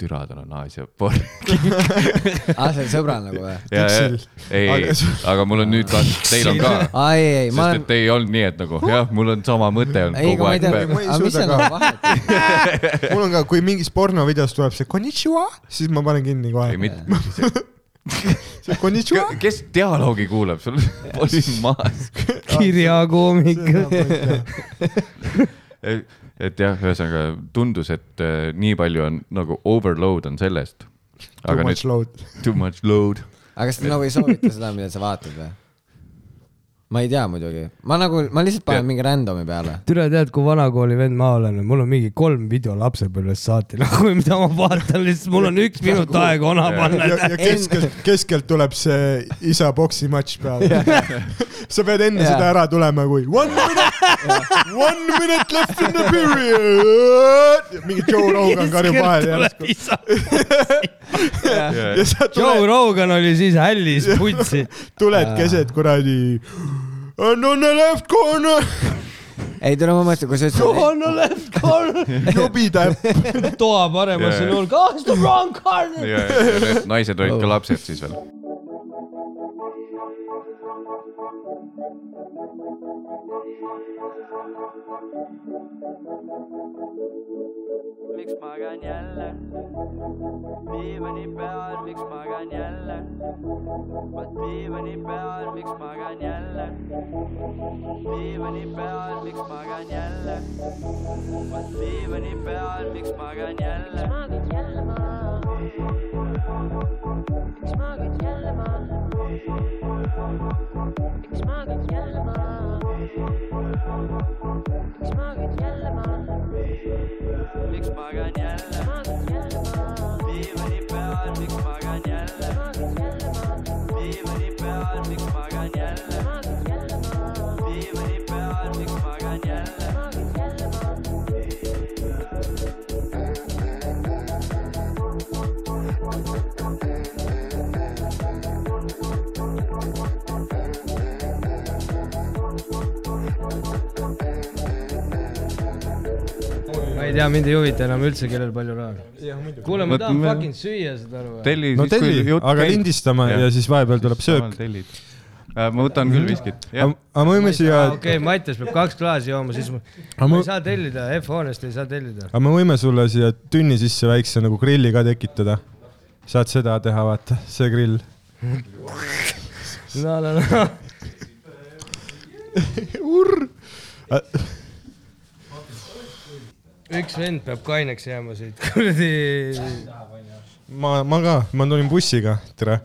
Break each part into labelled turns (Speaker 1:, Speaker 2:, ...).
Speaker 1: türa tal on Aasia porn .
Speaker 2: aa , see on sõbral nagu või ?
Speaker 1: ei , ei , aga mul on nüüd ka , teil on ka .
Speaker 2: aa , ei , ei , ma
Speaker 1: sest
Speaker 2: olen
Speaker 1: et , ei olnud nii , et nagu jah , mul on sama mõte on
Speaker 2: ei ,
Speaker 1: kogu
Speaker 2: aga ma ei
Speaker 1: aeg
Speaker 2: tea ,
Speaker 1: peal .
Speaker 3: Ma ei
Speaker 2: aga mis
Speaker 3: suuda
Speaker 2: seal
Speaker 3: ka.
Speaker 2: on vahet ?
Speaker 3: mul on ka , kui mingis pornovideos tuleb see konnichiwa , siis ma panen kinni
Speaker 1: ei ,
Speaker 3: kohe .
Speaker 1: mitte .
Speaker 3: see konnichiwa .
Speaker 1: kes dialoogi kuulab , sul on poiss maas .
Speaker 4: kirjakoomik .
Speaker 3: nagu,
Speaker 1: et jah , ühesõnaga tundus , et äh, nii palju on nagu overload on sellest .
Speaker 3: Too
Speaker 1: aga nüüd
Speaker 3: much load .
Speaker 1: too much load .
Speaker 2: aga kas te nagu ei soovita seda , mida sa vaatad või ? ma ei tea muidugi , ma nagu , ma lihtsalt panen
Speaker 1: Tead-
Speaker 2: mingi random'i peale .
Speaker 4: türa tead , kui vanakooli vend ma olen , mul on mingi kolm video lapsepõlvest saati nagu , mida ma vaatan lihtsalt , mul on üks minut aega ona panna .
Speaker 3: ja , ja keskelt , keskelt tuleb see isa poksimatš peale . sa pead enne
Speaker 2: Jah.
Speaker 3: seda ära tulema , kui one minute , one minute left in the period . mingi Joe Rogan karjub vahele järsku . ja sa
Speaker 4: Joe
Speaker 3: tuled ,
Speaker 4: Rogan oli siis hällis putsi .
Speaker 3: tuled keset kuradi . And on the left corner ,
Speaker 2: ei , tule ma mõtlen , kui sa ütlesid ,
Speaker 4: on left corner ,
Speaker 3: jobi täpp .
Speaker 4: toa paremasse
Speaker 1: Jaa, jaa.
Speaker 4: nurka , ah see on wrong corner .
Speaker 1: ja , ja need naised olid ka lapsed siis veel .
Speaker 5: miks magan jälle ? diivani peal , miks magan jälle ? vot diivani peal , miks magan jälle ? diivani peal , miks magan jälle ? vot diivani peal , miks magan jälle ?
Speaker 6: Miks magad jälle maha? Miks magad jälle maha? Miks magad jälle maha? Miks magad jälle maha?
Speaker 5: miks magan jälle ?
Speaker 6: Magad jälle maha?
Speaker 5: diivani peal , miks magan jälle ?
Speaker 6: Magad jälle maha?
Speaker 5: diivani peal , miks magan jälle ?
Speaker 6: Magad jälle maha?
Speaker 5: diivani peal , miks magan jälle ?
Speaker 6: Magad jälle maha?
Speaker 4: ma ei tea , mind ei huvita enam üldse , kellel palju raha on . kuule , ma
Speaker 1: Vot
Speaker 4: tahan
Speaker 1: me-
Speaker 4: fucking süüa seda aru .
Speaker 1: telli
Speaker 3: no telli , aga . lindistame
Speaker 1: Jah. Äh,
Speaker 3: ja siis vahepeal tuleb söök . Mhm.
Speaker 1: ma võtan küll viskit .
Speaker 3: aga me võime siia ,
Speaker 4: okei , Mattias peab kaks klaasi jooma , siis ma,
Speaker 3: aga
Speaker 4: ma
Speaker 3: me
Speaker 4: ei saa tellida , F-hoonest ei saa tellida .
Speaker 3: aga me võime sulle siia tünni sisse väikse nagu grilli ka tekitada . saad seda teha , vaata , see grill .
Speaker 4: no , no , no .
Speaker 3: urr .
Speaker 4: üks vend peab kaineks jääma siit , kuradi .
Speaker 3: ma , ma ka , ma tulin bussiga , tere .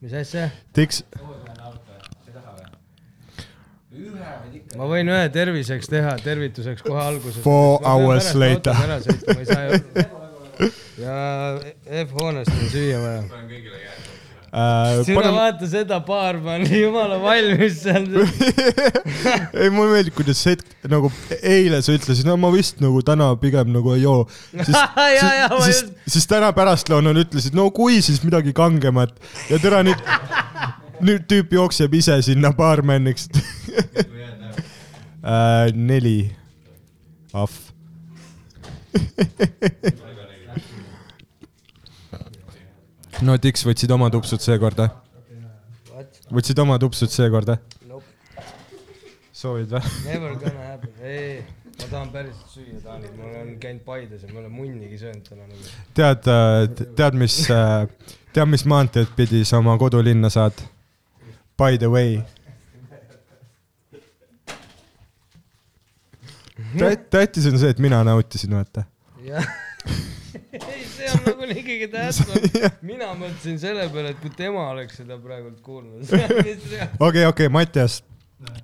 Speaker 4: mis asja ?
Speaker 3: tiks ,
Speaker 4: ma võin ühe terviseks teha , tervituseks kohe alguses .
Speaker 3: Four hours later.
Speaker 4: ja F-hoonest on süüa vaja .
Speaker 3: äh, .
Speaker 4: sina
Speaker 3: paneme ,
Speaker 4: vaata seda baarmani , jumala valmis seal .
Speaker 3: ei mulle meeldib , kuidas see hetk nagu eile sa ütlesid , no ma vist nagu täna pigem nagu ei joo .
Speaker 4: ja , ja ma
Speaker 3: siis
Speaker 4: just ,,
Speaker 3: siis täna pärastlõunal ütlesid , no kui siis midagi kangemat ja tere nüüd , nüüd tüüp jookseb ise sinna baarmeniks . Äh, neli , ahv . no Dix , võtsid oma tupsud seekord või ? võtsid oma tupsud seekord eh? või
Speaker 4: Nope. ?
Speaker 3: soovid või ?
Speaker 4: never gonna happen , ei , ma tahan päriselt süüa , Taani , ma olen käinud Paides ja ma ei ole munnigi söönud täna nagu .
Speaker 3: tead , tead , mis , tead , mis maanteed pidi sa oma kodulinna saad ? By the way . tähtis on see , et mina nautisin , vaata .
Speaker 4: jah . ei , see on nagunii kõige tähtsam . mina mõtlesin selle peale , et kui tema oleks seda praegult kuulnud . see nagu
Speaker 3: okei , okei , Mattias ,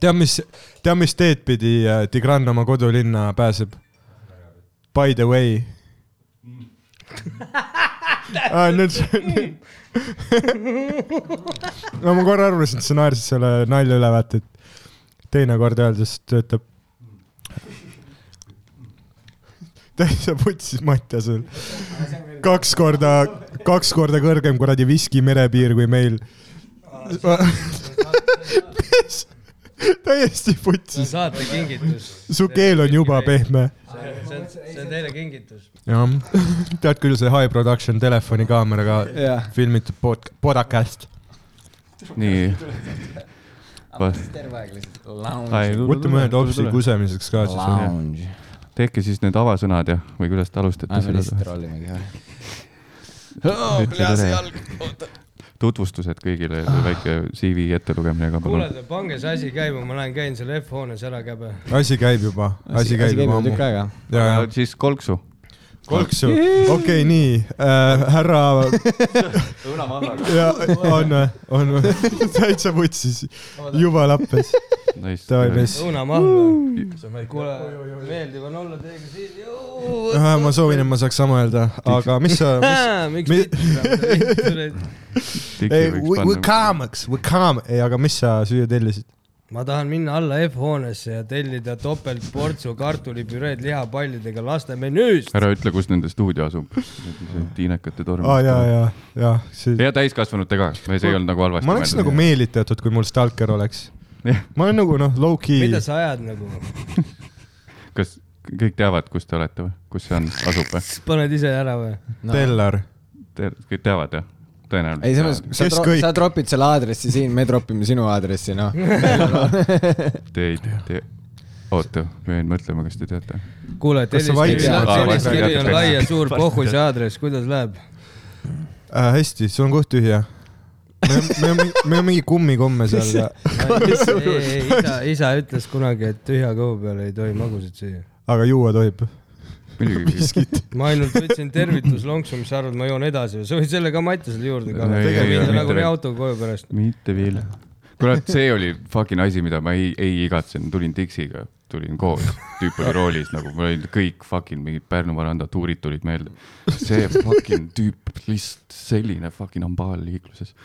Speaker 3: tead , mis , tead , mis teed pidi äh, Tigran oma kodulinna pääseb ? By the way . Ah, nüüd see , no ma korra arvasin , et sa naersid selle nalja üle , vaata , et teinekord öeldes töötab . täitsa putsis Mattiasel . kaks korda , kaks korda kõrgem kuradi viski merepiir kui meil . täiesti
Speaker 4: on
Speaker 3: putsis ,
Speaker 4: saate kingitus .
Speaker 3: su keel on juba . pehme .
Speaker 4: see on , see see on teile kingitus .
Speaker 3: jah , tead küll , see high production telefonikaameraga
Speaker 2: jah .
Speaker 3: filmitud pod- , podcast .
Speaker 1: nii .
Speaker 2: terve aeg lihtsalt lounge .
Speaker 3: võtame ühe topsi kusemiseks ka siis .
Speaker 2: Lounge .
Speaker 1: tehke siis need avasõnad ja , või kuidas te alustate
Speaker 2: aa , me lihtsalt
Speaker 1: seda ?
Speaker 2: trollime kohe .
Speaker 1: tutvustused kõigile , väike CV ettelugemine ka palun .
Speaker 4: kuulete , pange see asi käima , ma lähen käin seal F-hoones ära käbe .
Speaker 3: asi käib juba , asi käib juba ammu
Speaker 2: tükk . aega .
Speaker 3: ja , ja
Speaker 1: siis kolksu .
Speaker 3: kolksu , okei okay, , nii äh, , härra ja on või , on või , täitsa vutsis , juba lappes , davai pess .
Speaker 4: õunamahla . kuule , meeldiv on olla teiega siin .
Speaker 3: Äh, ma soovin , et ma saaks sama öelda , aga mis sa , mis ,
Speaker 4: miks
Speaker 3: mi-
Speaker 4: mitte ?
Speaker 3: ei , we . comics , we com- , ei , aga mis sa süüa tellisid ?
Speaker 4: ma tahan minna alla F-hoonesse ja tellida topeltportsu kartulipüreed lihapallidega laste menüüst .
Speaker 1: ära ütle , kus nende stuudio asub . tiinekate torm .
Speaker 3: aa , ja , ja , ja , see ,
Speaker 1: ja täiskasvanute ka , see ei olnud nagu halvasti .
Speaker 3: ma oleks nagu . meelitatud , kui mul stalker oleks . ma olen nagu noh , low-key
Speaker 4: mida , sa ajad nagu ?
Speaker 1: kas kõik teavad , kus te olete või , kus see on , asub või ?
Speaker 4: paned ise ära või ?
Speaker 3: teller .
Speaker 1: Te , kõik teavad jah ?
Speaker 2: ei , selles
Speaker 1: tõenäoliselt .
Speaker 2: mõttes , sa
Speaker 3: Kes
Speaker 2: tro-
Speaker 3: kõik? ,
Speaker 2: sa tropid selle aadressi siin , me tropime sinu aadressi , noh .
Speaker 1: Te ei tea . oota , me jäin mõtlema , kas te teate .
Speaker 4: kuule ,
Speaker 3: Kas sa vaikid?
Speaker 4: telliskiri
Speaker 1: Aa,
Speaker 4: telliskiri on
Speaker 1: vaikid.
Speaker 4: lai ja suur pohhu , see aadress , kuidas läheb ?
Speaker 3: Äh, hästi , sul on koht tühja . meil on , meil on , meil on mingi kummikomme seal ,
Speaker 4: isa , isa ütles kunagi , et tühja kõhu peale ei tohi magusaid süüa .
Speaker 3: aga juua tohib .
Speaker 1: muidugi .
Speaker 4: ma ainult võtsin tervituslonksu , mis sa arvad , ma joon edasi või ? sa võid selle ka Mattiasele juurde ka .
Speaker 1: Ei, ei, ei,
Speaker 4: viin ta
Speaker 1: mitte
Speaker 4: nagunii
Speaker 1: veel.
Speaker 4: autoga koju pärast .
Speaker 1: mitte veel . kurat , see oli fucking asi , mida ma ei , ei igatsenud , tulin Dixiga , tulin koos , tüüp oli roolis nagu , mul olid kõik fucking mingid Pärnu veranda tuurid tulid meelde . see fucking tüüp , lihtsalt selline fucking hambaal liikluses .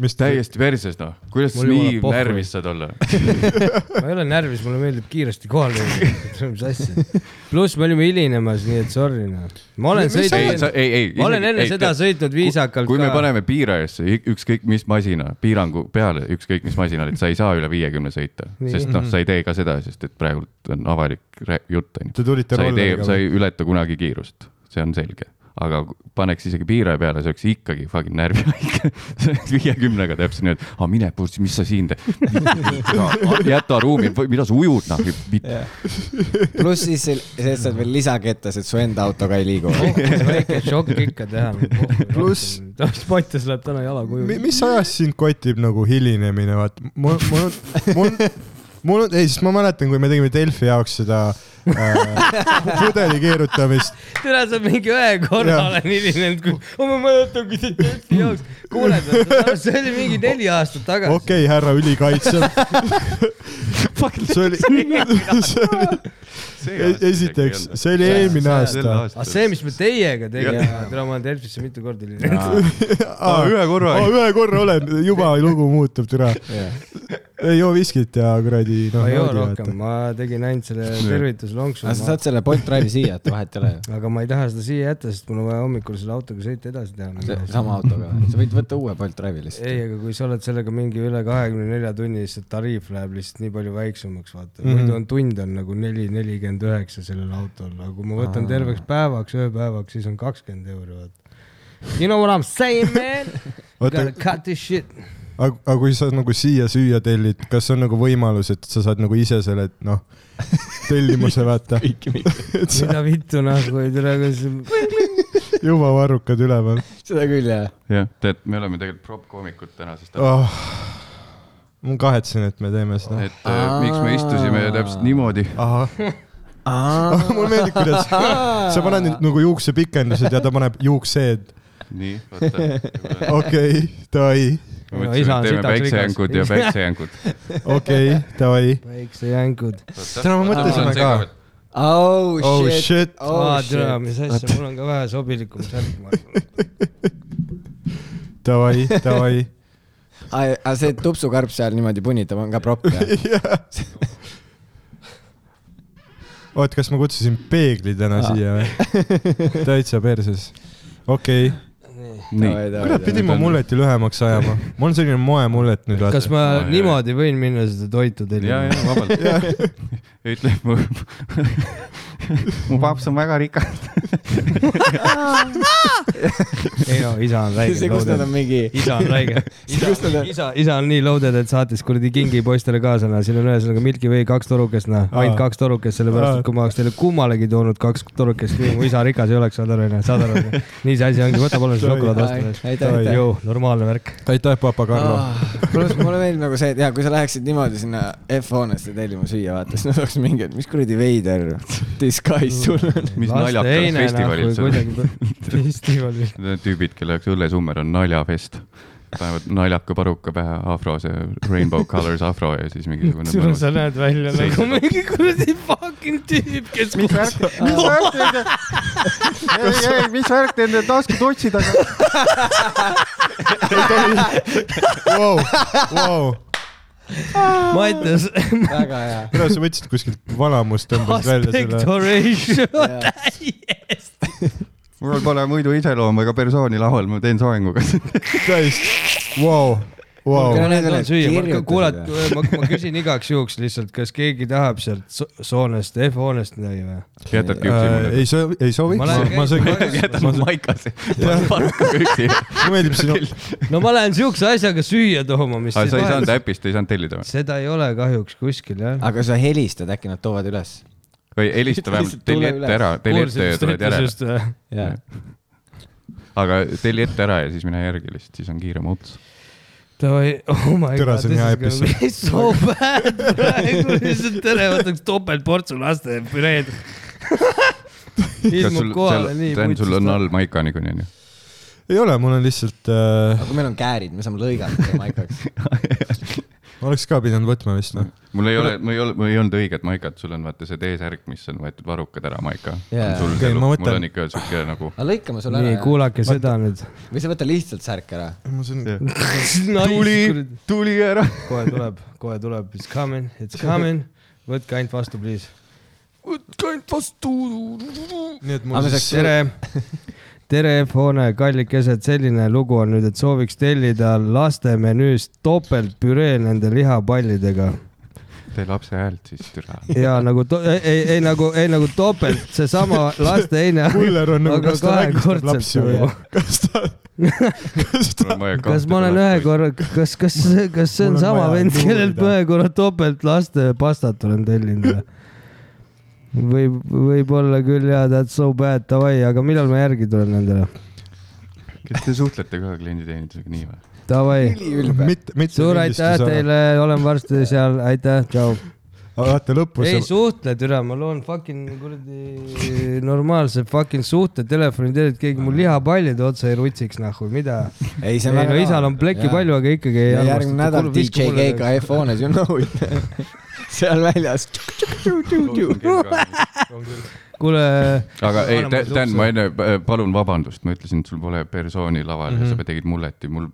Speaker 3: mis
Speaker 1: täiesti perses noh , kuidas
Speaker 4: Mul jumala
Speaker 1: nii
Speaker 4: pohhu.
Speaker 1: närvis saad olla ?
Speaker 4: ma ei ole närvis , mulle meeldib kiiresti kohale jõuda , see on mis asja . pluss me olime hilinemas , nii et sorry noh . ma olen
Speaker 1: ei ,
Speaker 4: sõitnud ,
Speaker 1: ei , ei .
Speaker 4: ma olen enne seda sõitnud viisakalt
Speaker 1: kui me
Speaker 4: ka .
Speaker 1: paneme piirajasse ük- ükskõik mis masina , piirangu peale ükskõik mis masinal , et sa ei saa üle viiekümne sõita ,
Speaker 4: Nii.
Speaker 1: sest noh , sa ei tee ka seda , sest et praegult on avalik rä- jutt onju .
Speaker 3: Te tulite
Speaker 1: sa ei tee ,
Speaker 3: rolleriga
Speaker 1: sa
Speaker 3: või ?
Speaker 1: ei ületa kunagi kiirust , see on selge , aga ku- paneks isegi piiraja peale , see oleks ikkagi fucking närvihaige . viiekümnega täpselt nii , et aa mine puss , mis sa siin teed . jäta ruumi , mida sa ujud noh ,
Speaker 2: pluss siis see , see , et sa oled veel lisakettas , et su enda autoga ei liigu .
Speaker 4: väike šokk ikka teha .
Speaker 3: Pluss-
Speaker 4: Mattias läheb täna jala koju .
Speaker 3: mis ajast sind kotib nagu hilinemine , vaat mul , mul , mul , mul , ei , sest ma mäletan , kui me tegime Delfi jaoks seda äh, pudeli keerutamist .
Speaker 4: täna sa mingi ühe korra
Speaker 3: Jah.
Speaker 4: olen hilinenud , kui , ma mäletan , kui sa Delfi jaoks , kuule , see oli mingi neli aastat
Speaker 3: okei
Speaker 4: tagasi .
Speaker 3: okay, , härra ülikaitsev . see oli , see oli , E- esiteks , see oli eelmine aasta .
Speaker 4: aga Ah, see , mis me teiega tegime , täna ma olen Delfisse mitu korda hilinenud .
Speaker 3: Aa,
Speaker 1: ühe korra.
Speaker 3: Aa, ühe korra olen , juba lugu muutub , türa . ei joo viskit ja kuradi , noh .
Speaker 4: ma ei joo rohkem , ma tegin ainult selle tervituslonksu
Speaker 2: aga , sa saad selle Bolt Drive'i siia , et vahet ei ole ju .
Speaker 4: aga ma ei taha seda siia jätta , sest mul on vaja hommikul selle autoga sõita edasi teha .
Speaker 2: sama autoga , sa võid võtta uue Bolt Drive'i lihtsalt .
Speaker 4: ei , aga kui sa oled sellega mingi üle kahekümne nelja tunni , siis see tariif läheb lihtsalt nii palju väiksemaks , vaata mm .
Speaker 2: Mhm.
Speaker 4: -hmm. muidu on tund on nagu neli , nelikümmend üheksa sellel autol , aga kui ma võtan terveks päevaks , ööpäevaks , siis on kakskümmend euri , vaata . You know what I m saying man ?
Speaker 3: Oota-
Speaker 4: Gotta cut this shit .
Speaker 3: aga , aga kui sa nagu siia süüa tellid , kas on nagu võimalus , et sa saad nagu ise selle , noh , tellimuse vaata ,
Speaker 4: mida vittu nagu , tere , kas
Speaker 3: juba varrukad üleval
Speaker 2: seda küll jah .
Speaker 1: jah , tead , me oleme tegelikult prop-koomikud täna , sest
Speaker 3: oh, . ma kahetsen , et me teeme seda .
Speaker 1: et äh, miks me istusime täpselt niimoodi .
Speaker 3: ahah ,
Speaker 2: aa ,
Speaker 3: mulle meeldib , kuidas sa paned nüüd nagu juuksepikendused ja ta paneb juukseed .
Speaker 1: nii , vaata .
Speaker 3: okei okay, , davai ,
Speaker 1: ma
Speaker 4: No isa
Speaker 1: mõtlesin , et teeme
Speaker 4: on sitaks rikas.
Speaker 1: päiksejänkud ja päiksejänkud .
Speaker 3: okei okay, , davai .
Speaker 4: väiksejänkud .
Speaker 3: täna me mõtlesime ka .
Speaker 2: oh
Speaker 3: Oh
Speaker 2: shit .
Speaker 3: shit ,
Speaker 2: Oh
Speaker 4: aa , tere ,
Speaker 2: shit.
Speaker 4: mis asja , mul on ka vähe sobilikum särk , ma arvan .
Speaker 3: davai , davai .
Speaker 2: aa , aga see tupsukarp seal niimoodi punnitab , on ka propp jah ?
Speaker 3: oot , kas ma kutsusin peegli
Speaker 4: Ah.
Speaker 3: täna siia või ? täitsa perses . okei okay. ,
Speaker 1: nii ,
Speaker 3: kurat , pidin ma mulleti lühemaks ajama . mul on selline moemullet nüüd
Speaker 4: kas
Speaker 3: vaata .
Speaker 4: ma
Speaker 1: Oi, oi.
Speaker 4: niimoodi võin minna seda toitu
Speaker 1: ja ,
Speaker 4: tellima ?
Speaker 1: ja vabalt . ütle , mu paps on väga rikas .
Speaker 4: ei no isa on
Speaker 2: see ,
Speaker 4: väike
Speaker 2: kus nad on
Speaker 4: loaded .
Speaker 2: mingi ,
Speaker 4: isa on väike .
Speaker 2: See, kus nad
Speaker 4: isa
Speaker 2: on- ,
Speaker 4: isa , isa on nii loaded , et saatis kuradi kingi poistele kaasa , noh , siin on ühesõnaga Milky Way kaks torukest , noh ,
Speaker 3: Aa.
Speaker 4: ainult kaks torukest , sellepärast
Speaker 3: Aa.
Speaker 4: et kui ma oleks teile kummalegi toonud kaks torukest , kui mu isa rikas ei oleks , saad aru , onju , saad aru , onju . nii see asi ongi , võta palun see šokolaad vastu .
Speaker 2: aitäh , aitäh .
Speaker 4: Jõu , normaalne värk .
Speaker 3: aitäh , papa
Speaker 4: Ah.
Speaker 3: Karlo .
Speaker 2: kuule , Ah, mulle meeldib nagu see , et jaa , kui sa läheksid niimoodi sinna F-hoonesse tellima süüa , vaata , siis nad oleks mingi , et mis kuradi veider disguise sul on .
Speaker 1: mis naljakas festivalil see on .
Speaker 4: on . noh, festivalil .
Speaker 1: Need tüübid , kelle jaoks õllesummer on naljafest , panevad naljaka paruka pähe , afro , see rainbow colors afro ja siis mingisugune
Speaker 4: sul sa näed välja nagu mingi kuradi fucking tüüp , kes . mis värk
Speaker 1: mis värk teil , ei , ei , mis värk teil need taskud otsid , aga
Speaker 3: Vau , vau .
Speaker 4: Mattias ,
Speaker 2: väga hea .
Speaker 3: minu arust sa võtsid kuskilt vanamust , tõmbasid välja selle .
Speaker 4: aspektoration .
Speaker 1: mul pole muidu iseloomu ega persooni laual , ma teen soenguga .
Speaker 3: täiesti , vau , vau .
Speaker 1: Oh.
Speaker 2: Need on kirjutatud,
Speaker 4: kuulad
Speaker 2: jah. ,
Speaker 4: ma ma küsin igaks juhuks lihtsalt , kas keegi tahab sealt so- soonest , F-hoonest midagi või ?
Speaker 1: jätadki üksi mulle ?
Speaker 3: Äh, ei soovi , ei sooviks .
Speaker 4: Ma lähen-
Speaker 3: ma söön ,
Speaker 1: jätan mu maikase , paruka üksi .
Speaker 3: mulle meeldib sinu ,
Speaker 4: no ma lähen siukse asjaga süüa tooma , mis
Speaker 1: aga sa ei saanud . äpist , ei saanud tellida või ?
Speaker 4: seda ei ole kahjuks kuskil jah .
Speaker 2: aga sa helistad , äkki nad toovad üles ?
Speaker 1: või helista vähemalt , telli
Speaker 2: Tule üles.
Speaker 1: ette ära , telli ette ja tuled järele .
Speaker 4: äh,
Speaker 2: jaa .
Speaker 1: aga telli ette ära ja siis mine järgi lihtsalt , siis on kiirem ots .
Speaker 4: Davai , oh my
Speaker 3: Türa,
Speaker 4: god ,
Speaker 3: see on hea episood.
Speaker 4: be so bad praegu lihtsalt tere , võtaks topeltportsu laste püreed .
Speaker 1: kas
Speaker 4: ilmub
Speaker 1: sul ,
Speaker 4: kohale nii .
Speaker 1: Dan , sul on all maika niikuinii onju ?
Speaker 3: ei ole , mul on lihtsalt äh, ,
Speaker 2: aga kui meil on käärid , me saame lõigata seda maikaks .
Speaker 3: oleks ka pidanud võtma vist noh .
Speaker 1: mul ei ole , mul ei ole , mul ei olnud õiget maikat , sul on vaata see T-särk , mis on võetud varrukad ära maika
Speaker 2: Jaa.
Speaker 1: yeah. . sul
Speaker 3: Okei,
Speaker 1: okay,
Speaker 3: ma
Speaker 1: mul
Speaker 3: võtan.
Speaker 1: on ikka siuke nagu ,
Speaker 2: aga lõikame sulle
Speaker 4: nii ,
Speaker 2: ära ,
Speaker 4: kuulake seda nüüd .
Speaker 2: või sa võta lihtsalt särk ära .
Speaker 3: ma söön ,
Speaker 1: tuli , tuli ära .
Speaker 4: kohe tuleb , kohe tuleb , it's coming , it's coming . võtke ainult vastu , please . võtke ainult vastu .
Speaker 3: nii et
Speaker 2: Aga
Speaker 3: mul
Speaker 2: me
Speaker 3: siis
Speaker 2: saaks-
Speaker 4: tere , tere F-hoone kallikesed , selline lugu on nüüd , et sooviks tellida laste menüüst topeltpüree nende lihapallidega
Speaker 1: tee lapse häält siis türa .
Speaker 4: ja nagu to- , ei , ei , ei nagu , ei nagu topelt , seesama laste heine .
Speaker 3: kuller on nagu ,
Speaker 4: aga
Speaker 3: kas ta vägistab
Speaker 4: kahekordselt
Speaker 3: lapsi või
Speaker 4: nagu. ?
Speaker 3: kas ta , kas ta ,
Speaker 4: kas ma olen ühe ? korra , kas , kas , kas
Speaker 3: Mul
Speaker 4: see on
Speaker 3: on
Speaker 4: sama
Speaker 3: vaja
Speaker 4: vend , kellelt ma
Speaker 3: juurde.
Speaker 4: ühe korra topelt laste pastat olen tellinud või ? võib , võib-olla küll jaa , that's so bad , davai , aga millal ma järgi tulen nendele ?
Speaker 1: kas te suhtlete ka klienditeenindusega nii või ?
Speaker 4: Davai ,
Speaker 2: üliülbe .
Speaker 3: mitte , mitte .
Speaker 4: suur aitäh . teile , olen varsti seal , aitäh , tšau .
Speaker 3: vaata lõpus
Speaker 4: ei . suhtle , türa , ma loon fucking kuradi normaalse fucking suhte telefoni teel , et keegi mul lihapallide otsa ei rutsiks , nahhu , mida .
Speaker 2: ei , see
Speaker 4: ei
Speaker 2: on
Speaker 4: no isal on plekki palju , aga ikkagi ei
Speaker 2: ja järgmine nädal DJ Keiko iPhone'is , you know it . seal väljas .
Speaker 4: kuule ,
Speaker 1: aga ei ,
Speaker 4: Anname sulle
Speaker 1: Dan ,
Speaker 4: ukse.
Speaker 1: ma enne , palun vabandust , ma ütlesin , et sul pole persooni laval mm -hmm. ja sa tegid mulleti , mul ,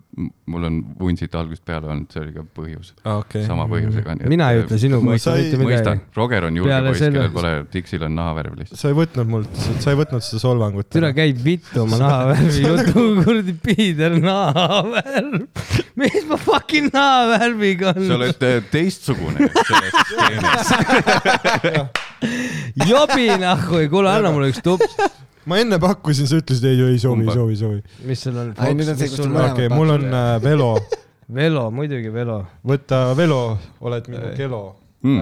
Speaker 1: mul on vuntsid algusest peale olnud , see oli ka põhjus ,
Speaker 3: Ah, okei .
Speaker 1: sama põhjusega .
Speaker 4: mina ei ütle sinu kohta
Speaker 3: sai-
Speaker 4: mitte midagi
Speaker 1: mõistan ., Roger on julge
Speaker 4: Peale
Speaker 1: poiss ,
Speaker 4: selle-
Speaker 1: kellel pole , tiksil on nahavärv lihtsalt .
Speaker 3: sa ei võtnud mult , sa ei võtnud seda solvangut .
Speaker 4: türa käib vittu oma nahavärvi jutu , kuradi piider nahavärv . mis ma fucking nahavärviga
Speaker 1: sa
Speaker 4: on ?
Speaker 1: oled äh, teistsugune selles stseenis .
Speaker 4: jobi nahku , kuule , anna mulle üks tups .
Speaker 3: ma enne pakkusin , sa ütlesid ei , ei soovi ,
Speaker 1: Kumba?
Speaker 3: ei soovi , ei soovi .
Speaker 4: mis sul on
Speaker 2: Ai, nüüd on see, kus ta mõlemad
Speaker 3: okei , mul on äh, Velo ,
Speaker 4: Velo , muidugi Velo .
Speaker 3: võta Velo , oled minu Kelo
Speaker 1: Mm.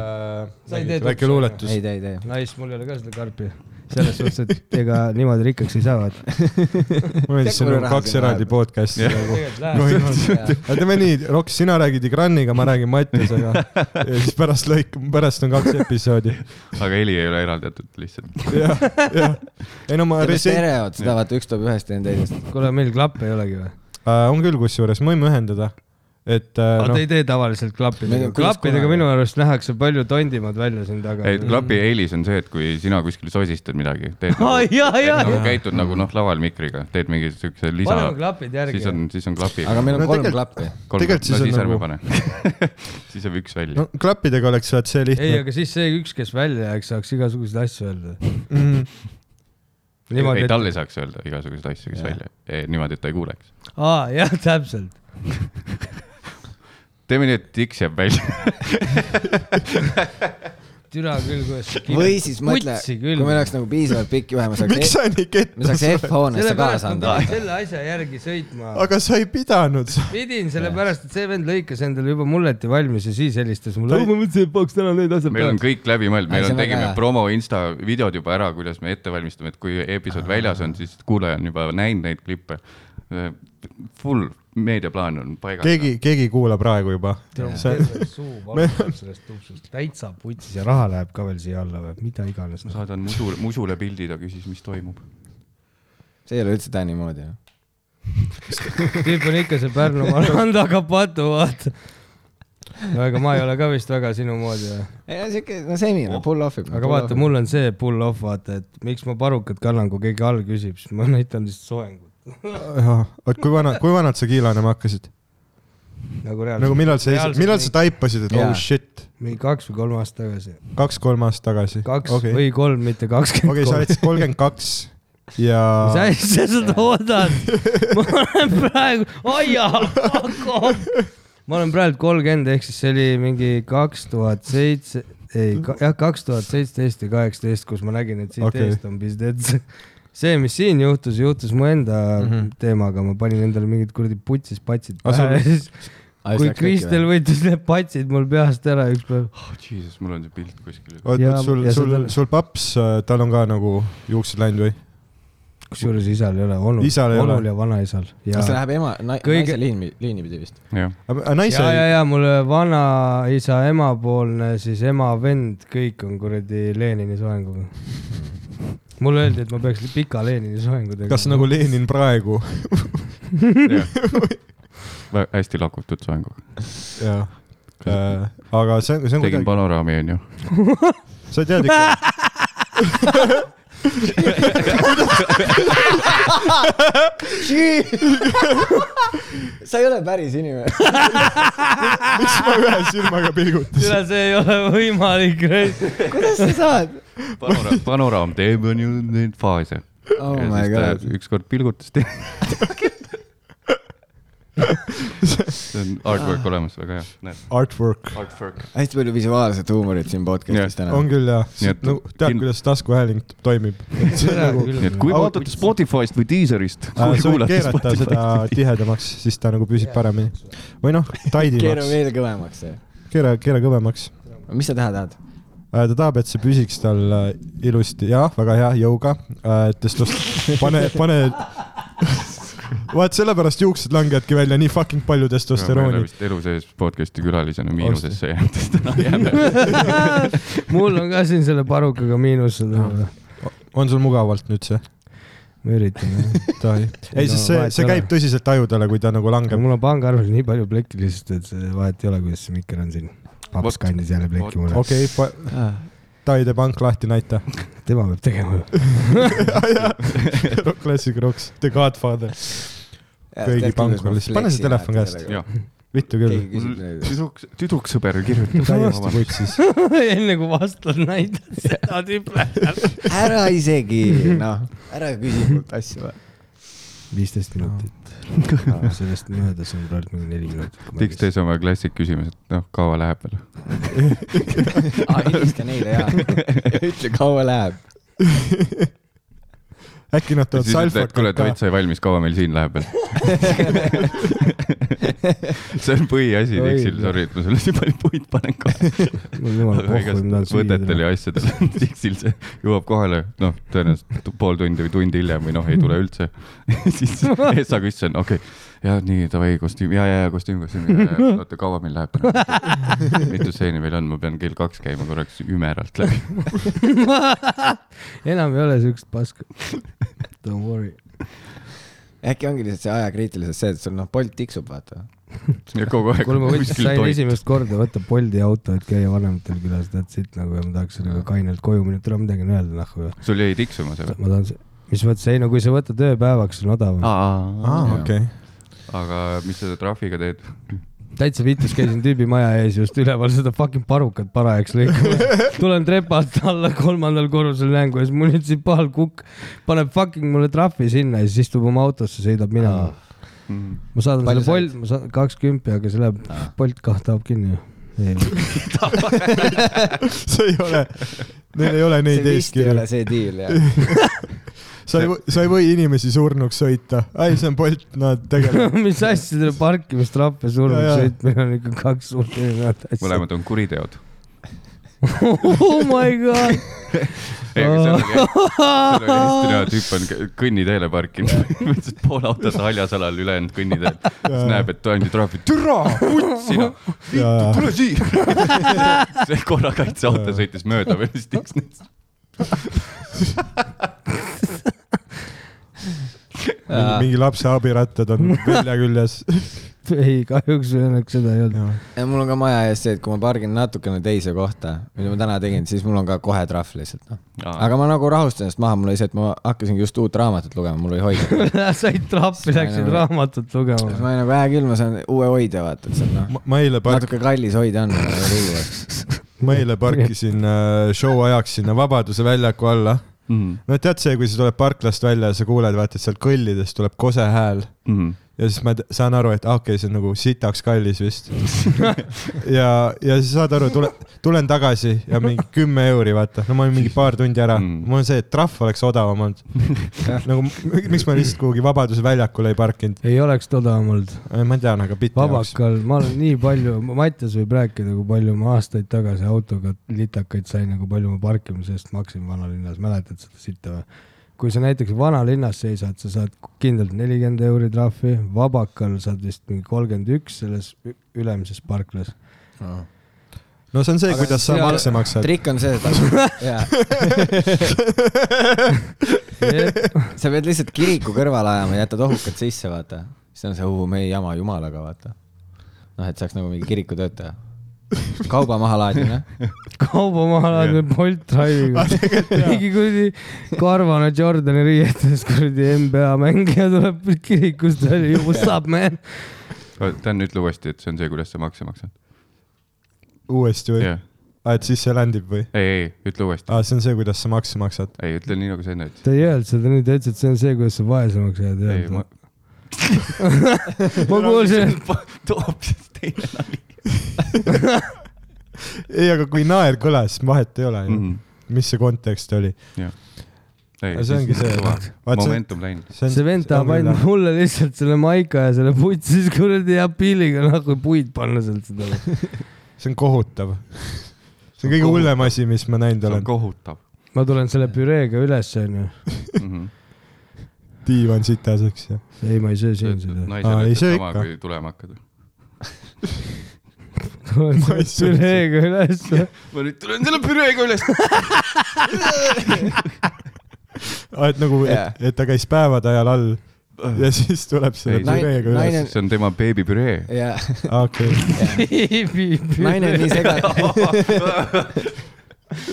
Speaker 4: Sa ei tee
Speaker 3: mm. .
Speaker 4: tutsi,
Speaker 3: väike luuletus
Speaker 2: ei , tee , ei tee .
Speaker 4: Nice , mul ei ole ka seda karpi . selles suhtes , et ega niimoodi rikkaks ei saa , vaata .
Speaker 3: mul on siis
Speaker 2: Tead, kui palju raha
Speaker 3: nagu kaks
Speaker 2: siin
Speaker 3: eraldi
Speaker 2: läheb?
Speaker 3: podcast'i
Speaker 1: Jah.
Speaker 3: nagu .
Speaker 4: tegelikult läheb .
Speaker 3: aga teeme nii , Roks , sina räägid Igranniga , ma räägin Mattiasega ja siis pärast lõik- , pärast on kaks episoodi .
Speaker 1: aga heli ei ole eraldatud lihtsalt .
Speaker 3: jah , jah . ei no ma resen- ,
Speaker 2: stereod , seda vaata , üks tuleb ühest ja teisest .
Speaker 4: kuule , meil klappe ei olegi või ?
Speaker 3: Äh, on küll kusjuures , me võime ühendada , et äh,
Speaker 4: aga
Speaker 3: noh
Speaker 4: te ei tee tavaliselt
Speaker 2: Meil
Speaker 4: klappidega
Speaker 2: on . kuidas
Speaker 4: klappidega
Speaker 2: kunagi.
Speaker 4: minu arust nähakse palju tondimad välja siin taga .
Speaker 1: ei , klapi eelis on see , et kui sina kuskil sosistad midagi , teed
Speaker 4: Aa, jaa, jaa,
Speaker 1: nagu,
Speaker 4: jaa.
Speaker 1: käitud nagu noh , laval mikriga , teed mingi siukse lisa
Speaker 4: paneme , klapid
Speaker 1: siis
Speaker 4: järgi .
Speaker 1: on , siis on klapi .
Speaker 2: aga meil on
Speaker 3: No
Speaker 2: kolm
Speaker 3: tegelikult-
Speaker 2: klappi .
Speaker 1: kolm , no
Speaker 3: tegelikult siis
Speaker 1: siis
Speaker 3: on
Speaker 1: ärme
Speaker 3: nagu-
Speaker 1: pane . siis jääb üks välja
Speaker 3: no
Speaker 1: no. .
Speaker 3: klappidega oleks vaat see
Speaker 4: ei ,
Speaker 3: lihtne .
Speaker 4: aga siis see üks , kes välja jääks , saaks igasuguseid asju öelda .
Speaker 3: Mm.
Speaker 1: ei ,
Speaker 4: niimoodi , et
Speaker 1: talle ei saaks öelda igasuguseid asju , kes
Speaker 2: Jaa.
Speaker 1: välja , niimoodi , et ta ei kuuleks .
Speaker 4: aa jah , täpselt .
Speaker 1: teeme nii , et tiks jääb välja .
Speaker 4: türa küll , kuidas .
Speaker 2: või siis mõtle , kui meil oleks nagu piisavalt pikk juhe , me saaks ,
Speaker 3: miks sa nii
Speaker 2: me
Speaker 3: kettas
Speaker 2: saaks
Speaker 3: oled ?
Speaker 2: F-hoonesse
Speaker 4: sellepärast
Speaker 2: kaasa
Speaker 4: ma
Speaker 2: anda .
Speaker 4: pidin selle asja järgi sõitma .
Speaker 3: aga sa ei pidanud .
Speaker 4: pidin , sellepärast et see vend lõikas endale juba mulleti valmis ja siis helistas mulle
Speaker 3: Ta- .
Speaker 4: ma mõtlesin , et peaks täna need asjad
Speaker 1: meil on kõik läbimõeldud , meil
Speaker 2: Ai, see
Speaker 1: on ,
Speaker 2: on väga
Speaker 1: tegime
Speaker 2: hea.
Speaker 1: promo insta videod juba ära , kuidas me ette valmistame , et kui episood väljas on , siis kuulaja on juba näinud neid klippe . Full meediaplaan on paigas .
Speaker 3: keegi , keegi ei kuula praegu juba .
Speaker 4: peal . suu valgub sellest tupsust , täitsa putsis ja raha läheb ka veel siia alla või mida iganes .
Speaker 1: ma saadan musule , musule pildi , ta küsis , mis toimub .
Speaker 2: see ei ole üldse Tänni moodi .
Speaker 4: tüüp on ikka see Pärnu Maranda Kapatu , vaata . no ega ma ei ole ka vist väga sinu moodi või ?
Speaker 2: ei no siuke , no semi , no pull off ib .
Speaker 4: aga vaata ,. mul on see pull off , vaata , et miks ma parukat kannan , kui keegi all küsib , siis ma näitan lihtsalt soengut .
Speaker 3: oot , kui vana , kui vanalt sa kiilanema hakkasid ?
Speaker 4: nagu reaalselt .
Speaker 3: nagu millal sa , millal sa ? taipasid , et
Speaker 2: Jaa.
Speaker 3: oh shit ,
Speaker 4: mingi kaks või kolm aastat tagasi .
Speaker 3: kaks-kolm aastat tagasi ?
Speaker 4: kaks okay.
Speaker 3: okei ,
Speaker 4: või kolm , mitte kakskümmend
Speaker 3: okei , sa olid siis kolmkümmend kaks ja
Speaker 4: mis asja sa toodad ? ma olen praegu , aia , fuck off . ma olen praegu kolmkümmend , ehk siis see oli mingi kaks tuhat seitse , ei , jah , kaks tuhat seitseteist ja kaheksateist , kus ma nägin , et siit
Speaker 3: Okei.
Speaker 4: okay. eest on pistetud . see , mis siin juhtus , juhtus mu enda mm -hmm. teemaga , ma panin endale mingid kuradi putsis patsid
Speaker 3: Aga Mhm. sul-
Speaker 4: pähe ja siis , kui Kristel võttis need patsid mul peast ära üks päev .
Speaker 1: oh jesus , mul on see pilt kuskil .
Speaker 3: oot ,
Speaker 4: Jaa,
Speaker 3: sul
Speaker 4: ja ,
Speaker 3: sul
Speaker 4: seda- ,
Speaker 3: sul paps , tal on ka nagu juuksed läinud või ?
Speaker 4: kusjuures isal ei ole , onul ,
Speaker 3: Isal ei ole.
Speaker 4: onul ja vanaisal .
Speaker 2: kas see läheb ema ,
Speaker 4: Kõige-
Speaker 2: naise liini , liini pidi vist ?
Speaker 1: jah ,
Speaker 3: aga naise
Speaker 4: ja , ja , ja mul vanaisa emapoolne , siis ema vend , kõik on kuradi Lenini soenguga . mulle öeldi , et ma peaks pika Lenini soengu tegema .
Speaker 3: kas nagu Lenin praegu ?
Speaker 1: hästi lakutud soenguga .
Speaker 3: jah . Äh, aga see on , see on
Speaker 1: tegin
Speaker 3: kuidagi ,
Speaker 1: panoraami , onju .
Speaker 3: sa tead ikka ,
Speaker 2: sa ei ole päris inimene .
Speaker 3: miks ma ühe silmaga pilgutasin ?
Speaker 4: üle see ei ole võimalik .
Speaker 2: kuidas sa saad ?
Speaker 1: panoraam , panoraam teeb , onju , neid faase .
Speaker 2: oh
Speaker 1: ja
Speaker 2: my
Speaker 1: siis ta
Speaker 2: god .
Speaker 1: ükskord pilgutas teed . see on artwork olemas , väga hea , näed .
Speaker 3: Artwork .
Speaker 1: Artwork .
Speaker 2: hästi palju visuaalset huumorit siin podcast'is
Speaker 1: Jah,
Speaker 2: täna .
Speaker 3: on küll jah
Speaker 1: Nii et- ,
Speaker 3: no tead ,
Speaker 1: kin-
Speaker 3: kuidas taskuhääling toimib .
Speaker 1: nii et kui
Speaker 3: Au-
Speaker 1: vaatate Spotify'st või Deezerist ,
Speaker 3: sa võid
Speaker 1: kuulate
Speaker 3: keerata
Speaker 1: Spotify'st ,
Speaker 3: ta tihedamaks , siis ta nagu püsib paremini . või noh ,
Speaker 2: keera
Speaker 3: taidimaks .
Speaker 2: veel kõvemaks see .
Speaker 3: keera , keera kõvemaks .
Speaker 2: mis sa teha tahad ?
Speaker 3: Äh, ta tahab , et see püsiks tal äh, ilusti , jah , väga hea jõuga . Äh, testos- , pane , pane . vaat sellepärast juuksed langevadki välja nii fucking palju testosterooni .
Speaker 1: elu sees podcast'i külalisena miinusesse jäänud , sest täna jääme .
Speaker 4: mul on ka siin selle parukaga miinus seda .
Speaker 3: on sul mugavalt nüüd see ?
Speaker 4: ma üritan jah .
Speaker 3: ei , sest see , see käib tõsiselt ajudele , kui ta nagu
Speaker 4: aga
Speaker 3: langeb .
Speaker 4: mul on pangaarvel nii palju plekki lihtsalt , et see vahet ei ole , kuidas see mikker on siin . paps
Speaker 1: Vot.
Speaker 4: kandis jälle plekki mulle .
Speaker 3: okei , Taide pank lahti näita .
Speaker 4: tema peab tegema .
Speaker 3: Classic Rocks , The Godfather . Kõigi pankuris. Pane see telefon käest.
Speaker 1: jah ,
Speaker 3: vittu küll .
Speaker 1: tüdruks , tüdruksõber kirjutab .
Speaker 3: täiesti putsis .
Speaker 4: enne kui vastad , näitad seda tüüpile .
Speaker 2: ära isegi , noh , ära küsi mult asju .
Speaker 4: viisteist minutit . sellest möödas on praegu mingi neli minutit .
Speaker 1: teeks teise oma klassik küsimus , et noh , kaua läheb veel ?
Speaker 2: helista Ah, neile ja ütle , kaua läheb .
Speaker 3: äkki nad
Speaker 1: siis
Speaker 3: tulevad
Speaker 1: ütled , et kuule ,
Speaker 3: salfakat ka
Speaker 1: Toit . sai valmis , kaua meil siin läheb veel ? see on põhiasi ,
Speaker 4: Oi,
Speaker 1: Dixil ,
Speaker 4: jah.
Speaker 1: sorry , et ma sulle nii palju puid panen kohe .
Speaker 4: mul jumala pohhu , ma tahan
Speaker 1: igast võtetel
Speaker 4: süüa .
Speaker 1: ja asjadel on Dixil see jõuab kohale , noh , tõenäoliselt pool tundi või tund hiljem või noh , ei tule üldse . siis Essa küsis , et okei okay, , ja nii davai kostüüm , ja , ja , ja kostüüm , kostüüm , oota , kaua meil läheb ? mitu stseeni meil on , ma pean kell kaks käima korraks ümeralt läbi .
Speaker 4: enam ei ole siukest paska . Don't worry .
Speaker 2: äkki ongi lihtsalt see ajakriitiliselt see , et sul noh , Bolt tiksub , vaata .
Speaker 1: ja kogu aeg
Speaker 4: kuule , ma võtsin ,
Speaker 1: kuskil
Speaker 4: sain
Speaker 1: toit .
Speaker 4: esimest korda võtta Bolti auto , et käia vanematel külas , that's it nagu ja ma tahaks sellega kainelt koju minna , tule ma midagi öelda nahku ja
Speaker 1: sul jäi tiksuma see või ?
Speaker 4: ma tahan , mis mõttes , ei no kui sa võtad ööpäevaks , on odavam .
Speaker 1: aa
Speaker 3: aa , okei .
Speaker 1: aga mis sa trahviga teed ?
Speaker 4: täitsa vitus käisin tüübi maja ees just üleval seda fucking parukat parajaks lõikama . tulen trepalt alla kolmandal korrusel näen , kuidas munitsipaalkukk paneb fucking mulle trahvi sinna ja siis istub oma autosse , sõidab minema . ma saadan
Speaker 3: Mm.
Speaker 2: Palju
Speaker 4: selle Bolt , ma saan kakskümmend , aga see läheb , Bolt kah tahab kinni ju .
Speaker 3: see ei ole , neil ei ole
Speaker 2: see vist
Speaker 3: neid
Speaker 2: ei
Speaker 3: eeskirju
Speaker 2: ole . see diil jah .
Speaker 3: sa ei , sa ei või inimesi surnuks sõita , ei see on Bolt , nad tegelevad .
Speaker 4: mis asja selle parkimistrahve
Speaker 3: Ja,
Speaker 4: surnuks
Speaker 3: ja.
Speaker 4: sõitmine on ikka kaks suurt erinevat asja .
Speaker 1: mõlemad on kuriteod .
Speaker 4: oh my god .
Speaker 1: ei , aga nagu- seal oli , seal oli hästi hea tüüp nagu on kõ- kõnniteele parkinud , mõtlesin pool autot haljas alal , ülejäänud kõnniteel .
Speaker 3: äh,
Speaker 1: siis näeb , et toimub trahv , türa , putsi noh , tule siia . see korrakaitseauto sõitis mööda veel vist üks neist .
Speaker 3: mingi lapse abirattad on välja küljes .
Speaker 4: ei , kahjuks või õnneks seda ei olnud .
Speaker 2: ja mul on ka maja ees see , et kui ma pargin natukene teise kohta , mida ma täna tegin , siis mul on ka kohe trahv lihtsalt noh . aga ma nagu rahustan ennast maha , mul oli see , et ma hakkasingi just uut raamatut lugema , mul oli hoidja .
Speaker 4: said trappi , läksid raamatut
Speaker 2: siis
Speaker 4: lugema .
Speaker 2: ma olin nagu hea küll , ma saan uue hoidja vaata , et see on noh ,
Speaker 3: ma eile park- ,
Speaker 2: natuke kallis hoidja on , aga riivas .
Speaker 3: ma eile parkisin äh, show ajaks sinna Vabaduse väljaku alla .
Speaker 1: Mhm,
Speaker 3: no tead see , kui sa tuled parklast välja ja sa kuuled , vaata , et sealt kõllidest tuleb kose hääl
Speaker 1: mhm.
Speaker 3: ja siis ma t- saan aru , et ah, okei okay, , see on nagu sitaks kallis vist . ja , ja siis saad aru , tule , tulen tagasi ja mingi kümme euri , vaata , no ma olin mingi paar tundi ära mm.
Speaker 1: Mm. ,
Speaker 3: mul on see , et trahv oleks odavam olnud . nagu m- miks ma lihtsalt kuhugi Vabaduse väljakule ei parkinud ,
Speaker 4: ei oleks odavam olnud .
Speaker 3: ma tean , aga bitti jaoks .
Speaker 4: vabakal , ma olen nii palju , Mattias võib rääkida , kui palju ma aastaid tagasi autoga litakaid sain ja kui palju ma parkimise eest maksin vanalinnas , mäletad seda sitta või ? kui sa näiteks vanalinnas seisad , sa saad kindlalt nelikümmend euri trahvi , vabakal saad vist mingi kolmkümmend üks selles ü- ülemises parklas .
Speaker 3: no see on see ,
Speaker 2: Aga
Speaker 3: kuidas sa
Speaker 2: seal-
Speaker 3: makse maksad .
Speaker 2: trikk on see , et sa pead lihtsalt kiriku kõrvale ajama , jätad ohukad sisse , vaata . siis on see , me ei jama jumalaga , vaata . noh , et saaks nagu mingi kirikutöötaja . kauba maha laadida .
Speaker 4: kauba maha laadnud Bolt
Speaker 1: Ah,
Speaker 4: Drive'iga . mingi kuradi karvane Jordani riietes kuradi NBA mängija tuleb kirikust välja , what's up man ?
Speaker 1: Dan , ütle uuesti , et see on see , kuidas sa makse maksad .
Speaker 3: uuesti või Ah,
Speaker 1: ei ,?
Speaker 3: et siis see landib või ?
Speaker 1: ei , ütle uuesti .
Speaker 3: aa , see on see , kuidas sa makse maksad .
Speaker 1: ei , ütle nii , nagu sa enne ütlesid .
Speaker 4: ta ei öelnud seda nüüd , ta ütles , et see on see , kuidas sa vaesemaks jääd .
Speaker 1: ei , ma
Speaker 4: Ma... ma kuulsin , et
Speaker 1: hoopis teine nali .
Speaker 3: ei , aga kui naer kõlas , vahet ei ole ju . mis see kontekst oli ?
Speaker 1: Mhm. ei
Speaker 3: Aga see ongi see- vaat see-
Speaker 1: momentum läinud .
Speaker 4: see vend tahab ainult mulle lihtsalt selle maika ja selle puit , siis kuradi jääb piiliga nahku puid panna sealt seda .
Speaker 3: see on kohutav . see on kõige hullem asi , mis ma näinud
Speaker 1: see on
Speaker 3: olen .
Speaker 1: kohutav .
Speaker 4: ma tulen selle püreega üles , onju .
Speaker 1: Mhm.
Speaker 3: diivan sitaseks ja .
Speaker 4: ei , ma ei söö siin seda .
Speaker 3: Aa,
Speaker 1: naisele
Speaker 3: ei
Speaker 1: ütled
Speaker 3: söö
Speaker 1: sama ,
Speaker 3: ikka.
Speaker 1: kui tulema hakkad .
Speaker 4: tulen
Speaker 3: Ma ei söö
Speaker 4: selle püreega üles .
Speaker 1: ma nüüd tulen selle püreega üles .
Speaker 3: et nagu ,
Speaker 2: Jaa.
Speaker 3: et et ta käis päevade ajal all ja siis tuleb selle
Speaker 1: Ei, see-
Speaker 3: püreega
Speaker 2: naine-
Speaker 3: üles .
Speaker 1: see on tema beebipüree .
Speaker 2: ja
Speaker 3: okei ,
Speaker 2: naine on nii segane ,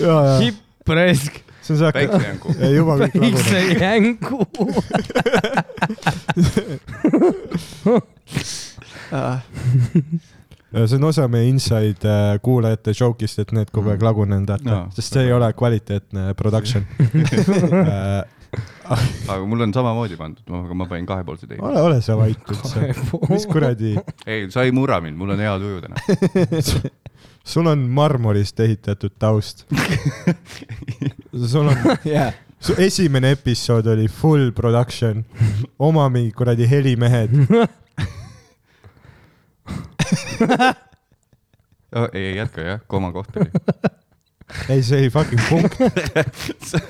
Speaker 3: ja , ja
Speaker 4: hippresk ,
Speaker 3: see on see hakka-
Speaker 1: päiksejängu .
Speaker 3: ja juba kõik
Speaker 4: väikse
Speaker 3: lagunenud .
Speaker 4: jänku .
Speaker 3: see on osa meie inside äh, kuulajate joke'ist , et need kogu aeg lagunenud ,
Speaker 1: Mm. Jaa.
Speaker 3: sest see ei ole kvaliteetne production Äh,
Speaker 1: aga mul on samamoodi pandud , aga ma panin kahepoolse teine .
Speaker 3: ole , ole sa vait üldse . mis kuradi ,
Speaker 1: ei , sa ei murra mind , mul on hea tuju täna .
Speaker 3: sul on marmorist ehitatud taust . sul on ,
Speaker 2: ja ,
Speaker 3: su esimene episood oli full production , oma mingi kuradi helimehed .
Speaker 1: ei , jätka jah , koma koht oli .
Speaker 3: ei , see oli fucking punkt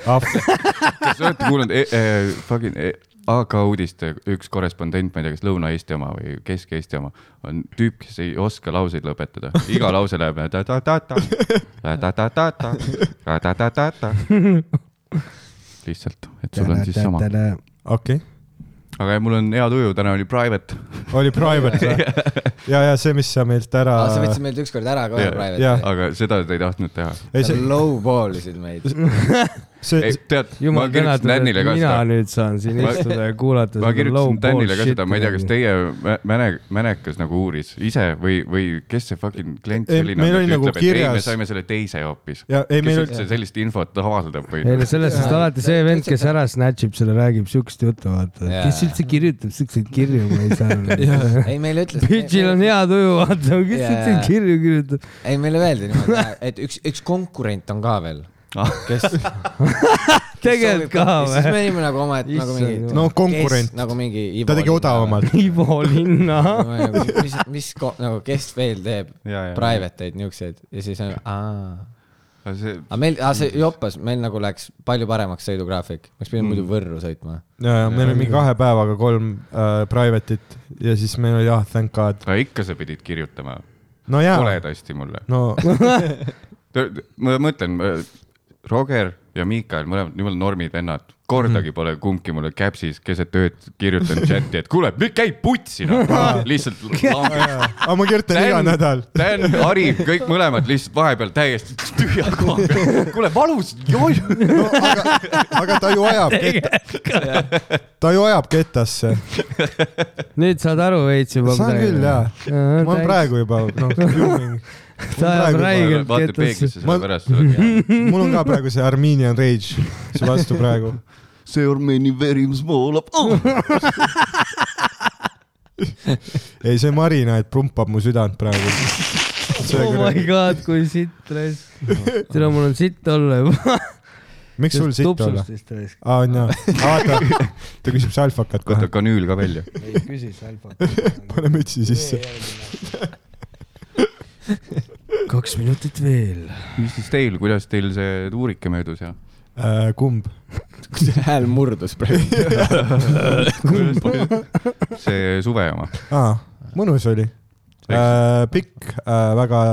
Speaker 3: ah, .
Speaker 1: kas te olete kuulnud e, e, fucking e, AK uudiste üks korrespondent , ma ei tea , kas Lõuna-Eesti oma või Kesk-Eesti oma , on tüüp , kes ei oska lauseid lõpetada . iga lause läheb eh, ta-ta-ta-ta , ta-ta-ta-ta-ta , ta-ta-ta-ta-ta . lihtsalt , et sul on siis sama .
Speaker 3: okei okay. ,
Speaker 1: aga mul on hea tuju , täna oli private .
Speaker 3: oli private või ? ja , ja see , mis sa meilt ära
Speaker 1: Ah,
Speaker 2: sa võtsid meilt ükskord ära kohe
Speaker 1: Jaa.
Speaker 2: praegu .
Speaker 3: Jah.
Speaker 1: aga seda te ei tahtnud teha .
Speaker 3: ei, see...
Speaker 2: low ball isid meid .
Speaker 3: see
Speaker 1: ei , tead , ma
Speaker 4: jumal tänatud ,
Speaker 1: kirjutasin
Speaker 4: et
Speaker 1: Tänile ka
Speaker 4: mina
Speaker 1: seda ,
Speaker 4: nüüd saan siin
Speaker 1: Ma-
Speaker 4: istuda ja kuulata
Speaker 1: ma kirjutasin Tänile ka seda , ma ei tea , kas teie mä- mäne- , mänekas nagu uuris ise või , või kes see fucking klient
Speaker 3: Ei,
Speaker 1: selline
Speaker 3: meil
Speaker 1: on ,
Speaker 3: oli
Speaker 1: et
Speaker 3: nagu
Speaker 1: ütleb , et ei , me
Speaker 3: kirjas-
Speaker 1: saime selle teise hoopis .
Speaker 3: ja ei ,
Speaker 1: kes
Speaker 3: meil oli ,
Speaker 1: üldse sellist infot avaldab
Speaker 4: ei no
Speaker 1: või ?
Speaker 4: selles suhtes alati see vend , kes ära snatchib selle , räägib siukest juttu , vaata
Speaker 2: Jaa.
Speaker 4: yeah. . kes üldse kirjutab siukseid kirju , ma ei saa aru .
Speaker 2: ei , meile ütles .
Speaker 4: Bitch'il on hea tuju , vaata , kes
Speaker 2: Jaa.
Speaker 4: siukseid kirju kirjutab .
Speaker 2: ei , meile öeldi niimoodi , et üks , üks konkurent on ka veel .
Speaker 3: Ah.
Speaker 2: kes .
Speaker 4: tegelikult ka
Speaker 2: siis me
Speaker 4: või ?
Speaker 2: olime nagu omaette nagu
Speaker 4: Issand
Speaker 2: mingi .
Speaker 4: jumal.
Speaker 3: no konkurent ,
Speaker 2: nagu mingi .
Speaker 3: ta tegi . odavamalt .
Speaker 4: Ivo Linna .
Speaker 2: mis , mis , nagu kes veel teeb private eid niukseid ja siis on , aa .
Speaker 1: see ,
Speaker 2: aga meil , see joppas , meil nagu läks palju paremaks sõidugraafik , oleks pidanud
Speaker 3: Mm.
Speaker 2: muidu Võrru sõitma .
Speaker 3: ja , ja meil oli mingi kahe päevaga kolm äh, private'it ja siis meil oli ah , thank god .
Speaker 1: aga ikka sa pidid kirjutama
Speaker 3: no jaa ,
Speaker 1: koledasti mulle .
Speaker 3: no
Speaker 1: ma mõtlen , Roger ja Miikael , mõlemad jumala normid vennad , kordagi
Speaker 3: Mhm.
Speaker 1: pole kumbki mulle käpsis keset ööd kirjutanud chati , et kuule , käi putsi noh , lihtsalt langeb .
Speaker 3: aga ma kirjutan iga nädal .
Speaker 1: Dan , Ari , kõik mõlemad lihtsalt vahepeal täiesti tühja koha peal . kuule , valus , joi .
Speaker 3: no, . aga , aga ta ju ajab ketta , ta ju ajab kettasse .
Speaker 4: nüüd saad aru veits juba .
Speaker 3: saan küll jaa , ma olen . praegu juba , noh , filming .
Speaker 4: Ta ajab räigelt.
Speaker 1: vaata
Speaker 4: Ketas-
Speaker 1: peeglisse
Speaker 3: Ma-
Speaker 1: selle pärast , sa oled hea .
Speaker 3: mul on ka praegu see Armenian Rage , see vastu praegu .
Speaker 1: see Armeeni veri , mis voolab oh. .
Speaker 3: ei , see Marina , et pumpab mu südant praegu .
Speaker 4: oh my god , kui sitt raisk . tere , mul on sitt olla juba .
Speaker 3: miks sul sitt olla ?
Speaker 4: raisk .
Speaker 3: aa , on jaa . vaata , ta küsib salfakat kohe
Speaker 1: võta . kanüül ka välja .
Speaker 4: ei küsi salpa .
Speaker 3: pane mütsi sisse .
Speaker 4: kaks minutit veel .
Speaker 1: mis siis teil , kuidas teil see tuurike möödus ja ?
Speaker 3: Äh, kumb ?
Speaker 2: hääl murdus praegu .
Speaker 1: see suve oma .
Speaker 3: aa , Ah, mõnus oli . pikk , väga ,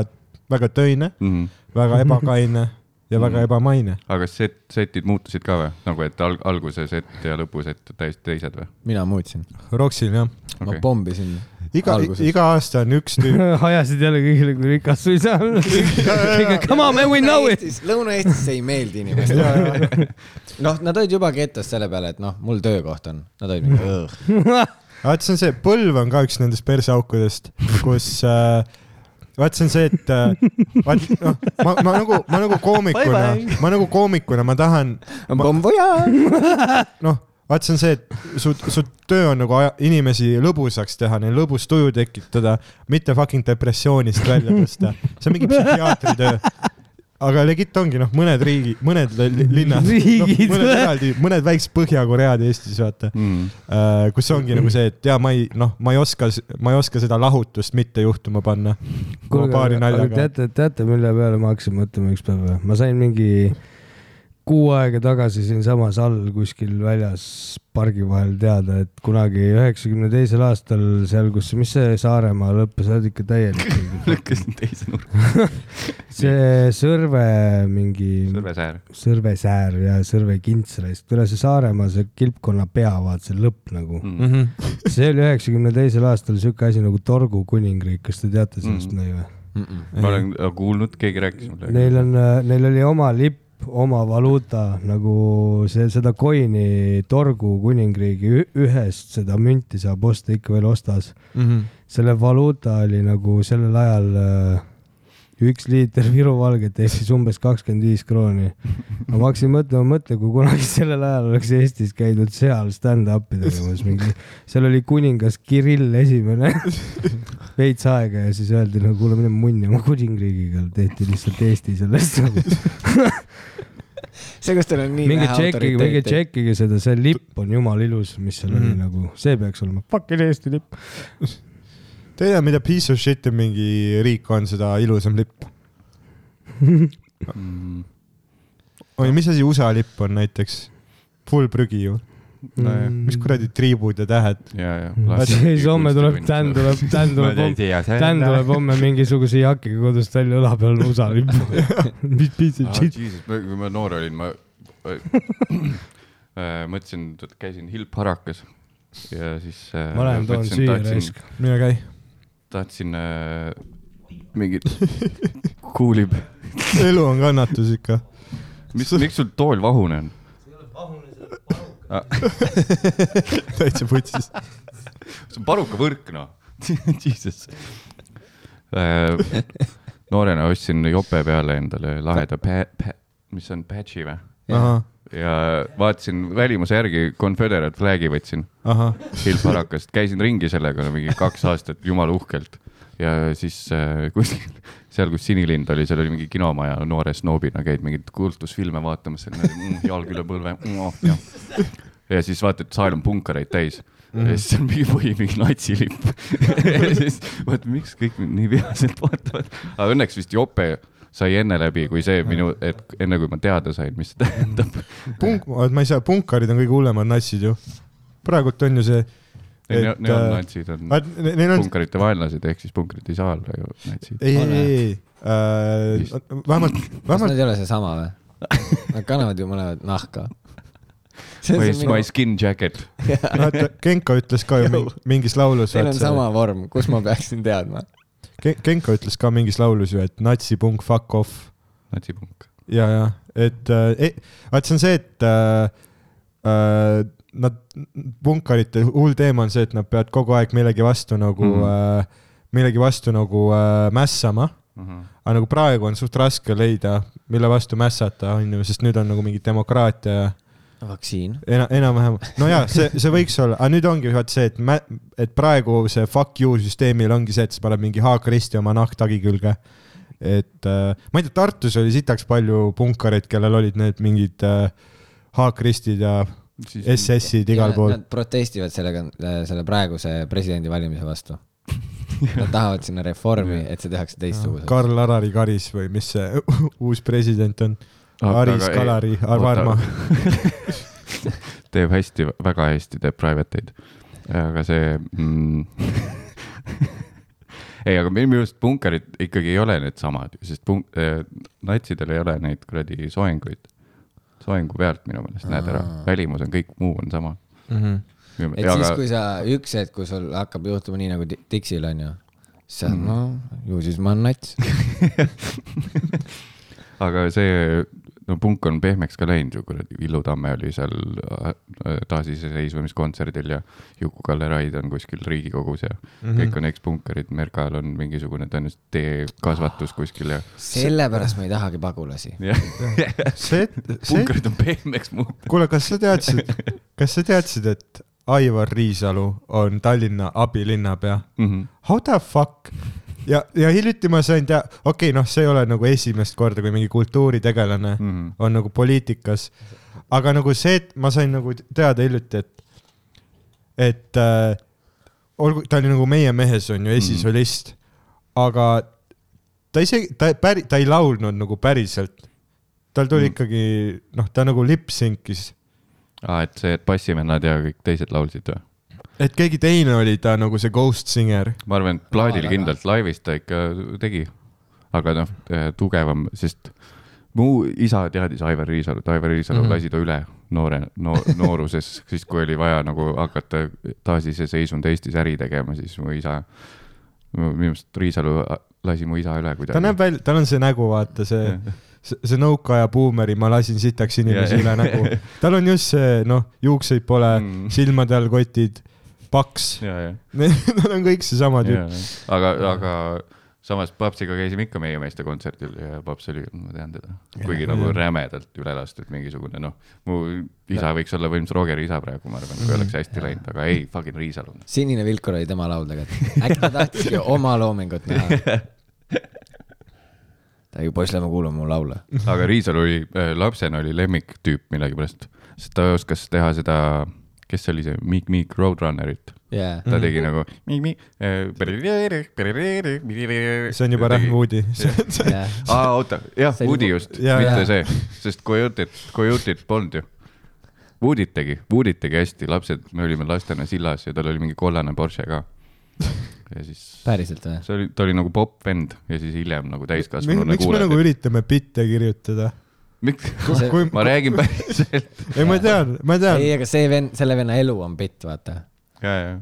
Speaker 3: väga töine ,
Speaker 1: Mm
Speaker 3: väga ebakaine ja
Speaker 4: Mm.
Speaker 3: väga ebamaine .
Speaker 1: aga kas set , setid muutusid ka või ? nagu , et alg- , alguse set ja lõpu set täiesti teised või
Speaker 2: mina muutsin ,
Speaker 3: Roxil jah .
Speaker 2: ma
Speaker 1: okay. ?
Speaker 2: pommisin .
Speaker 3: iga
Speaker 2: Alguses. ,
Speaker 3: iga aasta on üks tüüp .
Speaker 4: ajasid jälle kõigile , kui rikas sa ei saa olla . Come on man , we know it .
Speaker 2: Lõuna-Eestis see ei meeldi inimestele . noh , nad olid juba ketas selle peale , et noh , mul töökoht on , nad olid mingi .
Speaker 3: vaat see on see , põlv on ka üks nendest perseaukudest , kus äh, vaat see on see , et äh, vaat noh , ma , ma nagu , ma nagu koomikuna
Speaker 4: Bye ,
Speaker 3: ma nagu koomikuna , ma tahan ,
Speaker 2: Bon voyage .
Speaker 3: noh , vaat see on see , et su , su töö on nagu aja, inimesi lõbusaks teha , neil lõbus tuju tekitada , mitte fucking depressioonist välja tõsta . see on mingi psühhiaatri töö . aga legit ongi noh , mõned riigi , mõned li- li- linnad no, ,
Speaker 4: Riigid.
Speaker 3: mõned eraldi , mõned väiksed Põhja-Koread Eestis , vaata
Speaker 1: Mm.
Speaker 3: Äh, kus ongi nagu see , et ja ma ei , noh , ma ei oska , ma ei oska seda lahutust mitte juhtuma panna . kui ma paari naljaga .
Speaker 4: teate , teate , mille peale ma hakkasin mõtlema ükspäev või ? ma sain mingi kuu aega tagasi siinsamas all kuskil väljas pargi vahel teada , et kunagi üheksakümne teisel aastal seal , kus , mis see Saaremaa lõpp , sa oled ikka täielik .
Speaker 1: lükkasin teise nurka .
Speaker 4: see Sõrve mingi ,
Speaker 1: Sõrvesäär .
Speaker 4: Sõrvesäär ja Sõrve kintsreis , üle see Saaremaa , see kilpkonna pea , vaat see lõpp nagu mm. . see oli üheksakümne teisel aastal siuke asi nagu Torgu kuningriik , kas te teate sellest mm. või ?
Speaker 1: ma olen äh, kuulnud , keegi rääkis mulle .
Speaker 4: Neil on , neil oli oma lipp , oma valuuta nagu see , seda coin'i torgu kuningriigi ü- ühest seda münti saab osta ikka veel ostas . selle valuuta oli nagu sellel ajal äh, üks liiter Viru valget ehk siis umbes kakskümmend viis krooni . ma hakkasin mõtlema , mõtle , kui kunagi sellel ajal oleks Eestis käidud seal stand-up'i tegemas mingi , seal oli kuningas Kirill Esimene veits aega ja siis öeldi , no kuule , mine munni oma kuningriigiga , tehti lihtsalt Eesti sellest nagu .
Speaker 2: see , kus teil on nii
Speaker 4: minge
Speaker 2: vähe
Speaker 4: tšekkige , minge
Speaker 2: autoriteeti .
Speaker 4: tšekkige seda , see lipp on jumala ilus , mis seal
Speaker 2: Mm.
Speaker 4: oli
Speaker 3: Mhm.
Speaker 4: nagu , see peaks olema fucking Eesti lipp .
Speaker 3: teine , mida piece of shit on mingi riik on , seda ilusam lipp .
Speaker 1: Mhm.
Speaker 3: oi , mis asi USA lipp on näiteks ? Full prügi ju .
Speaker 1: Nojah.
Speaker 3: mis kuradi triibud ja tähed .
Speaker 1: ja , ja .
Speaker 4: Mm. siis homme tuleb , Dan tuleb , Dan tuleb homme . Dan tuleb homme mingisuguse jakiga kodust välja õla peal USA lipu . mis piitsid
Speaker 3: Ah,
Speaker 4: shit .
Speaker 1: kui Ah, ma noor olin , ma äh, mõtlesin , käisin Hill-Parakas ja siis . äh,
Speaker 4: ma lähen toon süüa raisk .
Speaker 3: mine käi .
Speaker 1: tahtsin äh, mingit , kuulib
Speaker 3: elu on kannatus ikka .
Speaker 1: mis , miks sul tool vahune on ?
Speaker 3: täitsa putsis .
Speaker 1: see on parukavõrk , noh . Jesus . noorena ostsin jope peale endale laheda pä- , pä- , mis see on , patch'i või ?
Speaker 3: ahah ,
Speaker 1: ja vaatasin välimuse järgi Confederate flag'i võtsin
Speaker 3: ahah ,
Speaker 1: Ilparakast , käisin ringi sellega no mingi kaks aastat jumala uhkelt ja siis äh, kuskil seal , kus Sinilind oli , seal oli mingi kinomaja , noore snoobina käid mingeid kuulutusfilme vaatamas , mm, jalg üle põlve mm, . Oh, ja. ja siis vaatad , saal on punkareid täis mm. . ja siis on mingi või mingi natsilipp . ja siis vaat miks kõik mind nii vihaselt vaatavad , aga õnneks vist jope sai enne läbi kui see minu , et enne kui ma teada sain , mis see tähendab .
Speaker 3: punk- , ma ei saa , punkarid on kõige hullemad natsid ju . praegult on ju see , et
Speaker 1: Need on
Speaker 3: äh,
Speaker 1: natsid on
Speaker 3: vaat ne- neil on ,
Speaker 1: punkarite vaenlased ehk siis punkrid ei saa olla ju natsid .
Speaker 3: ei ,
Speaker 2: Ole.
Speaker 3: ei , ei , ei
Speaker 1: Vist. ,
Speaker 3: vähemalt ,
Speaker 2: kas
Speaker 3: vähemalt
Speaker 2: nad ei ole seesama või ? Nad kannavad ju mõlemad nahka .
Speaker 1: My , my skin jacket .
Speaker 3: vaata , Genka ütles ka ju mingi- mingis laulus ,
Speaker 2: Teil on sama vorm , kus ma peaksin teadma ?
Speaker 3: Genka ütles ka mingis laulus ju , et natsipunk , fuck off
Speaker 1: natsipunk .
Speaker 3: ja , ja et äh, , vaat see on see , et äh, äh, nad , punkarite hull teema on see , et nad peavad kogu aeg millegi vastu nagu mm , -hmm. äh, millegi vastu nagu äh, mässama . aga nagu praegu on suht raske leida , mille vastu mässata , on ju , sest nüüd on nagu mingi demokraatia ja
Speaker 2: vaktsiin .
Speaker 3: ena- , enam-vähem , no jaa , see , see võiks olla , aga nüüd ongi vaat see , et mä- , et praegu see fuck you süsteemil ongi see , et sa paned mingi haakristi oma nahktagi külge . et äh, ma ei tea , Tartus oli sitaks palju punkareid , kellel olid need mingid äh, haakristid ja SS-id igal pool .
Speaker 2: Nad protestivad sellega , selle praeguse presidendivalimise vastu . Nad tahavad sinna reformi , et see tehakse teistsuguseks .
Speaker 3: Karl Alari Karis või mis see uus president on ? Aris Kalari , Varma .
Speaker 1: teeb hästi , väga hästi teeb private eid . aga see mm, . ei , aga minu meelest punkarid ikkagi ei ole needsamad , sest punk- eh, , natsidel ei ole neid kuradi soenguid . soengu pealt minu meelest näed ära , välimus on kõik muu on sama .
Speaker 2: et aga... siis , kui sa üks hetk , kui sul hakkab juhtuma nii nagu Di- Dixil onju , siis sa mm. , no ju siis ma olen nats .
Speaker 1: aga see , no punk on pehmeks ka läinud ju , kuradi Villu Tamme oli seal äh, taasiseseisvumiskontserdil ja Juku-Kalle Raid on kuskil Riigikogus ja mm
Speaker 3: Mhm.
Speaker 1: -hmm. kõik on ekspunkarid , Merkal on mingisugune tõenäoliselt teekasvatus kuskil ja,
Speaker 2: sellepärast ma ei tahagi pagulasi .
Speaker 1: ja
Speaker 3: see , see ,
Speaker 1: punkarid on pehmeks muutunud .
Speaker 3: kuule , kas sa teadsid , kas sa teadsid , et Aivar Riisalu on Tallinna abilinnapea ? How the fuck ? ja , ja hiljuti ma sain tea- , okei okay, , noh , see ei ole nagu esimest korda , kui mingi kultuuritegelane mm -hmm. on nagu poliitikas . aga nagu see , et ma sain nagu teada hiljuti , et , et äh, olgu , ta oli nagu Meie mehes on ju esisolist mm , -hmm. aga ta isegi , ta päri- , ta ei laulnud nagu päriselt . tal tuli mm -hmm. ikkagi , noh , ta nagu lipsinkis ,
Speaker 1: aa , Ah, et see , et bassivennad ja kõik teised laulsid või ?
Speaker 3: et keegi teine oli ta nagu see ghost singer .
Speaker 1: ma arvan , et plaadil kindlalt laivis ta ikka tegi . aga noh , tugevam , sest mu isa teadis Aivar Riisalut , Aivar Riisalu mm
Speaker 3: Mhm.
Speaker 1: -hmm. lasi ta üle noore no, , nooruses , siis kui oli vaja nagu hakata taasiseseisvunud Eestis äri tegema , siis mu isa , minu arust Riisalu lasi mu isa üle
Speaker 3: ta näeb
Speaker 1: kuidagi .
Speaker 3: välja , tal on see nägu , vaata see , see nõukaaja buumeri , ma lasin sitaks inimesi
Speaker 1: Jah.
Speaker 3: üle nagu. nägu . tal on just see , noh , juukseid pole
Speaker 1: Mm.
Speaker 3: mm. , silmade all kotid , paks .
Speaker 1: ja , ja ,
Speaker 3: Nad on kõik seesama
Speaker 1: ja
Speaker 3: tüüp .,
Speaker 1: aga , aga samas Papsiga käisime ikka meie meeste kontserdil ja Paps oli , ma tean teda , kuigi nagu rämedalt üle lastud mingisugune noh , mu isa võiks olla võims Rogeri isa praegu , ma arvan ,
Speaker 3: Mhm.
Speaker 1: kui oleks hästi läinud , aga ei , fucking Riisalu .
Speaker 2: sinine vilkur oli tema laul tegelikult . äkki ta tahtiski oma loomingut näha ? ta ju poiss , lähme kuulame mu laule .
Speaker 1: aga Riisalu oli äh, lapsena oli lemmiktüüp millegipärast , sest ta oskas teha seda , kes see oli see Meek Meek Roadrunnerit ,
Speaker 2: jaa .
Speaker 3: Mhm.
Speaker 1: ta tegi nagu Meek äh, Meek .
Speaker 3: see on juba Rahmoodi .
Speaker 1: aa , oota , jah ,
Speaker 2: See oli
Speaker 1: Woody
Speaker 2: mu-
Speaker 1: just ,
Speaker 3: jaa,
Speaker 1: mitte
Speaker 3: jaa.
Speaker 1: see , sest Coyote'it , Coyote'it polnud ju . Woody't tegi , Woody't tegi hästi , lapsed , me olime lastena sillas ja tal oli mingi kollane Porsche ka . ja siis
Speaker 2: päriselt või ?
Speaker 1: see oli , ta oli nagu popp vend ja siis hiljem nagu täiskasvanuna
Speaker 3: miks me
Speaker 1: kuuled ,
Speaker 3: nagu
Speaker 1: et
Speaker 3: üritame bitte kirjutada ?
Speaker 1: miks ,
Speaker 2: See-
Speaker 3: kui-
Speaker 1: ma räägin päriselt .
Speaker 3: ei , ma tean , ma tean
Speaker 2: ei ,. aga see vend , selle venna elu on bitt , vaata .
Speaker 1: ja , ja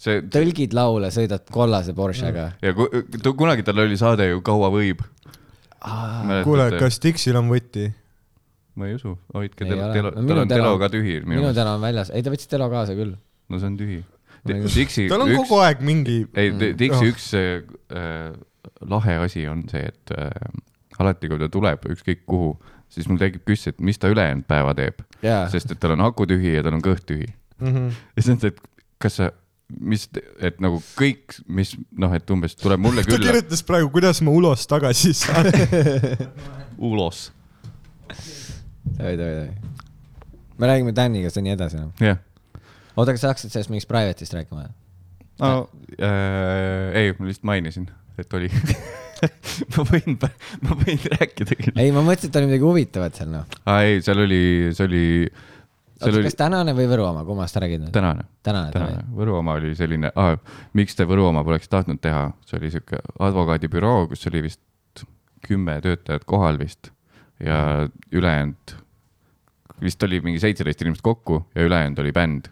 Speaker 1: see
Speaker 2: tõlgid laule , sõidad kollase Porschega .
Speaker 1: ja ku, tu,
Speaker 2: Ah.
Speaker 1: kunagi tal oli saade ju Kaua võib .
Speaker 3: kuule , kas Dixil on võti ?
Speaker 1: ma ei usu , hoidke
Speaker 2: Ei
Speaker 1: telo ,
Speaker 2: ole.
Speaker 1: telo ,
Speaker 2: No
Speaker 1: tal
Speaker 2: minu
Speaker 1: on
Speaker 2: telo-
Speaker 1: teloga tühi minu
Speaker 2: minu
Speaker 1: meelest ,
Speaker 2: täna on väljas , ei ta võttis telo kaasa küll .
Speaker 1: no see on tühi .
Speaker 2: Ma ei
Speaker 1: Dixi
Speaker 3: tal on
Speaker 1: üks
Speaker 3: kogu , aeg mingi ,
Speaker 1: ei
Speaker 2: Mm. ,
Speaker 1: Dixi
Speaker 3: Jah.
Speaker 1: üks äh, äh, lahe asi on see , et äh, alati , kui ta tuleb ükskõik kuhu , siis mul tekib küsimus , et mis ta ülejäänud päeva teeb ,
Speaker 2: jaa ,
Speaker 1: sest et tal on aku tühi ja tal on kõht tühi .
Speaker 3: Mhm.
Speaker 1: ja siis nad , et kas sa , mis , et nagu kõik , mis noh , et umbes tuleb mulle
Speaker 3: ta
Speaker 1: külla ,
Speaker 3: kirjutas praegu , kuidas ma ulos tagasi saan .
Speaker 1: ulos ,
Speaker 2: oi , oi , oi . me räägime Daniga seda nii edasi noh. enam .
Speaker 1: jah .
Speaker 2: oota , kas sa hakkasid sellest mingist private'ist rääkima ?
Speaker 1: No, äh, ei , ma lihtsalt mainisin , et oli . ma võin , ma võin rääkida küll .
Speaker 2: ei , ma mõtlesin , et oli midagi huvitavat seal noh .
Speaker 1: aa ei , seal oli , see oli , seal
Speaker 2: oota ,
Speaker 1: oli
Speaker 2: kas tänane või Võru oma , kummast sa räägid nüüd ?
Speaker 1: tänane ,
Speaker 2: tänane ,
Speaker 1: tänane
Speaker 2: tänane .,
Speaker 1: Võru oma oli selline ah, , miks te Võru oma poleks tahtnud teha , see oli sihuke advokaadibüroo , kus oli vist kümme töötajat kohal vist ja ülejäänud , vist oli mingi seitseteist inimest kokku ja ülejäänud oli bänd ,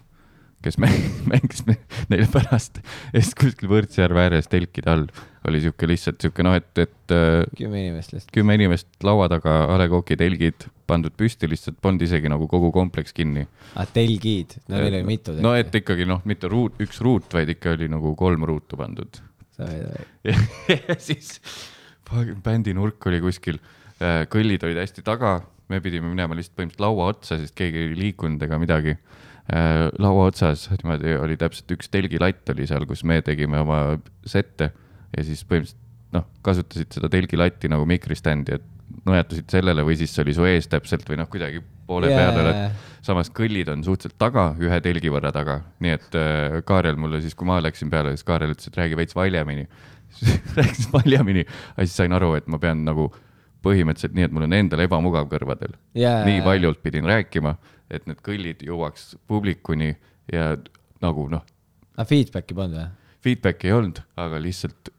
Speaker 1: kes mäng- mängis ne- neile pärast ja siis kuskil Võrtsjärve ääres telkide all oli sihuke lihtsalt sihuke noh , et , et äh,
Speaker 2: kümme inimest lihtsalt .
Speaker 1: kümme inimest laua taga A Le Coq'i telgid pandud püsti , lihtsalt polnud isegi nagu kogu kompleks kinni .
Speaker 2: aa , telgid , Ah, no neil oli mitu .
Speaker 1: no et . ikkagi noh , mitte ruut , üks ruut , vaid ikka oli nagu kolm ruutu pandud . ja ja siis fucking bändi nurk oli kuskil , kõllid olid hästi taga , me pidime minema lihtsalt põhimõtteliselt laua otsa , sest keegi ei liikunud ega midagi . laua otsas niimoodi oli täpselt üks telgilatt oli seal , kus me tegime oma sette ja siis põhimõtteliselt noh , kasutasid seda telgilatti nagu mikriständi , et nõjatasid sellele või siis see oli su ees täpselt või noh , kuidagi poole yeah. peal oled samas kõllid on suhteliselt taga , ühe telgi võrra taga , nii et äh, Kaarel mulle siis , kui ma läksin peale , siis Kaarel ütles , et räägi veits valjemini . rääkis valjemini , aga siis sain aru , et ma pean nagu põhimõtteliselt nii , et mul on endal ebamugav kõrvadel .
Speaker 2: Jaa.
Speaker 1: nii valjult pidin rääkima , et need kõllid jõuaks publikuni ja nagu noh ,
Speaker 2: aa , Ah, feedback'i polnud või ?
Speaker 1: feedback'i ei olnud , aga lihtsalt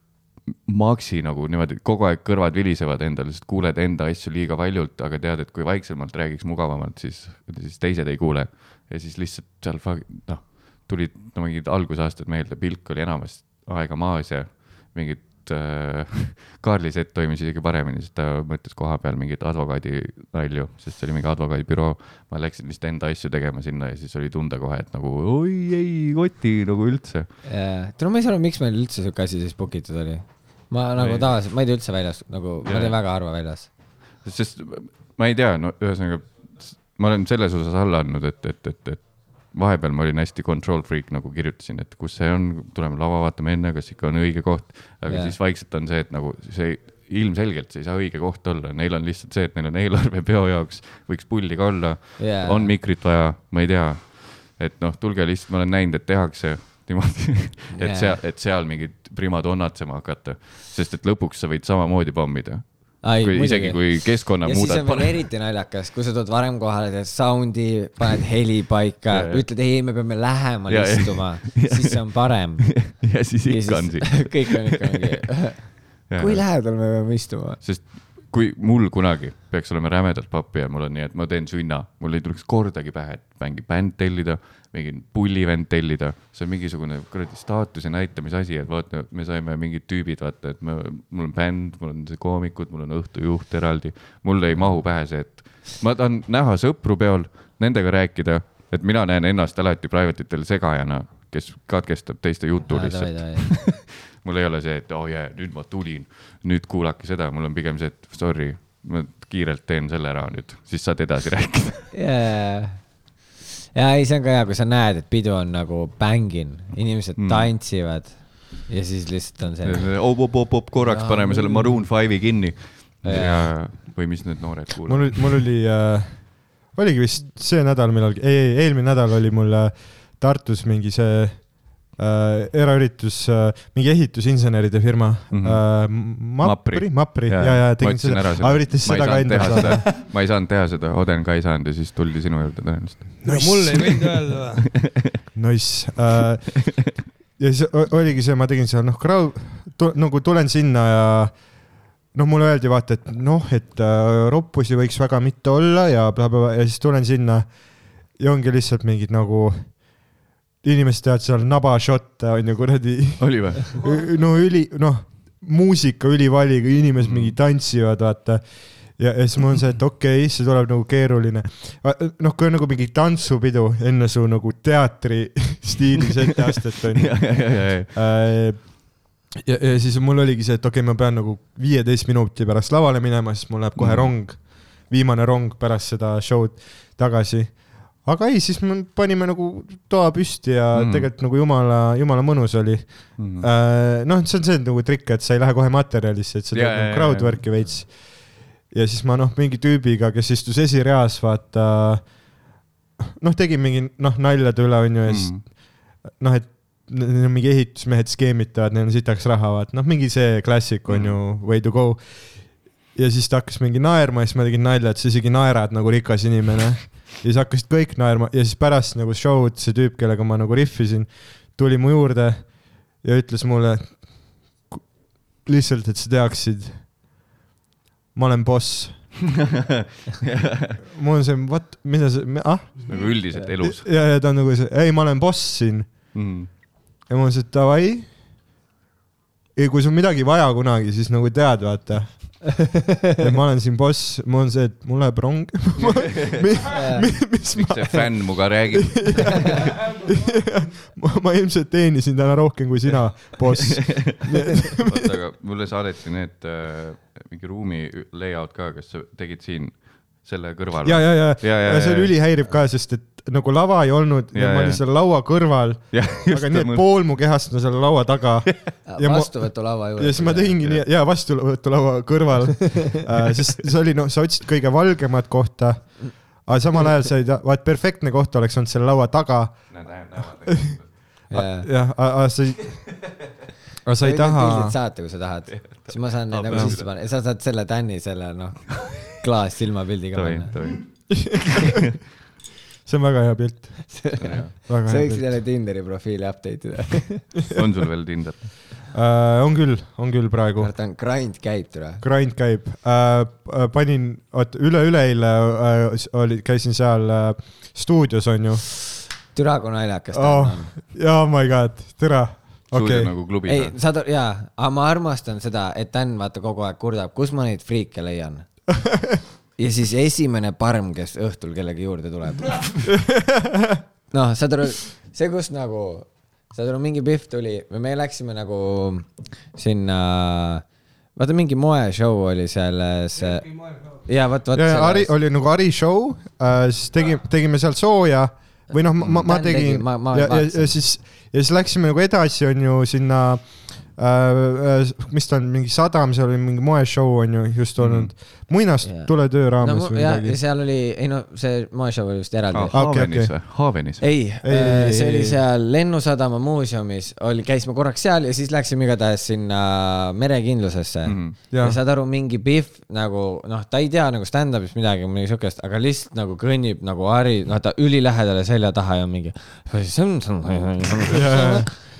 Speaker 1: maksi nagu niimoodi , kogu aeg kõrvad vilisevad endal , sest kuuled enda asju liiga valjult , aga tead , et kui vaiksemalt räägiks mugavamalt , siis , siis teised ei kuule . ja siis lihtsalt seal fa- noh , tulid no, mingid algusaastad meelde , pilk oli enamasti aega maas ja mingid äh, , Kaarli sett toimis isegi paremini , sest ta mõtles koha peal mingeid advokaadi nalju , sest see oli mingi advokaadibüroo . ma läksin vist enda asju tegema sinna ja siis oli tunda kohe , et nagu oi ei koti nagu üldse .
Speaker 2: tule , ma ei saa aru , miks meil üldse siuke asi siis book itud oli . ma nagu
Speaker 1: Ei.
Speaker 2: tavaliselt , ma ei tee üldse väljas , nagu ma
Speaker 1: Jaa.
Speaker 2: teen väga harva väljas .
Speaker 1: sest ma ei tea , no ühesõnaga s- ma olen selles osas alla andnud , et , et , et , et vahepeal ma olin hästi control freak , nagu kirjutasin , et kus see on , tuleme lava vaatame enne , kas ikka on õige koht . aga
Speaker 2: Jaa.
Speaker 1: yeah. siis vaikselt on see , et nagu see ilmselgelt see ei saa õige koht olla , neil on lihtsalt see , et neil on eelarvepeo jaoks , võiks pulli ka olla
Speaker 2: Jaa.
Speaker 1: yeah. , on mikrit vaja , ma ei tea . et noh , tulge lihtsalt , ma olen näinud , et tehakse niimoodi , et
Speaker 2: Jaa.
Speaker 1: yeah. seal , et seal mingit primadonnatsema hakata , sest et lõpuks sa võid samamoodi pommida kui, isegi kui keskkonna
Speaker 2: ja siis
Speaker 1: muudad
Speaker 2: on , veel eriti naljakas , kui sa tuled varem kohale , teed sound'i , paned heli paika
Speaker 1: Ja, , ja.
Speaker 2: ütled ei , me peame lähemal
Speaker 1: Ja, ja.
Speaker 2: istuma , siis see on parem .
Speaker 1: ja siis ikka on siin .
Speaker 2: kõik on ikka mingi , kui lähedal me peame istuma ?
Speaker 1: sest kui mul kunagi peaks olema rämedalt pappi ja mul on nii , et ma teen sünna , mul ei tuleks kordagi pähe , et mingi bänd tellida , mingi pullivend tellida , see on mingisugune kuradi staatuse näitamise asi , et vaata , me saime mingid tüübid , vaata , et me, mul on bänd , mul on see koomikud , mul on õhtujuht eraldi , mul ei mahu pähe see , et ma tahan näha sõpru peol , nendega rääkida , et mina näen ennast alati private itel segajana , kes katkestab teiste jutu lihtsalt . mul ei ole see , et oo oh jaa , nüüd ma tulin , nüüd kuulake seda , mul on pigem see , et sorry , ma kiirelt teen selle ära nüüd , siis saad edasi rääkida .
Speaker 2: jaa , ei , see on ka hea , kui sa näed , et pidu on nagu bängin , inimesed
Speaker 1: Mm.
Speaker 2: mm. tantsivad ja siis lihtsalt on see ,
Speaker 1: op-op-op , korraks paneme selle Maroon Five'i kinni .
Speaker 2: Jaa.
Speaker 1: ja , või mis need noored
Speaker 3: mul
Speaker 1: kuulavad .
Speaker 3: oli , mul oli äh, , oligi vist see nädal millalgi , ei , ei , eelmine nädal oli mul äh, Tartus mingi see äh, eraüritus äh, , mingi ehitusinseneride firma mm
Speaker 1: Mhm.
Speaker 3: -hmm. äh, , Mapri , Mapri ja , ja, ja tegin seda , aga üritas seda ka endale saada .
Speaker 1: saada . ma ei saanud teha seda , Oden ka ei saanud ja siis tuldi sinu juurde tõenäoliselt .
Speaker 7: mulle ei võinud öelda või ?
Speaker 3: Nice äh, . ja siis o- oligi see , ma tegin seal noh , krau- , nagu tulen sinna ja noh , mulle öeldi vaata , et noh , et äh, roppusi võiks väga mitte olla ja blablabla bla, ja siis tulen sinna ja ongi lihtsalt mingid nagu inimesed teevad seal nabašotte onju , kuradi ,
Speaker 1: oli või ?
Speaker 3: Mm. no üli , noh , muusika ülivaliga , inimesed mingi tantsivad , vaata . ja , ja siis mul on see , et okei okay, , see tuleb nagu keeruline . noh , kui on nagu mingi tantsupidu enne su nagu teatri stiilis etteastet onju .
Speaker 1: ja , ja , ja , ja ,
Speaker 3: ja , Äh, ja siis mul oligi see , et okei okay, , ma pean nagu viieteist minuti pärast lavale minema , siis mul läheb kohe
Speaker 1: Mhm.
Speaker 3: mm. rong , viimane rong pärast seda show'd tagasi . aga ei , siis me panime nagu toa püsti ja
Speaker 1: Mhm.
Speaker 3: mm. tegelikult nagu jumala , jumala mõnus oli mm. .
Speaker 1: Mhm.
Speaker 3: noh , see on see nagu trikk , et sa ei lähe kohe materjalisse , et sa
Speaker 1: Jaa,
Speaker 3: teed
Speaker 1: jaa,
Speaker 3: nagu
Speaker 1: jaa.
Speaker 3: crowdwork'i veits . ja siis ma noh , mingi tüübiga , kes istus esireas , vaata noh , tegin mingi noh , naljade üle onju ja siis
Speaker 1: Mhm.
Speaker 3: noh , et n- neil on mingi ehitusmehed skeemitavad , neil on sitaks raha , vaat noh , mingi see klassik on ju , way to go . ja siis ta hakkas mingi naerma ja siis ma tegin nalja , et sa isegi naerad nagu rikas inimene . ja siis hakkasid kõik naerma ja siis pärast nagu show'd see tüüp , kellega ma nagu rihvisin , tuli mu juurde ja ütles mulle ku- lihtsalt , et sa teaksid , ma olen boss .
Speaker 1: Mm.
Speaker 3: mul on see , what , mida see , ah ,
Speaker 1: nagu üldiselt elus
Speaker 3: ja , ja ta on nagu see , ei , ma olen boss siin
Speaker 1: mm. .
Speaker 3: ja ma ütlesin , et davai . ja kui sul midagi vaja kunagi , siis nagu tead , vaata . et ma olen siin boss , mul on see , et mul läheb rong . mis
Speaker 1: miks see
Speaker 3: ma ,
Speaker 1: fänn minuga räägib ?
Speaker 3: ma, ma ilmselt teenisin täna rohkem kui sina , boss .
Speaker 1: oota , aga mulle saadeti need äh, mingi ruumi layout ka , kas sa tegid siin selle kõrval ?
Speaker 3: ja , ja , ja ,
Speaker 1: Ja,
Speaker 3: ja,
Speaker 1: ja,
Speaker 3: ja see
Speaker 1: ja.
Speaker 3: ülihäirib ka , sest et nagu lava ei olnud ja,
Speaker 1: Ja,
Speaker 3: ja ma
Speaker 1: ja.
Speaker 3: olin seal laua kõrval ,
Speaker 1: Jah, just,
Speaker 3: aga nii , et
Speaker 1: ma-
Speaker 3: pool mu kehast on seal laua taga Ja ma-
Speaker 2: vastuvõtulaua
Speaker 3: ja
Speaker 2: juures
Speaker 3: siis ma . tegingi nii , jaa , vastuvõtulaua kõrval äh, , sest see oli noh , sa otsid kõige valgemat kohta , aga samal ajal sa ei tea , vaat perfektne koht oleks olnud selle laua taga ,
Speaker 1: Näed , näed , näed .
Speaker 3: jah , aga sa ei , aga sa ei taha ,
Speaker 2: pildid saata , kui sa tahad , siis ma saan need nagu
Speaker 1: peab.
Speaker 2: sisse panna ja sa saad selle tänni selle noh , klaassilmapildiga
Speaker 1: tohi ,
Speaker 2: panna .
Speaker 1: tohi .
Speaker 3: see on väga hea pilt .
Speaker 2: sa
Speaker 3: väga hea
Speaker 2: võiksid
Speaker 3: pilt .
Speaker 2: jälle Tinderi profiili update ida .
Speaker 1: on sul veel Tinder ?
Speaker 3: Äh, on küll , on küll praegu .
Speaker 2: kurat , on grind käib tule .
Speaker 3: Grind käib äh, , panin , oot üle-üleeile äh, s- oli , käisin seal äh, stuudios onju .
Speaker 2: türa kui naljakas ta
Speaker 3: oh
Speaker 2: on .
Speaker 3: oh my god , tere ,
Speaker 1: suudad
Speaker 3: okei
Speaker 1: nagu klubi
Speaker 2: ei
Speaker 1: peal ,?
Speaker 2: saad , jaa , aga ma armastan seda , et Dan vaata kogu aeg kurdab , kus ma neid friike leian . ja siis esimene parm , kes õhtul kellegi juurde tuleb . noh , saad aru , see , kus nagu , saad aru , mingi Pihv tuli , me läksime nagu sinna , vaata mingi moeshow oli selles . ja vot , vot .
Speaker 3: ja , ja Ari oli nagu Ari show äh, , siis tegime , tegime seal sooja või noh , ma , ma
Speaker 2: Dan tegi,
Speaker 3: tegin
Speaker 2: ma- ma
Speaker 3: ja , ja , ja
Speaker 2: vaatasin.
Speaker 3: siis , ja siis läksime nagu edasi , onju , sinna äh, , äh, mis ta on , mingi sadam , seal oli mingi moeshow onju just olnud mm. . muinas
Speaker 2: Mhm. Jaa.
Speaker 3: yeah. tule töö raames no,
Speaker 2: no,
Speaker 3: või
Speaker 2: ja, ja
Speaker 3: midagi .
Speaker 2: seal oli , ei no see moeshow oli vist eraldi .
Speaker 1: Ah, Haavenis
Speaker 3: okei.
Speaker 1: või ? Haavenis ?
Speaker 2: ei,
Speaker 3: Ei,
Speaker 2: ei ,
Speaker 3: ei,
Speaker 2: see
Speaker 3: ei,
Speaker 2: oli
Speaker 3: ei.
Speaker 2: seal Lennusadama muuseumis , oli , käisime korraks seal ja siis läksime igatahes sinna merekindlusesse mm .
Speaker 1: Mhm.
Speaker 2: -hmm. ja
Speaker 3: Jah.
Speaker 2: saad aru , mingi Pihv nagu noh , ta ei tea nagu stand-up'ist midagi , midagi siukest , aga lihtsalt nagu kõnnib nagu Harri , noh ta ülilähedale selja taha ja mingi .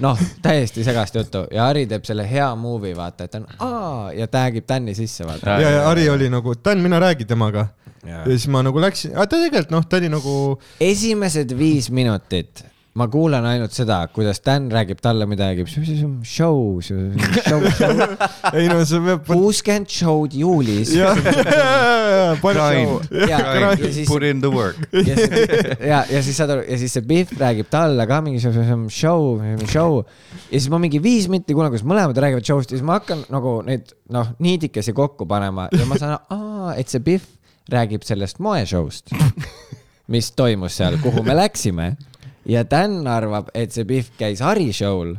Speaker 2: noh , täiesti segast juttu ja Harri teeb selle hea movie , vaata , et ta on aa ja tag ib Tänni sisse , vaata .
Speaker 1: Jaa,
Speaker 3: ja ,
Speaker 1: jaa,
Speaker 3: ja Ari oli nagu , Dan , mine räägi temaga . ja siis ma nagu läksin , aga ta tegelikult noh , ta oli nagu
Speaker 2: esimesed viis minutit ma kuulan ainult seda , kuidas Dan räägib talle midagi , show , show , show ,
Speaker 3: ei no see peab .
Speaker 2: kuuskümmend show'd juulis ja ,
Speaker 3: jah , palju
Speaker 1: Grind.
Speaker 2: ja, ja
Speaker 1: Grind.
Speaker 2: siis ,
Speaker 1: Put in the work .
Speaker 2: ja, ja , ja siis saad aru , ja siis see Biff räägib talle ka mingi show , show ja siis ma mingi viis minutit kuulan , kus mõlemad räägivad show'st ja siis ma hakkan nagu neid noh , niidikesi kokku panema ja ma saan , aa , et see Biff räägib sellest moeshow'st mis toimus seal , kuhu me läksime ja Dan arvab , et see Pihv käis Hari show'l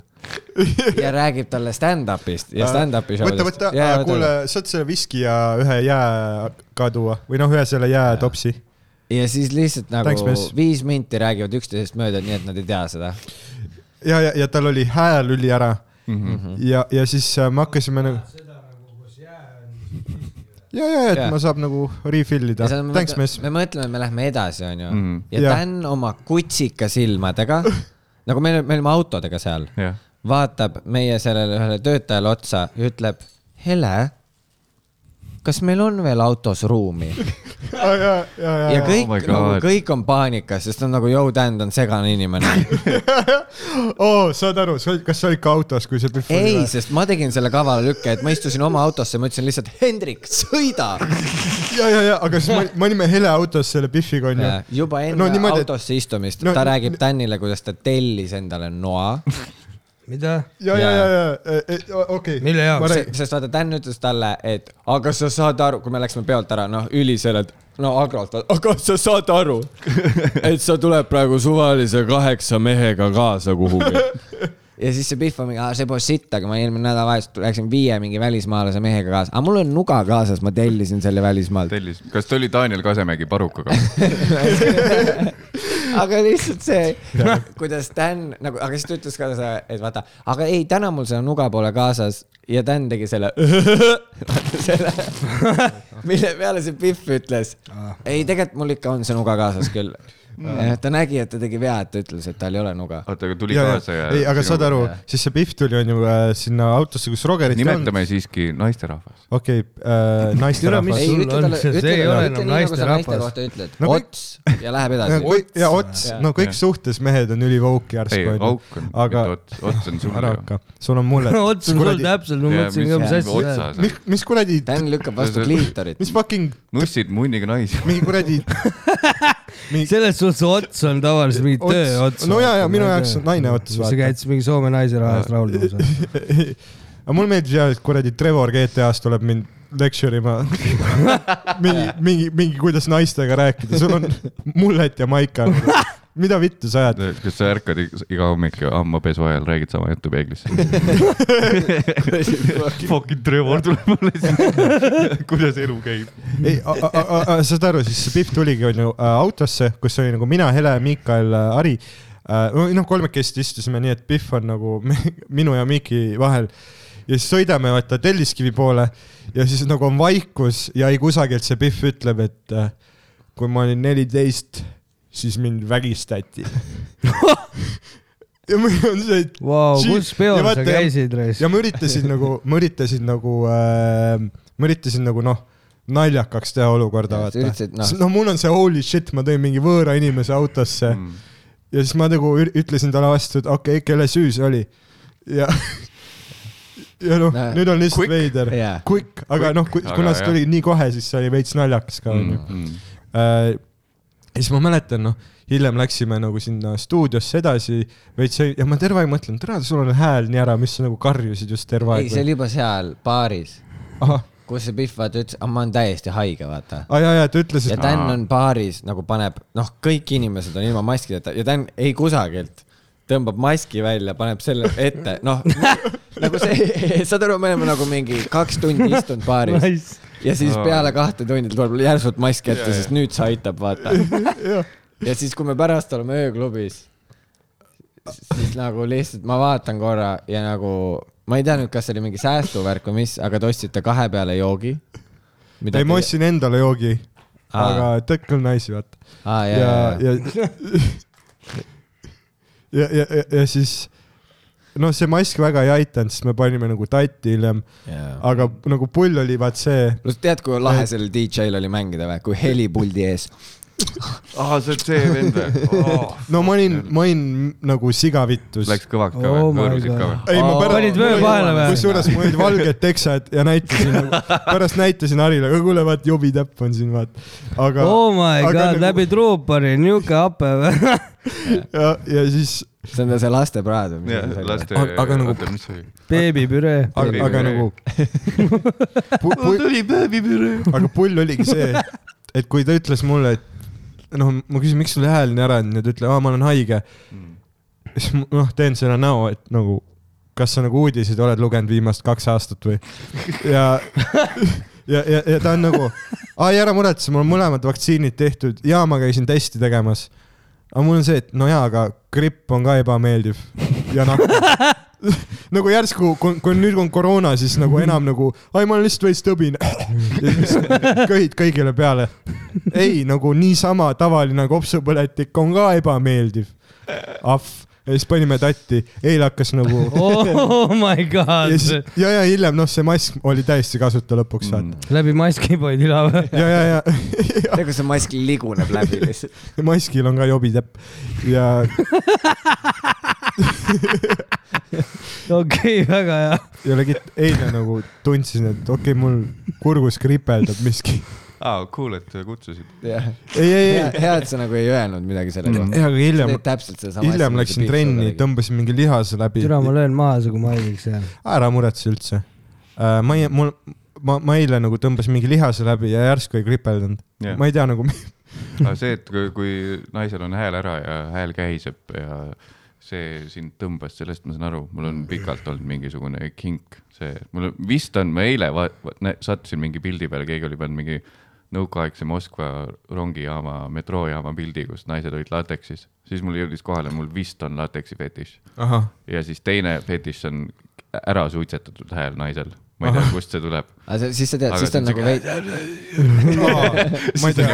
Speaker 2: ja räägib talle stand-up'ist ja stand-up'i show'st .
Speaker 3: Äh, võta , võta , kuule , saad selle viski ja ühe jää ka tuua või noh , ühe selle jäätopsi .
Speaker 2: ja siis lihtsalt nagu
Speaker 3: Thanks, miss.
Speaker 2: viis minti räägivad üksteisest mööda , nii et nad ei tea seda .
Speaker 3: ja , ja , ja tal oli hääl üli ära mm .
Speaker 2: Mhm.
Speaker 3: -hmm. ja , ja siis äh, me hakkasime nagu . ja , ja , et
Speaker 2: Jaa. nagu
Speaker 3: ma saab nagu refill ida . Thanks , miss .
Speaker 2: me mõtleme , et me lähme edasi , onju
Speaker 1: Mhm. .
Speaker 2: ja
Speaker 3: Jah.
Speaker 2: Dan oma kutsikasilmadega , nagu me , me olime autodega seal ,
Speaker 1: jah ,
Speaker 2: vaatab meie sellele ühele töötajale otsa ja ütleb , Hele , kas meil on veel autos ruumi
Speaker 3: ja , ja , ja ,
Speaker 2: ja
Speaker 3: ja ,
Speaker 2: kõik
Speaker 1: my
Speaker 2: oh nagu
Speaker 1: God.
Speaker 2: kõik on paanikas , sest on nagu Joe Dand on segane inimene .
Speaker 3: oo , Oh, saad aru , sa olid , kas sa olid ka autos , kui sa
Speaker 2: ei , sest ma tegin selle kavala lükke , et ma istusin oma autosse , ma ütlesin lihtsalt Hendrik , sõida .
Speaker 3: ja , ja , ja , aga siis me- me olime hele autos selle Biffiga onju .
Speaker 2: juba enne
Speaker 3: No
Speaker 2: no,
Speaker 3: niimoodi, et-
Speaker 2: autosse istumist
Speaker 3: no
Speaker 2: no, ta
Speaker 3: ni-
Speaker 2: räägib Danile , kuidas ta tellis endale noa ,
Speaker 7: mida ?
Speaker 3: ja , ja , ja , ja , okei .
Speaker 7: Mille jaoks?
Speaker 3: ma räägin ,
Speaker 2: sest vaata Dan ütles talle , et aga sa saad aru , kui me läksime peolt ära , noh üliselt , no agralt , aga sa saad aru , et sa tuleb praegu suvalise kaheksa mehega kaasa kuhugi ja siis see Pihv on mingi , see pole sitt , aga ma eelmine nädalavahetus läksin viie mingi välismaalase mehega kaasa , aga mul on nuga kaasas , ma tellisin selle välismaalt .
Speaker 1: tellis , kas ta oli Daniel Kasemägi parukaga ?
Speaker 2: aga lihtsalt see , kuidas Dan nagu , aga siis ta ütles ka seda , et vaata , aga ei , täna mul seda nuga pole kaasas ja Dan tegi selle , selle , mille peale see Pihv ütles ,
Speaker 7: Ah.
Speaker 2: ei , tegelikult mul ikka on see nuga kaasas küll .
Speaker 7: Mm.
Speaker 2: ta nägi , et ta tegi vea , et ta ütles , et tal ei ole nuga .
Speaker 1: oota , aga tuli
Speaker 3: ja ,
Speaker 1: kaasa
Speaker 3: ja
Speaker 1: ja .,
Speaker 3: ei , aga saad aru , siis see Biff tuli onju äh, sinna autosse , kus Rogerit ei olnud .
Speaker 1: nimetame siiski naisterahvas .
Speaker 3: okei ,
Speaker 7: Türa, mis-
Speaker 3: naisterahvas .
Speaker 7: Sul on see- see ei ole
Speaker 2: nagu
Speaker 7: enam naisterahvas.
Speaker 2: ütled
Speaker 3: No , kõik-
Speaker 2: ots ja läheb edasi .
Speaker 3: ja Ots ,
Speaker 2: Jaa.
Speaker 3: no äh, kõik suhtes mehed on ülivauk
Speaker 1: ei ,
Speaker 3: järsku onju .
Speaker 1: auk on ,
Speaker 3: Aga-
Speaker 1: mitte ots , ots on sul
Speaker 3: ära
Speaker 1: ju .
Speaker 3: hakka , sul on mulle .
Speaker 7: ots on sul . täpselt , ma mõtlesin ka , mis asja läheb .
Speaker 1: asja
Speaker 3: mis , mis kuradi ,
Speaker 2: Dan lükkab vastu kliitorit .
Speaker 3: mis fucking ,
Speaker 1: nussid munniga naisi .
Speaker 3: mingi kuradi .
Speaker 7: selles suhtes ots on tavaliselt mingi töö ots .
Speaker 3: no ja , ja minu jaoks on naine Ots .
Speaker 7: sa käid siis mingi Soome naise rahast laulmas või ?
Speaker 3: aga mulle meeldib jah , et kuradi Trevor GTA-s tuleb mind lecture ima . mingi , mingi , mingi , kuidas naistega rääkida , sul on mullet ja maika . mida vittu sa ajad ?
Speaker 1: kas sa ärkad ig- iga hommik ja hammapesu ajal räägid sama juttu peeglisse ? Fucking Trevor tuleb mulle siin . kuidas elu käib ?
Speaker 3: ei , saad aru , siis see Piff tuligi onju äh, autosse , kus oli nagu mina , Hele , Miikael , Ari . noh , kolmekesti istusime nii , et Piff on nagu me- minu ja Miiki vahel . ja siis sõidame vaata Telliskivi poole ja siis nagu on vaikus ja ei kusagilt see Piff ütleb , et äh, kui ma olin neliteist , siis mind vägistati . ja mul on see , et
Speaker 7: Vau ,
Speaker 3: Siin-
Speaker 7: kus peol
Speaker 3: ja
Speaker 7: sa
Speaker 3: vaata, ja-
Speaker 7: käisid , Reis
Speaker 3: ja ? ma üritasin nagu , ma üritasin nagu äh, , ma üritasin nagu noh , naljakaks teha olukorda ,
Speaker 2: Sa
Speaker 3: vaata
Speaker 2: üritasid, . noh.
Speaker 3: no mul on see holy shit , ma tõin mingi võõra inimese autosse mm. ja siis ma nagu ür- ütlesin talle vastu , et okei okay, , kelle süü see oli . ja , ja noh
Speaker 2: Näe.
Speaker 3: no, , nüüd on lihtsalt
Speaker 1: Quick.
Speaker 3: quick. veider
Speaker 2: Jaa.
Speaker 3: yeah. , quick , aga noh ,
Speaker 1: Aga
Speaker 3: kuna see
Speaker 1: jah.
Speaker 3: tuli nii kohe , siis see oli veits naljakas
Speaker 2: Mm.
Speaker 3: ka
Speaker 1: Mm.
Speaker 3: onju . Äh, ja siis ma mäletan , noh , hiljem läksime nagu sinna stuudiosse edasi veits ja ma terve aeg mõtlen , tere , sul on hääl nii ära , mis sa nagu karjusid just terve
Speaker 2: ei ,
Speaker 3: aeg .
Speaker 2: see oli juba seal baaris ,
Speaker 3: ahah ,
Speaker 2: kus see Pihv vaata ütles , ma olen täiesti haige , vaata .
Speaker 3: aa jaa , jaa , ta ütles ,
Speaker 2: ja
Speaker 3: et
Speaker 2: Dan on baaris nagu paneb , noh , kõik inimesed on ilma maskideta ja Dan ei kusagilt tõmbab maski välja , paneb selle ette , noh nagu see , saad aru , me oleme nagu mingi kaks tundi istunud baaris
Speaker 7: Nice.
Speaker 2: ja siis peale kahte tundi tuleb järsult mask ette , sest nüüd see aitab , vaata . ja siis , kui me pärast oleme ööklubis , siis nagu lihtsalt ma vaatan korra ja nagu ma ei tea nüüd , kas see oli mingi säästuvärk või mis , aga te ostsite kahe peale joogi .
Speaker 3: ei , ma ostsin endale joogi ,
Speaker 2: Aa.
Speaker 3: aga tõkk on naisi , vaata .
Speaker 2: ah, . ja,
Speaker 3: ja
Speaker 2: ja, , ja.
Speaker 3: ja , ja , ja , ja siis noh , see mask väga ei aidanud , sest me panime nagu tatti hiljem ,
Speaker 2: ja.
Speaker 3: aga nagu pull oli vaat see ,
Speaker 2: no sa tead , kui lahe sellel DJ-l oli mängida või , kui heli puldi ees .
Speaker 1: aa , see on see vend või ?
Speaker 3: no ma olin , ma olin nagu sigavitus
Speaker 1: Läks kõvaks ka
Speaker 7: Oh
Speaker 1: või ,
Speaker 7: my
Speaker 1: võõrusid ka
Speaker 7: God.
Speaker 1: või ?
Speaker 3: ei , ma
Speaker 2: Aa,
Speaker 3: pärast .
Speaker 7: panid vöö vahele või?
Speaker 3: kusjuures mul olid valged teksad ja näitasin , pärast näitasin Harile , aga kuule , vaat jobi täpp on siin , vaat . aga
Speaker 7: oh my
Speaker 3: aga nagu-
Speaker 7: god , läbi truupari , niuke hape või ?
Speaker 3: ja , ja siis ,
Speaker 2: see on see lastepraad või
Speaker 1: jah ,
Speaker 2: mis ?
Speaker 1: laste .
Speaker 3: Aga- aga nagu-
Speaker 1: oota , mis see oli ?
Speaker 7: beebipüree .
Speaker 3: aga , aga nagu pu, , pu,
Speaker 1: tuli beebipüree .
Speaker 3: aga pull oligi see , et kui ta ütles mulle , et noh , ma küsin , miks sul hääl nii ära on ja ta ütleb , aa , ma olen haige . siis ma, noh , teen selle näo , et nagu , kas sa nagu uudiseid oled lugenud viimast kaks aastat või ? ja ja , ja , ja ta on nagu , aa ei ära muretse , mul on mõlemad vaktsiinid tehtud ja ma käisin testi tegemas . aga mul on see , et no jaa , aga gripp on ka ebameeldiv ja nakkav . nagu järsku , kui kui nüüd on koroona , siis nagu enam nagu , ai ma olen lihtsalt veits tõbine . ja siis köhid kõigile peale . ei , nagu niisama tavaline kopsupõletik on ka ebameeldiv . ahv , ja siis panime tatti , eile hakkas nagu
Speaker 4: oh my
Speaker 3: ja
Speaker 4: god ,
Speaker 3: siis ja , ja hiljem noh , see mask oli täiesti kasuta lõpuks
Speaker 1: Mm.
Speaker 3: vaata .
Speaker 4: läbi maski poid üle või ?
Speaker 3: ja , ja , ja, ja
Speaker 2: tead , kui see mask liguneb läbi lihtsalt .
Speaker 3: maskil on ka jobitäpp ja
Speaker 4: okei , väga hea .
Speaker 3: ja legit eile nagu tundsin , et okei okay, , mul kurgus kripeldab miski .
Speaker 1: aa , cool , et kutsusid .
Speaker 2: hea ,
Speaker 3: ei , ei , ei ,
Speaker 2: hea , et sa nagu ei öelnud midagi selle kohta .
Speaker 3: aga hiljem ,
Speaker 2: täpselt sedasama .
Speaker 3: hiljem läksin trenni , tõmbasin mingi lihase läbi .
Speaker 4: türa , ma löön maha su , kui ma haigeks jään .
Speaker 3: ära muretse üldse . ma ei , mul , ma , ma eile nagu tõmbasin mingi lihase läbi ja järsku ei kripeldanud
Speaker 1: Jah.
Speaker 3: yeah. . ma ei tea nagu ,
Speaker 1: aga see , et kui, kui naisel on hääl ära ja hääl kähiseb ja see sind tõmbas , sellest ma saan aru , mul on pikalt olnud mingisugune kink , see , mul on- vist on , ma eile va- va- nä- sattusin mingi pildi peale , keegi oli pannud mingi nõukaaegse Moskva rongijaama , metroojaama pildi , kus naised olid lateksis , siis mul jõudis kohale , mul vist on lateksi fetiš
Speaker 3: ahah ,
Speaker 1: ja siis teine fetiš on ära suitsetatud hääl naisel , ma ei tea , kust see tuleb .
Speaker 2: aga siis sa tead ,
Speaker 1: Aga
Speaker 2: siis ta on
Speaker 1: see-
Speaker 2: nagu veidi ,
Speaker 3: ma ei tea ,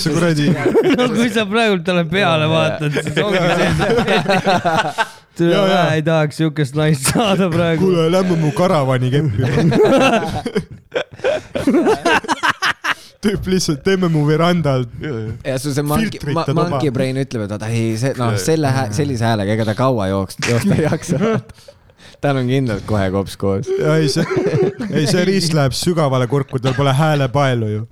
Speaker 3: see kuradi ,
Speaker 4: no kui sa praegult talle peale vaatad , siis ongi see . türa
Speaker 3: Jaa, jaa. ,
Speaker 4: ei tahaks siukest naist saada praegu .
Speaker 3: kuule , lähme mu karavani keppi . tüüp lihtsalt , teeme mu veranda alt .
Speaker 2: ja sul see monkey
Speaker 3: Filtrita , tuba.
Speaker 2: monkey brain ütleb , et vaata ei , see noh , selle hää- , sellise häälega , ega ta kaua jooks- , joosta ei jaksa . tal on kindlalt kohe kops koos .
Speaker 3: ei , see , ei see riist läheb sügavale kurku , tal pole häälepaelu ju .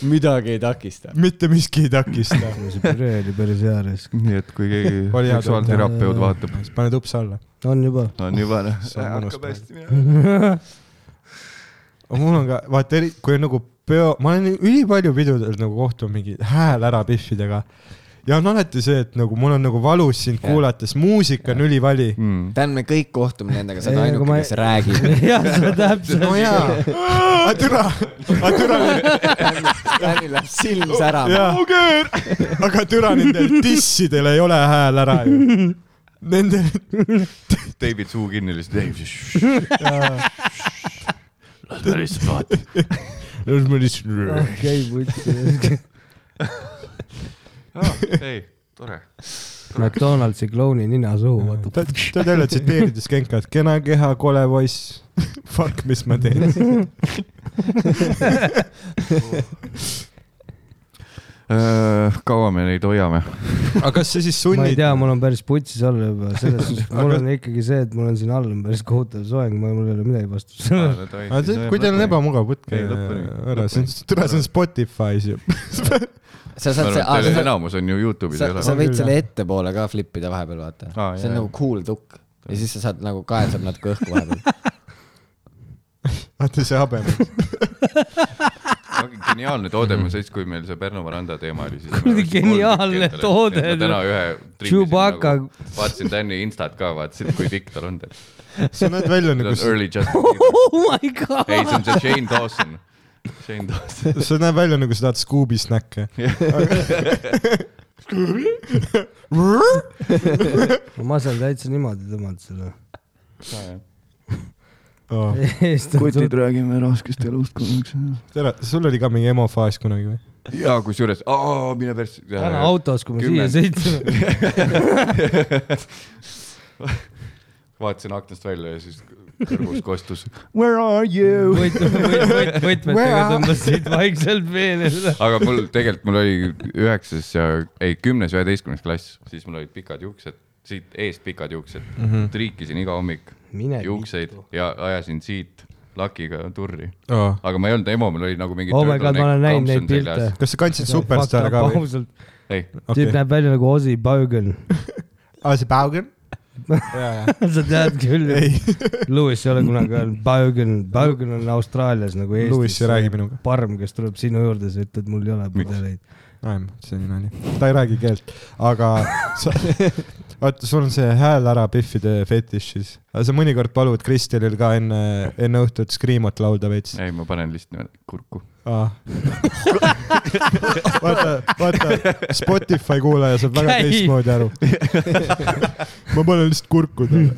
Speaker 2: midagi ei takista .
Speaker 3: mitte miski ei takista .
Speaker 4: see püree oli päris hea risk .
Speaker 1: nii et kui keegi
Speaker 3: Oli hea
Speaker 1: seksuaalterapeut vaatab ,
Speaker 3: siis paned upsa alla .
Speaker 4: on juba ?
Speaker 1: on juba noh ,
Speaker 3: See on mõnus
Speaker 1: hakkab hästi
Speaker 3: praegu.
Speaker 1: minema .
Speaker 3: mul on ka , vaata eri , kui on nagu peo , ma olen ülipalju pidudel nagu kohtunud mingi hääl ära pihvidega . ja on alati see , et nagu mul on nagu valus sind
Speaker 2: Jah.
Speaker 3: kuulates , muusika on ülivali .
Speaker 2: Dan , me kõik kohtume nendega , sa oled
Speaker 4: Ei, aga
Speaker 2: ainuke ,
Speaker 4: ma ei-
Speaker 2: kes räägib .
Speaker 4: jah , see täpselt .
Speaker 3: no jaa , aga türa , aga türa ,
Speaker 2: Danil läheb silm särama .
Speaker 3: jaa . aga türa nendel dissidel ei ole hääl ära ju . Nendel ,
Speaker 1: teibid suu kinni lihtsalt . las ma lihtsalt vaatan .
Speaker 4: okei , putsi .
Speaker 3: Ah,
Speaker 1: ei , tore .
Speaker 4: McDonaldsi klouni nina suhu , vaata .
Speaker 3: ta , ta teile tsiteerides Genkat , kena keha , kole poiss . Fuck , mis ma teen .
Speaker 1: Äh, kaua me neid hoiame ?
Speaker 3: aga kas see siis
Speaker 4: ma ei
Speaker 3: sunnib ?
Speaker 4: tea , mul on päris putsis all juba , selles suhtes , mul
Speaker 3: Aga-
Speaker 4: on ikkagi see , et mul on siin all on päris kohutav soeng , mul ei ole midagi vastu sellele .
Speaker 3: aga see , kui teil on . ebamugav , võtke
Speaker 1: Ei, lõpuni.
Speaker 3: ära , see on , türa , see on Spotify's ju .
Speaker 2: sa
Speaker 1: ma
Speaker 2: saad ,
Speaker 1: arvan ,
Speaker 2: sa ,
Speaker 1: et teil
Speaker 2: sa,
Speaker 1: enamus on ju Youtube'is
Speaker 2: sa, sa
Speaker 1: üle .
Speaker 2: võid
Speaker 3: On
Speaker 2: selle ettepoole ka flip ida vahepeal , vaata .
Speaker 1: Aa,
Speaker 2: see
Speaker 1: jah,
Speaker 2: on nagu
Speaker 1: jah.
Speaker 2: cool tukk ja siis sa saad nagu kael saab natuke õhku vahepeal .
Speaker 3: vaata see habem .
Speaker 1: geniaalne toode , ma siis , kui meil see Pärnu veranda teema oli , siis .
Speaker 4: Kuradi geniaalne toode.
Speaker 1: täna ühe .
Speaker 4: Chewbacca. .
Speaker 3: nagu.
Speaker 1: vaatasin Tänni instat ka , vaatasin , kui pikk tal on .
Speaker 3: sa näed välja
Speaker 1: tal
Speaker 3: nagu ,
Speaker 1: on early just .
Speaker 4: oh my god .
Speaker 1: ei , see on see Shane Dawson . Shane Dawson .
Speaker 3: sa näed välja nagu sa tahad Scooby snäkke .
Speaker 4: ma saan täitsa niimoodi tõmmata seda .
Speaker 3: Oh.
Speaker 4: kutid
Speaker 1: räägime raskest elust korraks .
Speaker 3: tere , sul oli ka mingi emofaas kunagi või ?
Speaker 1: ja kusjuures , mine persse .
Speaker 4: täna autos , kui ma siia
Speaker 1: Kümnend.
Speaker 4: sõitsin .
Speaker 1: vaatasin aknast välja ja siis kõrvus kostus .
Speaker 3: Where are you ?
Speaker 4: võtmetega tõmbas siit vaikselt veene üle .
Speaker 1: aga mul tegelikult , mul oli üheksas ja ei kümnes , üheteistkümnes klass , siis mul olid pikad juuksed , siit eest pikad juuksed mm . -hmm.
Speaker 3: Mhm.
Speaker 1: triikisin iga hommik
Speaker 4: mine .
Speaker 1: juukseid ja ajasin siit lakiga turri ,
Speaker 3: Oh.
Speaker 1: aga ma ei olnud emo , mul oli nagu mingi .
Speaker 4: Oh my god , ma olen näinud neid pilte .
Speaker 3: kas sa kandsid Superstar ka või ?
Speaker 4: ausalt ,
Speaker 1: ei ,
Speaker 4: tüüp näeb välja nagu Ozzy Baugen .
Speaker 3: aa , see Baugen ?
Speaker 4: sa tead küll . Lewis ei ole kunagi öelnud , Baugen , Baugen on Austraalias nagu Eestis .
Speaker 3: Lewis ei räägi minuga. .
Speaker 4: parm , kes tuleb sinu juurde , sa ütled , mul ei ole pudeleid .
Speaker 3: naim , see oli nali . ta ei räägi keelt , aga sa , vaata , sul on see hääl ära pihvide fetiš siis . aga sa mõnikord palud Kristelil ka enne , enne õhtut Screamot laulda veits .
Speaker 1: ei , ma panen lihtsalt niimoodi kurku .
Speaker 3: vaata , vaata , Spotify kuulaja saab väga
Speaker 4: Käi.
Speaker 3: teistmoodi aru . ma panen lihtsalt kurku talle .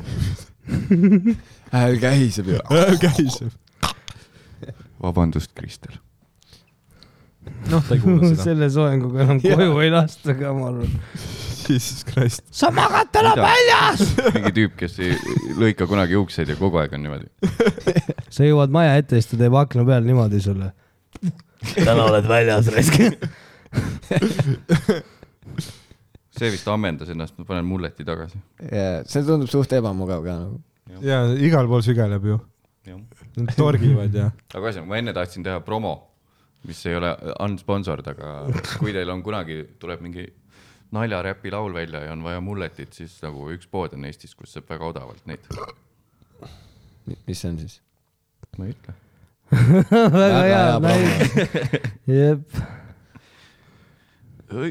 Speaker 3: Äh,
Speaker 2: hääl kähiseb ju .
Speaker 3: käis .
Speaker 1: vabandust , Kristel .
Speaker 3: noh , ta ei kuula seda .
Speaker 4: selle soenguga enam
Speaker 3: Jaa.
Speaker 4: koju ei lasta ka , ma arvan .
Speaker 3: Jesus Christ .
Speaker 4: sa magad täna
Speaker 1: Mida?
Speaker 4: väljas .
Speaker 1: mingi tüüp , kes ei lõika kunagi juukseid ja kogu aeg on niimoodi .
Speaker 4: sa jõuad maja ette ja siis ta teeb akna peal niimoodi sulle . täna oled väljas , raisk .
Speaker 1: see vist ammendas ennast , ma panen mulleti tagasi .
Speaker 2: see tundub suht ebamugav ka nagu .
Speaker 3: ja igal pool sügeleb ju .
Speaker 1: aga
Speaker 3: Nad torgivad ja .
Speaker 1: ühesõnaga , ma enne tahtsin teha promo , mis ei ole unsponsored , aga kui teil on kunagi , tuleb mingi naljaräpi laul välja ja on vaja mulletit , siis nagu üks pood on Eestis , kus saab väga odavalt neid .
Speaker 2: mis see on siis ?
Speaker 1: ma ei ütle .
Speaker 4: väga hea näide . jep ,
Speaker 1: oi ,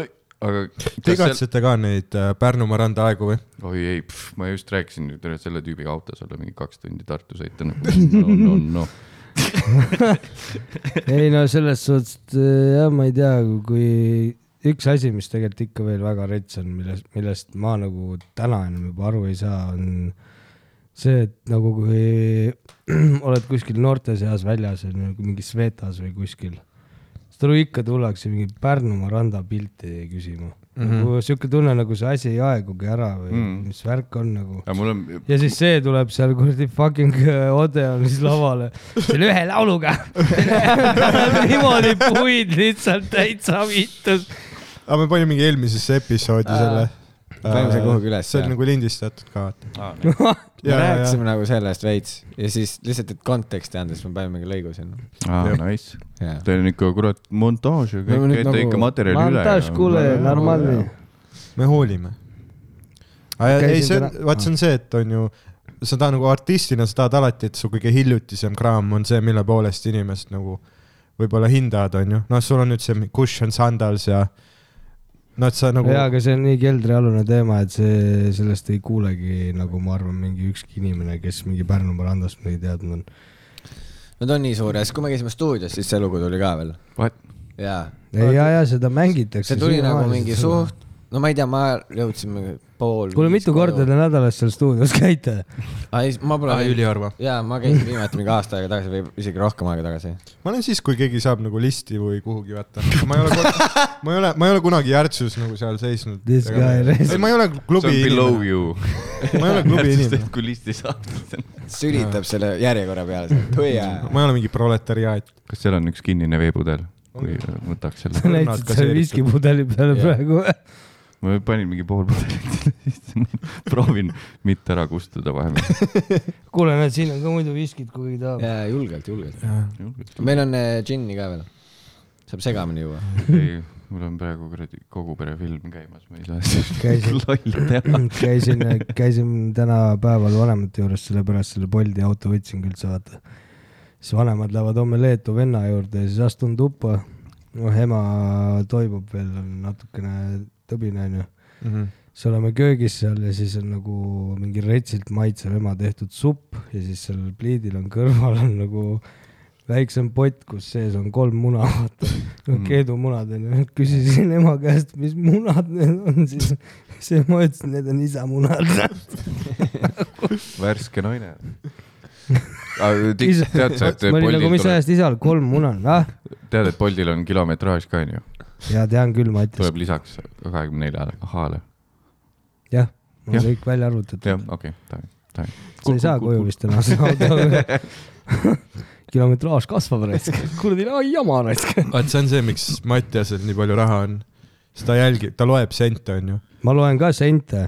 Speaker 1: oi , aga
Speaker 3: Te
Speaker 1: kas seal ,
Speaker 3: igatsete ka neid äh, Pärnumaa randa aegu või ?
Speaker 1: oi ei , ma just rääkisin nüüd üle selle tüübiga autos olla mingi kaks tundi Tartu sõita , no , no , no .
Speaker 4: ei no selles suhtes , et äh, jah , ma ei tea , kui üks asi , mis tegelikult ikka veel väga rets on , millest , millest ma nagu täna enam juba aru ei saa , on see , et nagu kui oled kuskil noorte seas väljas , on ju , mingi Svetas või kuskil , siis tule ikka tullakse mingi Pärnumaa randa pilti küsima mm . -hmm. nagu sihuke tunne , nagu see asi ei aegugi ära või mm
Speaker 1: Mhm.
Speaker 4: -hmm. mis värk on nagu .
Speaker 1: aga mul on
Speaker 4: ja siis see tuleb seal kuradi fucking äh, Odeonis lavale selle ühe lauluga niimoodi puid lihtsalt täitsa viitus .
Speaker 3: aga me panime mingi eelmisesse
Speaker 2: Äh.
Speaker 3: episoodi selle .
Speaker 2: panime selle kuhugi üles,
Speaker 3: Äh, see
Speaker 2: jah.
Speaker 3: on nagu lindistatud ka .
Speaker 2: me rääkisime nagu sellest veits ja siis lihtsalt , et konteksti anda , siis me panime mingi lõigu sinna .
Speaker 1: ah, ,
Speaker 3: Jah.
Speaker 1: nice . Teil on ikka kurat montaaž ja
Speaker 2: Me
Speaker 1: kõik ,
Speaker 2: nüüd
Speaker 1: käite nagu...
Speaker 2: nagu-
Speaker 1: ikka materjali üle . Nagu-
Speaker 4: montaaž , kuule , normaalne .
Speaker 3: me hoolime . ei ,
Speaker 4: Käisin
Speaker 3: see on
Speaker 4: täna- ,
Speaker 3: vaat see on see , et on ju , sa tahad nagu artistina , sa tahad alati , et su kõige hiljutisem kraam on see , mille poolest inimest nagu võib-olla hindavad , on ju . noh , sul on nüüd see cushion sandals ja noh , et sa nagu
Speaker 4: jaa , aga see on nii keldrialune teema , et see , sellest ei kuulegi nagu ma arvan , mingi ükski inimene , kes mingi Pärnumaa randast midagi teadnud on .
Speaker 2: no ta on nii suur ja siis , kui me käisime stuudios , siis see lugu tuli ka veel . jaa .
Speaker 4: ja , ja seda mängitakse .
Speaker 2: see tuli nagu mingi . suht , no ma ei tea , ma jõudsin mingi pool .
Speaker 4: kuule , mitu korda te nädalas seal stuudios käite ?
Speaker 2: ei , ma pole
Speaker 3: Aa, . üliharva .
Speaker 2: jaa , ma käisin viimati mingi aasta aega tagasi või isegi rohkem aega tagasi .
Speaker 3: ma olen siis , kui keegi saab nagu listi või kuhugi vaata . ma ei ole , ma ei ole , ma ei ole kunagi Järtsus nagu seal seisnud .
Speaker 4: This guy rest-
Speaker 3: ei , ma ei ole klubi
Speaker 1: see on below
Speaker 3: inimene .
Speaker 1: you .
Speaker 3: ma ei ole klubi inimene .
Speaker 1: kui listi saab .
Speaker 2: sülitab selle järjekorra peale , tui jaa .
Speaker 3: ma ei ole mingi proletariaat .
Speaker 1: kas seal on üks kinnine veepudel ? kui võtaks
Speaker 4: sa
Speaker 1: selle .
Speaker 4: näitasid selle viskipudeli peale
Speaker 2: Jah.
Speaker 4: praegu .
Speaker 1: ma panin mingi pool pudelit . proovin mitte ära kustuda vahepeal .
Speaker 4: kuule , näed , siin on ka muidu viskid , kui tahab .
Speaker 2: jaa , julgelt , julgelt . meil on äh, džinni ka veel . saab segamini juua .
Speaker 1: ei , mul on praegu kuradi kogu pere film käimas , ma ei saa
Speaker 4: Käisid-
Speaker 1: siis lolli teha .
Speaker 4: käisin , käisin täna päeval vanemate juures , sellepärast selle Bolti auto võtsingi üldse vaata . siis vanemad lähevad homme Leetu venna juurde ja siis astun tuppa . noh , ema toibub veel , on natukene tõbine onju . siis oleme köögis seal ja siis on nagu mingi retsilt maitsev ema tehtud supp ja siis seal pliidil on kõrval on nagu väiksem pott , kus sees on kolm muna , vaata .
Speaker 1: Mm.
Speaker 4: noh , keedumunad onju . küsisin ema käest , mis munad need on siis . siis ema ütles , et need on isa munad .
Speaker 1: värske naine . tead sa , et
Speaker 4: ma olin nagu ,
Speaker 1: Boltil
Speaker 4: mis
Speaker 1: tuleb ,
Speaker 4: ajast isal kolm muna on , ah ?
Speaker 1: tead , et Boltil on kilometraaž ka onju ?
Speaker 4: ja tean küll , Matis .
Speaker 1: tuleb lisaks kahekümne neljale ahale .
Speaker 4: jah , mul
Speaker 1: Jah.
Speaker 4: on kõik välja arvutatud .
Speaker 1: jah , okei , tänan , tänan .
Speaker 4: sa ei saa koju vist enam seda autoga kilometraaž kasvab raisk , kuradi no jama raisk .
Speaker 3: vaat see on see , miks Mattiasel nii palju raha on . sest ta jälgib , ta loeb sente , onju .
Speaker 4: ma loen ka sente ,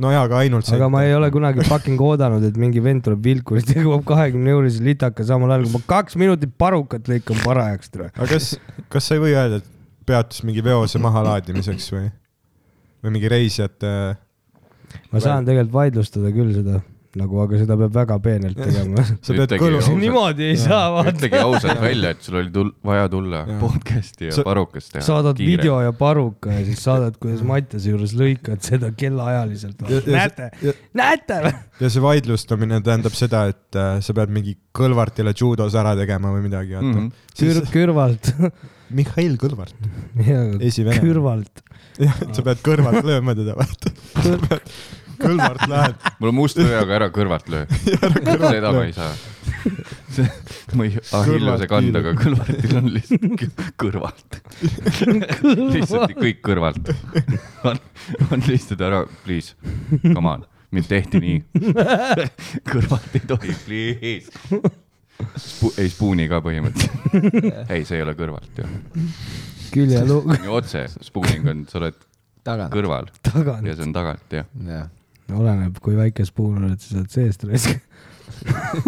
Speaker 3: no jaa , aga ainult sente .
Speaker 4: aga ma ei ole kunagi fucking oodanud , et mingi vend tuleb vilkurit ja jõuab kahekümne eurise litaka samal ajal , kui ma kaks minutit parukat lõikan parajaks tule .
Speaker 3: aga kas , kas sa ei või öelda , et peatus mingi veose mahalaadimiseks või ? või mingi reisijate ,
Speaker 4: ma saan tegelikult vaidlustada küll seda nagu , aga seda peab väga peenelt tegema .
Speaker 3: sa pead
Speaker 1: Ütlegi
Speaker 3: kõlu ,
Speaker 1: ausalt.
Speaker 4: niimoodi ei saa vaata .
Speaker 1: ütlegi ausalt välja , et sul oli tul- , vaja tulla
Speaker 3: Jaa.
Speaker 1: podcast'i ja
Speaker 3: Sa-
Speaker 1: parukast teha .
Speaker 4: saadad Kiire. video ja paruka ja siis saadad , kuidas Mattiase juures lõikad seda kellaajaliselt
Speaker 3: Ja- . ja-
Speaker 4: näete , näete või ?
Speaker 3: ja see vaidlustamine tähendab seda , et äh, sa pead mingi Kõlvartile judos ära tegema või midagi , vaata mm .
Speaker 1: Mhm.
Speaker 3: -hmm.
Speaker 4: Kür- ,
Speaker 3: siis
Speaker 4: kõrvalt .
Speaker 3: Mihhail Kõlvart , Esivenema.
Speaker 4: kõrvalt .
Speaker 3: jah , sa pead kõrvalt lööma teda , vaata . Kõlvart läheb
Speaker 1: mul on must löö , aga ära kõrvalt löö . seda ma ei saa . see , ma ei , Ahilluse kandaga Kõlvartil on lihtsalt kõ- kõrvalt . lihtsalt kõik kõrvalt . on , on lihtsalt ära , please , come on , mind tehti nii . kõrvalt ei tohi , please . Spu- , ei spuuni ka põhimõtteliselt . ei , see ei ole kõrvalt ju .
Speaker 4: küljeluu
Speaker 1: otse , spuuning on , sa oled
Speaker 2: tagant .
Speaker 1: kõrval
Speaker 4: tagant
Speaker 1: ja . see on tagant jah .
Speaker 2: jah .
Speaker 4: oleneb , kui väike spuun oled , sa saad seest raiskata .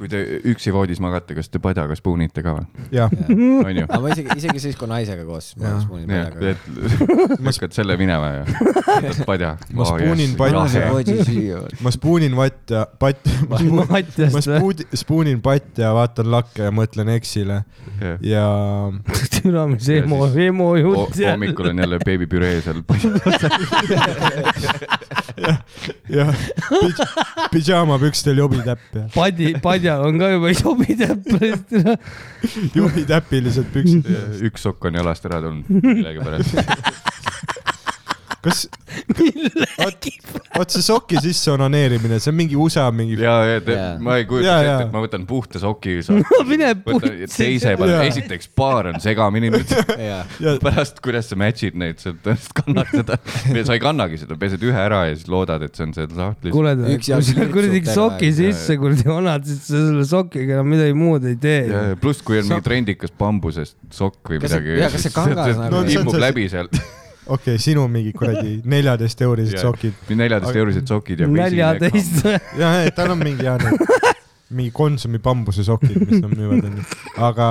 Speaker 1: kui te üksi voodis magate , kas te padjaga spuunite ka või ?
Speaker 3: jah ,
Speaker 1: onju ?
Speaker 2: aga ma isegi , isegi siis , kui naisega koos . ma
Speaker 3: Jah.
Speaker 2: spuunin
Speaker 1: jah ,
Speaker 2: peaga .
Speaker 1: et lükkad selle minema ja võtad padja . Oh,
Speaker 3: Ma spuunin padja. ma spuunin vatt ja patt , ma spuunin , ma
Speaker 4: matjast või ?
Speaker 3: spuudi- , spuunin patt ja vaatan lakke ja mõtlen eksile ja
Speaker 4: türa , mis emo , emo jutt
Speaker 1: hommikul on jälle beebipüree seal padja
Speaker 3: jah , pidžaamapükstel jobitäpp ja
Speaker 4: padi , padjal on ka juba jobi täpplast .
Speaker 3: jobitäpilised püksid .
Speaker 1: üks sokk on jalast ära tulnud millegipärast .
Speaker 3: kas , oot see soki sisse onaneerimine , see on mingi USA mingi ,
Speaker 1: ja , ja te,
Speaker 2: Jaa.
Speaker 1: ma ei kujuta
Speaker 3: Jaa, jaa.
Speaker 1: ette , et ma võtan puhta soki .
Speaker 4: mine putsi.
Speaker 1: teise peale
Speaker 3: Jaa. ,
Speaker 1: esiteks paar on segamini nüüd .
Speaker 2: jah ,
Speaker 1: pärast , kuidas sa match'id neid , sa tõenäoliselt kannad seda , sa ei kannagi seda , pesed ühe ära ja siis loodad , et see on see sahtlis .
Speaker 4: kuule , kui
Speaker 2: Üks jalg
Speaker 4: sa
Speaker 2: lirtsub
Speaker 4: kuradi
Speaker 2: terve
Speaker 4: soki
Speaker 2: aeg.
Speaker 4: sisse kuradi vanad , siis sa selle sokiga enam midagi muud ei
Speaker 1: ja
Speaker 4: tee .,
Speaker 1: ja pluss , kui on
Speaker 3: Sa-
Speaker 1: mingi trendikas bambusest sokk või
Speaker 2: Kas see-
Speaker 1: midagi .
Speaker 2: jaa, kas see kangas nagu-
Speaker 3: No see on
Speaker 1: imbub
Speaker 3: see-
Speaker 1: läbi sealt .
Speaker 3: okei , sinu mingi kuradi neljateist eurised sokid .
Speaker 1: neljateist eurised sokid ja .
Speaker 4: neljateist .
Speaker 3: ja , ja tal on mingi , mingi Konsumi bambuse sokid , mis nad müüvad , onju . aga ,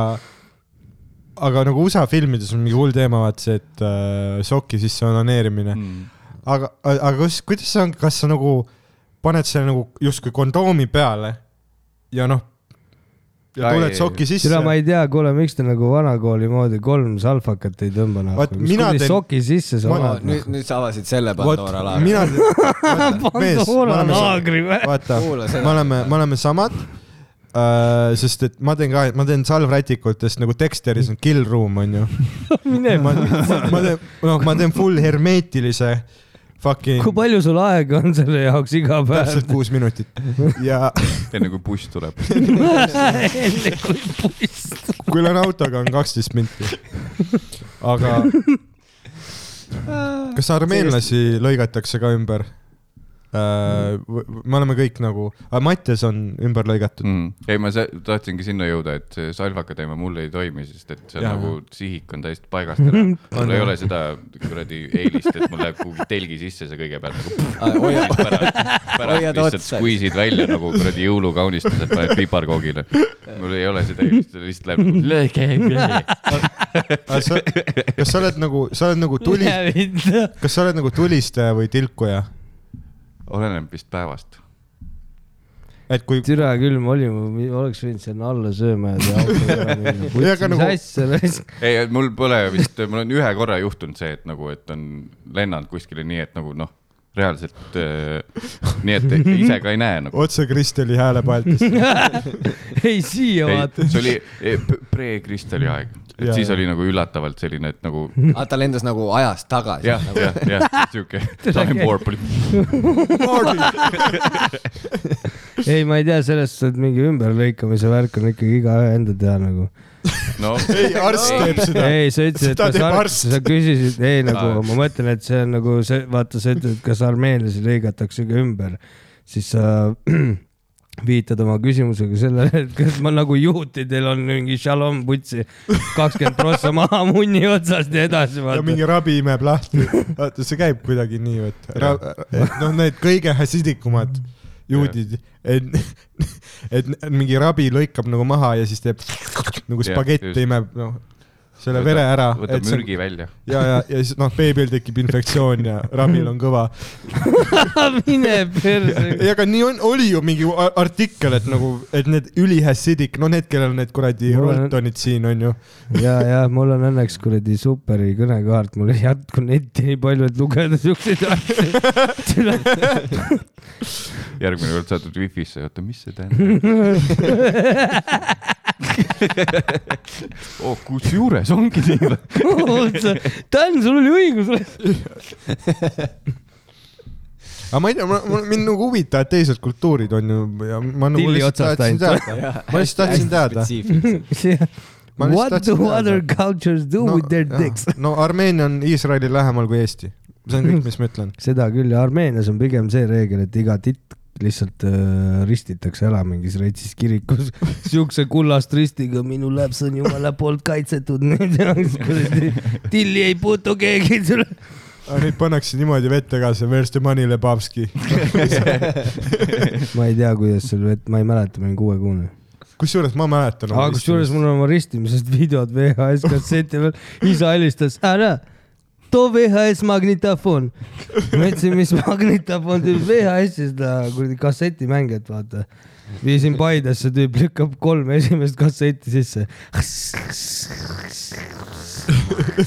Speaker 3: aga nagu USA filmides on mingi hull teema , vaat see , et äh, soki sisse onaneerimine mm. . aga , aga kus , kuidas see on , kas sa nagu paned selle nagu justkui kondoomi peale ja noh , ja
Speaker 1: Ai,
Speaker 3: tuled
Speaker 1: ei,
Speaker 3: soki sisse
Speaker 4: seda . ma ei tea , kuule , miks te nagu vanakooli moodi kolm salfakat ei tõmba
Speaker 3: Vaat
Speaker 4: nahku , mis
Speaker 3: mina
Speaker 4: kuradi
Speaker 3: teen-
Speaker 4: soki sisse sa
Speaker 3: Ma-
Speaker 4: paned
Speaker 2: Oh, nüüd , nüüd sa avasid selle
Speaker 3: vot
Speaker 2: Pandora laagri .
Speaker 3: mina ,
Speaker 4: nagu?
Speaker 3: mees , me
Speaker 4: Pandora
Speaker 3: oleme ,
Speaker 4: laagri või ?
Speaker 3: vaata
Speaker 2: Kuula seda.
Speaker 3: me oleme , me oleme samad äh, . sest et ma teen ka , ma teen salvrätikutest nagu Dexteris on kill room onju .
Speaker 4: mine
Speaker 3: ma , ma teen , noh , ma teen full hermeetilise fucking .
Speaker 4: kui palju sul aega on selle jaoks iga päev
Speaker 3: täpselt ? kuus minutit ja
Speaker 1: enne kui buss tuleb .
Speaker 4: enne kui poiss .
Speaker 3: kui lähen autoga on kaksteist minti . aga kas armeenlasi lõigatakse ka ümber äh, ? me oleme kõik nagu , Mattias on ümber lõigatud .
Speaker 1: mm. . ei , ma sa- tahtsingi sinna jõuda , et see salvakateema mul ei toimi , sest et see
Speaker 3: Jaa.
Speaker 1: ja, nagu sihik on täiesti paigast ära . mul ei ole seda kuradi eelist , et mul läheb kuhugi telgi sisse see kõigepealt nagu .
Speaker 2: hoiad ,
Speaker 1: pärast,
Speaker 2: Hoiad
Speaker 1: pärast lihtsalt
Speaker 2: otsa.
Speaker 1: squeeze'id välja nagu kuradi jõulukaunistused paned piparkoogile . mul ei ole seda eelist , see lihtsalt läheb nagu lõõge .
Speaker 3: kas Äh, sa oled nagu , sa oled nagu tuli , kas sa oled nagu tulistaja või tilkuja ?
Speaker 1: oleneb vist päevast .
Speaker 3: et kui ,
Speaker 4: türa küll , me olime , oleks võinud sinna alla sööma ja teha auto ära minna .
Speaker 3: Ei, aga
Speaker 4: mis
Speaker 3: nagu-
Speaker 4: asja raisk .
Speaker 1: ei , mul pole vist , mul on ühe korra juhtunud see , et nagu , et on lennanud kuskile nii , et nagu noh , reaalselt äh, nii , et ise ka ei näe nagu .
Speaker 3: otse Kristeli hääle paeltist .
Speaker 4: ei siia vaata
Speaker 1: ei , see oli eh, p- pre-Kristali aeg , et
Speaker 3: Jaa,
Speaker 1: siis
Speaker 3: jaa.
Speaker 1: oli nagu üllatavalt selline , et nagu
Speaker 2: aga ta lendas nagu ajas tagasi . Nagu-
Speaker 1: jah , jah , jah , siuke time warp oli .
Speaker 4: ei , ma ei tea , selles suhtes , et mingi ümberlõikamise värk on ikkagi igaühe enda teha nagu .
Speaker 1: no
Speaker 3: ei , arst teeb seda .
Speaker 4: ei , sa ütlesid , et
Speaker 3: Seda
Speaker 4: kas
Speaker 3: teeb
Speaker 4: arst ,
Speaker 3: arst.
Speaker 4: sa küsisid , ei nagu
Speaker 1: Aa.
Speaker 4: ma mõtlen , et see on nagu see , vaata , sa ütled , et kas armeenlasi lõigatakse ka ümber , siis sa viitad oma küsimusega sellele , et kas ma nagu juutidel on mingi šalom putsi kakskümmend prossa maha munni otsast ja edasi
Speaker 3: ja
Speaker 4: vaata .
Speaker 3: mingi rabi imeb lahti . vaata , see käib kuidagi nii , et ra- noh , need kõige häsidikumad juudid , et , et mingi rabi lõikab nagu maha ja siis teeb nagu
Speaker 1: Jah,
Speaker 3: spagetti
Speaker 1: just.
Speaker 3: imeb , noh , selle vere ära .
Speaker 1: võtab mürgi välja .
Speaker 3: ja , ja , ja siis noh , beebil tekib infektsioon ja rabil on kõva .
Speaker 4: mine perse .
Speaker 3: ei , aga nii on , oli ju mingi a- artikkel , et nagu , et need ülihässidik , no need , kellel need kuradi
Speaker 4: Mul on-
Speaker 3: Roltonid siin on ju .
Speaker 4: ja , ja mul on õnneks kuradi superi kõnekaart , mul ei jätku netti nii palju , et lugeda siukseid asju .
Speaker 1: järgmine kord satud wifi'sse , oota , mis see tähendab ? oh , kusjuures ongi nii või ?
Speaker 4: Dan , sul oli õigus .
Speaker 3: aga ma ei tea , mind nagu huvitavad teised kultuurid on ju ja ma nagu
Speaker 8: Tilli
Speaker 3: lihtsalt
Speaker 8: otsast
Speaker 3: tahtsin
Speaker 8: ainult.
Speaker 3: teada , ma lihtsalt tahtsin teada . Ma lihtsalt
Speaker 8: What
Speaker 3: tahtsin
Speaker 8: do
Speaker 3: teada.
Speaker 8: other cultures do with their dicks ?
Speaker 3: no Armeenia on Iisraelil lähemal kui Eesti , see on kõik , mis ma ütlen .
Speaker 4: seda küll ja Armeenias on pigem see reegel , et iga titt lihtsalt äh, ristitakse ära mingis retsis kirikus siukse kullast ristiga , minu laps on jumala poolt kaitsetud . tilli ei puutu keegi sulle .
Speaker 3: aga neid pannakse niimoodi vette ka , see Where's the money Lebavski .
Speaker 4: ma ei tea , kuidas seal , ma ei mäleta , ma olin kuuekuune .
Speaker 3: kusjuures ma mäletan .
Speaker 4: aga kusjuures mul on oma ristimisest videod VHS kasseti peal , isa helistas , ära too VHS magnetofon . ma ütlesin , mis magnetofon , tüüp VHS-i seda kuradi kassetimängijat , vaata . viisin Paidesse , tüüp lükkab kolm esimest kasseti sisse .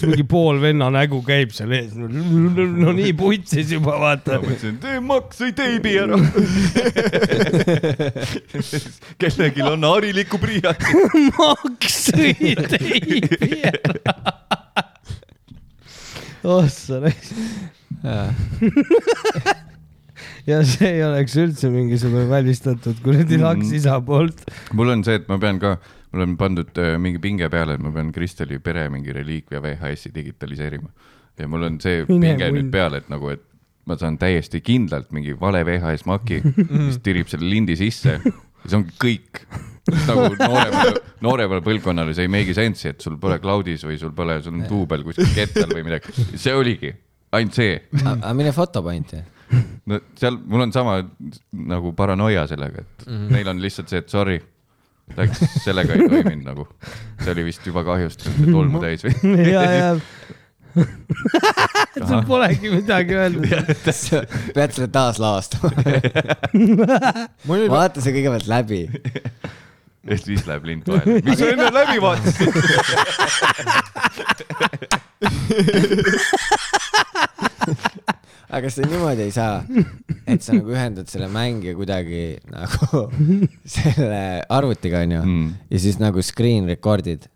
Speaker 4: mingi pool venna nägu käib seal ees , no nii putsis juba vaata .
Speaker 1: ma mõtlesin , tee maks või teibi ära . kellelgi on harilikku pliiat .
Speaker 4: maks sõi teibi ära . oh sa raisk . ja see ei oleks üldse mingisugune välistatud kuradi
Speaker 1: Mhm.
Speaker 4: laks isa poolt .
Speaker 1: mul on see , et ma pean ka , mul on pandud äh, mingi pinge peale , et ma pean Kristeli pere mingi reliikvia VHS-i digitaliseerima . ja mul on see
Speaker 4: Mine
Speaker 1: pinge
Speaker 4: munn.
Speaker 1: nüüd peal , et nagu , et ma saan täiesti kindlalt mingi vale VHS maki , mis tirib selle lindi sisse ja see ongi kõik . nagu nooremale , nooremale põlvkonnale see ei make'i sense'i , et sul pole cloud'is või sul pole , sul on duubel kuskil kettal või midagi , see oligi , ainult see
Speaker 2: aga Ah, mine foto panti .
Speaker 1: no seal mul on sama nagu paranoia sellega , et
Speaker 2: Mhm.
Speaker 1: mm -hmm. neil on lihtsalt see , et sorry , läks , sellega ei toiminud nagu . see oli vist juba kahjustatud ja tolmu täis või ?
Speaker 4: ja , ja . sul polegi midagi öelda .
Speaker 2: pead selle taaslaastama . vaata see kõigepealt läbi .
Speaker 1: ja siis läheb lind vahele . miks sa enne läbi vaatasid ?
Speaker 2: aga see niimoodi ei saa , et sa nagu ühendad selle mängija kuidagi nagu selle arvutiga , onju ,
Speaker 1: Mm.
Speaker 2: ja siis nagu screen record'id .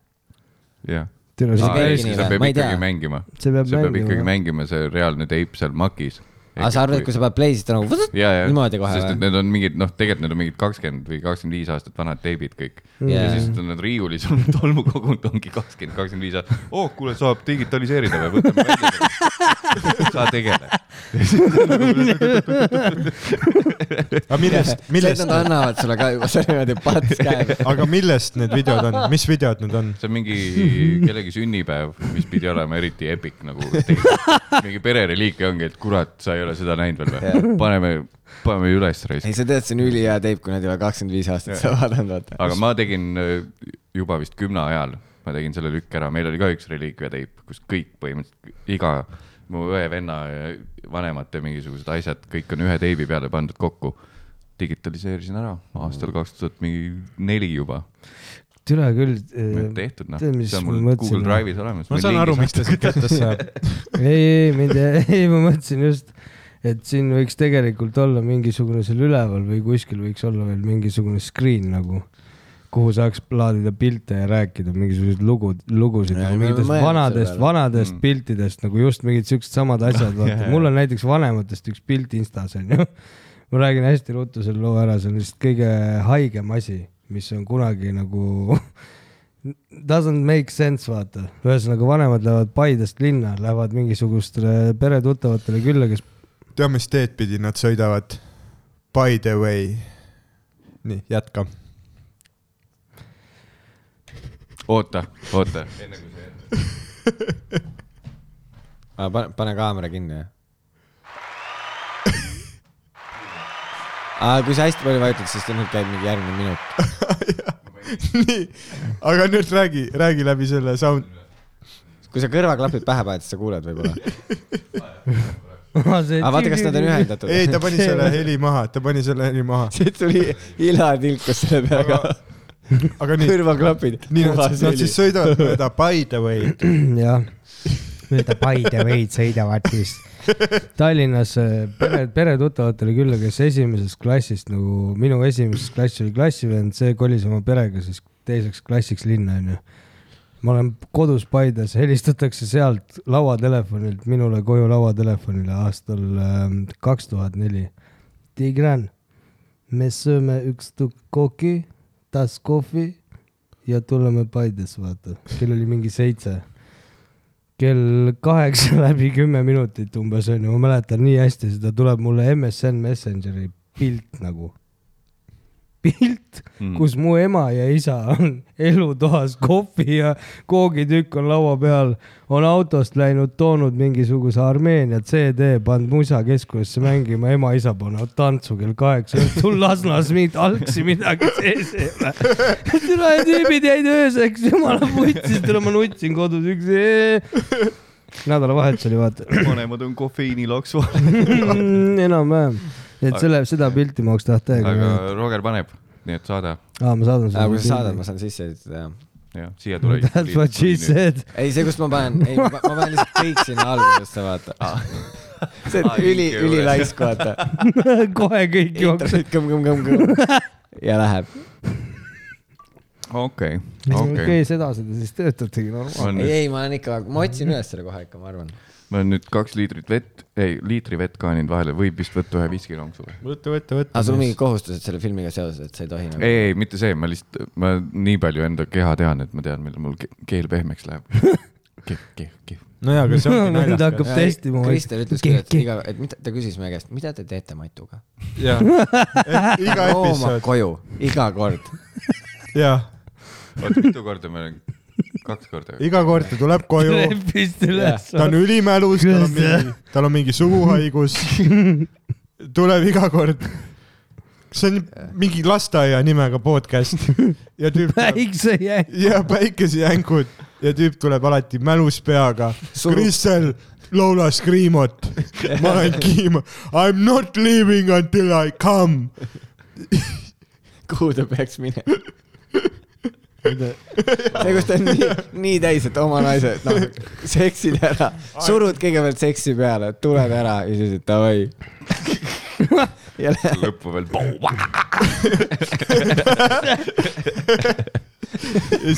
Speaker 1: Hmm, jah .
Speaker 4: tere ,
Speaker 2: see
Speaker 4: see
Speaker 2: Aa, ei,
Speaker 4: käis
Speaker 1: see
Speaker 2: see- niimoodi.
Speaker 1: peab
Speaker 2: Ma ei
Speaker 1: ikkagi
Speaker 2: tea.
Speaker 1: mängima .
Speaker 4: See peab
Speaker 1: see peab
Speaker 4: mängima,
Speaker 1: ikkagi
Speaker 4: jah.
Speaker 1: mängima , see reaalne teip seal makis .
Speaker 2: aga sa arvad , kui sa paned play , siis ta nagu võt-
Speaker 1: ja , ja ,
Speaker 2: niimoodi kohe
Speaker 1: sest et
Speaker 2: või ?
Speaker 1: need on mingid , noh , tegelikult need on mingid kakskümmend või kakskümmend viis aastat vanad teibid kõik yeah. . Mm. ja
Speaker 2: Jaa.
Speaker 1: siis on nad riiulis olnud tolmu kogunud , ongi kakskümmend , kakskümmend viis aastat . oo , kuule , saab digitaliseerida või , võtame välja . sa tegele .
Speaker 3: aga millest ,
Speaker 2: millest ?
Speaker 3: millest
Speaker 2: Nad , annavad sulle ka juba selle niimoodi pats käega .
Speaker 8: nagu-
Speaker 3: aga millest need videod on , mis videod need on ?
Speaker 1: see on mingi kellegi sünnipäev , mis pidi olema eriti epic nagu . mingi perereliik ongi , et kurat , sa ei ole seda näinud veel või ? paneme , paneme üles raisk
Speaker 2: ei , sa tead , see on ülihea teip , kui nad ei ole kakskümmend viis aastat seda vaadanud , vaata .
Speaker 1: aga ma tegin öö, juba vist kümne ajal , ma tegin selle lükk ära , meil oli ka üks reliikvia teip , kus kõik põhimõtteliselt iga mu õe , venna ja vanemate mingisugused asjad , kõik on ühe teibi peale pandud kokku . digitaliseerisin ära aastal kaks tuhat mingi neli juba ,
Speaker 4: tere küll . äh,
Speaker 1: tehtud noh ,
Speaker 4: tead, mis
Speaker 1: see on
Speaker 4: ma
Speaker 1: mul
Speaker 4: mõtlesin,
Speaker 1: Google
Speaker 4: või?
Speaker 1: Drive'is olemas .
Speaker 3: ma saan aru , miks ta siit kätte saab .
Speaker 4: ei , ei mind ei , ei ma mõtlesin just , et siin võiks tegelikult olla mingisugune seal üleval või kuskil võiks olla veel mingisugune screen nagu , kuhu saaks laadida pilte ja rääkida mingisuguseid lugu , lugusid
Speaker 2: Jaa,
Speaker 4: nagu
Speaker 2: me oleme
Speaker 4: mingitest
Speaker 2: mõelnud
Speaker 4: vanadest ,
Speaker 2: selle peale.
Speaker 4: vanadest mm. piltidest nagu just mingid siuksed samad asjad , vaata , mul on näiteks vanematest üks pilt Instas onju . ma räägin hästi ruttu selle loo ära , see on lihtsalt kõige haigem asi , mis on kunagi nagu doesn't make sense , vaata . ühesõnaga , vanemad lähevad Paidest linna , lähevad mingisugustele peretuttavatele külla , kes
Speaker 3: tea , mis teed pidi nad sõidavad ? By the way . nii , jätka .
Speaker 1: oota , oota , enne kui see
Speaker 2: pane , pane kaamera kinni . aga kui sa hästi palju vajutad , siis nüüd käib mingi järgmine minut .
Speaker 3: nii , aga nüüd räägi , räägi läbi selle sound .
Speaker 2: kui sa kõrvaklapid pähe paned , siis sa kuuled võib-olla . aga
Speaker 4: aga
Speaker 2: vaata , kas nad on . ühendatud .
Speaker 3: ei , ta pani selle heli maha , ta pani selle heli maha .
Speaker 2: siit tuli ila tilkus selle peaga .
Speaker 3: aga nii ,
Speaker 2: kõrvaklapid .
Speaker 3: nii nad, nad siis sõidavad mööda By the way .
Speaker 4: jah , mööda Paide veid sõidavad siis Tallinnas äh, pere , peretuttavatele külla , kes esimesest klassist nagu , minu esimesest klassist oli klassivend , see kolis oma perega siis teiseks klassiks linna onju . ma olen kodus Paides , helistatakse sealt lauatelefonilt minule koju lauatelefonile aastal ähm, kaks tuhat neli . Tigran , me sööme üks tükk koki , tass kohvi ja tuleme Paides , vaata . kell oli mingi seitse . kell kaheksa läbi kümme minutit umbes onju , ma mäletan nii hästi , seda tuleb mulle MSN Messengeri pilt nagu . pilt ,
Speaker 1: Mm.
Speaker 4: kus mu ema ja isa on elutoas , kohvi ja koogitükk on laua peal , on autost läinud , toonud mingisuguse Armeenia CD , pannud musa keskusesse mängima , ema-isa panevad tantsu kell kaheksa õhtul Lasnas mingit algsi midagi sees ei ole . türa tüübid jäid ööseks , jumala putsis , türa ma nutsin kodus üksi . nädalavahetus oli vaata
Speaker 1: vanemad on kofeiinilaksu all .
Speaker 4: enam-vähem , et selle , seda pilti ma oleks tahtnud täiega
Speaker 1: aga
Speaker 4: näha .
Speaker 1: Roger paneb , nii et saada ,
Speaker 4: aa , ma saadan sulle .
Speaker 2: aga kui sa saadad , ma saan sisse ehitada , jah .
Speaker 1: jah , siia tule .
Speaker 4: That's what she . said .
Speaker 2: ei , see , kust ma panen , ei , ma ma panen lihtsalt kõik sinna algusesse , vaata . see on
Speaker 1: Aa,
Speaker 2: üli
Speaker 1: link , ei
Speaker 2: üli
Speaker 1: ole.
Speaker 2: laisk , vaata .
Speaker 4: kohe kõik jooksid .
Speaker 2: kõmm-kõmm-kõmm-kõmm ja läheb .
Speaker 1: okei , okei .
Speaker 4: okei , sedasi te siis töötategi normaalselt .
Speaker 2: ei , ei , ma olen ikka , ma otsin üles selle kohe ikka , ma arvan .
Speaker 1: ma olen nüüd kaks liitrit vett , ei liitri vett kaaninud vahele , võib vist võtta ühe viskilonksu või ?
Speaker 3: võta , võta ,
Speaker 2: aga sul on
Speaker 3: võta
Speaker 2: mingid . kohustused selle filmiga seoses , et sa ei tohi nagu ?
Speaker 1: ei , ei mitte see , ma lihtsalt , ma nii palju enda keha tean , et ma tean , millal mul ke- keel pehmeks läheb . kehv , kehv , kehv .
Speaker 3: nojaa , aga see ongi
Speaker 4: nüüd hakkab
Speaker 3: naljakas .
Speaker 4: testima .
Speaker 2: Kristel ütles küll , et iga , et mida , ta küsis meie käest , mida te teete Matuga ?
Speaker 3: jah , Eh, iga
Speaker 2: looma
Speaker 3: episood ,
Speaker 2: koju , iga kord .
Speaker 3: jah ,
Speaker 1: oota , mitu korda ma olen , kaks korda või ?
Speaker 3: iga kord ta tuleb koju ,
Speaker 4: trepist üles .
Speaker 3: ta on ülimälus , tal on mingi , tal on mingi suguhaigus . tuleb iga kord . see on mingi lasteaia nimega podcast ja tüüp ,
Speaker 4: päikse jäi .
Speaker 3: ja päikesejänkud ja tüüp tuleb alati mälus peaga . Kristel , laula Screamot . ma olen kiima . I m not leaving until I come .
Speaker 2: kuhu ta peaks minema ? see , kus ta on nii , nii täis , et oma naise , noh , seksid ära , surud kõigepealt seksi peale , tuled ära ja siis , et davai . ja lähed ,
Speaker 1: lõppu veel .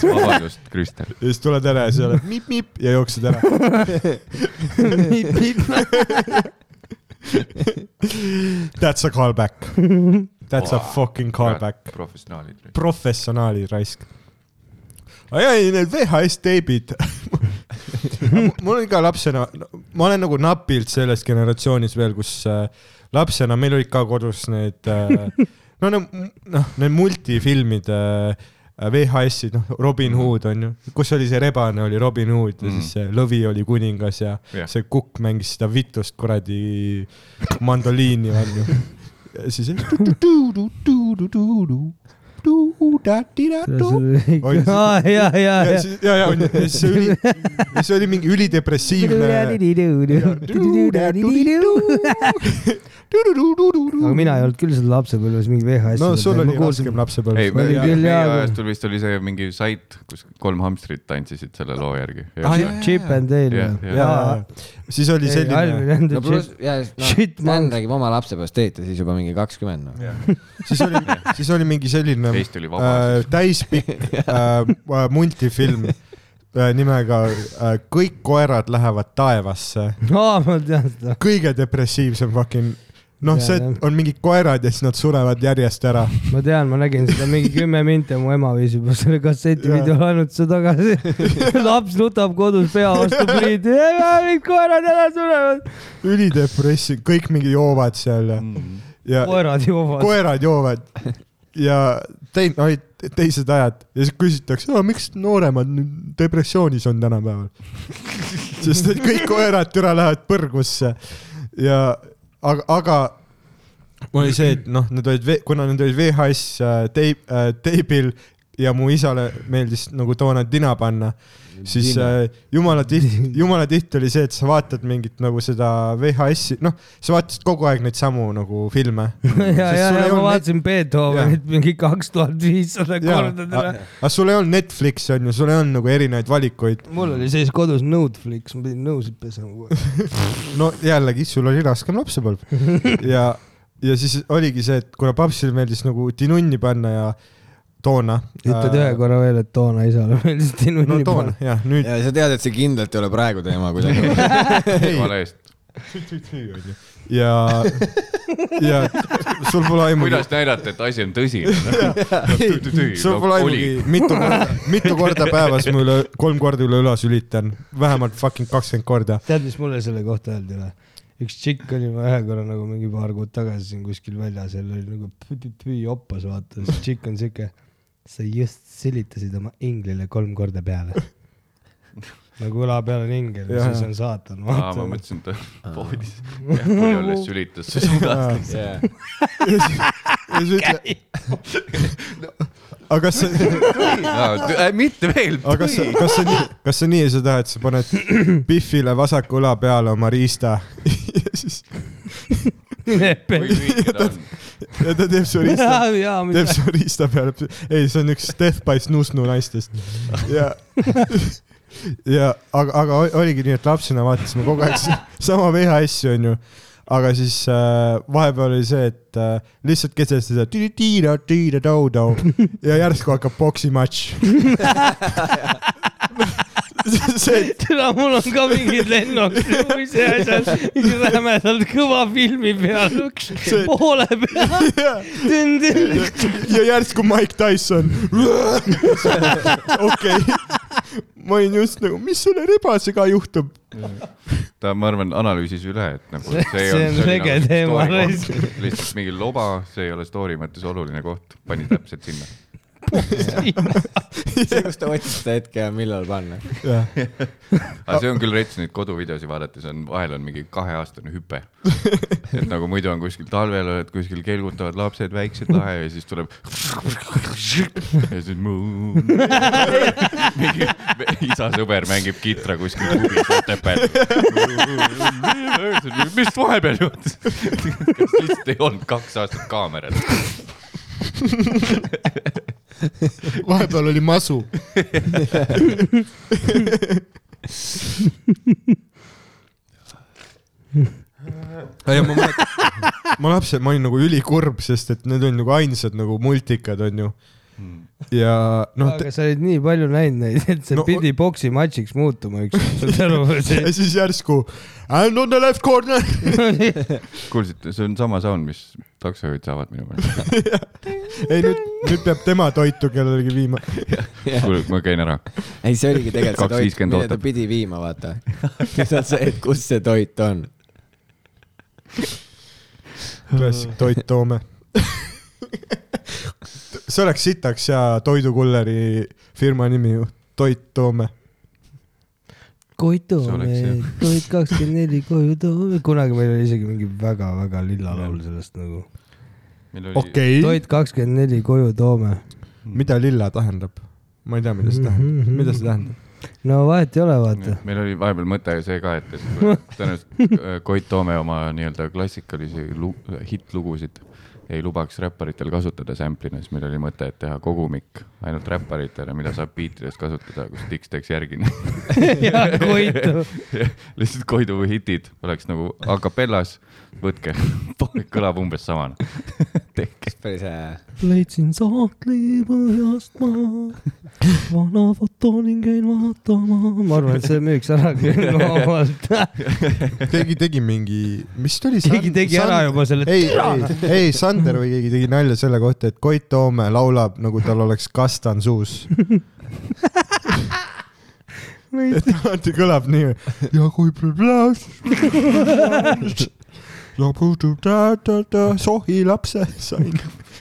Speaker 1: vabandust , Kristel .
Speaker 3: ja siis tuled ära ja siis oled mip-mip ja jooksed ära . That's a callback . That's a fucking callback .
Speaker 1: professionaalid .
Speaker 3: professionaali raisk . ai , ai , need VHS teibid . mul on ka lapsena , ma olen nagu napilt selles generatsioonis veel , kus äh, lapsena meil olid ka kodus need äh, , no need , noh , need multifilmid äh, , VHS-id , noh , Robin Hood on ju , kus oli see rebane oli Robin Hood ja siis see lõvi oli kuningas ja
Speaker 1: Jah.
Speaker 3: see kukk mängis seda vitust kuradi mandoliini on ju . ja siis . Oi, see-
Speaker 4: aa , ja , ja ,
Speaker 3: ja
Speaker 4: ja .
Speaker 3: siis , ja , ja , ja siis see oli , see oli mingi ülidepressiivne .
Speaker 4: aga mina ei olnud küll seal lapsepõlves mingi VHS-i .
Speaker 3: no sul oli raskem . lapsepõlves .
Speaker 1: ei ,
Speaker 4: ma olin küll
Speaker 1: meie
Speaker 4: jaa, aga-
Speaker 1: ajastul vist oli see mingi sait , kus kolm hamstrit tantsisid selle loo järgi .
Speaker 4: Ah, Chip and
Speaker 1: Jah,
Speaker 4: Dale .
Speaker 1: jah.
Speaker 4: jaa ,
Speaker 3: siis oli selline ,
Speaker 2: no pluss , ja siis ,
Speaker 4: Shit,
Speaker 2: noh , Dan
Speaker 4: man.
Speaker 2: räägib oma lapsepõlvest teete siis juba mingi kakskümmend , noh .
Speaker 3: siis oli , siis oli mingi selline
Speaker 1: Eesti oli vaba
Speaker 3: äh, täispikk äh, multifilm äh, nimega äh, Kõik koerad lähevad taevasse .
Speaker 4: aa , ma tean seda .
Speaker 3: kõige depressiivsem fucking , noh ,
Speaker 4: Jaa,
Speaker 3: see
Speaker 4: jah.
Speaker 3: on mingid koerad ja siis nad surevad järjest ära .
Speaker 4: ma tean , ma nägin seda mingi kümme minti ja mu ema viis juba selle kasseti
Speaker 3: Jaa.
Speaker 4: videol ainult seda tagasi . laps nutab kodus pea vastu pliidi , kõik koerad ära surevad .
Speaker 3: ülidepressi- , kõik mingi joovad seal ja ,
Speaker 1: mm. .
Speaker 3: ja
Speaker 4: koerad joovad .
Speaker 3: koerad joovad ja tein- , olid teised ajad ja siis küsitakse , miks nooremad nüüd depressioonis on tänapäeval . sest et kõik koerad türa lähevad põrgusse ja , aga , aga oli see , et noh , need olid , kuna need olid VHS äh, teip , teibil ja mu isale meeldis nagu toona dina panna , siis äh, jumala tihti , jumala tihti oli see , et sa vaatad mingit nagu seda VHS-i , noh , sa vaatasid kogu aeg neid samu nagu filme .
Speaker 4: ja , ja , ja ma vaatasin Beethovenit mingi kaks tuhat viissada
Speaker 3: Ah,
Speaker 4: korda täna .
Speaker 3: aga sul ei olnud Netflixi on ju , sul ei olnud nagu erinevaid valikuid .
Speaker 4: mul oli siis kodus Netflix , ma pidin nõusid pesema kogu
Speaker 3: Ah,
Speaker 4: aeg .
Speaker 3: no jällegi , sul oli raskem lapsepõlv ja , ja siis oligi see , et kuna papsile meeldis nagu tinunni panna ja toona .
Speaker 7: ütled ühe korra veel , et toona isale meeldis Tinu
Speaker 3: no toona , jah , nüüd .
Speaker 2: ja sa tead , et see kindlalt ei ole praegu teema kuidagi .
Speaker 1: vale eest .
Speaker 3: ja , ja sul pole aimugi
Speaker 1: kuidas näidata , et asi on tõsine ? Noh,
Speaker 3: sul pole aimugi , mitu korda , mitu korda päevas ma üle , kolm korda üle õla sülitan , vähemalt fucking kakskümmend korda .
Speaker 7: tead , mis mulle selle kohta öeldi või ? üks tšikk oli ma ühe korra nagu mingi paar kuud tagasi siin kuskil väljas ja oli nagu püü-püü-püü joppas vaata , siis tšikk on siuke . sa just silitasid oma inglile kolm korda peale . nagu õla peal on ingel ja
Speaker 3: Jah.
Speaker 7: siis on saatan ,
Speaker 1: aa ,
Speaker 7: vaata
Speaker 1: ma . mõtlesin , et ta poodis . jah , kui alles sülitas , siis ta
Speaker 3: ja siis ütle . aga kas see ,
Speaker 1: äh, . mitte veel .
Speaker 3: aga kas see , kas see nii , kas see nii ei saa teha , et sa paned Biffile vasaku õla peale oma riista ja siis ja ta teeb su riista ,
Speaker 7: jaa ,
Speaker 3: teeb su riista peale , ei , see on üks Death by Snusnu naistest ja , ja aga , aga o- oligi nii , et lapsena vaatasime kogu aeg s- sama veha asju , onju aga siis äh, vahepeal oli see , et äh, lihtsalt keset seda tiira-tiira-tau-tau ja järsku hakkab poksimatš . see , et
Speaker 4: täna mul on ka mingid lennukimise asjad , mingi rämedalt kõva filmi peal , üks
Speaker 3: See-
Speaker 4: poole peal ,
Speaker 3: ja,
Speaker 4: tünn-tünn .
Speaker 3: ja järsku Mike Tyson . okei , ma olin just nagu , mis selle rebasega juhtub ?
Speaker 1: ta , ma arvan , analüüsis üle , et nagu see,
Speaker 7: See on lege teema raisk. .
Speaker 1: lihtsalt mingi loba , see ei ole story mõttes oluline koht , pani täpselt sinna .
Speaker 2: see , kus ta otsis seda hetke ja millal panna .
Speaker 1: aga see on küll rets neid koduvideosi vaadates on , vahel on mingi kaheaastane hüpe . et nagu muidu on kuskil talvel oled kuskil kelgutavad lapsed , väiksed lahe ja siis tuleb . ja siis muu . mingi isa sõber mängib kitra kuskil klubis Otepääl . mis vahepeal juhtus ? lihtsalt ei olnud kaks aastat kaamerat .
Speaker 3: vahepeal oli masu . ja ma mäletan , ma lapsena , ma olin nagu ülikurb , sest et need olid nagu ainsad nagu multikad , onju . ja noh ,
Speaker 7: aga sa olid nii palju näinud neid , et see
Speaker 3: No-
Speaker 7: no, pidi boksi matšiks muutuma ükskord .
Speaker 3: ja siis järsku and on the left corner .
Speaker 1: kuulsite , see on sama sound , mis taksojuhid saavad minu meelest .
Speaker 3: ei nüüd , nüüd peab tema toitu kellelegi viima .
Speaker 1: kuule , ma käin ära .
Speaker 2: ei , see oligi tegelikult see
Speaker 1: 2.50
Speaker 2: toit , mille ta
Speaker 1: ootab.
Speaker 2: pidi viima , vaata . lihtsalt see , et kus see toit on .
Speaker 3: klassik Toit Toome . see oleks sitaks ja toidukulleri firma nimi ju , Toit Toome .
Speaker 7: Koit
Speaker 1: See
Speaker 7: toome
Speaker 1: oleks, jah. ,
Speaker 7: Koit kakskümmend neli koju toome , kunagi meil oli isegi mingi väga-väga lilla laul sellest nagu .
Speaker 1: okei .
Speaker 3: okei okay. ,
Speaker 7: Toit kakskümmend neli koju toome .
Speaker 3: mida lilla tähendab ? ma ei tea , mida see tähendab , mida see tähendab ?
Speaker 7: no vahet ei ole , vaata .
Speaker 1: meil oli vahepeal mõte see ka , et , et tõenäoliselt äh, Koit Toome oma nii-öelda klassikalisi lu- hittlugusid ei lubaks räpparitel kasutada sample'ina , siis meil oli mõte , et teha kogumik ainult räpparitele , mida saab biitides kasutada , kus Dix teeks järgi .
Speaker 4: ja Koitu .
Speaker 1: lihtsalt Koidu hitid oleks nagu a capellas , võtke , kõlab umbes samana . tehke .
Speaker 2: päris hea .
Speaker 4: leidsin sahtli põhjast maha , vana foto ning käin vaatama .
Speaker 7: ma arvan , et see müüks ära küll vabalt .
Speaker 3: keegi tegi mingi , mis ta oli ?
Speaker 4: keegi tegi ära juba selle .
Speaker 3: ei , ei , ei , Sander või keegi tegi nalja selle kohta , et Koit Toome laulab nagu tal oleks kastan suus . et alati kõlab nii . ja kui plõs- ja puudub ta-ta-ta sohi lapse sain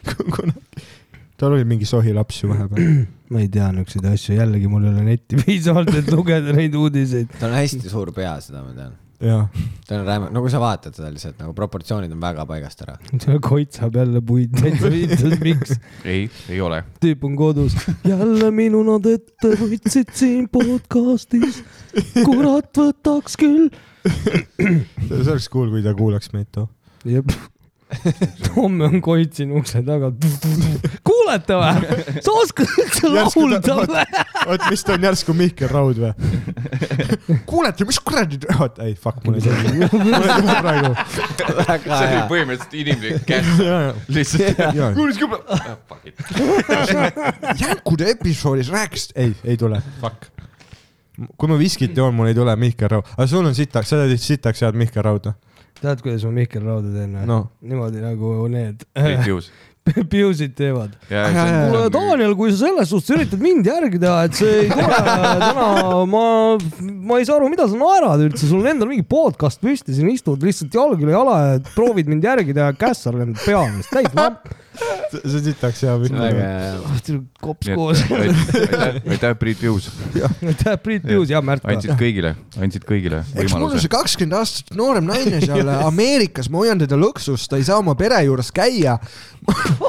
Speaker 3: kunagi . tal oli mingi sohi laps ju vahepeal .
Speaker 7: ma ei tea niisuguseid asju , jällegi mul ei ole netti piisavalt , et lugeda neid uudiseid .
Speaker 2: tal on hästi suur pea , seda ma tean .
Speaker 3: jah ,
Speaker 2: tal on räme , no kui sa vaatad seda lihtsalt nagu proportsioonid on väga paigast ära .
Speaker 7: Koit saab jälle puid täitsa viitas , miks ?
Speaker 1: ei , ei ole .
Speaker 7: tüüp on kodus .
Speaker 4: jälle minu nad ette võtsid siin podcastis . kurat , võtaks küll .
Speaker 3: see oleks cool , kui ta kuulaks meid too .
Speaker 7: jep . homme on Koit siin ukse taga .
Speaker 4: kuule , kuulata või ? sa oskad üldse
Speaker 3: Järsku ta-
Speaker 4: laulda või ?
Speaker 3: oot , mis ta on järsku Mihkel Raud või ? kuulete , mis kuradi , oot , ei fuck , mul ei tule , mul ei tule praegu .
Speaker 2: väga
Speaker 1: see oli
Speaker 2: hea .
Speaker 1: põhimõtteliselt inimlik käsk , lihtsalt
Speaker 3: Jaa.
Speaker 1: kuulis kümme , Ah, fuck it .
Speaker 3: jänkude episoodis rääkis , ei , ei tule , fuck . kui ma viskit joon , mul ei tule Mihkel Raud , aga sul on sitaks , sa teed sitaks head Mihkel Rauda .
Speaker 7: tead , kuidas ma Mihkel Rauda teen või
Speaker 3: No.
Speaker 7: niimoodi nagu need
Speaker 1: Priit Juus .
Speaker 7: Piusid teevad .
Speaker 1: kuule
Speaker 4: kuule , Daniel , kui sa selles suhtes üritad mind järgi teha , et see ei tule täna , ma , ma ei saa aru , mida sa naerad üldse , sul on endal mingi podcast püsti , siin istud lihtsalt jalg üle jala ja proovid mind järgi teha , käss on enda pea ees täis , ma ,
Speaker 3: see on sitaks hea Mihkel
Speaker 2: väga
Speaker 3: Raud .
Speaker 2: hea .
Speaker 7: Ah,
Speaker 4: kops koos .
Speaker 1: aitäh , aitäh , Priit Juus ,
Speaker 4: aitäh , Priit Pius ja Märt ka .
Speaker 1: andsid kõigile , andsid kõigile
Speaker 3: eks mul on
Speaker 1: võimaluse
Speaker 3: see . kakskümmend aastat noorem naine seal Ameerikas , ma hoian teda lõksus , ta ei saa oma pere juures käia .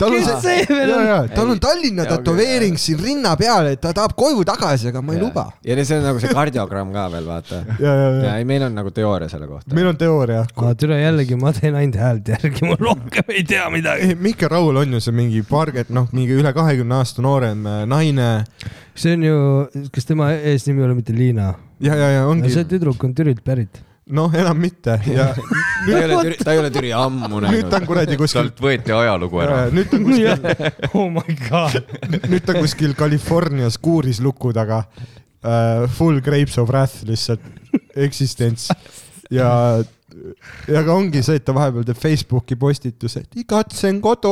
Speaker 3: tal on
Speaker 4: kes
Speaker 3: see ,
Speaker 4: see veel on ?
Speaker 3: tal on Tallinna tätoveering siin rinna peal , et ta tahab koju tagasi , aga ma ei luba .
Speaker 2: ja see on nagu see kardiogramm ka veel , vaata .
Speaker 3: ja ,
Speaker 2: ja ei , meil on nagu teooria selle kohta .
Speaker 3: meil on teooria .
Speaker 7: aga Ah, türa jällegi , ma teen ainult häält järgi , ma rohkem ei tea midagi .
Speaker 3: Mihkel Raul on ju see mingi paarkümmend , noh , mingi üle kahekümne aasta noorem äh, naine
Speaker 7: see on ju , kas tema eesnimi ei ole mitte Liina ?
Speaker 3: ja , ja , ja ongi
Speaker 7: see , tüdruk on Türilt pärit .
Speaker 3: noh , enam mitte ja
Speaker 2: ta ei ole Türi , ta ei ole Türi ammu
Speaker 3: nüüd
Speaker 2: näinud
Speaker 3: ta on . kuradi kuskil ,
Speaker 1: talt võeti ajalugu ära .
Speaker 3: nüüd ta on kuskil ,
Speaker 7: oh my god .
Speaker 3: nüüd ta on kuskil Californias kuuris luku taga uh, . Full grapes of wrath lihtsalt , eksistents ja , ja ka ongi see , et ta vahepeal teeb Facebooki postituse , et igatsen kodu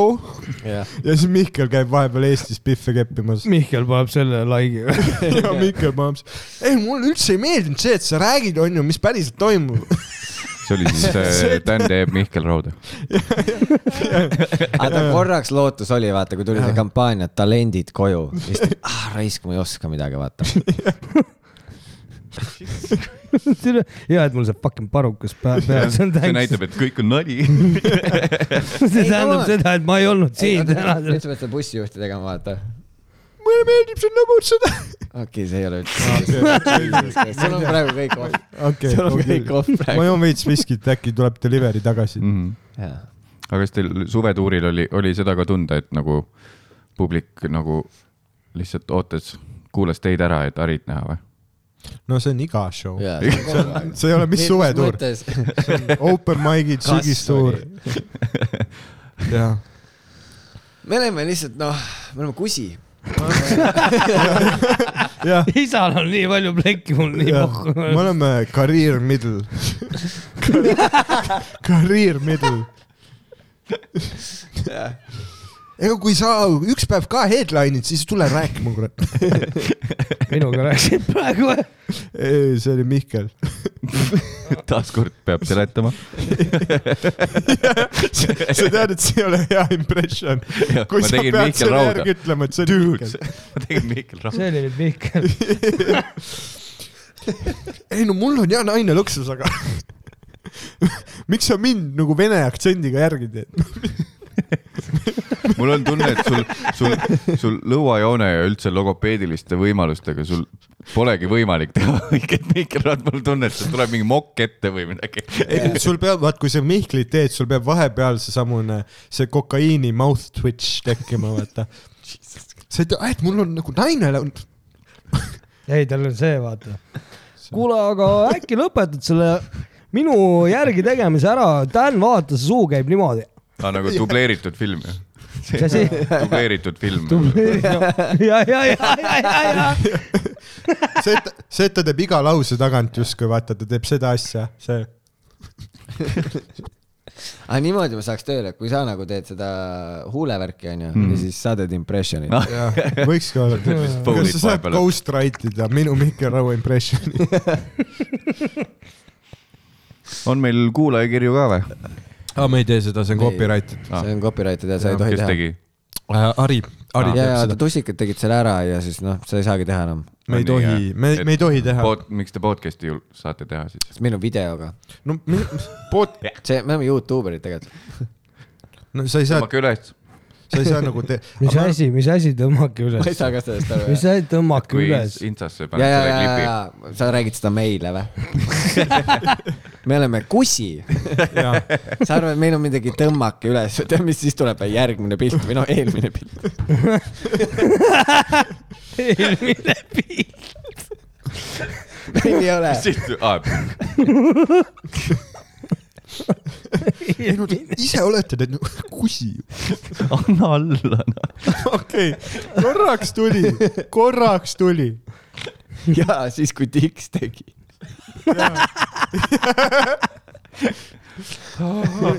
Speaker 3: ja siis Mihkel käib vahepeal Eestis pihve keppimas .
Speaker 7: Mihkel paneb selle like'i .
Speaker 3: ja Mihkel Palms , ei mulle üldse ei meeldinud see , et sa räägid , onju , mis päriselt toimub .
Speaker 1: see oli siis äh, Dan teeb Mihkel Rauda .
Speaker 2: aga ta korraks lootus oli , vaata , kui tuli see kampaania Talendid koju , siis ta , ah raisk , ma ei oska midagi , vaata .
Speaker 7: hea , et mul see fucking parukas pähe peal , see on
Speaker 1: see
Speaker 7: täitsa
Speaker 1: näitab , et kõik on nali .
Speaker 7: see
Speaker 2: Ei,
Speaker 7: tähendab
Speaker 2: come on.
Speaker 7: seda , et ma ei olnud siin täna .
Speaker 2: nüüd sa pead seda bussijuhti tegema , vaata .
Speaker 3: mulle meeldib sind lõbutseda .
Speaker 2: okei , see ei ole üldse . sul on praegu kõik off ,
Speaker 3: okei ,
Speaker 2: sul on nagu kõik
Speaker 3: okei .
Speaker 2: off
Speaker 3: ma
Speaker 2: praegu .
Speaker 3: joon veits viskit , äkki tuleb delivery tagasi .
Speaker 1: Mm. Mhm. aga kas teil suvetuuril oli , oli seda ka tunda , et nagu publik nagu lihtsalt ootas , kuulas teid ära , et Arit näha või ?
Speaker 3: no see on iga show .
Speaker 2: jaa , see on kogu aeg .
Speaker 3: see ei ole , mis suvetuur , open mic'id ,
Speaker 2: Kas
Speaker 3: sügistuur . jah ,
Speaker 2: me oleme lihtsalt noh , me oleme kusi .
Speaker 3: jah ,
Speaker 4: isal on nii palju plekki , mul nii
Speaker 3: jah ,
Speaker 4: pohhu .
Speaker 3: me oleme career middle . Career middle . ega kui sa üks päev ka headline'id , siis tule rääkima , kurat .
Speaker 7: minuga rääkisid praegu .
Speaker 3: ei , see oli Mihkel .
Speaker 1: taaskord peab seletama .
Speaker 3: sa tead , et see ei ole hea impression . kui
Speaker 1: ma
Speaker 3: sa
Speaker 1: tegin
Speaker 3: pead
Speaker 1: Mihkel
Speaker 3: selle
Speaker 1: Rauda
Speaker 3: järgi . ütlema , et see on Mihkel .
Speaker 1: ma tegin Mihkel Rauda .
Speaker 7: see oli nüüd Mihkel .
Speaker 3: ei no mul on hea naine lõksus , aga miks sa mind nagu vene aktsendiga järgi teed ?
Speaker 1: mul on tunne , et sul , sul , sul lõuajoone ja üldse logopeediliste võimalustega , sul polegi võimalik teha õiget mikrot , mul on tunne , et sul tuleb mingi mokk ette või midagi .
Speaker 3: sul peab , vaat kui sa Mihklit teed , sul peab vahepeal seesamune , see kokaiini mouth twitch tekkima , vaata . sa ei tea , et mul on nagu naine lä-
Speaker 7: ei , tal on see , vaata . kuule , aga äkki lõpetad selle minu järgi tegemise ära , Dan , vaata , see suu käib niimoodi .
Speaker 1: aa , nagu dubleeritud film ju .
Speaker 7: ja ,
Speaker 1: dubleeritud film .
Speaker 7: ja , ja , ja , ja , ja ,
Speaker 3: see , et , see , et ta teeb iga lause tagant justkui vaata , ta teeb seda asja , see .
Speaker 2: aga niimoodi ma saaks tööle , kui sa nagu teed seda huulevärki , onju , ja siis sa teed impression'i .
Speaker 1: Ah.
Speaker 3: võiks ka olla . kas sa saad
Speaker 1: vahepeal ,
Speaker 3: ghost write ida minu Mihkel Raua impression'i ?
Speaker 1: on meil kuulajakirju ka või ?
Speaker 3: aa , Ah, me ei tee seda , see on
Speaker 2: Ei.
Speaker 3: copyrighted .
Speaker 2: see on copyrighted ja sa ei tohi
Speaker 1: kes
Speaker 2: teha .
Speaker 1: tegi ?
Speaker 3: Ari , Ari
Speaker 2: ja ,
Speaker 3: teeb
Speaker 2: ja
Speaker 3: seda .
Speaker 2: tussikad tegid selle ära ja siis noh , sa ei saagi teha enam .
Speaker 3: me
Speaker 1: On
Speaker 3: ei
Speaker 1: nii,
Speaker 3: tohi , me
Speaker 1: et ,
Speaker 3: me ei tohi teha .
Speaker 1: Pod- , miks te podcast'i ju saate teha siis ?
Speaker 2: sest meil on videoga .
Speaker 3: no , pod ,
Speaker 2: see , me oleme Youtuberid tegelikult .
Speaker 3: no sa ei saa
Speaker 1: tõmmake üles .
Speaker 3: sa ei saa nagu te- .
Speaker 4: mis asi , mis asi tõmmake
Speaker 2: ma ei
Speaker 4: üles ?
Speaker 2: saa ka sellest aru .
Speaker 4: mis asi tõmmake
Speaker 1: kui
Speaker 4: üles ?
Speaker 1: Instasse
Speaker 2: ja ,
Speaker 1: paned
Speaker 2: ja ,
Speaker 1: selle
Speaker 2: ja ,
Speaker 1: klipi .
Speaker 2: ja , sa räägid seda meile või ? me oleme kusi . sa arvad , meil on midagi tõmmake üles , tead , mis siis tuleb järgmine pilt või noh , eelmine pilt .
Speaker 4: eelmine pilt .
Speaker 2: ei ole .
Speaker 1: siit , aa ,
Speaker 3: ise olete te kusi .
Speaker 9: anna alla no. .
Speaker 2: noh.
Speaker 3: okei , korraks tuli , korraks tuli .
Speaker 2: ja siis , kui Dix tegi .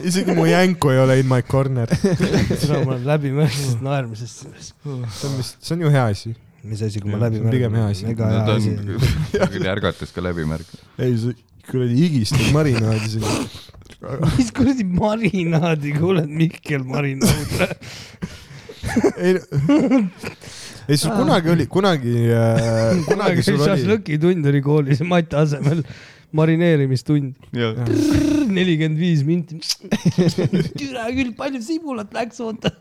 Speaker 3: isegi mu jänku ei ole in my corner .
Speaker 4: seda ma olen läbi mõelnud naermisest selles .
Speaker 3: see on vist , see on ju hea asi .
Speaker 4: Mm. mis asi , kui ma
Speaker 3: Jah,
Speaker 4: läbi
Speaker 3: see on pigem hea asi.
Speaker 4: ega
Speaker 1: no
Speaker 4: hea
Speaker 1: ta
Speaker 4: asi .
Speaker 1: on küll ärgates ka läbi märkinud .
Speaker 3: ei , see kuradi higistab marinaadi siin .
Speaker 4: mis kuradi marinaadi , kuuled Mihkel marinaad .
Speaker 3: ei , ei sul kunagi oli , kunagi äh, , kunagi sul oli .
Speaker 4: šašlõkitund oli koolis Mati asemel , marineerimistund . nelikümmend viis minti . türa küll , palju sibulat läks , oota .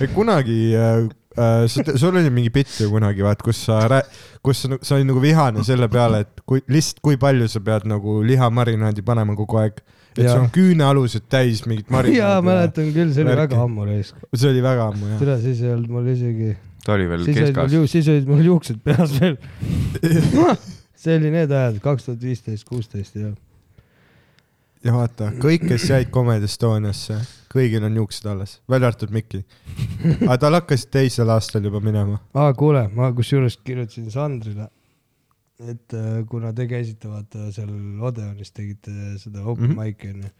Speaker 3: Ei, kunagi äh, , äh, sa- sul oli mingi bitt ju kunagi , vaat , kus sa rää- , kus sa, nagu- sa olid nagu vihane selle peale , et kui lihtsalt , kui palju sa pead nagu lihamarinaadi panema kogu aeg . et sul
Speaker 4: Jaa.
Speaker 3: on küünealused täis mingit
Speaker 4: jaa ,
Speaker 3: marinaadi .
Speaker 4: mäletan küll , see oli
Speaker 3: Värki.
Speaker 4: väga ammu raisk .
Speaker 3: see oli väga ammu jah .
Speaker 4: türa , siis ei olnud mul isegi ,
Speaker 1: ta oli veel
Speaker 4: siis olid mul
Speaker 1: keskas .
Speaker 4: ju- , siis olid mul juuksed peas veel . see oli need ajad , kaks tuhat viisteist , kuusteist ja .
Speaker 3: ja vaata , kõik , kes jäid Comedy Estoniasse , kõigil on juuksed alles , välja arvatud Mikki . aga tal hakkasid teisel aastal juba minema .
Speaker 4: aa , kuule , ma kusjuures kirjutasin Sandrile , et äh, kuna te käisite vaata seal Odeonis tegite seda open mm
Speaker 3: Mhm.
Speaker 4: -hmm. mic'i onju ,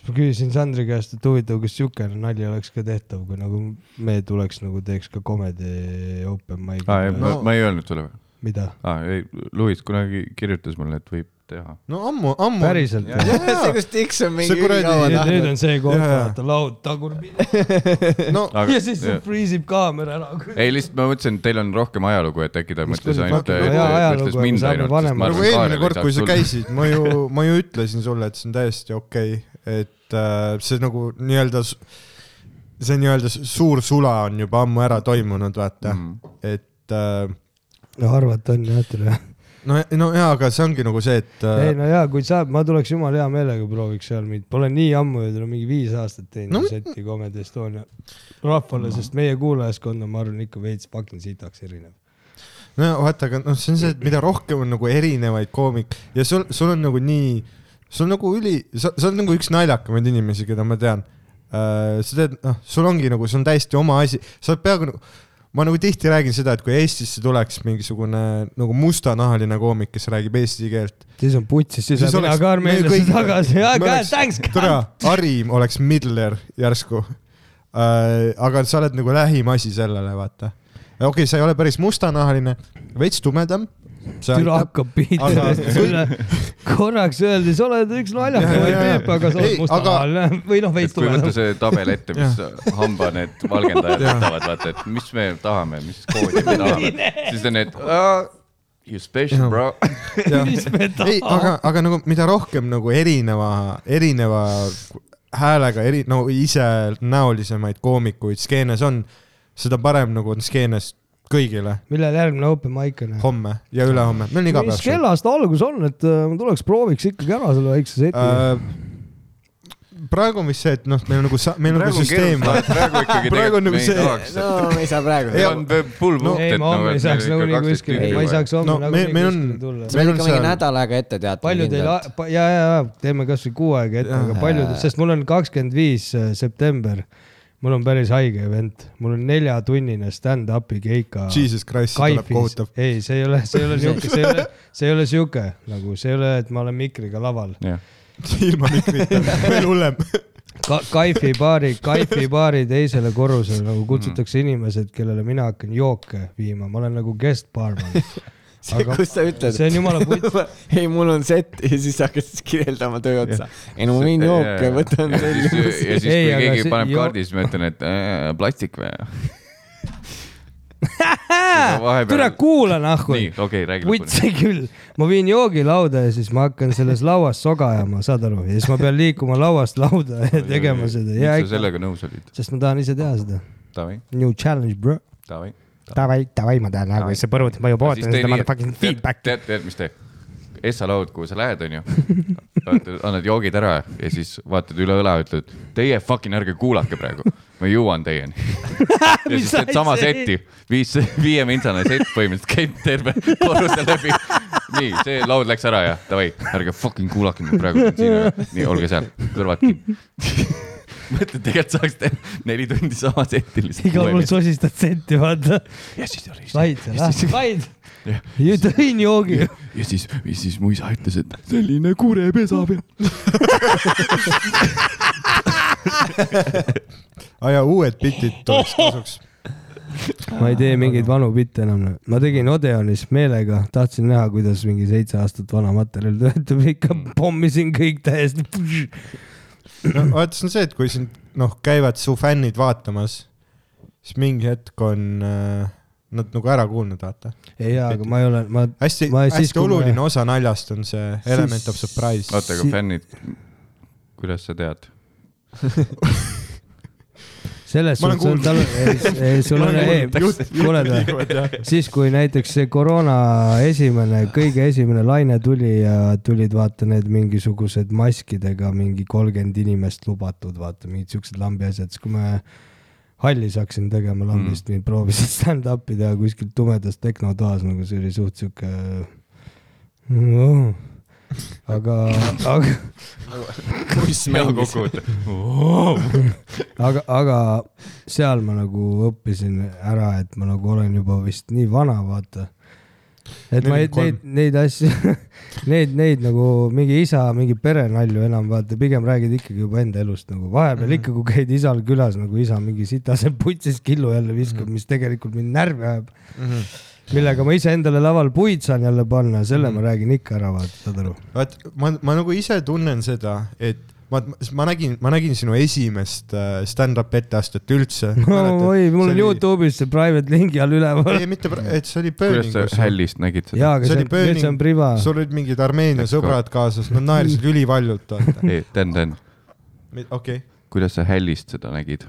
Speaker 4: siis ma küsisin Sandri käest , et huvitav , kas siukene nali oleks ka tehtav , kui nagu me tuleks nagu teeks ka comedy open
Speaker 1: aa , Ah, ei ,
Speaker 4: mic'i
Speaker 1: ma , ma ei öelnud sulle .
Speaker 4: mida ?
Speaker 1: aa , ei , Luis kunagi kirjutas mulle , et võib teha .
Speaker 3: no ammu , ammu .
Speaker 4: päriselt või ?
Speaker 2: see , kus Dix on mingi
Speaker 3: See kuradi-
Speaker 2: ülikaua
Speaker 4: Ja nüüd
Speaker 2: tahtnud .
Speaker 4: on see koht ,
Speaker 3: Jaa, jaa.
Speaker 4: vaata laud tagurpidi
Speaker 3: no
Speaker 1: Aga,
Speaker 4: ja siis see freeze ib kaamera ära .
Speaker 1: ei , lihtsalt ma mõtlesin , et teil on rohkem ajalugu , et äkki ta
Speaker 4: Mis
Speaker 1: mõtles
Speaker 4: kuradi
Speaker 1: ainult ,
Speaker 4: fucking-
Speaker 1: mõtles
Speaker 4: jaa, ajalugu,
Speaker 1: mõtles
Speaker 4: aga
Speaker 1: mind
Speaker 4: saame
Speaker 1: ainult , sest
Speaker 4: vanemaks.
Speaker 1: ma
Speaker 3: nagu
Speaker 1: arvan , et
Speaker 3: eelmine
Speaker 1: Kaarel
Speaker 3: kord , kui
Speaker 1: ei
Speaker 3: sa
Speaker 1: saaks tulla .
Speaker 3: käisid , ma ju , ma ju ütlesin sulle , et see on täiesti okei okay, , et äh, see nagu nii-öelda , see nii-öelda s- suur sula on juba ammu ära toimunud , vaata mm ,
Speaker 1: Mhm.
Speaker 3: -hmm. et äh,
Speaker 4: no arvata on jah , tere .
Speaker 3: no , no jaa , aga see ongi nagu see , et
Speaker 4: ei
Speaker 3: äh,
Speaker 4: no jaa , kui saab , ma tuleks jumala hea meelega prooviks seal mind , pole nii ammu ju , mingi viis aastat teinud
Speaker 3: No
Speaker 4: no,
Speaker 3: mi-
Speaker 4: seti Comedy Estonia rahvale no. , sest meie kuulajaskond on , ma arvan , ikka veits fucking sitaks erinev .
Speaker 3: no vaata , aga noh , see on see , et mida rohkem on nagu erinevaid koomik- ja sul , sul on nagu nii , sul on nagu üli , sa , sa oled nagu üks naljakamaid inimesi , keda ma tean äh, . sa tead , noh , sul ongi nagu , see on täiesti oma asi , sa oled peaaegu nagu ma nagu tihti räägin seda , et kui Eestisse tuleks mingisugune nagu mustanahaline koomik , kes räägib eesti keelt .
Speaker 4: siis on putsis , siis lähen mina ka Armeeniasse tagasi , aga thanks
Speaker 3: tere
Speaker 4: God .,
Speaker 3: Arim oleks Midler järsku äh, . aga sa oled nagu lähim asi sellele , vaata . okei okay, , sa ei ole päris mustanahaline , veits tumedam .
Speaker 4: türa hakkab pihta
Speaker 3: Aga-
Speaker 4: üle . korraks öeldi , sa oled üks
Speaker 3: Jaa,
Speaker 4: naljakamaid
Speaker 3: jaa, jaa.
Speaker 4: Peep , aga sa
Speaker 3: Ei,
Speaker 4: oled mustanahaline või noh ,
Speaker 1: et
Speaker 4: veits
Speaker 1: kui võtta
Speaker 4: tumedam .
Speaker 1: see tabel ette , mis hamba need valgendajad võtavad , vaata , et mis me tahame , mis koodi me tahame , siis on need uh, you special
Speaker 3: Jah.
Speaker 1: bro .
Speaker 4: Nagu mis me
Speaker 3: ei ,
Speaker 4: tahame
Speaker 3: aga , aga nagu mida rohkem nagu erineva , erineva häälega , eri , no isenäolisemaid koomikuid skeenes on , seda parem nagu on skeenes kõigile
Speaker 4: millal järgmine open mic on ?
Speaker 3: homme ja ülehomme , meil on iga päev
Speaker 4: mis . kellast algus on , et äh, ma tuleks prooviks ikkagi ära selle väikse seti
Speaker 3: Äh,
Speaker 4: uh, .
Speaker 3: praegu on vist see , et noh , meil on nagu , meil on nagu süsteem .
Speaker 1: praegu ikkagi
Speaker 3: Praegu on
Speaker 1: tegelikult
Speaker 3: nagu
Speaker 1: me ei
Speaker 3: see-
Speaker 1: tahaks ,
Speaker 2: no me ei saa praegu .
Speaker 1: et on full
Speaker 3: No-
Speaker 1: booked ,
Speaker 4: ei ,
Speaker 1: et
Speaker 4: ma homme ei saaks nagunii kuskile , ma ei saaks homme
Speaker 3: No me-
Speaker 4: nagunii
Speaker 3: meil on-
Speaker 4: kuskile tulla .
Speaker 2: sa
Speaker 3: meil
Speaker 2: pead
Speaker 3: on
Speaker 2: ikka mingi
Speaker 3: seal-
Speaker 2: nädal aega ette teatama .
Speaker 4: palju teil , ja , ja , ja teeme kasvõi kuu aega ette , aga palju , sest mul on kakskümmend viis äh, september . mul on päris haige event , mul on neljatunnine stand-up'i keika .
Speaker 3: Jesus Christ , see tuleb
Speaker 4: kaifis
Speaker 3: kohutav .,
Speaker 4: ei , see ei ole , see ei ole siuke , see ei ole , see ei ole siuke nagu , see ei ole , et ma olen mikriga laval .
Speaker 3: ilma mikrita , veel hullem .
Speaker 4: Ka- , Kaifi baari , Kaifi baari teisele korrusele nagu kutsutakse inimesed , kellele mina hakkan jooke viima , ma olen nagu guest barman .
Speaker 2: see ,
Speaker 4: Aga-
Speaker 2: kus sa ütled ,
Speaker 4: see on jumala putt .
Speaker 2: ei , mul on set ja siis sa hakkad siis kirjeldama töö otsa . ei no ma võin jooke , võtan
Speaker 1: veel .
Speaker 2: selle .
Speaker 1: ja siis ,
Speaker 4: Ei,
Speaker 1: kui
Speaker 4: aga
Speaker 1: keegi
Speaker 4: see-
Speaker 1: paneb
Speaker 4: joo-
Speaker 1: kaardi , siis ma ütlen , et äh, plastik või ? vahepeal-
Speaker 4: türa kuula nahku .
Speaker 1: nii , okei , räägi lõpuni .
Speaker 4: võtse küll , ma viin joogilauda ja siis ma hakkan selles lauas soga ajama , saad aru , ja siis ma pean liikuma lauast lauda ja tegema seda ja
Speaker 1: miks sa
Speaker 4: ikka ,
Speaker 1: sellega nõus olid ?
Speaker 4: sest ma tahan ise teha seda .
Speaker 1: Davai ,
Speaker 4: New challenge , bro .
Speaker 1: davai .
Speaker 10: davai , davai , ma tean nagu , see põrut , ma juba ootan seda motherfucking feedback'i .
Speaker 1: tead , tead , mis tee ? Essa laud , kuhu sa lähed , onju . annad joogid ära ja siis vaatad üle õla , ütled , teie fucking ärge kuulake praegu , ma jõuan teieni . ja siis teed sama seti , viis , viie mintsane sett põhimõtteliselt käib terve korruse läbi . nii , see laud läks ära ja davai , ärge fucking kuulake mind praegu siin ära . nii , olge seal , kõrvad kinni . mõtled , tegelikult saaks teha neli tundi sama setti
Speaker 4: igal pool
Speaker 1: lihtsalt .
Speaker 4: sosistad senti , vaata .
Speaker 1: ja siis oli
Speaker 4: vaid seal , ah , vaid
Speaker 1: Jah. .
Speaker 4: ju tõin joogi .
Speaker 1: ja siis , ja siis mu isa ütles , et selline kurepesa peab .
Speaker 3: aa Ah, jaa , uued bitid tuleks kasuks .
Speaker 4: ma ei tee mingeid vanu bitte enam . ma tegin Odeonis meelega , tahtsin näha , kuidas mingi seitse aastat vana materjal töötab , ikka pommisin kõik täiesti .
Speaker 3: no vaata , see on see , et kui sind noh , käivad su fännid vaatamas , siis mingi hetk on äh, nad nagu ära kuulnud , vaata .
Speaker 4: ei , aga ma ei ole , ma
Speaker 3: hästi ,
Speaker 4: Ma- siis,
Speaker 3: hästi
Speaker 4: kui me-
Speaker 3: oluline osa naljast on see element of surprise .
Speaker 1: oota , aga
Speaker 4: Si-
Speaker 1: fännid , kuidas sa tead ?
Speaker 4: selles
Speaker 3: Ma olen
Speaker 4: suhtes on tal , ei , sul on , ei , kuule ta , siis kui näiteks see koroona esimene , kõige esimene laine tuli ja tulid vaata need mingisugused maskidega mingi kolmkümmend inimest lubatud , vaata mingid siuksed lambi asjad , siis kui me hallis hakkasin tegema lambist mm. , proovisin stand-up'i teha kuskil tumedas tehnotoas , nagu see oli suht siuke no. . aga , aga
Speaker 1: hea kokkuvõte .
Speaker 4: aga , aga seal ma nagu õppisin ära , et ma nagu olen juba vist nii vana , vaata . et ma ei, neid , neid asju , neid , neid nagu mingi isa , mingi perenalju enam vaata , pigem räägid ikkagi juba enda elust nagu
Speaker 3: Mhm.
Speaker 4: vahepeal ikka , kui käid isal külas nagu isa mingi sitase putsis killu jälle
Speaker 3: Mhm.
Speaker 4: viskab , mis tegelikult mind närvi ajab . millega ma iseendale laval puid saan jälle panna , selle
Speaker 3: Mhm.
Speaker 4: ma räägin ikka ära , vaata , saad aru .
Speaker 3: vaat ma , ma nagu ise tunnen seda , et ma , ma nägin , ma nägin sinu esimest äh, stand-up etteastet üldse .
Speaker 4: oi , mul on . Youtube'is see private lingi all üleval
Speaker 3: ei , mitte , et see oli
Speaker 1: kuidas sa
Speaker 3: pööringus .
Speaker 1: hällist nägid seda ?
Speaker 4: jaa , aga
Speaker 3: see
Speaker 4: see
Speaker 3: oli
Speaker 4: on , nüüd see
Speaker 3: Burning-
Speaker 4: on priva .
Speaker 3: sul olid mingid Armeenia sõbrad kaasas , nad naersid ülivaljult , vaata .
Speaker 1: ei , Dan , Dan ,
Speaker 3: okei ,
Speaker 1: kuidas sa hällist seda nägid ?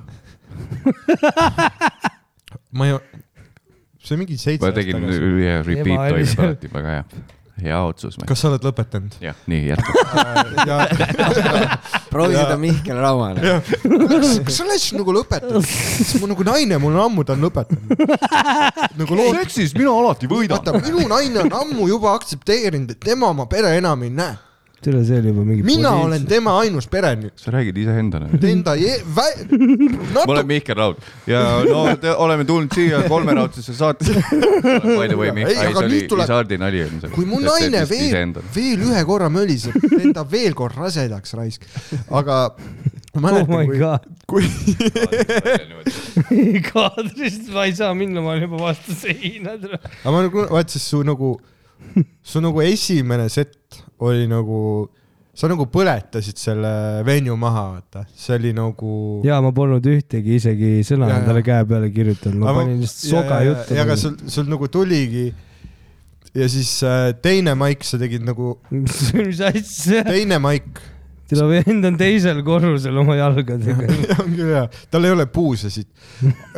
Speaker 3: ma ei , see on mingi seitse
Speaker 1: ma
Speaker 3: aastat
Speaker 1: tegin
Speaker 3: tagasi.
Speaker 1: ühe repeat
Speaker 4: Ema oli
Speaker 1: toimub
Speaker 4: seal.
Speaker 1: alati , väga hea . hea otsus , mees .
Speaker 3: kas sa oled lõpetanud ?
Speaker 1: jah , nii , jätka .
Speaker 2: proovi seda Mihkel Rauale .
Speaker 3: kas kas sa oled siis nagu lõpetanud ? siis mu nagu naine , mul on ammu ta on lõpetanud . nagu lood ,
Speaker 1: seksis mina alati
Speaker 3: vaata minu naine on ammu juba aktsepteerinud , et tema oma pere enam ei näe .
Speaker 4: tule , see oli juba mingi .
Speaker 3: mina olen . tema ainus pere nüüd .
Speaker 1: sa räägid iseendale .
Speaker 3: Enda je- , vä- ,
Speaker 1: ma olen
Speaker 3: natuke ,
Speaker 1: Mihkel Raud ja no te, oleme tulnud siia kolmeraudsesse saatesse . By the way , Mihkel ,
Speaker 3: Ei, aga
Speaker 1: see oli
Speaker 3: nüüd tuleb-
Speaker 1: Isardi nali on see .
Speaker 3: kui mu naine veel , veel ühe korra möliseb , teen ta veel kord rasedaks raisk . aga ma
Speaker 4: oh my
Speaker 3: mäletan , kui ,
Speaker 4: god ,
Speaker 3: kui ,
Speaker 4: kaadrist ma ei saa minna , ma olen juba vastu seina .
Speaker 3: aga ma nagu , vaat siis su nagu , su nagu esimene sett oli nagu , sa nagu põletasid selle venju maha , vaata , see oli nagu .
Speaker 4: ja ma polnud ühtegi isegi sõna
Speaker 3: Jaa, jaa.
Speaker 4: endale käe peale kirjutanud , ma panin lihtsalt soga juttu .
Speaker 3: ja , aga sul , sul nagu tuligi ja siis äh, teine maik , sa tegid nagu ,
Speaker 4: mis asja ,
Speaker 3: teine maik ,
Speaker 4: tule vend on teisel korrusel oma jalgadega ,
Speaker 3: on küll hea , tal ei ole puusasid ,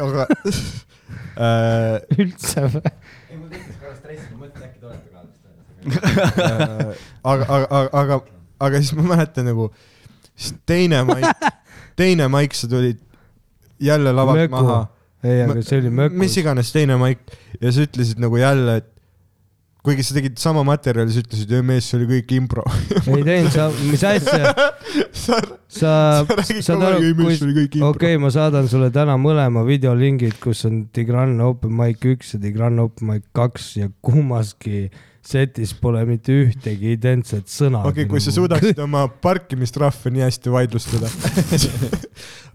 Speaker 3: aga äh,
Speaker 4: üldse või ?
Speaker 3: äh, aga , aga , aga , aga siis ma mäletan nagu , siis teine maik , teine maik , sa tulid jälle lavalt
Speaker 4: Möku.
Speaker 3: maha .
Speaker 4: ei ,
Speaker 3: Ma-
Speaker 4: aga see oli
Speaker 3: mis
Speaker 4: mökus .
Speaker 3: iganes teine maik ja sa ütlesid nagu jälle , et kuigi sa tegid sama materjali , sa ütlesid , ei mees , see oli kõik impro .
Speaker 4: ei teinud , sa , mis asja ,
Speaker 3: sa
Speaker 4: sa ,
Speaker 3: räägid
Speaker 4: saad
Speaker 3: kogu aeg ,
Speaker 4: aru
Speaker 3: ei , mees , see
Speaker 4: kui
Speaker 3: oli kõik impro .
Speaker 4: okei okay, , ma saadan sulle täna mõlema videolingid , kus on Tigran Open Mic üks ja Tigran Open Mic kaks ja kummaski setis pole mitte ühtegi identset sõna .
Speaker 3: okei okay, , kui sa suudaksid oma parkimistrahve nii hästi vaidlustada .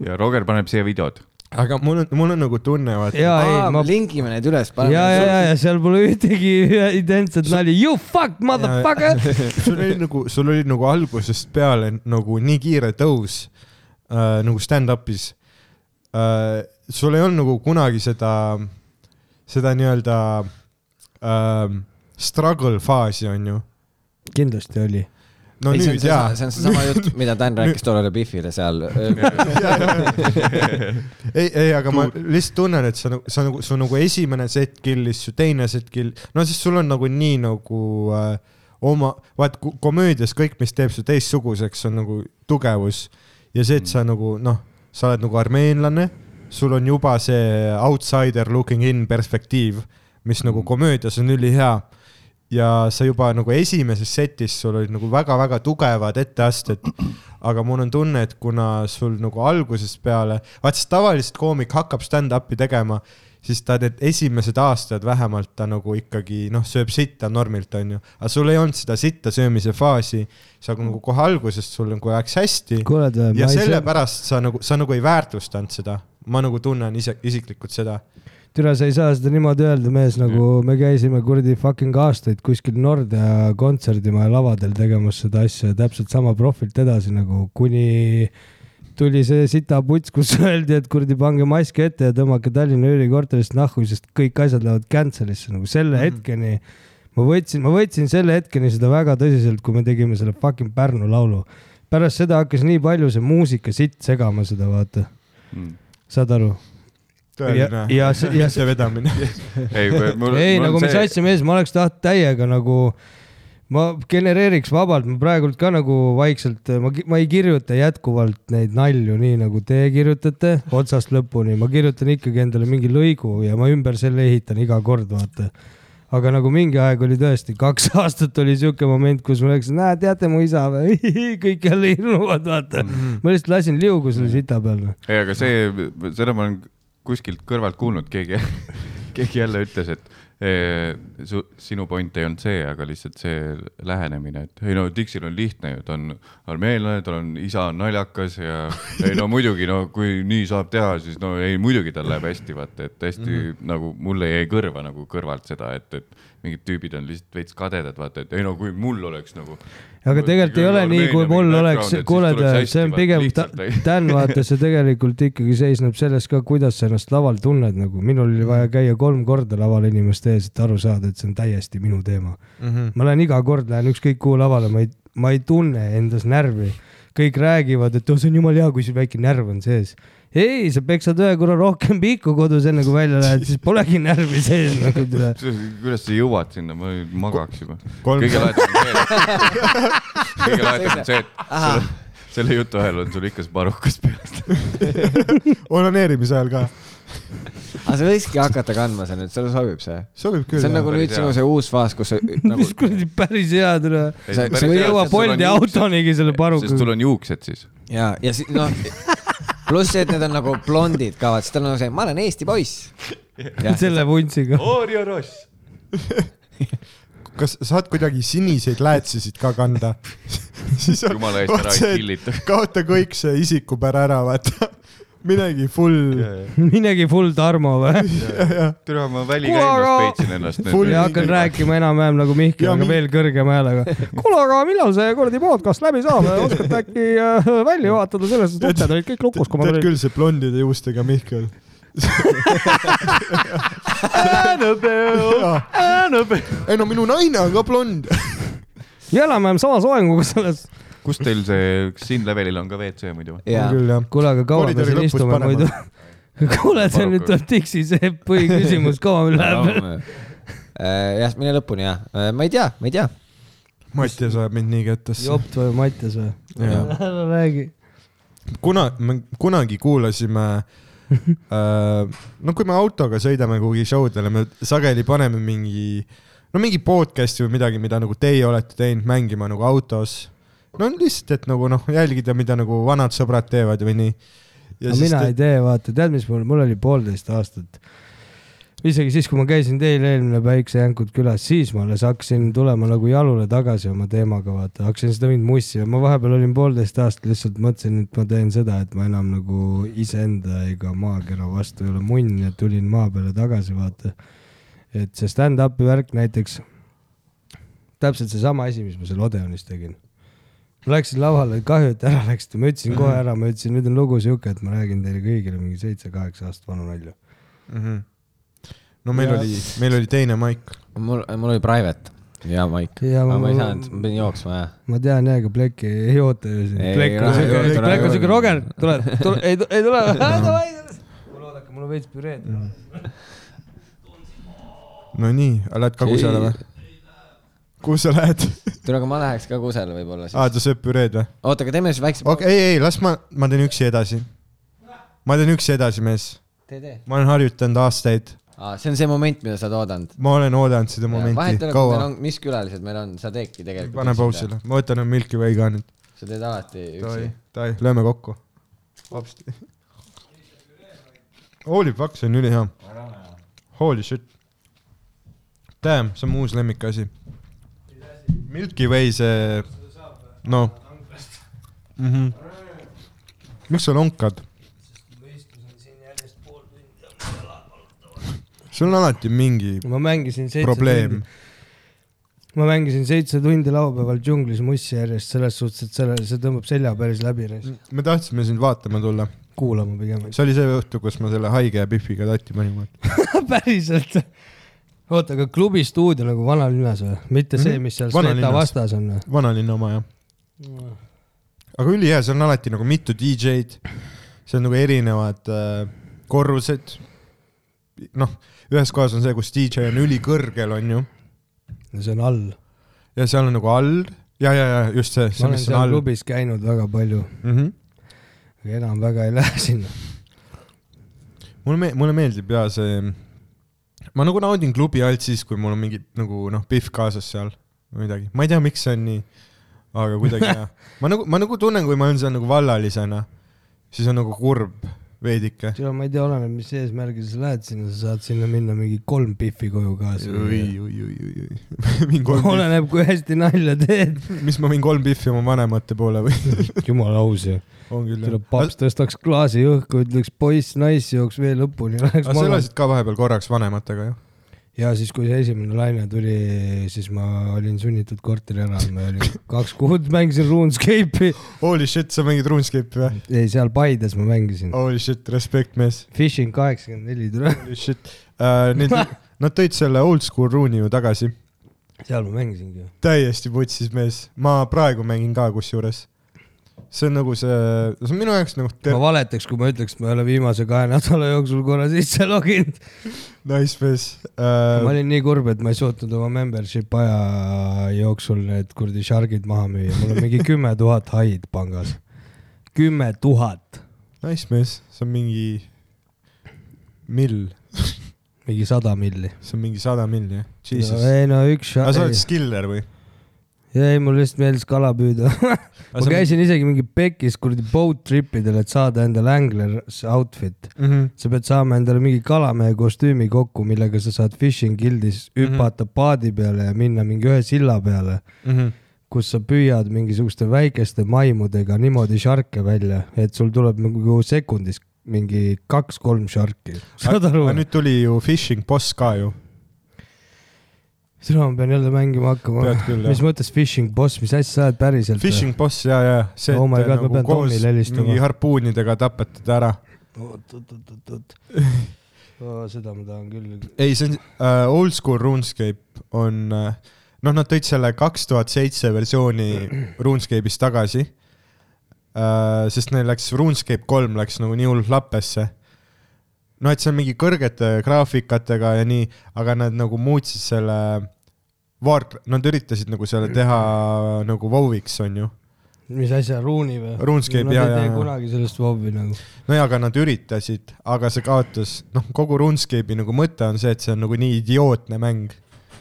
Speaker 1: ja Roger paneb siia videod .
Speaker 3: aga mul on , mul on nagu tunne , vaata .
Speaker 4: ja ei ,
Speaker 2: aa ,
Speaker 4: ma
Speaker 2: me , lingime need üles ,
Speaker 4: ja ,
Speaker 2: paneme .
Speaker 4: ja , ja , ja seal pole ühtegi identset nali , you fuck motherfucker .
Speaker 3: sul oli nagu , sul oli nagu algusest peale nagu nii kiire tõus äh, nagu stand-up'is äh, . sul ei olnud nagu kunagi seda , seda nii-öelda ähm, struggle faasi , on ju .
Speaker 7: kindlasti oli .
Speaker 3: no
Speaker 2: ei , see on
Speaker 3: nüüd
Speaker 2: seesama ,
Speaker 3: jaa .
Speaker 2: see on seesama jutt , mida Dan rääkis tollele Biffile seal .
Speaker 3: ei , ei , aga ma lihtsalt tunnen , et sa nagu , sa nagu , su nagu esimene set kill'is , su teine set kill , no siis sul on nagu nii nagu äh, oma , vaat ku- komöödias kõik , mis teeb su teistsuguseks , on nagu tugevus ja see , et sa nagu noh , sa oled nagu armeenlane , sul on juba see outsider looking in perspektiiv , mis nagu komöödias on ülihea ja sa juba nagu esimeses setis , sul olid nagu väga-väga tugevad etteasted , aga mul on tunne , et kuna sul nagu algusest peale , vaat siis tavaliselt koomik hakkab stand-up'i tegema , siis ta need esimesed aastad vähemalt ta nagu ikkagi noh , sööb sitta normilt , onju . aga sul ei olnud seda sitta söömise faasi , sa nagu kohe algusest sul nagu läks hästi
Speaker 4: kuule , ma
Speaker 3: ja
Speaker 4: ei saa ,
Speaker 3: sellepärast sa nagu , sa nagu ei väärtustanud seda . ma nagu tunnen ise , isiklikult seda .
Speaker 4: türa , sa ei saa seda niimoodi öelda , mees , nagu me käisime kuradi fucking aastaid kuskil Nordea kontserdimaja lavadel tegemas seda asja ja täpselt sama profilt edasi nagu kuni tuli see sita puts , kus öeldi , et kuradi pange mask ette ja tõmmake Tallinna üürikorterist nahku , sest kõik asjad lähevad cancel'isse nagu selle mm -hmm. hetkeni . ma võtsin , ma võtsin selle hetkeni seda väga tõsiselt , kui me tegime selle fucking Pärnu laulu . pärast seda hakkas nii palju see muusika sitt segama seda , vaata ,
Speaker 1: Mm.
Speaker 4: saad aru ? ja ,
Speaker 3: tõeline
Speaker 4: ja , ja
Speaker 3: see vedamine .
Speaker 1: ei , mul
Speaker 4: ei ,
Speaker 1: mul on
Speaker 4: nagu mis
Speaker 1: see-
Speaker 4: asja , mees , ma oleks tahtnud täiega nagu , ma genereeriks vabalt , ma praegult ka nagu vaikselt , ma , ma ei kirjuta jätkuvalt neid nalju nii nagu teie kirjutate otsast lõpuni , ma kirjutan ikkagi endale mingi lõigu ja ma ümber selle ehitan iga kord , vaata aga nagu mingi aeg oli tõesti , kaks aastat oli siuke moment , kus ma läksin , näe , teate mu isa või , kõik jälle hirmuvad , vaata .
Speaker 1: Mhm.
Speaker 4: ma lihtsalt lasin liugu selle sita peal . noh.
Speaker 1: ei , aga see , seda ma olen kuskilt kõrvalt kuulnud , keegi , keegi jälle ütles , et eh, su, sinu point ei olnud see , aga lihtsalt see lähenemine , et ei no Dixil on lihtne ju , ta on armeenlane , tal on isa on naljakas ja ei no muidugi , no kui nii saab teha , siis no ei muidugi tal läheb hästi , vaata , et hästi mm -hmm. nagu mulle jäi kõrva nagu kõrvalt seda , et , et mingid tüübid on lihtsalt veits kadedad , vaata , et ei no kui mul oleks nagu .
Speaker 4: aga tegelikult ei ole nii , kui mul oleks , kuule , see on pigem , Dan , vaata , see tegelikult ikkagi seisneb selles ka , kuidas sa ennast laval tunned , nagu minul oli vaja käia kolm korda laval inimeste ees , et aru saada , et see on täiesti minu teema . ma lähen iga kord , lähen ükskõik kuhu lavale , ma ei , ma ei tunne endas närvi . kõik räägivad , et oh, see on jumala hea , kui sul väike närv on sees . ei , sa peksad ühe korra rohkem piiku kodus , enne kui välja lähed , siis polegi närvi sees nagu tule.
Speaker 1: kuidas sa jõuad sinna , ma ju magaks juba .
Speaker 3: kolm
Speaker 1: kõige lahedam on see , kõige lahedam on see , et selle, selle jutu ajal on sul ikka see parukas peas .
Speaker 3: onaneerimise ajal ka .
Speaker 2: aga sa võikski hakata kandma seda nüüd , sulle sobib see ?
Speaker 3: sobib küll .
Speaker 2: see on nagu
Speaker 1: päris
Speaker 2: nüüd sinu
Speaker 1: hea.
Speaker 2: see uus faas , kus sa nagu
Speaker 4: mis kuradi päris hea tule .
Speaker 2: Sa- sa
Speaker 4: ei jõua Bolti . autonigi selle
Speaker 1: sest
Speaker 4: paruga .
Speaker 1: sul on juuksed siis .
Speaker 2: ja , ja siis noh , pluss see , et need on nagu blondid ka , vaat siis tal on nagu see , ma olen Eesti poiss .
Speaker 4: selle vuntsiga .
Speaker 3: Oh.
Speaker 1: Orja Ross .
Speaker 3: kas saad kuidagi siniseid läätsisid ka kanda ? siis on
Speaker 1: jumala eest ära ei killita .
Speaker 3: kaota kõik see isikupära ära , vaata . minegi full ,
Speaker 4: minegi full Tarmo või ?
Speaker 1: türa , ma
Speaker 4: Kuule,
Speaker 1: välikäimas
Speaker 4: aga-
Speaker 1: peitsin ennast
Speaker 3: Full-
Speaker 1: nüüd .
Speaker 4: ja hakkan rääkima enam-vähem nagu Mihkel ,
Speaker 3: Ja
Speaker 4: aga
Speaker 3: mi-
Speaker 4: veel kõrgema häälega . kuule , aga millal see kuradi podcast läbi saab , oskate äkki äh, välja juhatada selles , et uksed olid kõik lukus , kui ma
Speaker 3: tead
Speaker 4: tulin .
Speaker 3: küll see blondide juustega Mihkel .
Speaker 4: Oh.
Speaker 1: Annabelle , Annabelle .
Speaker 3: ei no minu naine on ka blond .
Speaker 4: ja enam-vähem sama soenguga selles .
Speaker 1: kus teil see , kas siin levelil on ka WC muidu ?
Speaker 2: ja ,
Speaker 3: küll jah .
Speaker 4: kuule , aga kaua me
Speaker 3: Koridori
Speaker 4: siin
Speaker 3: lõpus
Speaker 4: istume
Speaker 3: paneme.
Speaker 4: muidu ? kuule , see nüüd tuleb tiksi see põhiküsimus , kaua meil läheb ?
Speaker 2: Äh, jah , mine lõpuni ja , ma ei tea , ma ei tea .
Speaker 3: Mattias ajab mind nii kettesse .
Speaker 4: Jopt või Mattias või ?
Speaker 3: Jaa.
Speaker 4: ära räägi .
Speaker 3: kuna , me kunagi kuulasime äh, , no kui me autoga sõidame kuhugi show dele , me sageli paneme mingi , no mingi podcast'i või midagi , mida nagu teie olete teinud mängima nagu autos . no lihtsalt , et nagu noh , jälgida , mida nagu vanad sõbrad teevad või nii .
Speaker 4: aga mina ei tee , vaata , tead , mis mul , mul oli poolteist aastat . isegi siis , kui ma käisin teil eelmine päiksejänkud külas , siis ma alles hakkasin tulema nagu jalule tagasi oma teemaga , vaata , hakkasin seda mind mussima , ma vahepeal olin poolteist aastat , lihtsalt mõtlesin , et ma teen seda , et ma enam nagu iseenda ega maakera vastu ei ole munn ja tulin maa peale tagasi , vaata . et see stand-up'i värk näiteks , täpselt seesama asi , mis ma seal Odeonis tegin . ma läksin lavale , kahju , et ära läksite , ma ütlesin kohe ära , ma ütlesin , nüüd on lugu sihuke , et ma räägin teile kõigile mingi seitse-kaheksa aastat vanu nalju .
Speaker 3: mm . -hmm. Mhm. no meil oli , meil oli teine maik .
Speaker 2: mul , mul oli private ja maik .
Speaker 4: Jaa,
Speaker 2: aga ma ei
Speaker 4: mul-
Speaker 2: saanud , ma pidin jooksma jah .
Speaker 7: ma tean jah , ega Black ei ei oota ju siin .
Speaker 2: Ei,
Speaker 4: Black on
Speaker 2: raha ei
Speaker 4: siuke
Speaker 2: ole, , raha
Speaker 4: Black
Speaker 2: ei Noh.
Speaker 4: on siuke
Speaker 2: ole.
Speaker 4: roger , tuleb , tuleb , ei , ei tule , Mm. davai . mul oodake , mul on veits püreed .
Speaker 3: Nonii , lähed ka kusagile või ? kuhu sa lähed ?
Speaker 2: tule , aga ma läheks ka kusagile võib-olla siis .
Speaker 3: aa , ta sööb püreed või ?
Speaker 2: oota , aga teeme siis väikse
Speaker 3: okei okay, , ei , ei , las ma , ma teen üksi edasi . ma teen üksi edasi , mees .
Speaker 2: tee , tee .
Speaker 3: ma olen harjutanud aastaid ,
Speaker 2: aa , see on see moment , mida sa oled oodanud .
Speaker 3: ma olen oodanud seda
Speaker 2: vahet ei
Speaker 3: momenti
Speaker 2: ole , kui
Speaker 3: kaua
Speaker 2: meil . on , mis külalised meil on , sa teedki tegelikult .
Speaker 3: pane . pausile , ma võtan nüüd Milky Way ka nüüd .
Speaker 2: sa teed alati üksi
Speaker 3: davai ,. davai , lööme kokku . hopsti . Holy fuck , see on ülihea . Holy shit . Damn , see on mu uus lemmikasi . Milky Way see , noh mm
Speaker 4: Mhm.
Speaker 3: -hmm. . miks sa lonkad ? sul on alati mingi
Speaker 4: ma mängisin seitse
Speaker 3: probleem .
Speaker 4: ma mängisin seitse tundi laupäeval džunglis mussi järjest selles suhtes , et selle , see tõmbab selja päris läbi neist .
Speaker 2: Mm.
Speaker 3: me tahtsime sind vaatama tulla ,
Speaker 4: kuulama pigem .
Speaker 3: see oli see õhtu , kus ma selle haige Biffiga tatti panin .
Speaker 4: päriselt . oota , aga klubi stuudio nagu vanalinnas või ? mitte see , mis seal Sveta
Speaker 3: Vanalinnas.
Speaker 4: vastas on või ?
Speaker 3: vanalinna oma jah . aga ülihea , seal on alati nagu mitu DJ-d , seal on nagu erinevad äh, korrused . noh , ühes kohas on see , kus DJ on ülikõrgel , on ju ,
Speaker 4: no see on all .
Speaker 3: ja seal on nagu all ja , ja , ja just see ,
Speaker 4: ma
Speaker 3: see ,
Speaker 4: olen
Speaker 3: mis on
Speaker 4: seal
Speaker 3: all .
Speaker 4: klubis käinud väga palju ,
Speaker 3: Mm -hmm.
Speaker 4: aga enam väga ei lähe sinna .
Speaker 3: mulle me- , mulle meeldib ja see , ma nagu naudin klubi alt siis , kui mul on mingi nagu noh , pihv kaasas seal või midagi , ma ei tea , miks see on nii , aga kuidagi jah . ma nagu , ma nagu tunnen , kui ma olen seal nagu vallalisena , siis on nagu kurb veidike .
Speaker 4: tea , ma ei tea , oleneb , mis eesmärgil sa lähed sinna , sa saad sinna minna mingi kolm pihvi koju kaasa .
Speaker 3: oi , oi , oi , oi , oi . mingi kolm ,
Speaker 4: oleneb , kui hästi nalja teed .
Speaker 3: mis ma võin kolm pihvi oma vanemate poole või ?
Speaker 4: jumala aus ju .
Speaker 3: on küll
Speaker 4: tuleb paps , tõstaks klaasi õhku , ütleks poiss , naiss , jooks vee lõpuni , läheks
Speaker 3: aga sa
Speaker 4: magama .
Speaker 3: elasid ka vahepeal korraks vanematega ju ?
Speaker 4: ja siis , kui see esimene laine tuli , siis ma olin sunnitud korteri ära andma , oli kaks kuud mängisin RuneScape'i .
Speaker 3: Holy shit , sa mängid RuneScape'i või ?
Speaker 4: ei , seal Paides ma mängisin .
Speaker 3: Holy shit , respekt mees .
Speaker 4: Fishing kaheksakümmend neli tule ,
Speaker 3: Holy shit uh, . Need , nad tõid selle old school rune'i ju tagasi .
Speaker 4: seal ma mängisingi .
Speaker 3: täiesti putsis mees . ma praegu mängin ka kusjuures . see on nagu see , see on minu jaoks nagu ter-
Speaker 4: ma , valetaks , kui ma ütleks , ma ei ole viimase kahe nädala jooksul korra sisse loginud .
Speaker 3: nice mees
Speaker 4: ma
Speaker 3: uh, .
Speaker 4: olin nii kurb , et ma ei suutnud oma membership aja jooksul need kuradi shargid maha müüa , mul on mingi kümme tuhat haid pangas . kümme tuhat ,
Speaker 3: Nice mees , see on mingi mill ,
Speaker 4: mingi sada milli .
Speaker 3: see on mingi sada milli jah . Jesus .
Speaker 4: ei no üks
Speaker 3: aga sa oled
Speaker 4: shard ,
Speaker 3: skiller või ?
Speaker 4: ei mul lihtsalt meeldis kala püüda . ma käisin isegi mingi pekis kuradi boat trip idel , et saada endale angler's outfit .
Speaker 3: mm . -hmm.
Speaker 4: sa pead saama endale mingi kalamehe kostüümi kokku , millega sa saad fishing guild'is
Speaker 3: Mhm.
Speaker 4: hüpata paadi peale ja minna mingi ühe silla peale
Speaker 3: Mm -hmm.
Speaker 4: kus sa püüad mingisuguste väikeste maimudega niimoodi šarke välja , et sul tuleb nagu sekundis mingi kaks-kolm šarki . saad aru
Speaker 3: aga ? nüüd tuli ju Fishing Boss ka ju .
Speaker 4: sina , ma pean jälle mängima hakkama
Speaker 3: Pead . küll, jah.
Speaker 4: mis mõttes fishing boss , mis asja sa ajad päriselt ?
Speaker 3: Fishing Boss ja , ja see ,
Speaker 4: Oh my God, ma pean Tomile helistama.
Speaker 3: mingi harpuunidega tapad teda ära .
Speaker 4: oot-oot-oot-oot . seda ma tahan küll .
Speaker 3: ei , see on uh, old school RuneScape on uh, , noh , nad tõid selle kaks tuhat seitse versiooni RuneScape'ist tagasi uh, . sest neil läks , RuneScape kolm läks nagu nii hullult lappesse . no et see on mingi kõrgete graafikatega ja nii , aga nad nagu muutsid selle War , nad üritasid nagu selle teha nagu WoW-iks onju .
Speaker 4: mis asja , Rune'i või ?
Speaker 3: RuneScape,
Speaker 4: Nad
Speaker 3: jaa,
Speaker 4: ei tee
Speaker 3: jaa, jaa.
Speaker 4: kunagi sellest WoW-i nagu .
Speaker 3: nojah , aga nad üritasid , aga see kaotas , noh , kogu RuneScape'i nagu mõte on see , et see on nagu nii idiootne mäng .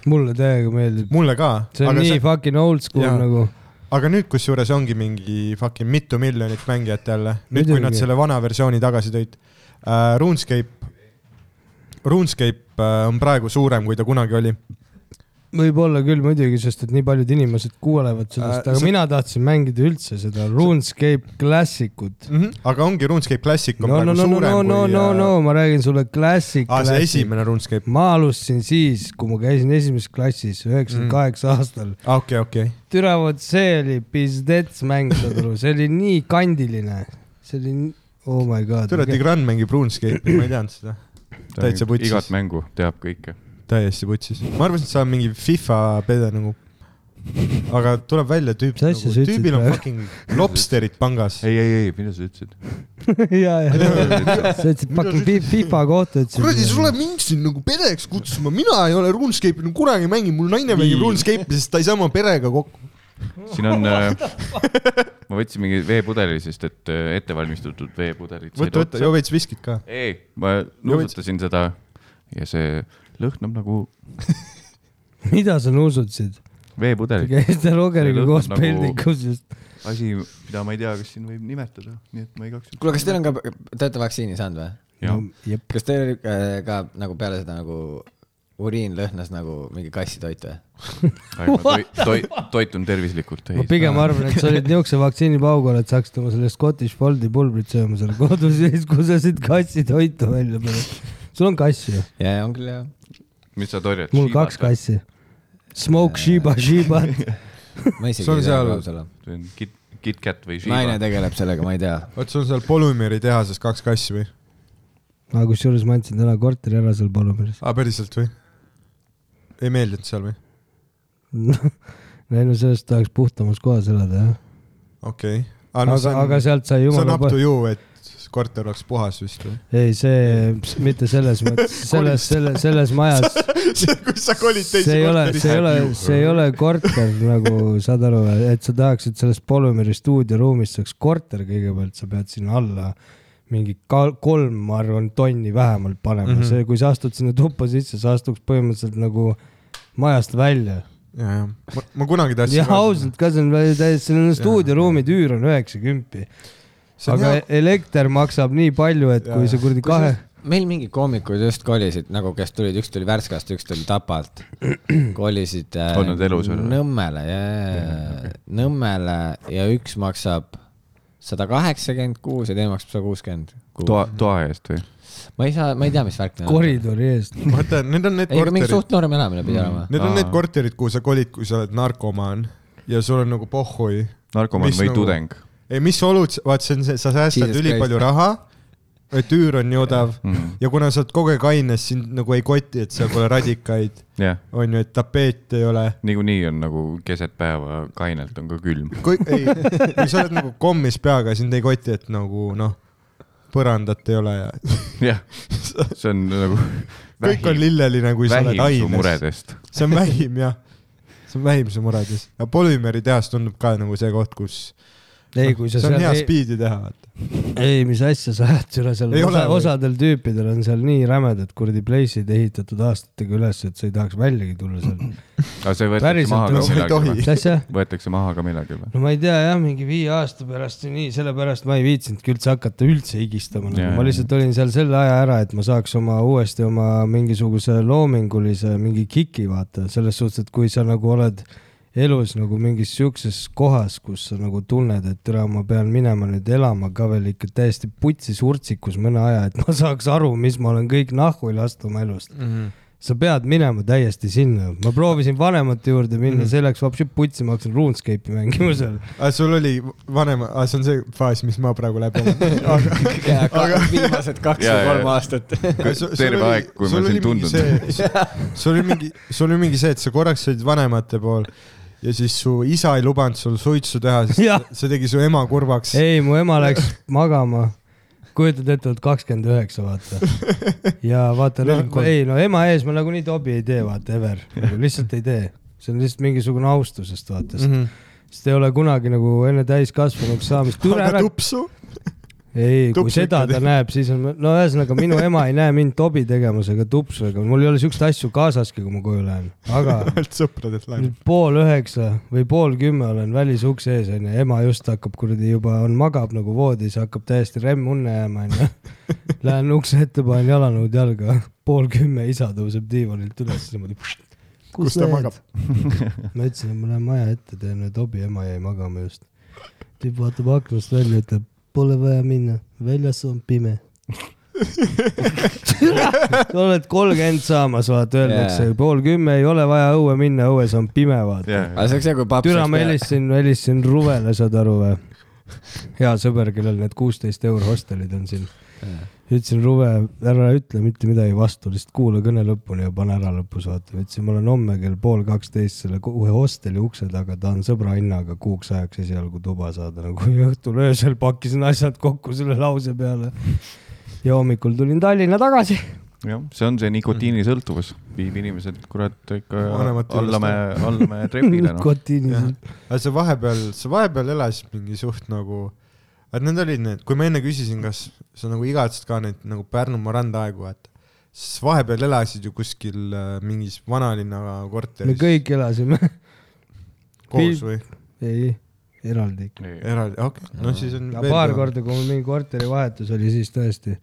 Speaker 4: mulle täiega meeldib .
Speaker 3: mulle ka .
Speaker 4: see on
Speaker 3: aga
Speaker 4: nii see... fucking old school
Speaker 3: Jaa.
Speaker 4: ja. nagu .
Speaker 3: aga nüüd , kusjuures ongi mingi fucking mitu miljonit mängijat jälle , nüüd kui nad
Speaker 4: Muidugi.
Speaker 3: selle vana versiooni tagasi tõid uh, . RuneScape , RuneScape uh, on praegu suurem , kui ta kunagi oli .
Speaker 4: võib-olla küll muidugi , sest et nii paljud inimesed kuulevad
Speaker 3: Äh,
Speaker 4: sellest , aga
Speaker 3: see-
Speaker 4: mina tahtsin mängida üldse seda RuneScape klassikut .
Speaker 3: Mm -hmm. aga ongi RuneScape Classic on
Speaker 4: Mhm. no ,
Speaker 3: praegu
Speaker 4: no , no , no ,
Speaker 3: suurem
Speaker 4: no , no ,
Speaker 3: kui äh,
Speaker 4: no , no ma räägin sulle klassik .
Speaker 3: aa , see . esimene RuneScape ,
Speaker 4: ma alustasin siis , kui ma käisin esimeses klassis , üheksakümmend kaheksa
Speaker 3: Mm.
Speaker 4: aastal .
Speaker 3: Ah, okei , okei .
Speaker 4: türa , vot see oli pizdets mäng , saad aru , see oli nii kandiline , see oli , oh my god .
Speaker 3: tule , Tigran mängib RuneScape'i , ma ei teadnud seda . Täitsa putsis.
Speaker 1: igat mängu teab kõike .
Speaker 3: täiesti putsis . ma arvasin , et see on mingi FIFA pede nagu . aga tuleb välja , tüüp ,
Speaker 4: Mis asja
Speaker 3: nagu,
Speaker 4: sa ütlesid
Speaker 3: tüübil on
Speaker 4: praegu?
Speaker 3: fucking lobsterid pangas .
Speaker 1: ei , ei , ei , mida sa ütlesid ?
Speaker 4: ja , ja , sa ütlesid fucking fi- FIFA kohta ,
Speaker 11: kuradi ,
Speaker 4: ütlesid .
Speaker 11: sulle mind siin nagu pereks kutsuma , mina ei ole RuneScape'i nagu kunagi mänginud , mul naine mängib RuneScape'i , sest ta ei saa oma perega kokku .
Speaker 1: siin on , ma võtsin mingi veepudeli , sest et äh, ettevalmistatud veepudelid .
Speaker 3: võta , võta , joo veits viskit ka .
Speaker 1: ei , ma nuusutasin seda ja see lõhnab nagu
Speaker 4: mida sa nuusutasid ?
Speaker 1: veepudelit .
Speaker 4: käis ta Rogeriga
Speaker 1: See
Speaker 4: koos
Speaker 1: lõhnab nagu-
Speaker 4: peldikus just .
Speaker 1: asi , mida ma ei tea , kas siin võib nimetada , nii et ma igaks
Speaker 2: kuule , kas teil on ka , te olete vaktsiini saanud või ?
Speaker 1: juhuks .
Speaker 2: kas teil oli ka, ka nagu peale seda nagu uriin lõhnas nagu mingi kassitoit või ?
Speaker 1: toi, toi, toitun tervislikult .
Speaker 4: ma pigem arvan , et sa olid niisuguse vaktsiinipaugal , et saaksid oma selle Scottish Foldi pulbrit sööma seal kodus ja siis , kui sa siit kassitoitu välja paned . sul on kass ju ?
Speaker 2: ja , on küll jah .
Speaker 1: mis sa torjad ?
Speaker 4: mul kaks . kassi . Smoke Shiba Shiba .
Speaker 2: ma isegi
Speaker 3: See on
Speaker 2: ei tea ,
Speaker 3: seal-
Speaker 2: kui aus olla .
Speaker 1: Kit , KitKat või
Speaker 2: naine
Speaker 1: Shiba .
Speaker 2: tegeleb sellega , ma ei tea .
Speaker 3: oot , sul on seal Polümeri tehases kaks kassi või ?
Speaker 4: aga kusjuures ma andsin täna korteri ära seal Palumeres .
Speaker 3: aa , päriselt või ? ei meeldinud seal või ?
Speaker 4: ei no sellest tahaks puhtamas kohas elada jah .
Speaker 3: okei okay. .
Speaker 4: aga , aga
Speaker 3: see
Speaker 4: sealt sai
Speaker 3: on , see on
Speaker 4: jumala
Speaker 3: up to you , et korter oleks puhas vist või ?
Speaker 4: ei , see ps- mitte selles mõttes , selles , selles , selles majas ,
Speaker 3: kus sa kolid
Speaker 4: see
Speaker 3: teise
Speaker 4: ei ole , see ei ole
Speaker 3: korterisse .,
Speaker 4: see ei ole korter nagu , saad aru , et sa tahaksid sellest Polümeri stuudioruumist saaks korter kõigepealt , sa pead sinna alla mingi ka- kolm , ma arvan , tonni vähemalt panema mm ,
Speaker 3: Mhm.
Speaker 4: -hmm. see , kui sa astud sinna tuppa sisse , sa astuks põhimõtteliselt nagu majast välja .
Speaker 3: jajah , ma, ma kunagi tahtsin .
Speaker 4: ja ausalt ka , see on vä- täiesti , need stuudioruumid , üür on üheksakümpi ,
Speaker 3: see on
Speaker 4: aga
Speaker 3: hea ,
Speaker 4: elekter maksab nii palju , et kui
Speaker 3: Jaa.
Speaker 4: sa kuradi kahe
Speaker 2: meil mingid koomikud just kolisid nagu , kes tulid , üks tuli Värskast , üks tuli Tapalt . kolisid äh,
Speaker 1: On nad elus veel või?
Speaker 2: Nõmmele ja , ja , Nõmmele ja üks maksab sada kaheksakümmend kuus ja teine maksab sada kuuskümmend .
Speaker 1: toa , toa eest või ?
Speaker 2: ma ei saa , ma ei tea , mis värk neil on .
Speaker 4: koridori eest
Speaker 3: vaata , need on need
Speaker 2: ei , aga mingi
Speaker 3: korterid
Speaker 2: suht noorem elamine pidi olema .
Speaker 3: Need on
Speaker 1: Aa.
Speaker 3: need korterid , kuhu sa kolid , kui sa oled narkomaan ja sul on nagu pohhui .
Speaker 1: narkomaan
Speaker 3: Mis
Speaker 1: või
Speaker 3: nagu-
Speaker 1: tudeng
Speaker 3: ei , mis olud , vaat see on see , sa säästad
Speaker 2: Jesus
Speaker 3: ülipalju
Speaker 2: Christ.
Speaker 3: raha , et üür on nii odav
Speaker 1: mm. ?
Speaker 3: ja kuna sa oled kogu aeg aines , sind nagu ei koti , et seal pole radikaid ,
Speaker 1: jah ,
Speaker 3: on ju , et tapeeti ei ole .
Speaker 1: niikuinii on nagu keset päeva kainelt on ka külm .
Speaker 3: kui , ei , kui sa oled nagu kommis peaga , sind ei koti , et nagu noh , põrandat ei ole ja
Speaker 1: jah , see on nagu
Speaker 3: kõik on lilleline , kui sa oled
Speaker 1: vähim su
Speaker 3: aines .
Speaker 1: muredest .
Speaker 3: see on vähim jah , see on vähim su muredes . ja polümeri tehas tundub ka nagu see koht , kus
Speaker 4: ei , kui sa
Speaker 3: Noh, see on hea
Speaker 4: seal ,
Speaker 3: spiidi teha , vaata .
Speaker 4: ei , mis asja sa ajad selle seal ,
Speaker 3: Ei ole
Speaker 4: osa ,
Speaker 3: või?
Speaker 4: osadel tüüpidel on seal nii rämedad kuradi pleisid ehitatud aastatega üles , et sa ei tahaks väljagi tulla seal .
Speaker 1: aga see võetakse
Speaker 4: Päriselt
Speaker 1: maha ka
Speaker 4: nagu-
Speaker 3: No ei
Speaker 1: millalgi
Speaker 3: tohi.
Speaker 1: või ?
Speaker 4: mis asja ?
Speaker 1: võetakse maha ka millalgi või ?
Speaker 4: no ma ei tea jah , mingi viie aasta pärast või nii , sellepärast ma ei viitsinudki üldse hakata üldse higistama
Speaker 1: Jaa.
Speaker 4: nagu. , ma lihtsalt olin seal selle aja ära , et ma saaks oma uuesti oma mingisuguse loomingulise mingi kiki vaata , selles suhtes , et kui sa nagu oled elus nagu mingis siukses kohas , kus sa nagu tunned , et tere , ma pean minema nüüd elama ka veel ikka täiesti putsis urtsikus mõne aja , et ma saaks aru , mis ma olen kõik nahku lasknud oma elust sa pead minema täiesti sinna , ma proovisin vanemate juurde minna ,
Speaker 1: Mhm.
Speaker 4: see läks hoopis putsi , ma hakkasin RuneScape'i mängima seal .
Speaker 3: aga Ah, sul oli vanem , see on see faas , mis ma praegu läbi olen .
Speaker 2: aga viimased kaks
Speaker 1: Jaa,
Speaker 2: või
Speaker 1: jaa.
Speaker 2: kolm aastat .
Speaker 1: terve aeg , kui ma sind tundnud .
Speaker 3: sul oli mingi , sul oli mingi see , et sa korraks olid vanemate pool ja siis su isa ei lubanud sul suitsu teha ,
Speaker 4: Jah.
Speaker 3: sest see tegi su ema kurvaks .
Speaker 4: ei , mu ema läks magama , kujutad ette , oled kakskümmend üheksa , vaata . ja vaata ,
Speaker 3: Nelikümmend kolm.
Speaker 4: ei no ema ees ma nagunii tobi ei tee , vaata , ever , lihtsalt ei tee , see on lihtsalt mingisugune austusest , vaata mm ,
Speaker 3: Mhm.
Speaker 4: -hmm. sest ei ole kunagi nagu enne täiskasvanuks saamist , tule
Speaker 3: aga
Speaker 4: ära
Speaker 3: tupsu ,
Speaker 4: ei , kui
Speaker 3: Tupsu
Speaker 4: seda
Speaker 3: ikka
Speaker 4: ta
Speaker 3: tegi.
Speaker 4: näeb , siis on , no ühesõnaga minu ema ei näe mind tobi tegemas ega tupsu ega mul ei ole siukseid asju kaasaski , kui ma koju lähen , aga
Speaker 3: ainult sõpradelt laenu
Speaker 4: nüüd . pool üheksa või pool kümme olen välisukse ees onju , ema just hakkab kuradi juba on , magab nagu voodis , hakkab täiesti remmunne jääma onju . Lähen ukse ette , panen jalanõud jalga , pool kümme isa tõuseb diivanilt üles niimoodi .
Speaker 3: Kus ta magab? ?
Speaker 4: ma ütlesin , et ma lähen maja ette , teen nüüd hobi , ema jäi magama just . tüüp vaatab aknast välja , ütleb , pole vaja minna , väljas on pime . oled kolmkümmend saamas , vaata , öeldakse
Speaker 2: Jaa.
Speaker 4: yeah. pool kümme , ei ole vaja õue minna , õues on pime , vaata yeah. .
Speaker 2: aga see oleks hea , kui paps
Speaker 4: türa , ma . helistasin , helistasin Ruvele , saad aru või ? hea sõber , kellel need kuusteist euro hostelid on siin .
Speaker 7: ütlesin Ruve , ära ütle mitte midagi vastu , lihtsalt kuula kõne lõpuni ja pane ära lõpus , vaata . ma ütlesin , ma olen homme kell pool kaksteist selle ko- uue hosteli ukse taga , tahan sõbra hinnaga kuuks ajaks esialgu tuba saada , nagu ja õhtul öösel pakkisin asjad kokku selle lause peale . ja hommikul tulin Tallinna tagasi .
Speaker 1: jah , see on see nikotiinisõltuvus , viib inimesed kurat ikka
Speaker 3: Vanemate juurest
Speaker 1: allamäe , allamäe trepile noh .
Speaker 7: nikotiini .
Speaker 3: aga sa vahepeal , sa vahepeal elasid mingi suht nagu , et need olid need , kui ma enne küsisin , kas sa nagu igatsed ka neid nagu Pärnumaa randaaegu , et siis vahepeal elasid ju kuskil äh, mingis vanalinna
Speaker 7: me
Speaker 3: korteris
Speaker 7: kõik elasime ,
Speaker 3: koos või
Speaker 7: ei , eraldi .
Speaker 3: eraldi , okei okay. , no siis on
Speaker 7: ja paar . korda , kui mul mingi korterivahetus oli , siis tõesti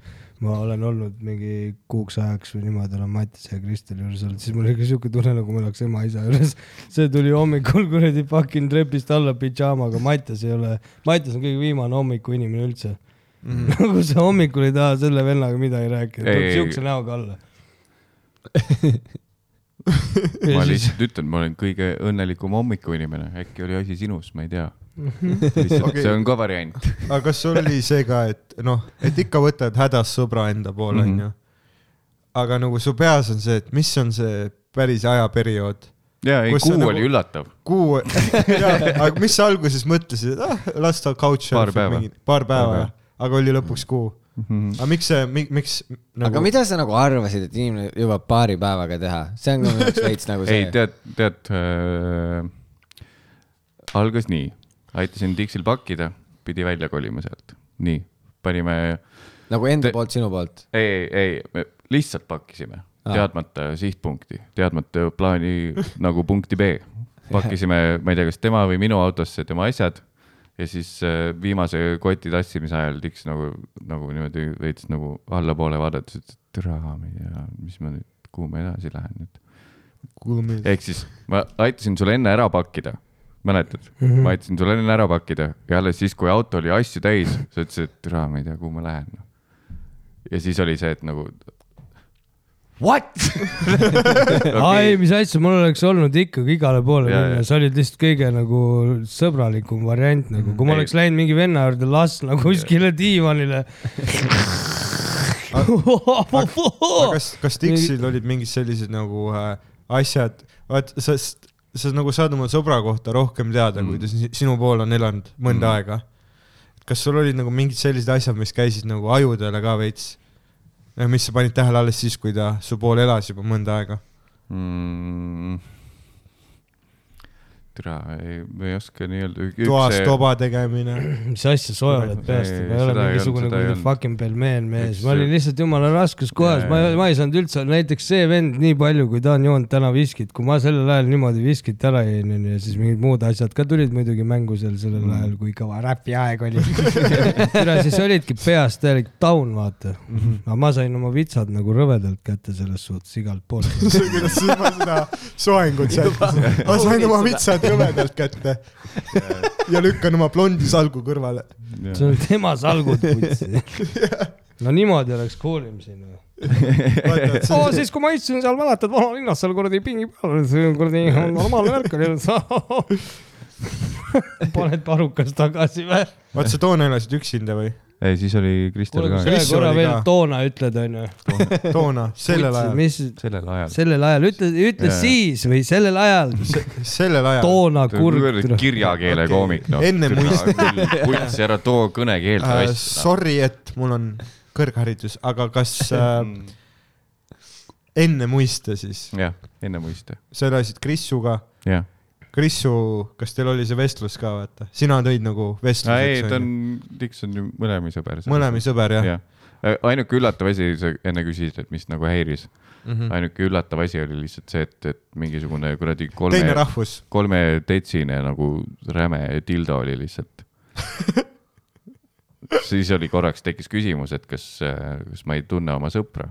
Speaker 7: ma olen olnud mingi kuuks ajaks või niimoodi olen Mattiase ja Kristel juures olnud , siis mul oli siuke tunne , nagu ma oleks ema-isa juures . see tuli hommikul kuradi fucking trepist alla pidžaamaga , Mattias ei ole , Mattias on kõige viimane hommikuinimene üldse
Speaker 3: Mhm.
Speaker 7: mm. .
Speaker 1: Noh,
Speaker 7: nagu sa hommikul ei taha selle vennaga midagi rääkida ,
Speaker 1: Ei,
Speaker 7: tuleb
Speaker 1: ei,
Speaker 7: siukse näoga alla .
Speaker 1: ma lihtsalt ütlen , ma olen kõige õnnelikum hommikuinimene , äkki oli asi sinus , ma ei tea . lihtsalt
Speaker 3: Okei.
Speaker 1: see on ka variant .
Speaker 3: aga kas sul oli see ka , et noh , et ikka võtad hädas sõbra enda poole ,
Speaker 1: Mhm.
Speaker 3: onju . aga nagu su peas on see , et mis on see päris ajaperiood
Speaker 1: ja ei ,
Speaker 3: Kus see
Speaker 1: kuu
Speaker 3: nagu-
Speaker 1: oli üllatav .
Speaker 3: kuu , aga mis sa alguses mõtlesid , et ah , las ta couch
Speaker 1: Paar päeva. , Mhm.
Speaker 3: paar päeva
Speaker 1: Paar
Speaker 3: jah , aga oli lõpuks kuu . aga miks see , miks
Speaker 2: nagu... . aga
Speaker 3: nagu ,
Speaker 2: mida sa nagu arvasid , et inimene jõuab paari päevaga teha , see on ka minu jaoks veits nagu see
Speaker 1: ei , tead , tead äh, , algas nii , aitasin Dixil pakkida , pidi välja kolima sealt , nii , panime ,
Speaker 2: nagu enda
Speaker 1: te-
Speaker 2: te... poolt , sinu poolt .
Speaker 1: ei , ei , ei , me lihtsalt pakkisime , teadmata sihtpunkti , teadmata plaani nagu punkti B . pakkisime , ma ei tea , kas tema või minu autosse tema asjad ja siis äh, viimase koti tassimise ajal Dix nagu , nagu niimoodi veits nagu allapoole vaadates ütles , et tere , ma ei tea , mis ma nüüd , kuhu ma edasi lähen nüüd . ehk siis ma aitasin sulle enne ära pakkida , mäletad mm ? -hmm. ma aitasin sulle enne ära pakkida ja alles siis , kui auto oli asju täis , sa ütlesid , et türa , ma ei tea , kuhu ma lähen . ja siis oli see , et nagu . What ?
Speaker 4: ai , mis asja , mul oleks olnud ikkagi igale poole
Speaker 1: Jaa,
Speaker 4: minna
Speaker 1: jaa. ,
Speaker 4: sa olid lihtsalt kõige nagu sõbralikum variant nagu , kui ma
Speaker 1: Mm-hmm. Ei.
Speaker 4: oleks läinud mingi venna juurde Lasna kuskile diivanile . Oh!
Speaker 3: kas , kas Dixil olid mingid sellised nagu äh, asjad , vaat sa , sa nagu saad oma sõbra kohta rohkem teada , kui ta si- sinu pool on elanud mõnda mm. aega . kas sul olid nagu mingid sellised asjad , mis käisid nagu ajudele ka veits ? mis sa panid tähele alles siis , kui ta su pool elas juba mõnda aega ?
Speaker 1: Mm. türa , ei , ma ei oska nii-öelda .
Speaker 3: toas toba tegemine
Speaker 4: mis asja sa oled peast ,
Speaker 1: Ei,
Speaker 4: ma ei ole
Speaker 1: seda ei
Speaker 4: mingisugune
Speaker 1: olnud, seda ei
Speaker 4: kuradi
Speaker 1: olnud.
Speaker 4: fucking pelmeen mees , ma
Speaker 1: Üks-
Speaker 4: olin lihtsalt jumala raskes kohas , ma , ma ei saanud üldse , näiteks see vend nii palju , kui ta on joonud täna viskit , kui ma sellel ajal niimoodi viskit ära jõin , onju , ja siis mingid muud asjad ka tulid muidugi mängu seal sellel
Speaker 1: Mm.
Speaker 4: ajal , kui kõva räpi aeg oli . üle siis olidki peast täielik taun , vaata .
Speaker 1: Mhm.
Speaker 4: aga ma sain oma vitsad nagu rõvedalt kätte selles suhtes igalt poolt .
Speaker 3: kuidas ma seda soengut sättisin . ma sain oma vitsad kõvedalt kätte ja lükkan oma blondi salgu kõrvale .
Speaker 4: see on tema salgud , putsi . no niimoodi oleks cool im siin või ? oo , siis kui ma istusin seal , mäletad , vanalinnas seal kuradi pingi peal , see on kuradi normaalne värk oli , sa paned parukas tagasi või ?
Speaker 3: vaat sa toona elasid üksinda või ?
Speaker 1: ei , siis oli Kristel
Speaker 4: kuule ,
Speaker 1: ka
Speaker 4: kui sa ühe
Speaker 3: Mis
Speaker 4: korra
Speaker 3: oli
Speaker 4: veel
Speaker 3: ka?
Speaker 4: toona ütled , onju .
Speaker 3: toona , sellel ajal ,
Speaker 4: mis
Speaker 1: sellel ajal .
Speaker 4: sellel ajal , ütle , ütle
Speaker 1: Jaa.
Speaker 4: siis või sellel ajal ,
Speaker 3: sellel ajal .
Speaker 4: toona kurg .
Speaker 1: kirjakeele
Speaker 3: Okei.
Speaker 1: koomik , noh .
Speaker 3: Enne mõist-
Speaker 1: kuts , ära too kõnekeelt
Speaker 3: Äh,
Speaker 1: asja .
Speaker 3: sorry , et mul on kõrgharidus , aga kas äh, enne mõista siis ,
Speaker 1: jah , enne mõista ,
Speaker 3: sa elasid Krissuga ,
Speaker 1: jah .
Speaker 3: Krissu , kas teil oli see vestlus ka , vaata , sina tõid nagu
Speaker 1: ei ,
Speaker 3: vestluseks
Speaker 1: ta on , Dix on ju mõlemi sõber .
Speaker 3: mõlemi sõber jah ja. ?
Speaker 1: jah . ainuke üllatav asi , sa enne küsisid , et mis nagu häiris mm .
Speaker 3: Mhm.
Speaker 1: -hmm. ainuke üllatav asi oli lihtsalt see , et , et mingisugune kuradi
Speaker 3: teine
Speaker 1: kolme ,
Speaker 3: rahvus ,
Speaker 1: kolmetetsine nagu räme tildo oli lihtsalt . siis oli korraks tekkis küsimus , et kas , kas ma ei tunne oma sõpra .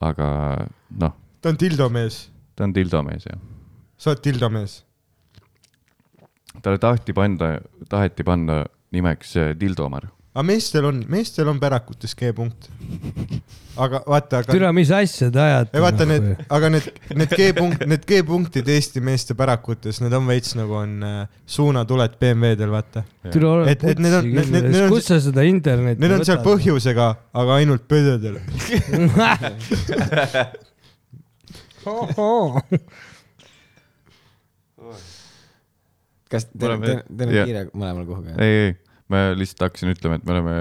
Speaker 1: aga noh ,
Speaker 3: ta on tildomees ,
Speaker 1: ta on tildomees jah .
Speaker 3: sa oled tildomees .
Speaker 1: talle tahti panna , taheti panna nimeks äh, Dildomar
Speaker 3: aga meestel on , meestel on pärakutes G-punkt . aga vaata , aga .
Speaker 4: türa , mis asja te ajate ? noh,
Speaker 3: ei vaata need , aga need , need G-punkt , need G-punktid Eesti meeste pärakutes , need on veits nagu on äh, suunatuled BMW-del , vaata .
Speaker 4: türa , ole
Speaker 3: Et- et need on- need- need- need
Speaker 4: putsi ,
Speaker 3: on-
Speaker 4: kus sa seda internetti
Speaker 3: Need on seal põhjusega , aga ainult pöidel .
Speaker 4: põhjus .
Speaker 2: kas teil on ,
Speaker 1: Oleme-
Speaker 2: teil on
Speaker 1: jah.
Speaker 2: kiire mõlemal kuhugi ?
Speaker 1: ei , ei , ma lihtsalt hakkasin ütlema , et me oleme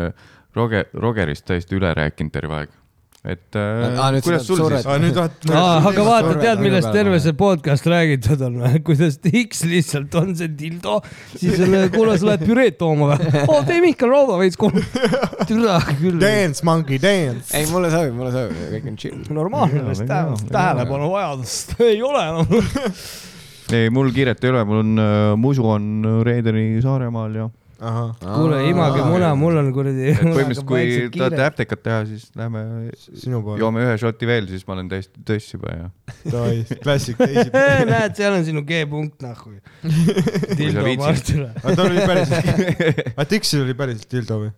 Speaker 1: Roger , Rogerist täiesti üle rääkinud terve aeg . et äh,
Speaker 2: Aa, Ah, nüüd
Speaker 1: kuidas
Speaker 2: sa
Speaker 1: sul
Speaker 2: tahad
Speaker 1: siis ?
Speaker 3: aga nüüd vaata
Speaker 4: Ah, aga vaata ,
Speaker 2: Surve-
Speaker 4: tead , millest
Speaker 2: surve-
Speaker 4: terve see podcast räägitud on , kuidas X lihtsalt on see dildo , siis on , kuule , sa lähed püreed tooma või ? oo , tee Mihkel Rauda veits kolm . türa küll .
Speaker 3: Dance , monkey dance .
Speaker 2: ei , mulle sobib , mulle sobib , kõik on chill .
Speaker 4: normaalne vist tähelepanu , tähelepanu vajadust ei ole noh. enam .
Speaker 1: ei , mul kiiret ei ole , mul on äh, , musu on Reedeni Saaremaal ja .
Speaker 4: kuule , image muna , mul on kuradi .
Speaker 1: et põhimõtteliselt , kui tahate äptekat teha , siis lähme
Speaker 3: sinu poole .
Speaker 1: joome ühe šoti veel , siis ma olen täiesti töss juba ja .
Speaker 3: klassik teisipäev .
Speaker 4: näed , seal on sinu G-punkt nahku . dildo
Speaker 1: viitsid.
Speaker 4: Martile .
Speaker 3: aga tal oli päriselt , aga Dixil oli päriselt dildo või ?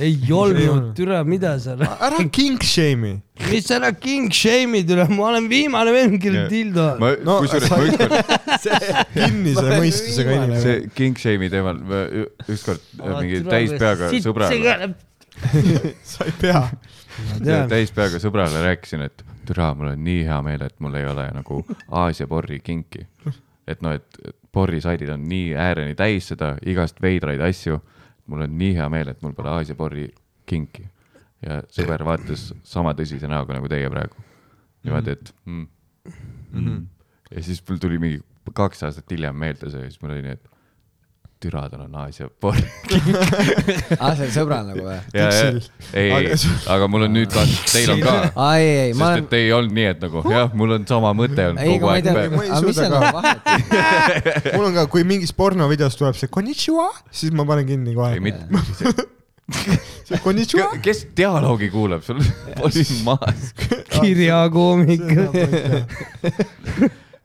Speaker 4: ei olnud , türa , mida sa räägid ,
Speaker 3: ära king shame'i .
Speaker 4: mis sa räägid , king shame'i türa , ma olen viimane vend , kellel
Speaker 1: Jah.
Speaker 4: dildo on .
Speaker 1: ma no, ,
Speaker 3: No,
Speaker 1: kusjuures ma ükskord ,
Speaker 3: kinnise mõistusega inimene .
Speaker 1: see king shame'i teemal , ma ü- ükskord äh, mingi täispeaga sõbrale ,
Speaker 3: sa ei pea .
Speaker 1: täispeaga sõbrale rääkisin , et türa , mul on nii hea meel , et mul ei ole nagu Aasia porri kinki . et noh , et porrisaidid on nii ääreni täis seda igast veidraid asju . mul on nii hea meel , et mul pole Aasia porri kinki . ja sõber vaatas sama tõsise näoga nagu teie praegu . niimoodi , et mm. .
Speaker 3: Mhm.
Speaker 1: Mm. ja siis mul tuli mingi kaks aastat hiljem meelde see ja siis mul oli nii , et türa , tal on Aasia porri .
Speaker 2: aa , see on sõbral nagu või ?
Speaker 1: ja , ja , ei , ei , aga mul on nüüd ka , teil on ka
Speaker 2: aa , ei , ei , ma
Speaker 1: sest olen...
Speaker 2: olen
Speaker 1: et , ei olnud nii , et nagu jah , mul on sama mõte on
Speaker 2: ei ,
Speaker 1: kogu
Speaker 2: aga ma ei
Speaker 1: aeg
Speaker 2: tea ,
Speaker 1: peal .
Speaker 3: ma ei
Speaker 2: aga mis nagu
Speaker 3: suuda
Speaker 2: seal
Speaker 3: ka.
Speaker 2: on vahet ?
Speaker 3: mul on ka , kui mingis pornovideos tuleb see konnichiwa , siis ma panen kinni kohe
Speaker 1: ei . mitte ,
Speaker 3: see konnichiwa .
Speaker 1: kes dialoogi kuulab , sul oli maas .
Speaker 3: nagu
Speaker 4: kirjakoomik .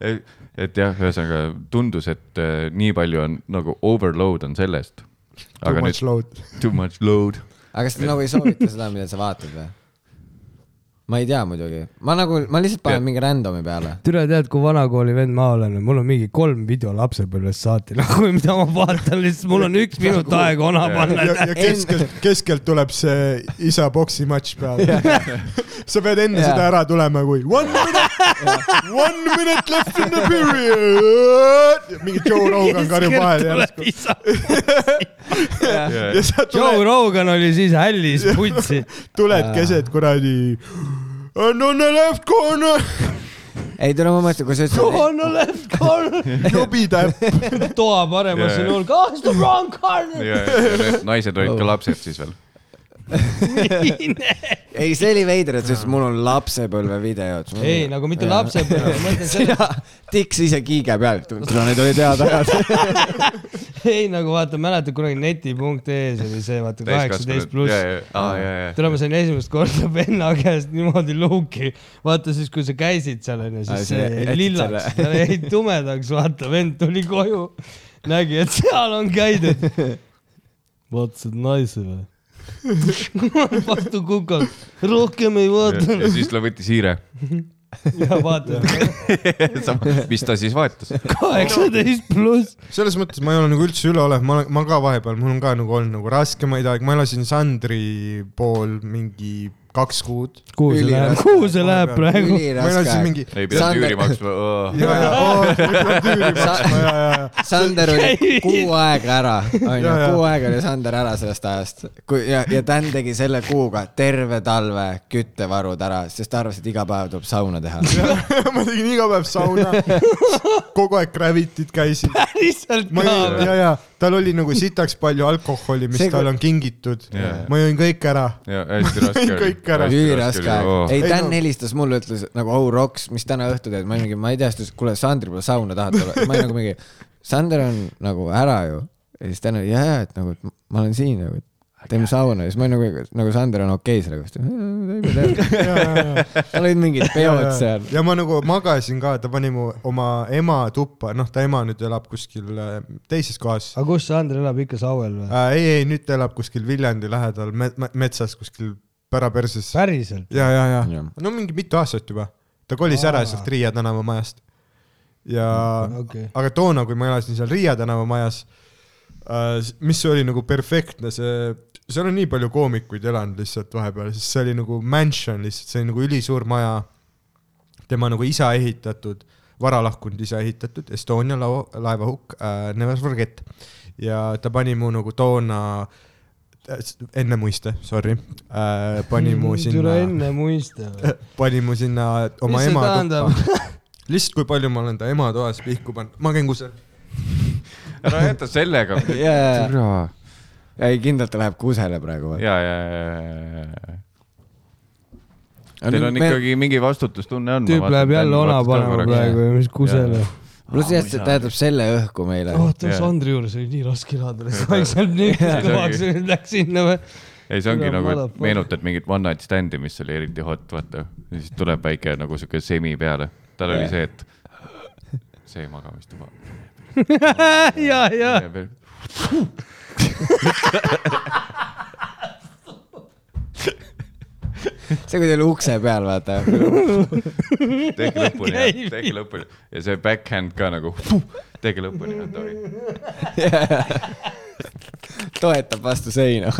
Speaker 1: et jah , ühesõnaga tundus , et äh, nii palju on nagu overload on sellest .
Speaker 3: Too
Speaker 1: aga
Speaker 3: much
Speaker 1: nüüd
Speaker 3: load .
Speaker 1: too much load .
Speaker 2: aga kas te nagu ei soovita seda , mida sa vaatad või ? ma ei tea muidugi , ma nagu , ma lihtsalt panen mingi random'i peale .
Speaker 4: türa , tead , kui vanakooli vend ma olen , mul on mingi kolm video lapsepõlvest saati , nagu mida ma vaatan , lihtsalt mul on üks minut aega ona
Speaker 3: ja ,
Speaker 4: panna .
Speaker 3: ja keskelt , keskelt tuleb see isa poksimatš peale . sa pead enne
Speaker 2: Jah.
Speaker 3: seda ära tulema , kui one minute , one minute left in the period . mingi Joe Rogan karjub vahele järsku . ja sa
Speaker 4: Joe
Speaker 3: tuled ,
Speaker 4: Rogan oli siis hällis putsi .
Speaker 3: tuled keset kuradi . And on the left corner ,
Speaker 2: ei , tule mu mõttesse , kui sa ütlesid ,
Speaker 4: on a left corner ,
Speaker 3: jobi täpp .
Speaker 4: toa paremasse
Speaker 1: Jaa.
Speaker 4: nurka , ah , it's the wrong corner .
Speaker 1: naised olid
Speaker 2: Oh.
Speaker 1: ka lapsed siis veel .
Speaker 2: ei , see oli veider , et sa ütlesid , mul on lapsepõlve videod .
Speaker 4: ei , nagu mitte lapsepõlve , ma mõtlen seda ,
Speaker 2: sina tiks ise kiige peal , kuna need olid head ajad .
Speaker 4: ei nagu vaata , mäletad kunagi neti.ee-s oli see , vaata kaheksateist pluss . tule , ma sain esimest korda venna käest niimoodi luuki . vaata siis , kui sa käisid seal onju ,
Speaker 2: Aa,
Speaker 4: siis
Speaker 2: see
Speaker 4: see jäi
Speaker 2: jättis
Speaker 4: lillaks , ta jäi tumedaks , vaata vend tuli koju , nägi , et seal on käidud . vaatasid naise või ? vastu kukalt , rohkem ei
Speaker 1: ja
Speaker 4: vaadanud
Speaker 1: siis ta võttis hiire .
Speaker 4: ja vaatad
Speaker 1: mis ta siis vaatas ?
Speaker 4: kaheksateist pluss .
Speaker 3: selles mõttes ma ei ole nagu üldse üleolev , ma olen , ma ka vahepeal , mul on ka nagu olnud nagu raskemaid aegu , ma elasin Sandri pool mingi kaks kuud .
Speaker 4: kuhu see
Speaker 2: Üliraske.
Speaker 4: läheb , kuhu see läheb praegu ?
Speaker 3: ma elasin mingi
Speaker 1: ei pidanud
Speaker 2: Sander-
Speaker 1: üüri maksma .
Speaker 3: ja , ja , oo , võib-olla tüüri maksma ja , ja , ja .
Speaker 2: Sander oli kuu aega ära , onju
Speaker 3: Ja, , ja.
Speaker 2: kuu aega oli Sander ära sellest ajast , kui ja , ja Dan tegi selle kuuga terve talve küttevarud ära , sest ta arvas , et iga päev tuleb sauna teha .
Speaker 3: ma tegin iga päev sauna , kogu aeg Gravity'd käisin .
Speaker 4: päriselt
Speaker 3: ma
Speaker 4: ka
Speaker 3: jõin ,
Speaker 4: või ?
Speaker 3: ja , ja tal oli nagu sitaks palju alkoholi , mis
Speaker 2: See,
Speaker 3: See,
Speaker 2: kui-
Speaker 3: tal on kingitud
Speaker 1: Jaa.
Speaker 3: yeah. . ma jõin kõik ära .
Speaker 1: ja hästi raske oli .
Speaker 3: Kõik ära.
Speaker 2: üliraske aeg , ei
Speaker 3: Ei,
Speaker 2: Dan
Speaker 3: no-
Speaker 2: helistas mulle , ütles nagu au roks , mis täna õhtul teed , ma olin mingi , ma ei tea , siis ta ütles , kuule Sandri pole sauna tahad tulla , ma olin nagu mingi , Sander on nagu ära ju . ja siis Dan oli ja , ja , et nagu , et ma olen siin nagu , et teeme sauna ja siis ma olin nagu , nagu Sander on okei selle kohta . tal olid mingid peod seal .
Speaker 3: ja ma nagu magasin ka , ta pani mu oma ema tuppa , noh , ta ema nüüd elab kuskil äh, teises kohas .
Speaker 4: aga kus see Ander elab ikka Sauel või ?
Speaker 3: ei , ei nüüd ta elab kuskil Viljandi lähedal me- me- metsas kuskil päraperses . ja ,
Speaker 4: päriselt ?
Speaker 3: ja , ja
Speaker 2: Jah.
Speaker 3: no mingi mitu aastat juba . ta kolis ära sealt Riia tänava majast . ja
Speaker 4: okei.
Speaker 3: okay. , aga toona , kui ma elasin seal Riia tänava majas , mis oli nagu perfektne , see , seal on nii palju koomikuid elanud lihtsalt vahepeal , sest see oli nagu mansion lihtsalt , see oli nagu ülisuur maja . tema nagu isa ehitatud , varalahkunud isa ehitatud Estonia lao- , laevahukk äh, , Never Forget . ja ta pani mu nagu toona , enne muiste , sorry äh, , pani mu
Speaker 4: Mm, tule
Speaker 3: sinna
Speaker 4: enne muista .
Speaker 3: pani mu sinna oma
Speaker 4: Mis see
Speaker 3: ema
Speaker 4: tähendab?
Speaker 3: tuppa . lihtsalt , kui palju ma olen ta ema toas pihku pannud , magenguse .
Speaker 1: ära jäta sellega .
Speaker 2: ja , ja ,
Speaker 1: türa .
Speaker 2: ja ei kindlalt ta läheb kusele praegu .
Speaker 1: ja , ja , ja , ja , ja . Teil on ikkagi mingi vastutustunne on .
Speaker 4: tüüp läheb jälle ona panema praegu ja mis kusele .
Speaker 2: pluss jah , see tähendab selle õhku meile .
Speaker 4: oh , tuleks
Speaker 1: Jaa.
Speaker 4: Andri juures oli nii raske elada , vaikselt nüüd kõvaks
Speaker 1: ongi.
Speaker 4: läks sinna või ?
Speaker 1: ei , see ongi
Speaker 4: Tule,
Speaker 1: nagu , et
Speaker 4: motherfucker.
Speaker 1: meenutad mingit One Night Stand'i , mis oli eriti hot , vaata . ja siis tuleb väike nagu sihuke semi peale . tal oli see , et see magamistuba .
Speaker 4: ja , ja
Speaker 2: see , kui teil ukse peal , vaata .
Speaker 1: tehke lõpuni
Speaker 4: Käib ,
Speaker 1: tehke lõpuni ja see backhand ka nagu tehke lõpuni , Antoni .
Speaker 2: toetab vastu seina .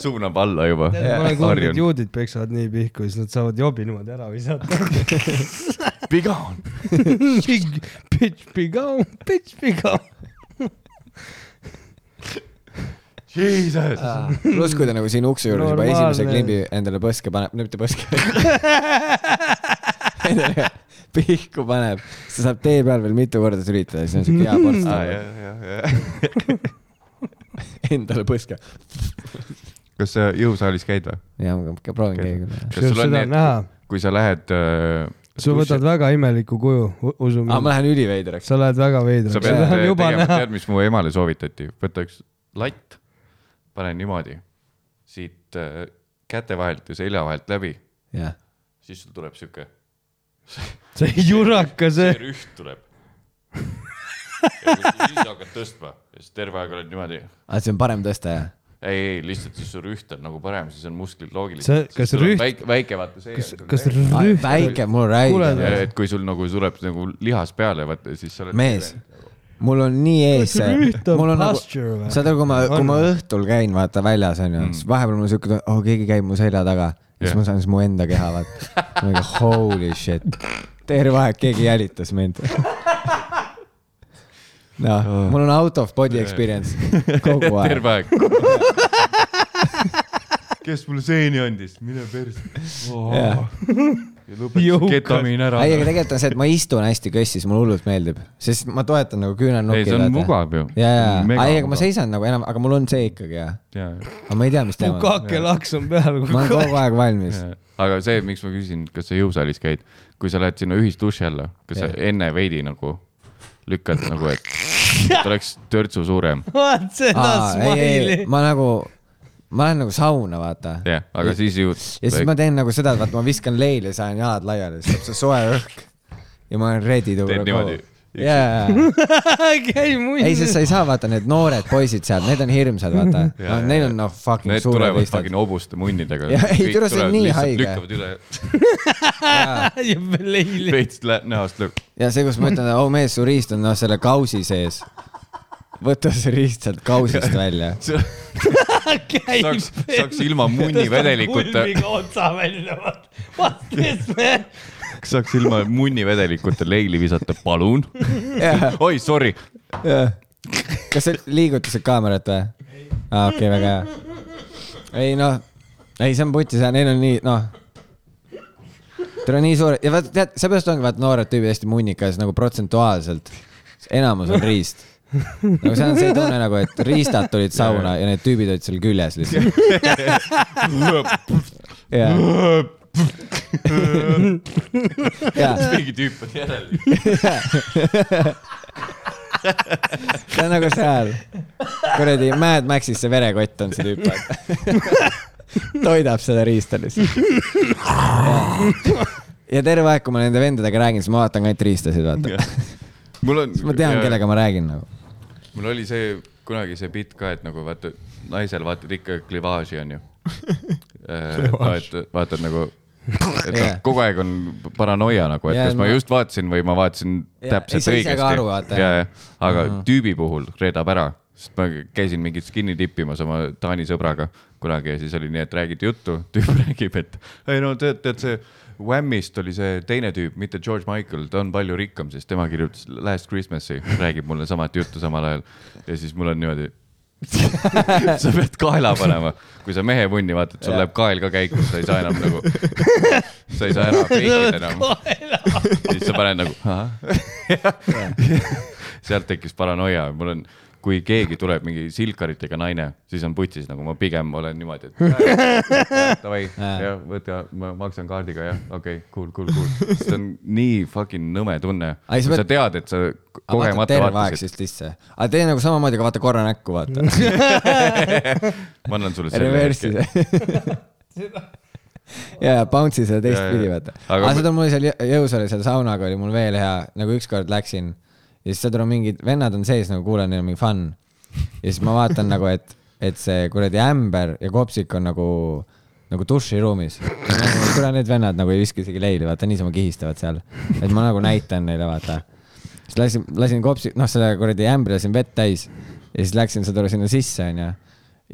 Speaker 1: suunab alla juba .
Speaker 4: ma olen kuulnud , et
Speaker 1: harjunud .
Speaker 4: juudid peksavad nii pihku , siis nad saavad jobi niimoodi ära visata .
Speaker 1: viga on .
Speaker 4: Pitch pigau , pitch pigau .
Speaker 1: Jesus .
Speaker 2: pluss , kui ta nagu siin ukse juures juba esimese
Speaker 4: Normaalne.
Speaker 2: klimbi endale põske paneb , mitte põske . endale pihku paneb , siis ta saab tee peal veel mitu korda sülitada , siis on siuke hea
Speaker 1: Ah, jah , jah , jah .
Speaker 2: ports endale põske .
Speaker 1: kas sa jõusaalis käid või ?
Speaker 2: ja ma ka- proovin keegi .
Speaker 1: kas sul on
Speaker 4: seda on
Speaker 1: need ,
Speaker 4: näha ,
Speaker 1: kui sa lähed äh, ,
Speaker 4: sa võtad väga imeliku kuju , usu
Speaker 2: aa ,
Speaker 4: mind .
Speaker 2: ma lähen üliveidraks .
Speaker 4: sa lähed väga veidraks ,
Speaker 1: sa
Speaker 4: seda
Speaker 1: pead
Speaker 4: on
Speaker 1: tegema
Speaker 4: juba , näha .
Speaker 1: tead , mis mu emale soovitati , võta üks latt , pane niimoodi siit äh, käte vahelt ja selja vahelt läbi ,
Speaker 2: jah ,
Speaker 1: siis sul tuleb sihuke ,
Speaker 4: see juraka , see
Speaker 1: see . rüht tuleb . ja kui- siis hakkad tõstma ja siis terve aeg oled niimoodi .
Speaker 2: aa , see on parem tõsta , jah ?
Speaker 1: ei , ei lihtsalt siis su rüht on nagu parem , siis on musklid
Speaker 4: See-
Speaker 1: loogilised .
Speaker 4: kas rüht-
Speaker 1: väike , väike vaata see .
Speaker 4: kas , kas rüht ,
Speaker 2: väike , mul on
Speaker 4: Kuule,
Speaker 2: räige .
Speaker 1: et kui sul nagu tuleb nagu lihas peale , vaata siis sa oled .
Speaker 2: mees , mul on nii ees see ,
Speaker 4: rüht on
Speaker 2: mul on nagu ,
Speaker 4: posture või ?
Speaker 2: saad aru , kui ma , kui
Speaker 4: On
Speaker 2: ma õhtul käin , vaata väljas onju , siis vahepeal mul on siuke , oh keegi käib mu selja taga , siis
Speaker 1: Mm. Jah.
Speaker 2: ma saan siis mu enda keha vaata . ma ikka holy shit , terve aeg keegi jälitas mind . noh , mul on out of body experience kogu
Speaker 1: Oh.
Speaker 2: aeg .
Speaker 1: terve aeg kes mulle seeni andis , mine perse . Oh, ja lõpeta
Speaker 4: Jõukas.
Speaker 1: see ketamiin ära .
Speaker 2: ei , aga
Speaker 1: ei ,
Speaker 2: tegelikult on see , et ma istun hästi kössis , mulle hullult meeldib , sest ma toetan nagu küünarnukki .
Speaker 1: see on mugav ju .
Speaker 2: ja , ja , ei , aga ma . seisan nagu enam , aga mul on see ikkagi jah , aga ma ei tea , mis teema on .
Speaker 4: pukake laks on peal
Speaker 2: ma olen
Speaker 4: kogu aeg .
Speaker 2: kogu aeg valmis .
Speaker 1: aga see , miks ma küsin , kas sa jõusaalis käid , kui sa lähed sinna ühisduši alla , kas sa enne veidi nagu lükkad nagu , et et oleks törtsu suurem ,
Speaker 4: vaat seda
Speaker 2: ei , ei ,
Speaker 4: smile'i .
Speaker 2: ma nagu , ma lähen nagu sauna , vaata . ja
Speaker 1: jah , aga siis ju .
Speaker 2: siis ma teen nagu seda , et vaata , ma viskan leili ja saan jalad laiali , siis tuleb see soe õhk . ja ma olen ready to
Speaker 1: Teed niimoodi?
Speaker 2: jaa ,
Speaker 4: käi muid .
Speaker 2: ei , sest sa ei saa vaata need noored poisid seal , need on hirmsad , vaata .
Speaker 1: Jaa, jaa,
Speaker 2: Neil on noh , fucking
Speaker 1: Need
Speaker 2: suured
Speaker 1: tulevad
Speaker 2: võistlused
Speaker 1: fucking . hobuste munnidega .
Speaker 2: Jah, ei, türa, see on nii haige.
Speaker 1: lükkavad üle ,
Speaker 4: ja veel eile .
Speaker 1: veits lä- näost lööb .
Speaker 2: ja see , kus ma ütlen , oh mees , su riist on noh , selle kausi sees . võta see riist sealt kausist välja .
Speaker 4: käi
Speaker 1: saaks , saaks ilma äh. munnivedelikuta ,
Speaker 4: otsa välja , vaat , vaat kes me .
Speaker 1: saaks ilma munnivedelikuta leili visata , palun . oi , sorry ,
Speaker 2: kas sa liigutasid kaamerat või ? aa , okei , väga hea . ei noh , ei see on putis ja neil on nii , noh . tal on nii suur ja vaata , tead , seepärast ongi vaata noored tüübid hästi munnikas nagu protsentuaalselt . enamus on riist . nagu see on see tunne nagu , et riistad tulid sauna ja need tüübid olid seal küljes lihtsalt . ja , ja
Speaker 1: mingi tüüp on järel .
Speaker 2: see on nagu seal . kuradi Mad Maxis see verekott on see tüüp . toidab seda riista lihtsalt . ja terve aeg , kui ma nende vendadega räägin , siis ma vaatan ka ainult riistasid , vaata .
Speaker 1: mul on .
Speaker 2: siis ma tean , kellega ma räägin nagu .
Speaker 1: mul oli see kunagi see bitt ka , et nagu vaata naisel vaatad ikka klivaaži onju vaatad , vaatad nagu , et
Speaker 2: Jah.
Speaker 1: yeah. kogu aeg on paranoia nagu , et
Speaker 2: Jaa,
Speaker 1: yeah,
Speaker 2: et
Speaker 1: kas ma
Speaker 2: ma-
Speaker 1: just vaatasin või ma vaatasin
Speaker 2: Jaa,
Speaker 1: yeah.
Speaker 2: ei,
Speaker 1: täpselt
Speaker 2: sa ise ka
Speaker 1: õigesti .
Speaker 2: aru vaata, jah.
Speaker 1: ja , ja , aga mm -hmm. tüübi puhul reedab ära , sest ma käisin mingit skin'i tippimas oma Taani sõbraga kunagi ja siis oli nii , et räägiti juttu , tüüp räägib , et ei no tead , tead see Whammist oli see teine tüüp , mitte George Michael , ta on palju rikkam , sest tema kirjutas Last Christmas'i , räägib mulle samat juttu samal ajal ja siis mul on niimoodi sa pead kaela panema , kui sa mehe punni vaatad , sul läheb kael ka käiku , sa ei saa enam nagu , sa ei saa ära peikida enam . siis sa paned nagu , sealt tekkis paranoia , mul on , kui keegi tuleb mingi silkaritega naine , siis on putsis nagu ma pigem olen niimoodi , et davai , jah , võta , ma maksan kaardiga , jah , okei okay, , cool , cool , cool . see on nii fucking nõme tunne ,
Speaker 2: Ai, sa
Speaker 1: kui
Speaker 2: pead-
Speaker 1: sa tead , et sa
Speaker 2: vaatad
Speaker 1: kogemata
Speaker 2: terve aeg
Speaker 1: vaatasid ,
Speaker 2: siis sisse . aga tee nagu samamoodi , aga vaata korra näkku , vaata .
Speaker 1: ma annan sulle selle
Speaker 2: Reverse'i . ja , ja bounce'i seda teistpidi ,
Speaker 1: Jaa, jaa.
Speaker 2: vaata .
Speaker 1: Aga
Speaker 2: aga
Speaker 1: ma-
Speaker 2: seda mul seal jõ- jõus oli , seal saunaga oli mul veel hea , nagu ükskord läksin ja siis seal on mingid vennad on sees , nagu kuulan , neil on mingi fun . ja siis ma vaatan nagu , et , et see kuradi ämber ja kopsik on nagu , nagu duširuumis . kuule , need vennad nagu ei viska isegi leili , vaata niisama kihistavad seal . et ma nagu näitan neile , vaata . siis lasin , lasin kopsi , noh , selle kuradi ämbri lasin vett täis ja siis läksin seda sinna sisse , onju .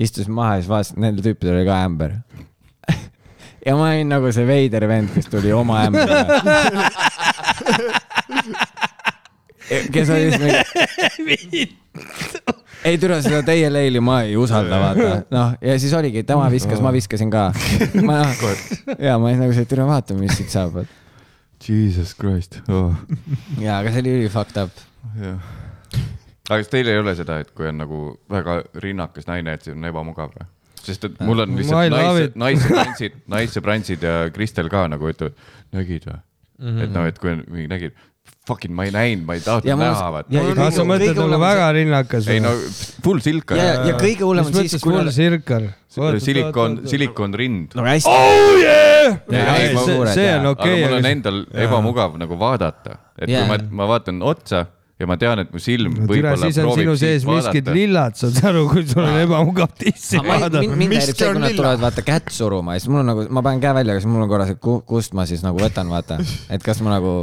Speaker 2: istusin maha ja siis vaatasin , nendel tüüpidel oli ka ämber ja ma olin nagu see veider vend , kes tuli oma ämbriga . kes oli siis mingi . ei türa , seda teie leili ma ei usalda , vaata . noh , ja siis oligi , tema viskas , ma viskasin ka . ma , ja ma olin nagu see , et türa , vaatame , mis siit saab .
Speaker 1: Jesus Christ oh. .
Speaker 2: ja , aga see oli üli fucked up .
Speaker 1: jah . aga kas teil ei ole seda , et kui on nagu väga rinnakas naine , et see on ebamugav või ? sest et mul on
Speaker 7: I
Speaker 1: lihtsalt
Speaker 7: love
Speaker 1: naised
Speaker 7: it. ,
Speaker 1: naissõbrantsid , naissõbrantsid ja Kristel ka nagu ütlevad , nägid või mm ?
Speaker 7: Mhm.
Speaker 1: -hmm. et noh , et kui on mingi nägid , fucking ma ei näinud , ma ei
Speaker 2: Ja
Speaker 1: tahtnud
Speaker 2: ma-
Speaker 1: näha , vaata .
Speaker 2: ja , ja
Speaker 7: kas sa
Speaker 2: kõige
Speaker 7: mõtled nagu
Speaker 2: hullem on
Speaker 7: väga rinnakas
Speaker 1: ei no full silka
Speaker 2: see , ja , ja kõige hullem
Speaker 7: mis
Speaker 2: on siis ,
Speaker 7: mõttes
Speaker 2: kui
Speaker 7: mul . sirkal ?
Speaker 1: silikon , silikon rind .
Speaker 2: no hästi
Speaker 7: oh yeah !
Speaker 1: ei, ma-
Speaker 7: see see on
Speaker 1: okay,
Speaker 7: okei
Speaker 1: aga mul on , endal ja. ebamugav nagu vaadata , et yeah.
Speaker 2: Jaa.
Speaker 1: kui ma , ma vaatan otsa ja ma tean , et mu silm no,
Speaker 7: türa ,
Speaker 1: võib-olla
Speaker 7: siis on
Speaker 1: proovib
Speaker 7: sinu sees
Speaker 1: siit
Speaker 7: miskid
Speaker 1: vaadata . Ah.
Speaker 7: lillad , saad sa aru , kui sul on ebamugav tissi
Speaker 2: mind
Speaker 7: vaadata .
Speaker 2: mind
Speaker 11: Miski
Speaker 2: häirib see , kui
Speaker 11: on
Speaker 2: nad
Speaker 11: lilla.
Speaker 2: tulevad vaata kätt suruma ja siis mul on nagu , ma panen käe välja , aga siis mul on korra see , kust ma siis nagu võtan , vaata , et kas ma nagu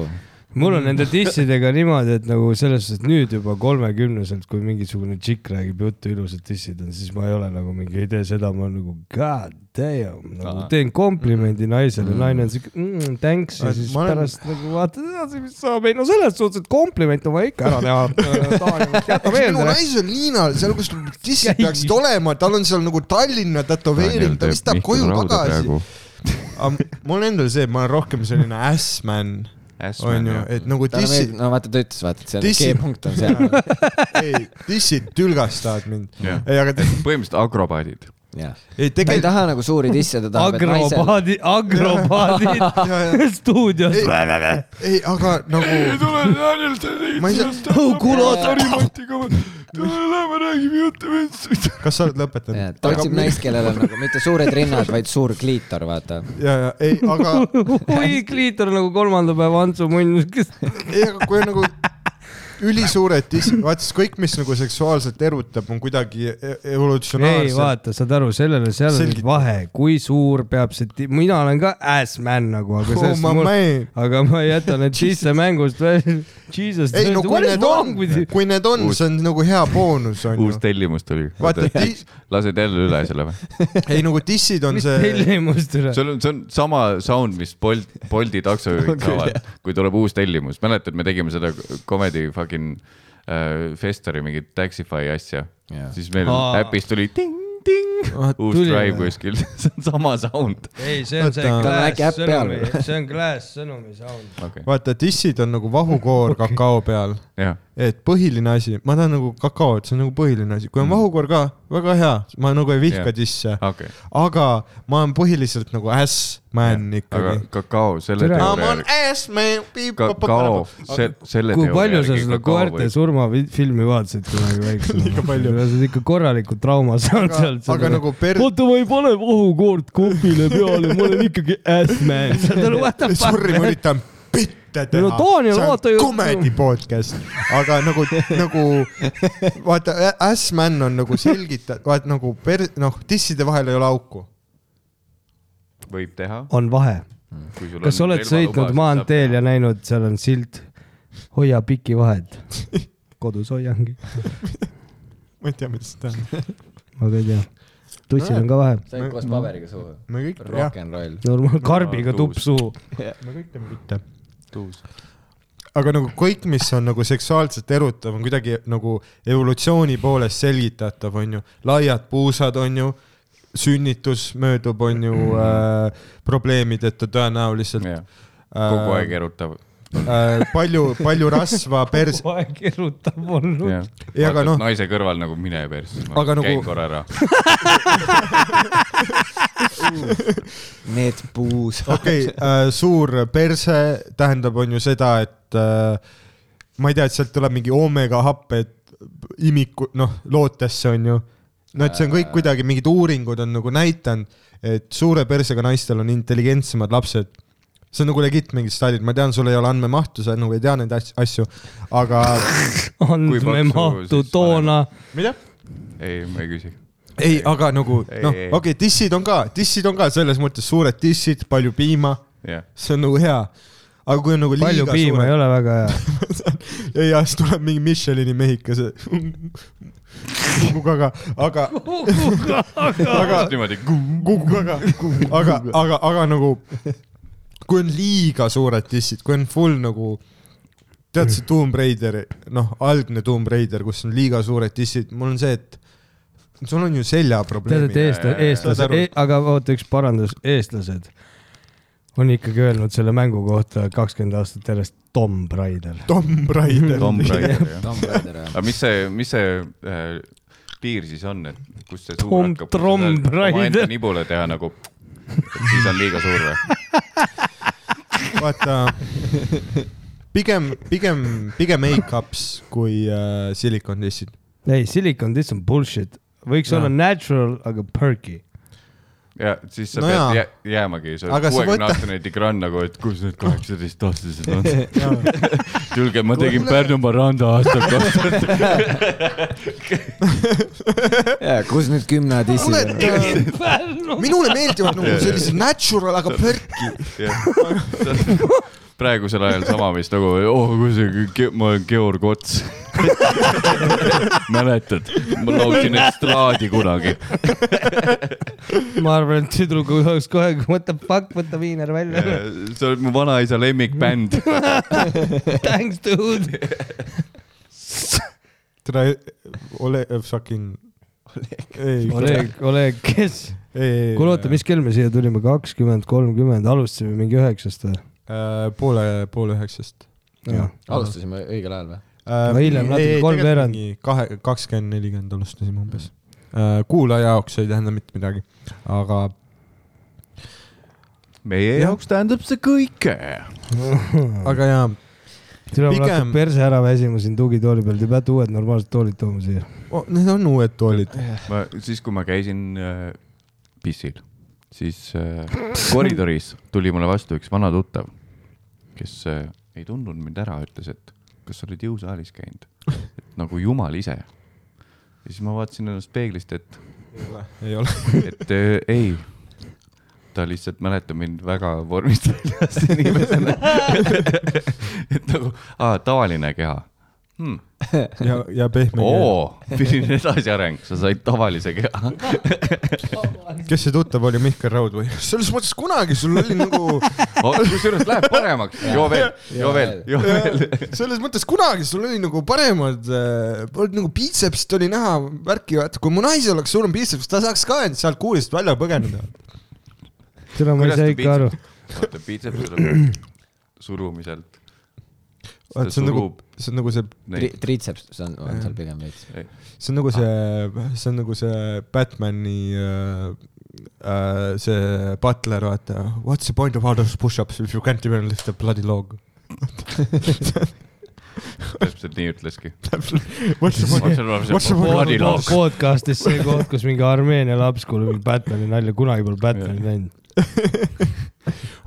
Speaker 7: mul on nende tissidega niimoodi , et nagu selles suhtes , et nüüd juba kolmekümneselt , kui mingisugune tšikk räägib juttu , ilusad tissid on , siis ma ei ole nagu mingi , ei tee seda , ma olen nagu god damn , nagu teen
Speaker 1: Mm-hmm.
Speaker 7: komplimendi naisele , naine on siuke mm, thanks ja
Speaker 11: Et
Speaker 7: siis
Speaker 11: ma olen-
Speaker 7: pärast nagu vaatad edasi , mis saab , ei no selles suhtes , et kompliment on vaja ikka ära
Speaker 3: äh,
Speaker 7: teha . jäta
Speaker 11: minu
Speaker 7: meelde .
Speaker 11: naisel Liinal , seal kus tal tissid peaksid olema , tal on seal nagu Tallinna tätoveering , ta vist läheb koju tagasi ..
Speaker 3: mul endal see , ma olen rohkem selline äss-man , onju , et nagu
Speaker 2: Tal on veel-
Speaker 3: dissid ,
Speaker 2: no vaata , ta ütles , vaata , et see
Speaker 3: Dissi-
Speaker 2: on G-punkt on seal .
Speaker 11: noh.
Speaker 3: ei , dissid tülgastavad mind .
Speaker 1: Jah.
Speaker 3: ei , aga te-
Speaker 1: põhimõtteliselt akrobaadid .
Speaker 2: ta
Speaker 3: ei
Speaker 2: ei
Speaker 3: tegelikult ,
Speaker 2: taha nagu suuri tisse , ta tahab , et naisel ,
Speaker 4: agropaadi , agropaadid
Speaker 3: ja , ja ,
Speaker 4: stuudios .
Speaker 3: ei , aga nagu ,
Speaker 1: tule Daniel , sa
Speaker 3: ma ei saa ,
Speaker 1: tule lähme räägime juttu vist .
Speaker 3: kas sa oled lõpetanud ?
Speaker 2: ta otsib naist , kellel on nagu mitte suured rinnad , vaid suur kliitor , vaata .
Speaker 3: ja , ja ei , aga ,
Speaker 4: oi , kliitor nagu kolmanda päeva Antsu munn , kes
Speaker 3: ei , aga kui on nagu ülisuured dissid , vaata siis kõik , mis nagu seksuaalselt erutab , on kuidagi e-
Speaker 7: ei
Speaker 3: evolutsionaarselt .
Speaker 7: vaata , saad aru , sellel , seal on
Speaker 3: Selgita.
Speaker 7: nüüd vahe , kui suur peab see ti- , mina olen ka ass man nagu , aga
Speaker 3: oh
Speaker 7: sellest
Speaker 3: my
Speaker 7: mul ,
Speaker 3: man ,
Speaker 7: aga ma jätan need sisse mängust välja . Jesus ,
Speaker 3: ei no kui
Speaker 7: nagu, what is
Speaker 3: need on
Speaker 7: wrong with you ?,
Speaker 3: kui need on , see on nagu hea boonus
Speaker 1: uus
Speaker 3: onju .
Speaker 1: tellimus tuli .
Speaker 3: vaata , dis- ,
Speaker 1: lased jälle üle selle või ?
Speaker 3: ei nagu dissid on
Speaker 7: mis
Speaker 3: see ,
Speaker 7: tellimus tule ?
Speaker 1: seal on , see on sama sound , mis Bolt , Bolti taksojuhid saavad , kui tuleb uus tellimus . mäletad , me tegime seda comedy fucking äh, Festeri mingit Taxify asja
Speaker 2: Jaa.
Speaker 1: yeah. . siis meil
Speaker 7: Aa.
Speaker 1: äpis tuli ting-ting , uus
Speaker 7: tuli
Speaker 1: drive
Speaker 7: või?
Speaker 1: kuskil . see on sama sound .
Speaker 7: ei , see on see
Speaker 3: Võta.
Speaker 2: Tal on äkki
Speaker 7: klaas
Speaker 2: äpp peal
Speaker 7: sõnumi , see on klaas sõnumi sound .
Speaker 1: okei okay. ,
Speaker 3: vaata dissid on nagu vahukoor kakao peal
Speaker 1: jah .
Speaker 3: et põhiline asi , ma tahan nagu kakaot , see on nagu põhiline asi , kui on
Speaker 1: Mm.
Speaker 3: vahukoor ka , väga hea , ma nagu ei vihka
Speaker 1: Jah. Ah.
Speaker 3: yeah. disse ,
Speaker 1: okei ,
Speaker 3: aga ma olen põhiliselt nagu äss-man yeah.
Speaker 1: aga
Speaker 3: ikkagi .
Speaker 1: kakao selle
Speaker 4: Tere.
Speaker 1: teooria
Speaker 11: on
Speaker 1: järgi ,
Speaker 11: ass-man ,
Speaker 1: kakao , see , selle
Speaker 7: kui
Speaker 1: teooria
Speaker 7: palju sa
Speaker 1: järgi
Speaker 7: seda
Speaker 1: kakao
Speaker 7: koerte
Speaker 1: võib-
Speaker 7: surmafilmi vaatasid kunagi väiksena ? liiga palju . sa oled ikka korraliku trauma saanud sealt .
Speaker 11: aga nagu per- ,
Speaker 4: oota , ma ei pane vahukoort kopile peale , ma olen ikkagi ass-man . saad aru , what the fuck ?
Speaker 11: sorry , ma üritan pitta teha .
Speaker 4: No Daniel, vaata ju-
Speaker 11: komedi podcast , aga nagu , nagu vaata , Assman on nagu selgitatud , vaat nagu per- , noh , disside vahel ei ole auku .
Speaker 1: võib teha .
Speaker 4: on vahe . kas sa oled sõitnud maanteel ja näinud , seal on silt , hoia piki vahet . kodus hoiangi ,
Speaker 3: ma ei tea , mida see tähendab .
Speaker 4: ma ka ei tea . tussil on ka vahe .
Speaker 2: sain koos paberiga suhu .
Speaker 3: me kõik , jah ,
Speaker 2: Rock n roll .
Speaker 4: normaal , karbiga tupp suhu .
Speaker 3: me kõik teeme pitta .
Speaker 1: tuus .
Speaker 3: aga nagu kõik , mis on nagu seksuaalselt erutav , on kuidagi nagu evolutsiooni poolest selgitatav , onju . laiad puusad , onju , sünnitus möödub , onju
Speaker 4: Mm.
Speaker 3: äh, , probleemideta tõenäoliselt .
Speaker 1: kogu aeg . erutav .
Speaker 3: Äh, palju , palju rasva pers- ,
Speaker 4: kogu aeg erutab olnud .
Speaker 3: Ei, aga
Speaker 1: aga noh .
Speaker 3: noh-
Speaker 1: naise kõrval nagu mine persse , ma
Speaker 3: Aga
Speaker 1: käin
Speaker 3: nagu-
Speaker 1: korra ära .
Speaker 2: Need puus .
Speaker 3: okei okay, , suur perse tähendab , on ju seda , et äh, ma ei tea , et sealt tuleb mingi oomega-happed imiku , noh , lootesse on ju . no et see on kõik kuidagi , mingid uuringud on nagu näidanud , et suure persega naistel on intelligentsemad lapsed . see on nagu legit mingid stadid , ma tean , sul ei ole andmemahtu , sa nagu ei tea neid as- asju , aga
Speaker 4: andmemahtu
Speaker 1: siis
Speaker 4: toona .
Speaker 3: mida ?
Speaker 1: ei , ma ei küsi .
Speaker 3: ei , aga nagu
Speaker 1: Ei,
Speaker 3: noh ,
Speaker 1: ei.
Speaker 3: okei okay, , dissid on ka , dissid on ka selles mõttes suured dissid , palju piima ,
Speaker 1: jah ,
Speaker 3: see on nagu hea . aga kui on nagu liiga
Speaker 4: palju piima
Speaker 3: suured
Speaker 4: ei ole väga hea .
Speaker 3: ei , ja siis tuleb mingi Michelini mehikese kukukaga , aga , aga ,
Speaker 1: niimoodi .
Speaker 3: kukukaga , aga , aga , aga nagu , kui on liiga suured dissid , kui on full nagu , tead see Tomb Raider , noh , algne Tomb Raider , kus on liiga suured dissid , mul on see , et sul on ju
Speaker 4: tead , et
Speaker 3: seljaprobleemid .
Speaker 4: eestlased ,
Speaker 3: Saad
Speaker 4: eestlased
Speaker 3: aru? ,
Speaker 4: aga oota , üks parandus , eestlased on ikkagi öelnud selle mängu kohta kakskümmend aastat järjest Tomb Raider .
Speaker 3: Tomb Raider .
Speaker 1: Tomb Raider , jah .
Speaker 2: Tomb Raider või ?
Speaker 1: aga mis see , mis see äh, piir siis on , et kus see suur
Speaker 4: Tomb-
Speaker 1: hakkab ? kui
Speaker 4: Tomb
Speaker 1: sa saad omaenda
Speaker 4: Raider.
Speaker 1: nibule teha nagu , siis on liiga suur või ?
Speaker 3: vaata , pigem , pigem , pigem make-ups kui äh, silicon dissid .
Speaker 4: ei , silicon this on bullshit , võiks
Speaker 3: Jaa.
Speaker 4: olla natural , aga perky .
Speaker 1: ja siis sa
Speaker 3: No
Speaker 1: no
Speaker 3: jaa.
Speaker 1: pead jää, jäämagi , sa oled
Speaker 3: Aga sa
Speaker 1: kuuekümne
Speaker 3: võta-
Speaker 1: aastane tigrann nagu , et kus need kaheksateistaastased on . tulge , ma tegin Pärnumaa randa aastal kaks tuhat .
Speaker 2: jaa , kus need kümne dissid on ?
Speaker 11: minule meeldivad nagu sellised natural , aga pörk ,
Speaker 1: praegusel ajal sama vist nagu , oh kui see , ma olen Georg Ots . mäletad , ma laulsin estraadi kunagi .
Speaker 4: ma arvan , et tüdruk oleks kohe , what the fuck , võta viiner välja .
Speaker 1: see oli mu vanaisa lemmikbänd .
Speaker 4: Thanks dude .
Speaker 3: tere , ole äh, fucking . ei ,
Speaker 4: Oleg , Oleg , kes ?
Speaker 3: ei .
Speaker 4: kuule , oota , mis kell me siia tulime , kakskümmend , kolmkümmend , alustasime mingi üheksast või ?
Speaker 3: äh, ? poole , poole üheksast . Jah.
Speaker 2: alustasime õigel ajal või ?
Speaker 3: äh,
Speaker 4: No hiljem natuke, kolmveerand. .
Speaker 3: kahe , kakskümmend , nelikümmend alustasime umbes äh, . kuulaja jaoks ei tähenda mitte midagi , aga
Speaker 1: meie jaoks tähendab see kõike .
Speaker 3: mm. , aga jaa ,
Speaker 4: tule mul
Speaker 3: Pigem-
Speaker 4: hakkab perse ära väsima siin tugitooli peal , te peate uued normaalsed toolid tooma siia .
Speaker 3: need on uued toolid .
Speaker 1: ma , siis kui ma käisin äh, pissil , siis äh, koridoris tuli mulle vastu üks vana tuttav , kes äh, ei tundnud mind ära , ütles , et kas sa oled jõusaalis käinud , et nagu jumal ise . ja siis ma vaatasin ennast peeglist , et ,
Speaker 3: ei ole .
Speaker 1: et äh, ei , ta lihtsalt mäletab mind väga vormist väljas inimesena . et nagu , aa , tavaline keha hmm. .
Speaker 3: ja , ja pehme keel .
Speaker 1: oo , pidin edasiareng , sa said tavalise keha .
Speaker 3: kes see tuttav oli , Mihkel Raud või ?
Speaker 11: selles mõttes kunagi sul oli nagu ,
Speaker 1: Oh, kusjuures läheb paremaks , joo veel , joo veel , joo veel .
Speaker 11: selles mõttes kunagi sul oli nagu paremad äh, , nagu biitsepsist oli näha värki , vaata kui mu naisel oleks suurem biitseps , ta saaks ka end sealt kuulist välja põgeneda .
Speaker 4: tule , ma ei saa ikka aru ..
Speaker 1: oota , piitseps tuleb surumiselt . ta
Speaker 3: see on nagu
Speaker 1: surub ,
Speaker 3: see on nagu see ,
Speaker 1: neid .
Speaker 2: triitseps , see on , on seal pigem veits .
Speaker 3: see on nagu see , see on nagu see Batman'i äh, äh, see butler , vaata . What's the point of all those push-ups if you can't even lift a bloody log ?
Speaker 1: täpselt nii ütleski .
Speaker 3: What's the point ?
Speaker 1: nagu
Speaker 3: What's the point
Speaker 1: Body lock.
Speaker 4: podcast'is see koht , kus mingi Armeenia laps kuuleb mingi Batman'i nalja , kunagi pole Batman'i näinud .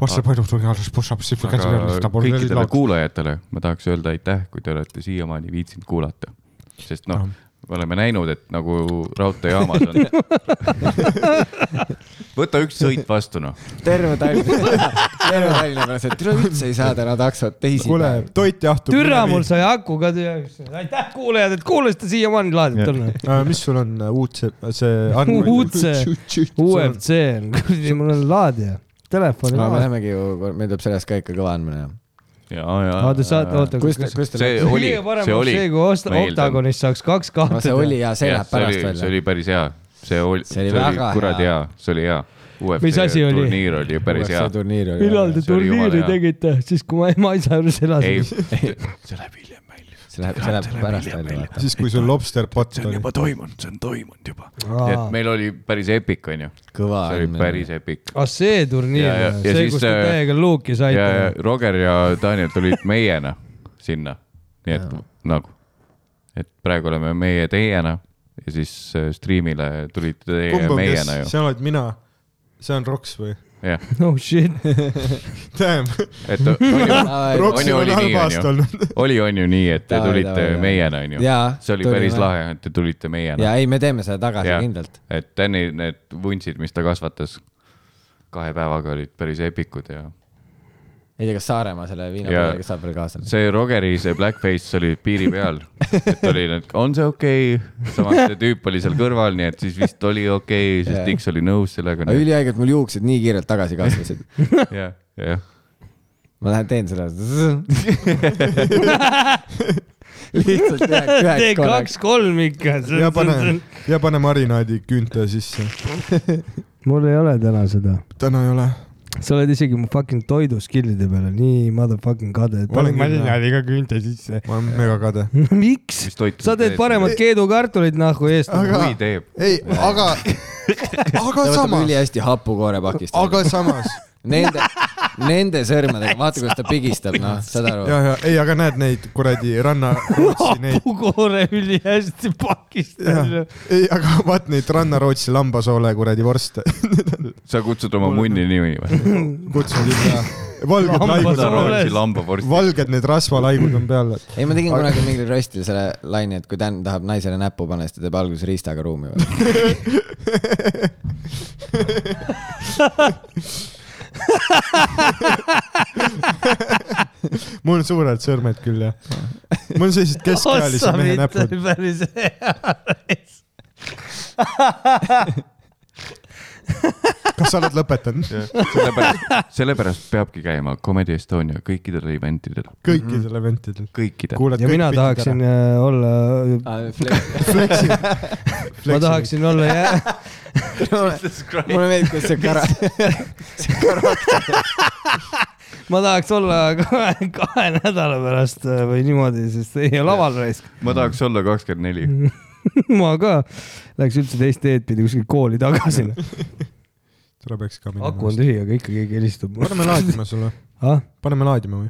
Speaker 3: What's the point of doing all those push-ups if you can't even lift
Speaker 1: aga
Speaker 3: a bloody
Speaker 1: kõikidele
Speaker 3: log ?
Speaker 1: kuulajatele ma tahaks öelda aitäh , kui te olete siiamaani viitsinud kuulata , sest noh , me oleme näinud , et nagu raudteejaamas on . võta üks sõit vastu noh ,
Speaker 2: terve Tallinna , terve Tallinna pärast , et tule üldse ei saa täna taksot
Speaker 3: kuule
Speaker 2: teisipäeval .,
Speaker 3: toit jahtub .
Speaker 4: türa , mul sai aku ka tühjaks . aitäh , kuulajad , et kuulasite siiamaani , laadid on .
Speaker 3: mis sul on äh, uut see , see .
Speaker 4: Uudse. UFC on , mul on laadija , telefoni
Speaker 2: no me
Speaker 4: laadija .
Speaker 2: lähemegi ju , meil tuleb sellest ka ikka kõva andmine .
Speaker 1: ja , ja .
Speaker 4: oota , saad , oota ,
Speaker 2: kus te , kus te
Speaker 1: see
Speaker 2: läksite?
Speaker 1: oli
Speaker 4: kõige , parem
Speaker 1: see
Speaker 4: on
Speaker 1: oli
Speaker 4: see ,, kui Ost-
Speaker 1: ma eeldan.
Speaker 4: Octagonis saaks kaks
Speaker 2: no see
Speaker 4: kahte .
Speaker 2: oli ja see
Speaker 1: Jah,
Speaker 2: läheb pärast
Speaker 1: oli- see
Speaker 2: välja .
Speaker 1: oli päris hea , see oli ,
Speaker 2: See oli
Speaker 1: see oli
Speaker 2: väga
Speaker 1: kuradi
Speaker 2: hea.
Speaker 1: hea , see oli hea .
Speaker 4: Mis asi oli?
Speaker 1: turniir oli ju päris hea .
Speaker 2: turniir
Speaker 4: millal te
Speaker 1: see oli jumala
Speaker 4: turniiri
Speaker 1: hea.
Speaker 4: tegite , siis kui ma ema isa juures
Speaker 1: ei ,
Speaker 4: elasin ?
Speaker 1: see läheb hiljem välja .
Speaker 2: see läheb , see läheb pärast välja .
Speaker 3: siis , kui sul lobster pot
Speaker 1: see on
Speaker 3: oli .
Speaker 1: juba toimunud , see on toimunud juba . nii et meil oli päris epic , onju .
Speaker 2: kõva
Speaker 1: see oli
Speaker 2: andmine .
Speaker 1: päris epic .
Speaker 4: ah see turniir
Speaker 1: Ja- ja- , ja
Speaker 4: see ,
Speaker 1: siis,
Speaker 4: kus te
Speaker 1: äh,
Speaker 4: täiega luuki
Speaker 1: ja
Speaker 4: saite .
Speaker 1: Roger ja Daniel tulid meiena sinna , nii et nagu , et praegu oleme meie teiena ja siis äh, striimile tulid teie
Speaker 3: kumb on kes
Speaker 1: meiena , ju ,
Speaker 3: see oled mina , see on Roks või ?
Speaker 1: jah ,
Speaker 4: no Oh, shit ,
Speaker 3: Damn ,
Speaker 1: et onju ,
Speaker 3: Roksil
Speaker 1: oli
Speaker 3: on
Speaker 1: nii,
Speaker 3: halb
Speaker 1: on ju?
Speaker 3: aasta olnud .
Speaker 1: oli , on ju nii , et te
Speaker 2: Jaa,
Speaker 1: tulite
Speaker 2: jaa, jaa.
Speaker 1: meiena , on ju .
Speaker 2: jaa .
Speaker 1: see oli päris . lahe , et te tulite meiena
Speaker 2: ja , ei , me teeme seda tagasi
Speaker 1: Jaa.
Speaker 2: kindlalt .
Speaker 1: et Tänni need vuntsid , mis ta kasvatas kahe päevaga olid päris epikud ja
Speaker 2: ei tea , kas Saaremaa selle
Speaker 1: Jaa.
Speaker 2: viinapuudega saab veel kaasa .
Speaker 1: see Rogeri see blackface oli piiri peal , et oli , et on see okei okay? , samas see tüüp oli seal kõrval , nii et siis vist oli okei okay, , sest
Speaker 2: Jah.
Speaker 1: Dix oli nõus sellega .
Speaker 2: ülihaigelt mul juuksed nii kiirelt tagasi kasvasid .
Speaker 1: jah , jah .
Speaker 2: ma lähen teen seda . lihtsalt üheks ,
Speaker 4: tee
Speaker 2: üheks korraks .
Speaker 4: kaks-kolm ikka .
Speaker 3: ja pane , ja pane marinaadi küünte sisse .
Speaker 4: mul ei ole täna seda .
Speaker 3: täna ei ole .
Speaker 4: sa oled isegi mu fucking toiduskillide peale nii motherfucking kade .
Speaker 3: Ma olen küll, jah.
Speaker 4: ka küünte sisse .
Speaker 3: ma olen megakade .
Speaker 4: miks ?
Speaker 1: mis toitu
Speaker 4: sa teed paremat keedukartuleid nahku eest .
Speaker 3: Aga-
Speaker 1: kui teeb ,
Speaker 3: ei , aga , aga
Speaker 2: ta võtab
Speaker 3: samas ,
Speaker 2: ülihästi hapukoore pakist .
Speaker 3: aga samas
Speaker 2: Nende , nende sõrmedega , vaata , kuidas ta pigistab , noh , saad aru
Speaker 3: ja , ja ei , aga näed neid kuradi ranna , Rootsi neid ,
Speaker 4: hapukoore ülihästi pakist
Speaker 3: Jah. . ei , aga vaat neid ranna Rootsi lambasoole kuradi vorste
Speaker 1: sa kutsud oma munni nimi või ?
Speaker 3: kutsunud ikka . valged
Speaker 1: seda
Speaker 3: laigud
Speaker 4: Lambasoole.
Speaker 3: on ,
Speaker 1: Rootsi lambavorsti .
Speaker 3: valged need rasvalaigud on peal .
Speaker 2: ei , ma tegin kunagi mingil röstil selle laine , et kui Dan tahab naisele näppu panna , siis ta teeb alguses riistaga ruumi .
Speaker 3: mul on suured sõrmed küll jah . mul on sellised keskealise mehe näpud .
Speaker 4: päris hea reis .
Speaker 3: kas sa oled lõpetanud ?
Speaker 1: sellepärast , sellepärast peabki käima Comedy Estonia kõikidel eventidel ,
Speaker 3: kõikidel eventidel .
Speaker 1: kõikidel .
Speaker 3: kuulad
Speaker 4: Mhm. ja mina tahaksin . äh, olla , ma tahaksin olla jää- ,
Speaker 2: mulle meeldib , kuidas see kara- ,
Speaker 4: ma tahaks olla kahe, kahe nädala pärast äh, või niimoodi , sest ei laval raisk .
Speaker 1: ma tahaks olla kakskümmend neli .
Speaker 4: ma ka läheks üldse teist teed pidi kuskil kooli tagasi .
Speaker 3: tule peaks ka
Speaker 4: aku on
Speaker 3: minema .
Speaker 4: tühi , aga ikka keegi helistab mulle .
Speaker 3: paneme laadima sulle ,
Speaker 4: ah ,
Speaker 3: paneme laadima või ?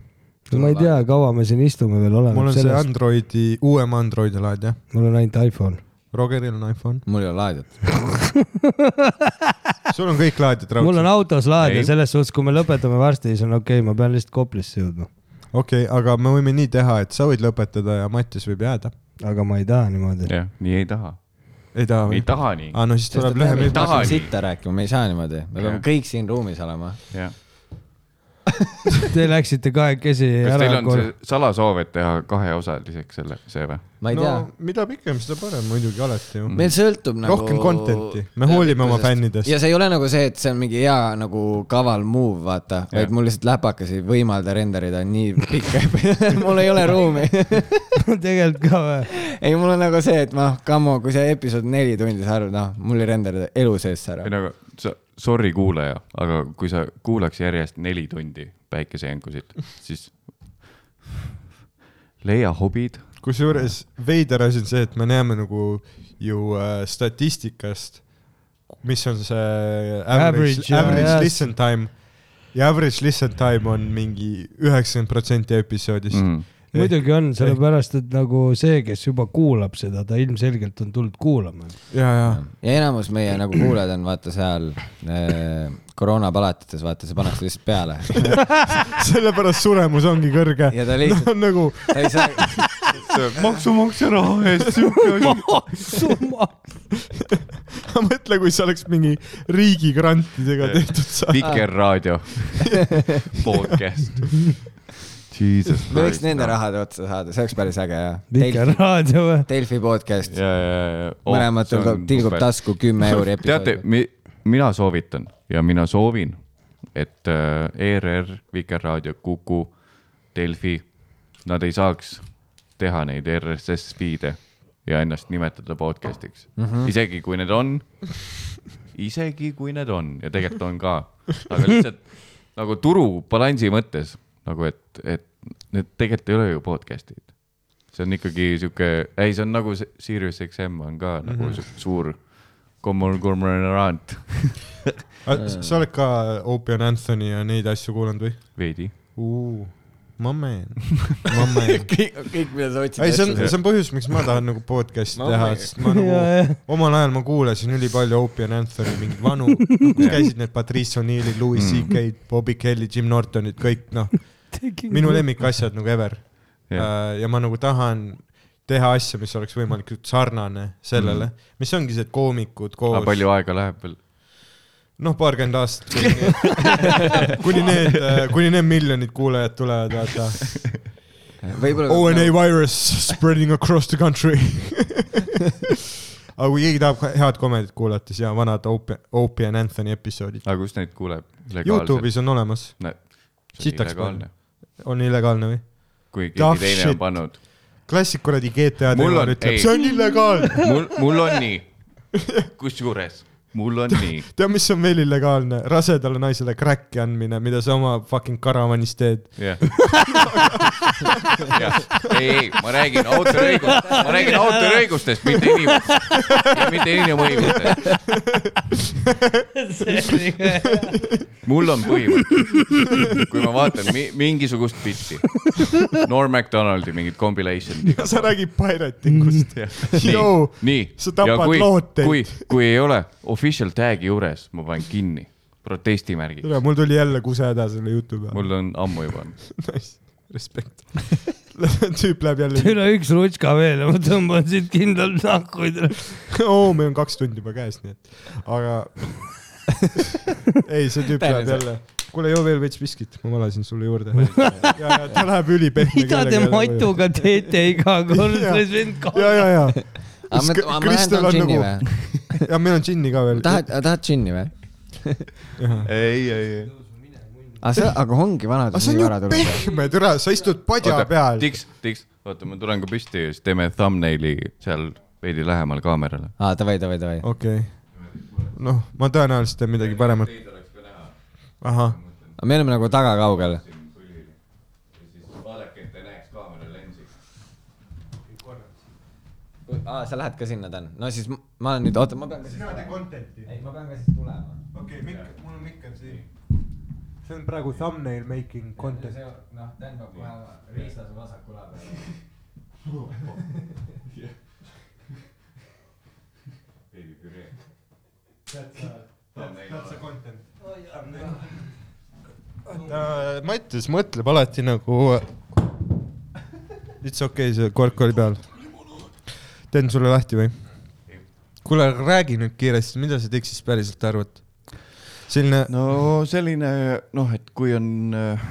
Speaker 4: ma ei tea , kaua me siin istume veel oleme .
Speaker 3: mul on see Androidi , uuem Androidi laadija .
Speaker 4: mul on ainult iPhone .
Speaker 3: Rogeril on iPhone .
Speaker 2: mul ei ole laadiot .
Speaker 3: sul on kõik laadijad
Speaker 4: mul on
Speaker 3: raudselt .
Speaker 4: autos laadija
Speaker 1: Ei. ,
Speaker 4: selles suhtes , kui me lõpetame varsti , siis on okei okay, , ma pean lihtsalt Koplisse jõudma .
Speaker 3: okei , aga me võime nii teha , et sa võid lõpetada ja Mattias võib jääda .
Speaker 4: aga ma ei taha niimoodi .
Speaker 1: jah , nii ei taha ,
Speaker 3: ei taha
Speaker 1: ei
Speaker 3: või ?
Speaker 1: taha nii ,
Speaker 3: aa , no siis tuleb lühem
Speaker 2: me
Speaker 1: ei
Speaker 3: jutt .
Speaker 1: taha
Speaker 2: peame
Speaker 1: nii.
Speaker 2: sitta rääkima , me ei saa niimoodi , me peame
Speaker 1: Jah.
Speaker 2: kõik siin ruumis olema .
Speaker 1: jah .
Speaker 4: Te läksite kahekesi
Speaker 1: kas
Speaker 4: ära
Speaker 1: teil on . see salasoov , et teha kaheosaliseks selle , see või ?
Speaker 2: ma ei
Speaker 3: no
Speaker 2: tea ,
Speaker 3: mida pikem , seda parem muidugi alati
Speaker 1: Mhm.
Speaker 4: Mm.
Speaker 3: ju .
Speaker 2: meil sõltub nagu .
Speaker 3: rohkem content'i , me hoolime oma fännidest .
Speaker 2: ja see ei ole nagu see , et see on mingi hea nagu kaval move , vaata , vaid mul lihtsalt läpakas ei võimalda renderida nii pikka , mul ei ole ruumi .
Speaker 4: tegelikult ka või ?
Speaker 2: ei , mul on nagu see , et noh , come on , kui see episood neli tundi , sa arvad , noh , mul ei renderida elu sees ära
Speaker 1: ei . no aga sa , sorry kuulaja , aga kui sa kuulaks järjest neli tundi päikesejänkusid , siis leia hobid .
Speaker 3: kusjuures veider asi on see , et me näeme nagu ju äh, statistikast , mis on see average,
Speaker 4: Average,
Speaker 3: average,
Speaker 4: jaa,
Speaker 3: average
Speaker 4: jaa.
Speaker 3: listen time ja average listen time on mingi üheksakümmend protsenti episoodist mm. .
Speaker 4: muidugi on , sellepärast et nagu see , kes juba kuulab seda , ta ilmselgelt on tulnud kuulama .
Speaker 3: ja , ja
Speaker 2: ja enamus meie nagu kuulajad on vaata seal äh, koroonapalatites , vaata see pannakse lihtsalt peale
Speaker 3: sellepärast suremus ongi kõrge .
Speaker 2: ja ta lihtsalt ,
Speaker 3: on nagu
Speaker 2: ta ei saa ,
Speaker 1: maksumaksja raha eest siuke asi .
Speaker 3: ma mõtlen , kui see oleks mingi riigigrantidega tehtud saade .
Speaker 1: Vikerraadio podcast . Jesus
Speaker 2: me võiks nende . rahade otsa saada , see oleks päris äge jah .
Speaker 3: noh.
Speaker 4: Vikerraadio või ?
Speaker 2: Delfi podcast ,
Speaker 1: ja , ja , ja oh, .
Speaker 2: mõlematel ka- tilgub . tasku kümme euri episoodi
Speaker 1: teate ,. mina soovitan ja mina soovin , et äh, ERR , Vikerraadio , Kuku , Delfi , nad ei saaks teha neid E RSS feed'e ja ennast nimetada podcast'iks mm , -hmm. isegi kui need on , isegi kui need on ja tegelikult on ka , aga lihtsalt nagu turubalansi mõttes nagu , et , et need tegelikult ei ole ju podcast'id . see on ikkagi sihuke , ei , see on nagu see Sirius XM on ka nagu mm -hmm. suur kommun- , kommunerant
Speaker 3: sa oled ka Opian Anthony ja neid asju kuulanud või ?
Speaker 1: veidi .
Speaker 3: ma meen , ma meen .
Speaker 2: kõik , kõik , mida sa
Speaker 3: ei , see on ,
Speaker 2: otsid .
Speaker 3: see on põhjus , miks ma tahan nagu podcast'i
Speaker 11: Ma
Speaker 3: teha ,
Speaker 11: meen.
Speaker 3: sest ma nagu omal ajal ma kuulasin ülipalju Opian Anthony mingeid vanu , kus käisid need Patrice O'Neillid , Louis CK-d , Bobby Kelly , Jim Nortonid , kõik noh , minu lemmikasjad nagu ever . ja ma nagu tahan teha asja , mis oleks võimalikult sarnane sellele , mis ongi see , et koomikud koos .
Speaker 1: Ah, palju aega läheb veel ?
Speaker 3: noh , paarkümmend aastat kuni , kuni need , kuni need miljonid kuulajad tulevad , vaata . ONA
Speaker 2: võib-olla , nagu-
Speaker 3: virus spreading across the country . aga kui keegi tahab ka- head komedit kuulata , siis jaa , vanad Opi- , Opi and Anthony episoodid .
Speaker 1: aga kus neid kuuleb ?
Speaker 3: Youtube'is on olemas , sitaks
Speaker 1: illegaalne ,
Speaker 3: on illegaalne või ?
Speaker 1: kui
Speaker 3: Tough
Speaker 1: keegi teine
Speaker 3: shit.
Speaker 1: on pannud .
Speaker 3: klassik kuradi GTA
Speaker 1: Mul on-
Speaker 3: teemal ütleb ,
Speaker 1: ei.
Speaker 3: see on illegaalne .
Speaker 1: mul , mul on nii . kusjuures mul on nii .
Speaker 3: tead , mis on veel illegaalne ? rasedale naisele cracki andmine , mida sa oma fucking karavanis teed .
Speaker 1: jah . ei , ei , ma räägin autoriõigust , ma räägin autoriõigustest , mitte inimestest , mitte inimõigustest . mul on põhimõte , kui ma vaatan mi mingisugust pilti , Norm Macdonaldi mingit compilation'i .
Speaker 3: sa räägid piratingust . Joo.
Speaker 1: nii ,
Speaker 3: Sa tapad
Speaker 1: kui,
Speaker 3: looteid.
Speaker 1: kui , kui ei ole official tag'i juures , ma panen kinni protestimärgiks ,
Speaker 3: mul tuli jälle kuse häda selle jutu peale .
Speaker 1: mul on ammu juba .
Speaker 3: Nice. respekt . tüüp läheb jälle ,
Speaker 4: üle üks rutska veel ja ma tõmban siit kindlalt nahkuid .
Speaker 3: oo , meil on kaks tundi juba käes , nii et , aga ei , see tüüp läheb jälle , kuule , joo veel veits viskit , ma valasin sulle juurde . ja , ja ta läheb ülipehme .
Speaker 4: mida te Matuga teete iga kord ,
Speaker 3: Jaa.
Speaker 4: see vend kaob .
Speaker 3: ja , ja , ja ,
Speaker 2: aga ma
Speaker 3: Kas
Speaker 2: ma lähen
Speaker 3: Kristel
Speaker 2: tahan
Speaker 3: on
Speaker 2: džinni
Speaker 3: nagu-
Speaker 2: või ?
Speaker 3: ja meil on džinni ka veel .
Speaker 2: tahad , tahad džinni või ?
Speaker 1: ei , ei , ei .
Speaker 2: aga Ah, see , aga ongi
Speaker 3: aga
Speaker 2: vanadus
Speaker 3: see
Speaker 2: nii
Speaker 3: on
Speaker 2: vara
Speaker 3: ju
Speaker 2: tulnud .
Speaker 3: pehme , türa , sa istud padja peal .
Speaker 1: tiks , tiks , oota , ma tulen ka püsti ja siis teeme thumbnaili seal veidi lähemal kaamerale .
Speaker 2: aa , Ah, davai , davai , davai .
Speaker 3: okei , noh , ma tõenäoliselt teen midagi paremat . ahah ,
Speaker 2: me oleme nagu tagakaugel .
Speaker 1: vaadake , et te näeks kaamera lensi .
Speaker 2: aa , Ah, sa lähed ka sinna , Dan ? no siis ma- ma olen nüüd , oota , ma pean ka siis , ei , ma pean ka siis tulema .
Speaker 3: okei , mikk , mul on mikker siin . see on praegu thumbnail making content .
Speaker 2: noh , Dan peab kohe riistas vasakule peale .
Speaker 1: veebipüree .
Speaker 3: ta , Äh, Mattias mõtleb alati nagu . It's okei okay, , see kork oli peal . teen sulle lahti või ? kuule , räägi nüüd kiiresti , mida sa Dixist päriselt arvad ? selline no. ,
Speaker 1: no selline noh , et kui on äh,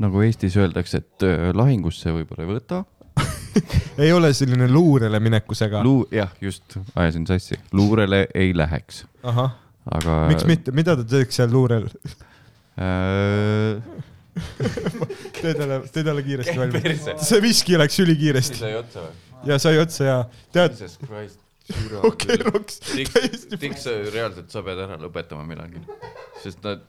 Speaker 1: nagu Eestis öeldakse , et äh, lahingusse võib-olla ei võta .
Speaker 3: ei ole selline luurele minekusega .
Speaker 1: Luu- , jah , just , ajasin sassi . luurele ei läheks ,
Speaker 3: ahah ,
Speaker 1: aga .
Speaker 3: miks ? mitte , mida ta teeks seal luurel ?
Speaker 1: Äh,
Speaker 3: tee talle , tee talle kiiresti valmis . see viski läks ülikiiresti
Speaker 1: sai otsa või ?
Speaker 3: ja sai otsa ja tead ,
Speaker 1: Jesus Christ .
Speaker 3: okei , Roks ,
Speaker 1: Tiks , Tiks , reaalselt sa pead ära lõpetama millalgi , sest nad ,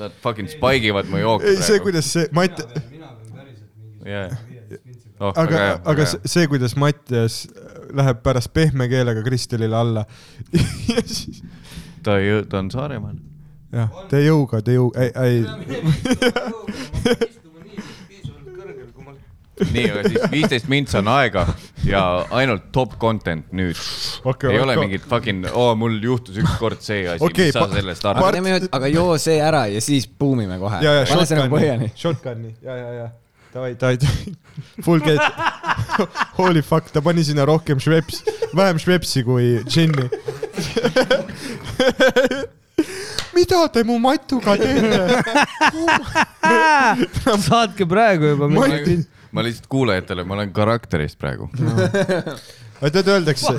Speaker 1: nad fucking spike ivad mu jooki
Speaker 3: ei see ,. kuidas see , Mati ,
Speaker 4: mina pean päriselt mingi
Speaker 1: yeah. . oh , väga
Speaker 3: aga
Speaker 1: hea ,,
Speaker 3: aga s- see , kuidas Mattias läheb pärast pehme keelega Kristelile alla ja siis ,
Speaker 1: ta ei , ta on Saaremaal .
Speaker 3: jah , te jõuga , te jõu- , ei ,
Speaker 1: nii , aga siis viisteist mints on aega ja ainult top content nüüd .
Speaker 3: Okei,
Speaker 1: ei ole
Speaker 3: okei.
Speaker 1: mingit fucking , oo , mul juhtus ükskord see asi okay, ,
Speaker 3: Okei,
Speaker 1: mis sa
Speaker 3: pa-
Speaker 1: sellest
Speaker 2: aga
Speaker 1: arvad .
Speaker 2: teeme niimoodi , aga joo see ära ja siis buumime kohe
Speaker 3: ei ,. ja , ja
Speaker 2: pane selle
Speaker 3: shotgun'i
Speaker 2: põhjani .,
Speaker 3: shotgun'i , ja , ja , ja , davai , davai , davai , full gate . Holy fuck , ta pani sinna rohkem šveps , vähem švepsi kui džinni . mida te mu matuga teete ?
Speaker 4: saatke praegu juba .
Speaker 3: Ma-
Speaker 1: ma lihtsalt kuulajatele , ma olen karakterist praegu .
Speaker 3: tead , öeldakse ,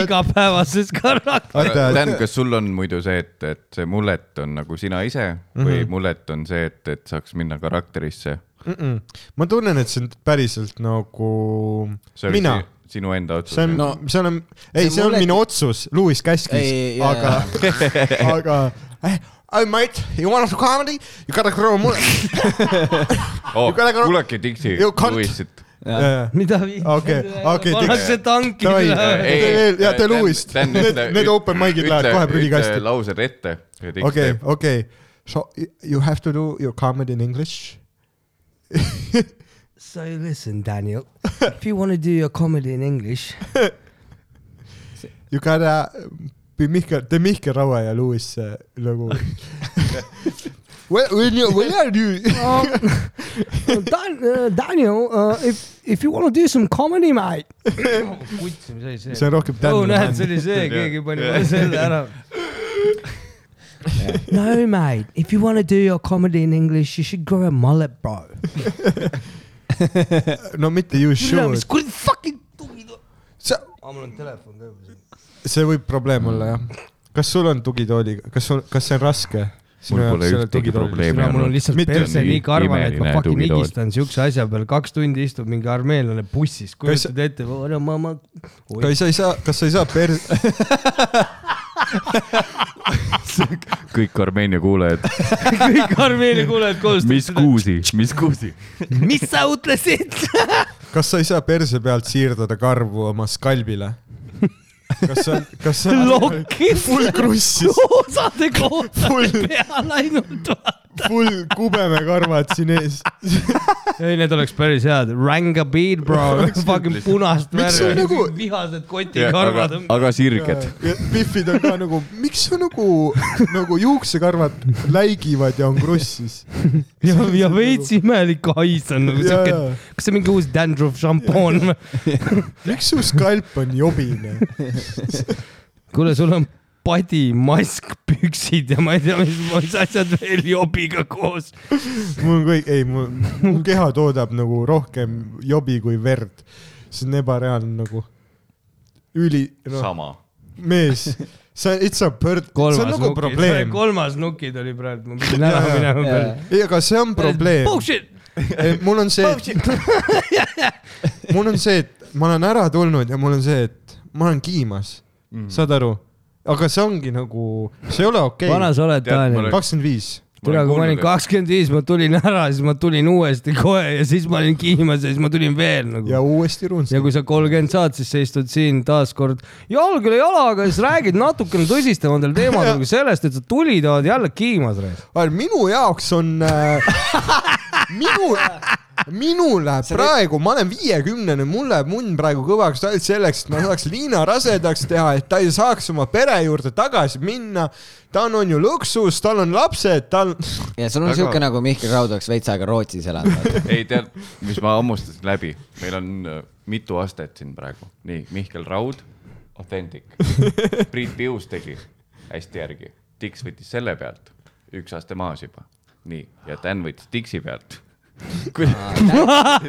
Speaker 4: igapäevases karakteris .
Speaker 3: vaata ,
Speaker 1: Dan , kas sul on muidu see , et , et see mullet on nagu sina ise või
Speaker 3: Mhm.
Speaker 1: mullet on see , et , et saaks minna karakterisse ?
Speaker 3: ma tunnen , et see on päriselt nagu
Speaker 1: see oli
Speaker 3: mina
Speaker 1: si- sinu enda otsus
Speaker 3: see on
Speaker 1: no. .
Speaker 3: no, , see on , ei ,
Speaker 2: see
Speaker 3: see on
Speaker 2: mulle-
Speaker 3: minu otsus , Lewis
Speaker 2: Ei,
Speaker 3: käskis ,
Speaker 2: jaa,
Speaker 3: aga , aga eh, I might , you wanna do comedy , you gotta grow more .
Speaker 1: oh,
Speaker 3: You gotta go- .
Speaker 1: kuulake Dixi
Speaker 3: You can't- ,
Speaker 1: Lewisit .
Speaker 4: mida viis ?
Speaker 3: okei , okei ,
Speaker 4: pannakse tanki
Speaker 3: Davai.
Speaker 4: üle .
Speaker 3: ja te Lewis. Need- need open mic'id lähevad kohe prügikasti.
Speaker 1: laused ette ja Dix
Speaker 3: okei
Speaker 1: okay. , teeb .
Speaker 3: okei . So you have to do your comedy in english .
Speaker 4: So listen , Daniel , if you wanna do your comedy in english .
Speaker 3: You gotta be Mihkel , tee Mihkel Raua ja Lewis äh, nagu .
Speaker 11: When you , when are you ?
Speaker 4: Oh. uh, Dan- , Daniel uh, , if , if you wanna do some comedy , mate . kutsi , mis oli
Speaker 3: see on rohkem
Speaker 4: oh , näed , see
Speaker 3: Dan .
Speaker 4: oli see , keegi pani mulle selle ära . No mate , if you wanna do your comedy in english , you should grow a mullet bro .
Speaker 3: no mitte you should ,
Speaker 4: kuradi fucking tugid .
Speaker 3: see ,
Speaker 4: aa , Ah, mul on telefon ka juba siin .
Speaker 3: see võib probleem olla jah . kas sul on tugitooliga , kas sul , kas see on raske ?
Speaker 1: mul pole ühtegi probleemi
Speaker 4: kuna mul on
Speaker 1: olnud .
Speaker 4: lihtsalt
Speaker 3: Mitte
Speaker 4: perse
Speaker 1: on
Speaker 4: nii karvane , et ma
Speaker 1: imeline
Speaker 4: fucking
Speaker 1: tugitool.
Speaker 4: higistan siukse asja peal , kaks tundi istub mingi armeenlane bussis ,
Speaker 3: Kas-
Speaker 4: kujutad ette , ma , ma ,
Speaker 3: kas sa ei saa , kas sa ei saa pers- ,
Speaker 1: kõik Armeenia kuulajad ,
Speaker 4: kõik armeenia kuulajad koos .
Speaker 1: mis kuusi , mis kuusi ?
Speaker 4: mis sa ütlesid ?
Speaker 3: kas sa ei saa perse pealt siirdada karvu oma skalbile ? kas see on , kas see on
Speaker 4: lokis ,
Speaker 3: full krussis ,
Speaker 4: osade kohta peal ainult .
Speaker 3: full kubemekarvad siin ees .
Speaker 4: ei , need oleks päris head , Ranga bead bro , fucking punast
Speaker 3: sul
Speaker 4: värvi
Speaker 3: nagu- ,
Speaker 4: vihased
Speaker 1: aga
Speaker 4: kotikarvad ,.
Speaker 1: aga sirged .
Speaker 3: Biffid on ka nagu , miks sul nagu , nagu juuksekarvad läigivad ja on krussis ?
Speaker 4: ja , ja veits imelik hais on nagu siuke , kas see on mingi uus dandruff šampoon ?
Speaker 3: miks su skalp on jobine ?
Speaker 4: kuule , sul on padi , mask , püksid ja ma ei tea , mis , mis asjad veel jobiga koos .
Speaker 3: mul on kõik , ei , mul , mu keha toodab nagu rohkem jobi kui verd . see on ebareaalne nagu . üli , noh ,
Speaker 1: sama .
Speaker 3: mees , see , it's a bird , see on nagu probleem .
Speaker 4: kolmas nukid oli praegu , ma pidin ära minema peale . Oh,
Speaker 3: ei , aga see on probleem .
Speaker 4: Bullshit ,
Speaker 3: mul on see , mul on see , et ma olen ära tulnud ja mul on see , et ma olen kiimas mm. , saad aru ? aga see ongi nagu , see ei ole okei
Speaker 4: vana
Speaker 3: okay. .
Speaker 4: sa oled ,
Speaker 1: Tead, ma
Speaker 4: Daniel ?
Speaker 1: olen-
Speaker 3: kakskümmend viis .
Speaker 4: tule , kui ma olin kakskümmend viis , ma tulin ära , siis ma tulin uuesti kohe ja siis ma olin kihimas ja siis ma tulin veel nagu .
Speaker 3: ja uuesti
Speaker 4: ja
Speaker 3: Runst .
Speaker 4: kui sa kolmkümmend saad , siis sa istud siin taaskord jalg üle jalaga , siis räägid natukene tõsistematel teemadel kui sellest , et sa tulid , oled jälle kiimas .
Speaker 3: minu jaoks on äh, , minu , minule praegu , ma olen viiekümnene , mul läheb munn praegu kõvaks ainult selleks , et ma saaks Liina rasedaks teha , et ta ei saaks oma pere juurde tagasi minna . tal on ju luksus , tal on lapsed , tal
Speaker 2: ja sul on
Speaker 1: Väga-
Speaker 2: siuke nagu Mihkel Raud oleks veits aega Rootsis elanud .
Speaker 1: ei tead , mis ma hammustasin läbi , meil on äh, mitu astet siin praegu , nii Mihkel Raud , Authentic , Priit Pius tegi hästi järgi , Dix võttis selle pealt üks aste maas juba , nii ja Dan võttis Dixi pealt .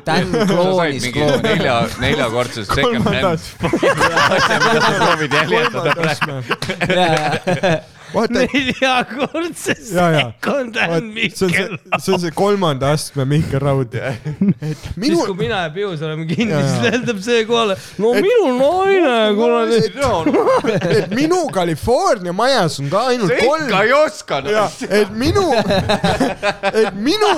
Speaker 2: Dan kloonis klooni .
Speaker 1: nelja , neljakordses second hand . mida sa soovid jäljendada praegu ?
Speaker 11: vaata ,
Speaker 4: neljakordse
Speaker 3: Ja, ja.
Speaker 4: sekund on
Speaker 3: see on see
Speaker 4: Mihkel ,
Speaker 3: see on see kolmanda astme Mihkel Raud .
Speaker 4: siis
Speaker 11: minul
Speaker 4: kui mina ja Pius oleme kinni ,
Speaker 3: Jaa.
Speaker 4: siis lendab see kohale . no minu naine , kuradi .
Speaker 11: et minu California majas on ka ainult kolm
Speaker 1: ikka , ei oska . noh.
Speaker 11: et minu , et minu ,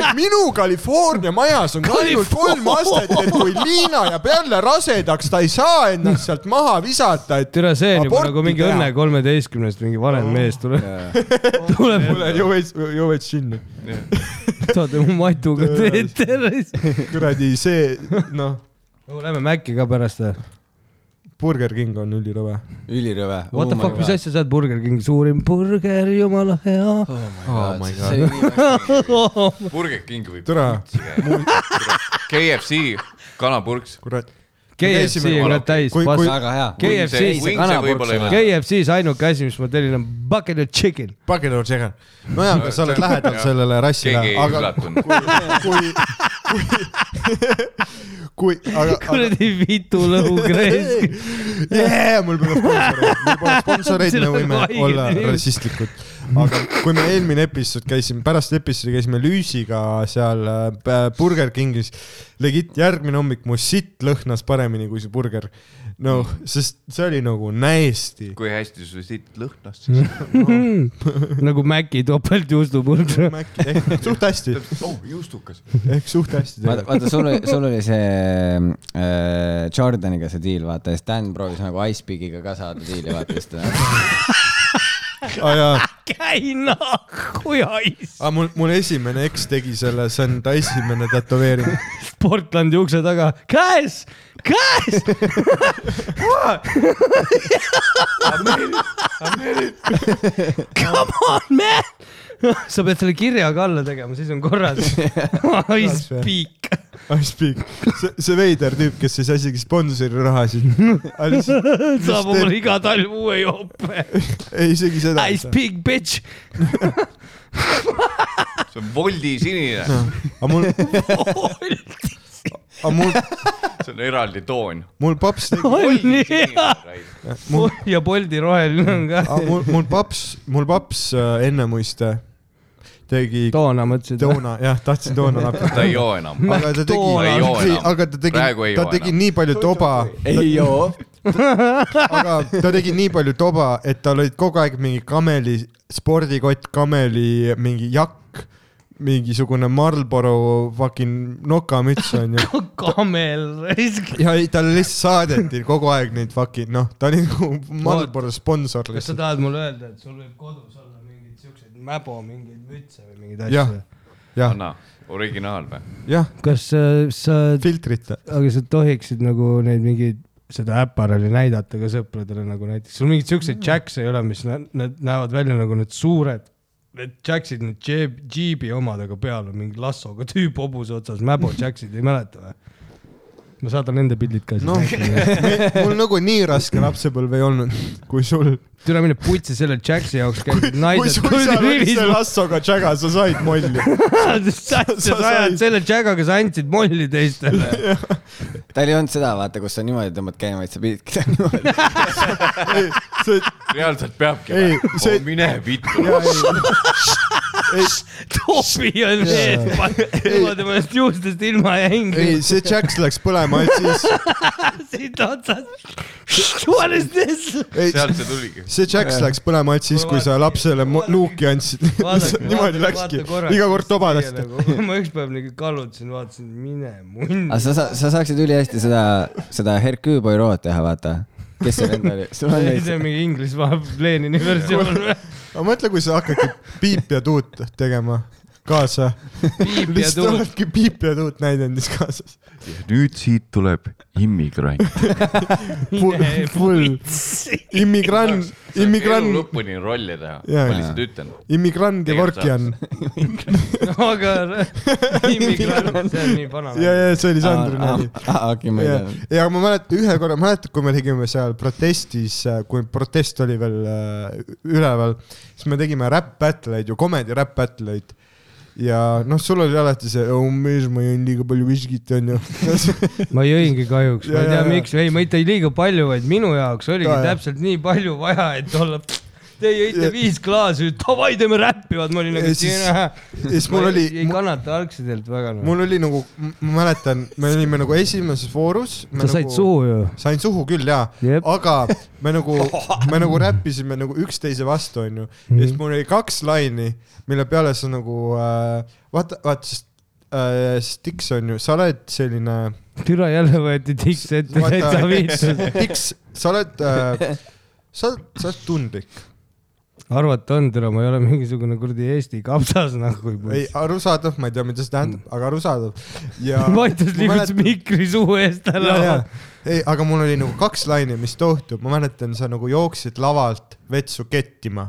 Speaker 11: et minu California majas on ka ainult kolm astet , et kui Liina jääb jälle rasedaks , ta ei saa ennast sealt maha visata , et
Speaker 4: türa , see on juba
Speaker 11: Aborti
Speaker 4: nagu mingi
Speaker 11: teha.
Speaker 4: Õnne kolmeteistkümnest mingi vanem mees tuleb , tuleb ,
Speaker 3: kuule , ju veits , ju veits sinna .
Speaker 4: saate mu matuga teed tervist .
Speaker 3: kuradi see , noh ,
Speaker 4: Lähme Maci ka pärast või ?
Speaker 3: Burger King on ülirõve .
Speaker 2: ülirõve .
Speaker 4: What the fuck , mis asja sa oled , Burger King , suurim burger , jumala hea .
Speaker 2: oh my god .
Speaker 1: Burger King või
Speaker 3: türa ,
Speaker 1: KFC , kanapurks .
Speaker 3: kurat .
Speaker 4: KFC on ka täis
Speaker 3: Kui- kui-
Speaker 4: pass .
Speaker 2: väga hea .
Speaker 4: KFC-s
Speaker 1: Wings ei- Wings ei võib-olla ei ole.
Speaker 4: KFC-s ainuke asi , mis ma tellin on bucket and chicken .
Speaker 3: Bucket or chicken . nojah , aga sa oled
Speaker 1: No,
Speaker 3: lähedal
Speaker 1: jah.
Speaker 3: sellele rassile
Speaker 1: keegi , ei
Speaker 3: aga
Speaker 1: üllatunud .
Speaker 3: kui , kui , kui , aga , aga
Speaker 4: kuradi vitu lõhukrees .
Speaker 3: yeah, . mul pole sponsoreid , mul pole sponsoreid , me
Speaker 4: Sul on
Speaker 3: võime
Speaker 4: haiged
Speaker 3: olla
Speaker 4: inimesed.
Speaker 3: rassistlikud . aga kui me eelmine episood käisime , pärast episoodi käisime Lüüsiga seal äh, Burger Kingis . Legit , järgmine hommik mu sitt lõhnas paremini kui see burger . noh , sest see oli nagu näisti .
Speaker 1: kui hästi sul siit lõhnas , siis
Speaker 4: nagu Maci topeltjuustupurg .
Speaker 3: ehk suht hästi ,
Speaker 1: oh juustukas .
Speaker 3: ehk suht hästi .
Speaker 2: vaata , vaata , sul oli , sul oli see äh, Jordaniga see deal , vaata , Sten proovis nagu Icepigiga ka saada deal'i , vaata , äh. siis ta .
Speaker 3: aa jaa
Speaker 4: käi nahku ja hais .
Speaker 3: aga mul , mul esimene eks tegi selle , see on ta esimene tätoveering .
Speaker 4: Portlandi ukse taga , käes , käes . Come on , man . sa pead selle kirja ka alla tegema , siis on korras . I speak .
Speaker 3: Icepeak , see , see veider tüüp , kes ei saa isegi sponsori rahasid .
Speaker 4: saab omale iga talv uue jope .
Speaker 3: ei , isegi seda .
Speaker 4: I speak , bitch .
Speaker 1: see on Woldi sinine ,
Speaker 3: aga mul , aga mul ,
Speaker 1: see on eraldi toon .
Speaker 3: mul paps tegi ,
Speaker 4: on nii hea . ja Bolti roheline on ka .
Speaker 3: mul , mul paps , mul paps äh, ennemuiste tegi
Speaker 4: toona mõtlesid .
Speaker 3: toona , jah , tahtsin toona
Speaker 1: ta ei
Speaker 3: napata .
Speaker 1: joo enam .
Speaker 3: aga ta
Speaker 1: Toona ei joo
Speaker 3: tegi
Speaker 1: enam. ,
Speaker 3: aga ta
Speaker 1: Praegu ei
Speaker 3: tegi , ta
Speaker 1: joo
Speaker 3: tegi
Speaker 1: enam.
Speaker 3: nii palju toba ,
Speaker 2: ei joo .
Speaker 3: aga ta tegi nii palju toba , et tal olid kogu aeg mingi kameli spordikott , kameli mingi jakk , mingisugune Marlboro fucking nokamüts onju .
Speaker 4: kamel raisk .
Speaker 3: ja ei , talle lihtsalt saadeti kogu aeg neid fucking noh , ta oli nagu Marlboro sponsor
Speaker 4: kas sa
Speaker 3: lihtsalt .
Speaker 4: tahad mulle öelda , et sul võib kodus olla mingeid siukseid mäbo , mingeid mütse või mingeid asju
Speaker 3: jah ?, jah ,
Speaker 1: anna , originaal või ?
Speaker 3: jah ,
Speaker 4: kas äh, sa ,
Speaker 3: filtrita .
Speaker 4: aga sa tohiksid nagu neid mingeid , seda äparali näidata ka sõpradele nagu näiteks , sul mingeid siukseid džäkse ei ole , mis nä- need näevad välja nagu need suured , need džäksid , need džeeb- džiibi omad , aga peal on mingi lassoga tüüp hobuse otsas , mäbo džäksid , ei mäleta või ? ma saadan nende pildid ka siis
Speaker 3: noh ,
Speaker 4: no. .
Speaker 3: mul nagu nii raske lapsepõlv ei olnud , kui sul .
Speaker 4: tule mine putsi selle džäksi jaoks , käisid
Speaker 3: kui
Speaker 4: naised
Speaker 3: sul seal oli see
Speaker 4: kuldiviilis
Speaker 3: lassoga tšäga , sa said molli . sa
Speaker 4: sa ajad
Speaker 3: said-
Speaker 4: selle džägaga , sa andsid molli teistele .
Speaker 2: tal ei olnud seda , vaata , kus sa niimoodi tõmbad käima , et sa pididki teha niimoodi .
Speaker 3: see ,
Speaker 1: reaalselt peabki
Speaker 3: Ei,
Speaker 1: või
Speaker 3: see-
Speaker 1: see... ? mine vittu .
Speaker 4: topi on sees , ma tema eest juustest ilma jäin ,
Speaker 3: ei , see tšäks läks põlema , et siis ,
Speaker 4: siit otsast . What is this ?
Speaker 3: ei ,
Speaker 1: sealt see tuligi .
Speaker 3: see Jacks läks põlema ainult siis , kui sa lapsele mo- nuuki andsid . niimoodi läkski , iga kord tobadast .
Speaker 4: ma ükspäev nagu kallutasin , vaatasin , mine munni
Speaker 2: aga . sa , sa , sa saaksid ülihästi seda , seda Hercule Poirot teha , vaata . kes see vend oli ? sul on
Speaker 4: see on
Speaker 2: neid ,
Speaker 4: mingi Inglismaa Lenini versioon või ?
Speaker 3: aga mõtle , kui sa hakkadki piip ja tuut tegema kaasa .
Speaker 4: piip ja
Speaker 3: lihtsalt
Speaker 4: tuul .
Speaker 3: oledki piip ja tuut näidendis kaasas .
Speaker 1: nüüd siit tuleb immigrant .
Speaker 3: Full immigrant ,
Speaker 1: elu
Speaker 3: immigrant ,
Speaker 1: lõpuni rolli teha ,
Speaker 3: Jaa,
Speaker 1: ma
Speaker 3: jaa.
Speaker 1: lihtsalt ütlen .
Speaker 3: immigrant ja vorkjan .
Speaker 4: aga immigrant , see on nii vana .
Speaker 3: ja , ja see oli Sandri nali .
Speaker 2: okei , ma ei
Speaker 3: ja
Speaker 2: tea .,
Speaker 3: ja ma mäletan ühe korra , mäletad , kui me tegime seal protestis , kui protest oli veel äh, üleval , siis me tegime rap battle'id ju , comedy rap battle'id . ja noh , sul oli alati see , oh mees , ma jõin liiga palju viskit , onju .
Speaker 4: ma jõingi kahjuks , ma
Speaker 3: Ja,
Speaker 4: ei tea
Speaker 3: ja, ja.
Speaker 4: miks , ei , mitte liiga palju , vaid minu jaoks oligi
Speaker 3: Ka, jah.
Speaker 4: täpselt nii palju vaja , et olla te jõite viis klaasi , davai , teeme räppi , vaat ma olin nagu
Speaker 3: Ja siis- ja siis mul
Speaker 4: Ma ei-
Speaker 3: oli-
Speaker 4: ei kannata algsidelt väga noh .
Speaker 3: mul oli nagu , ma mäletan , me olime nagu esimeses voorus .
Speaker 4: sa said nagu... suhu ju .
Speaker 3: sain suhu küll jaa
Speaker 4: Jep. ,
Speaker 3: aga me nagu , me nagu räppisime nagu üksteise vastu , onju . ja
Speaker 4: Mhm.
Speaker 3: siis mul oli kaks laini , mille peale sa nagu äh, vaata , vaata , sest äh, Stix on ju , sa oled selline .
Speaker 4: türa jälle võeti tiks ette , täitsa viitsus .
Speaker 3: Stix , sa oled äh, , sa oled , sa oled tundlik .
Speaker 4: arvata on türa , ma ei ole mingisugune kuradi Eesti kapsas nagu .
Speaker 3: ei , arusaadav , ma ei tea , mida see tähendab , aga arusaadav . ja .
Speaker 4: Mattias liigutas mikri suu eest ära .
Speaker 3: ei , aga mul oli nagu kaks laine , mis tohtub , ma mäletan , sa nagu jooksid lavalt vetsu kettima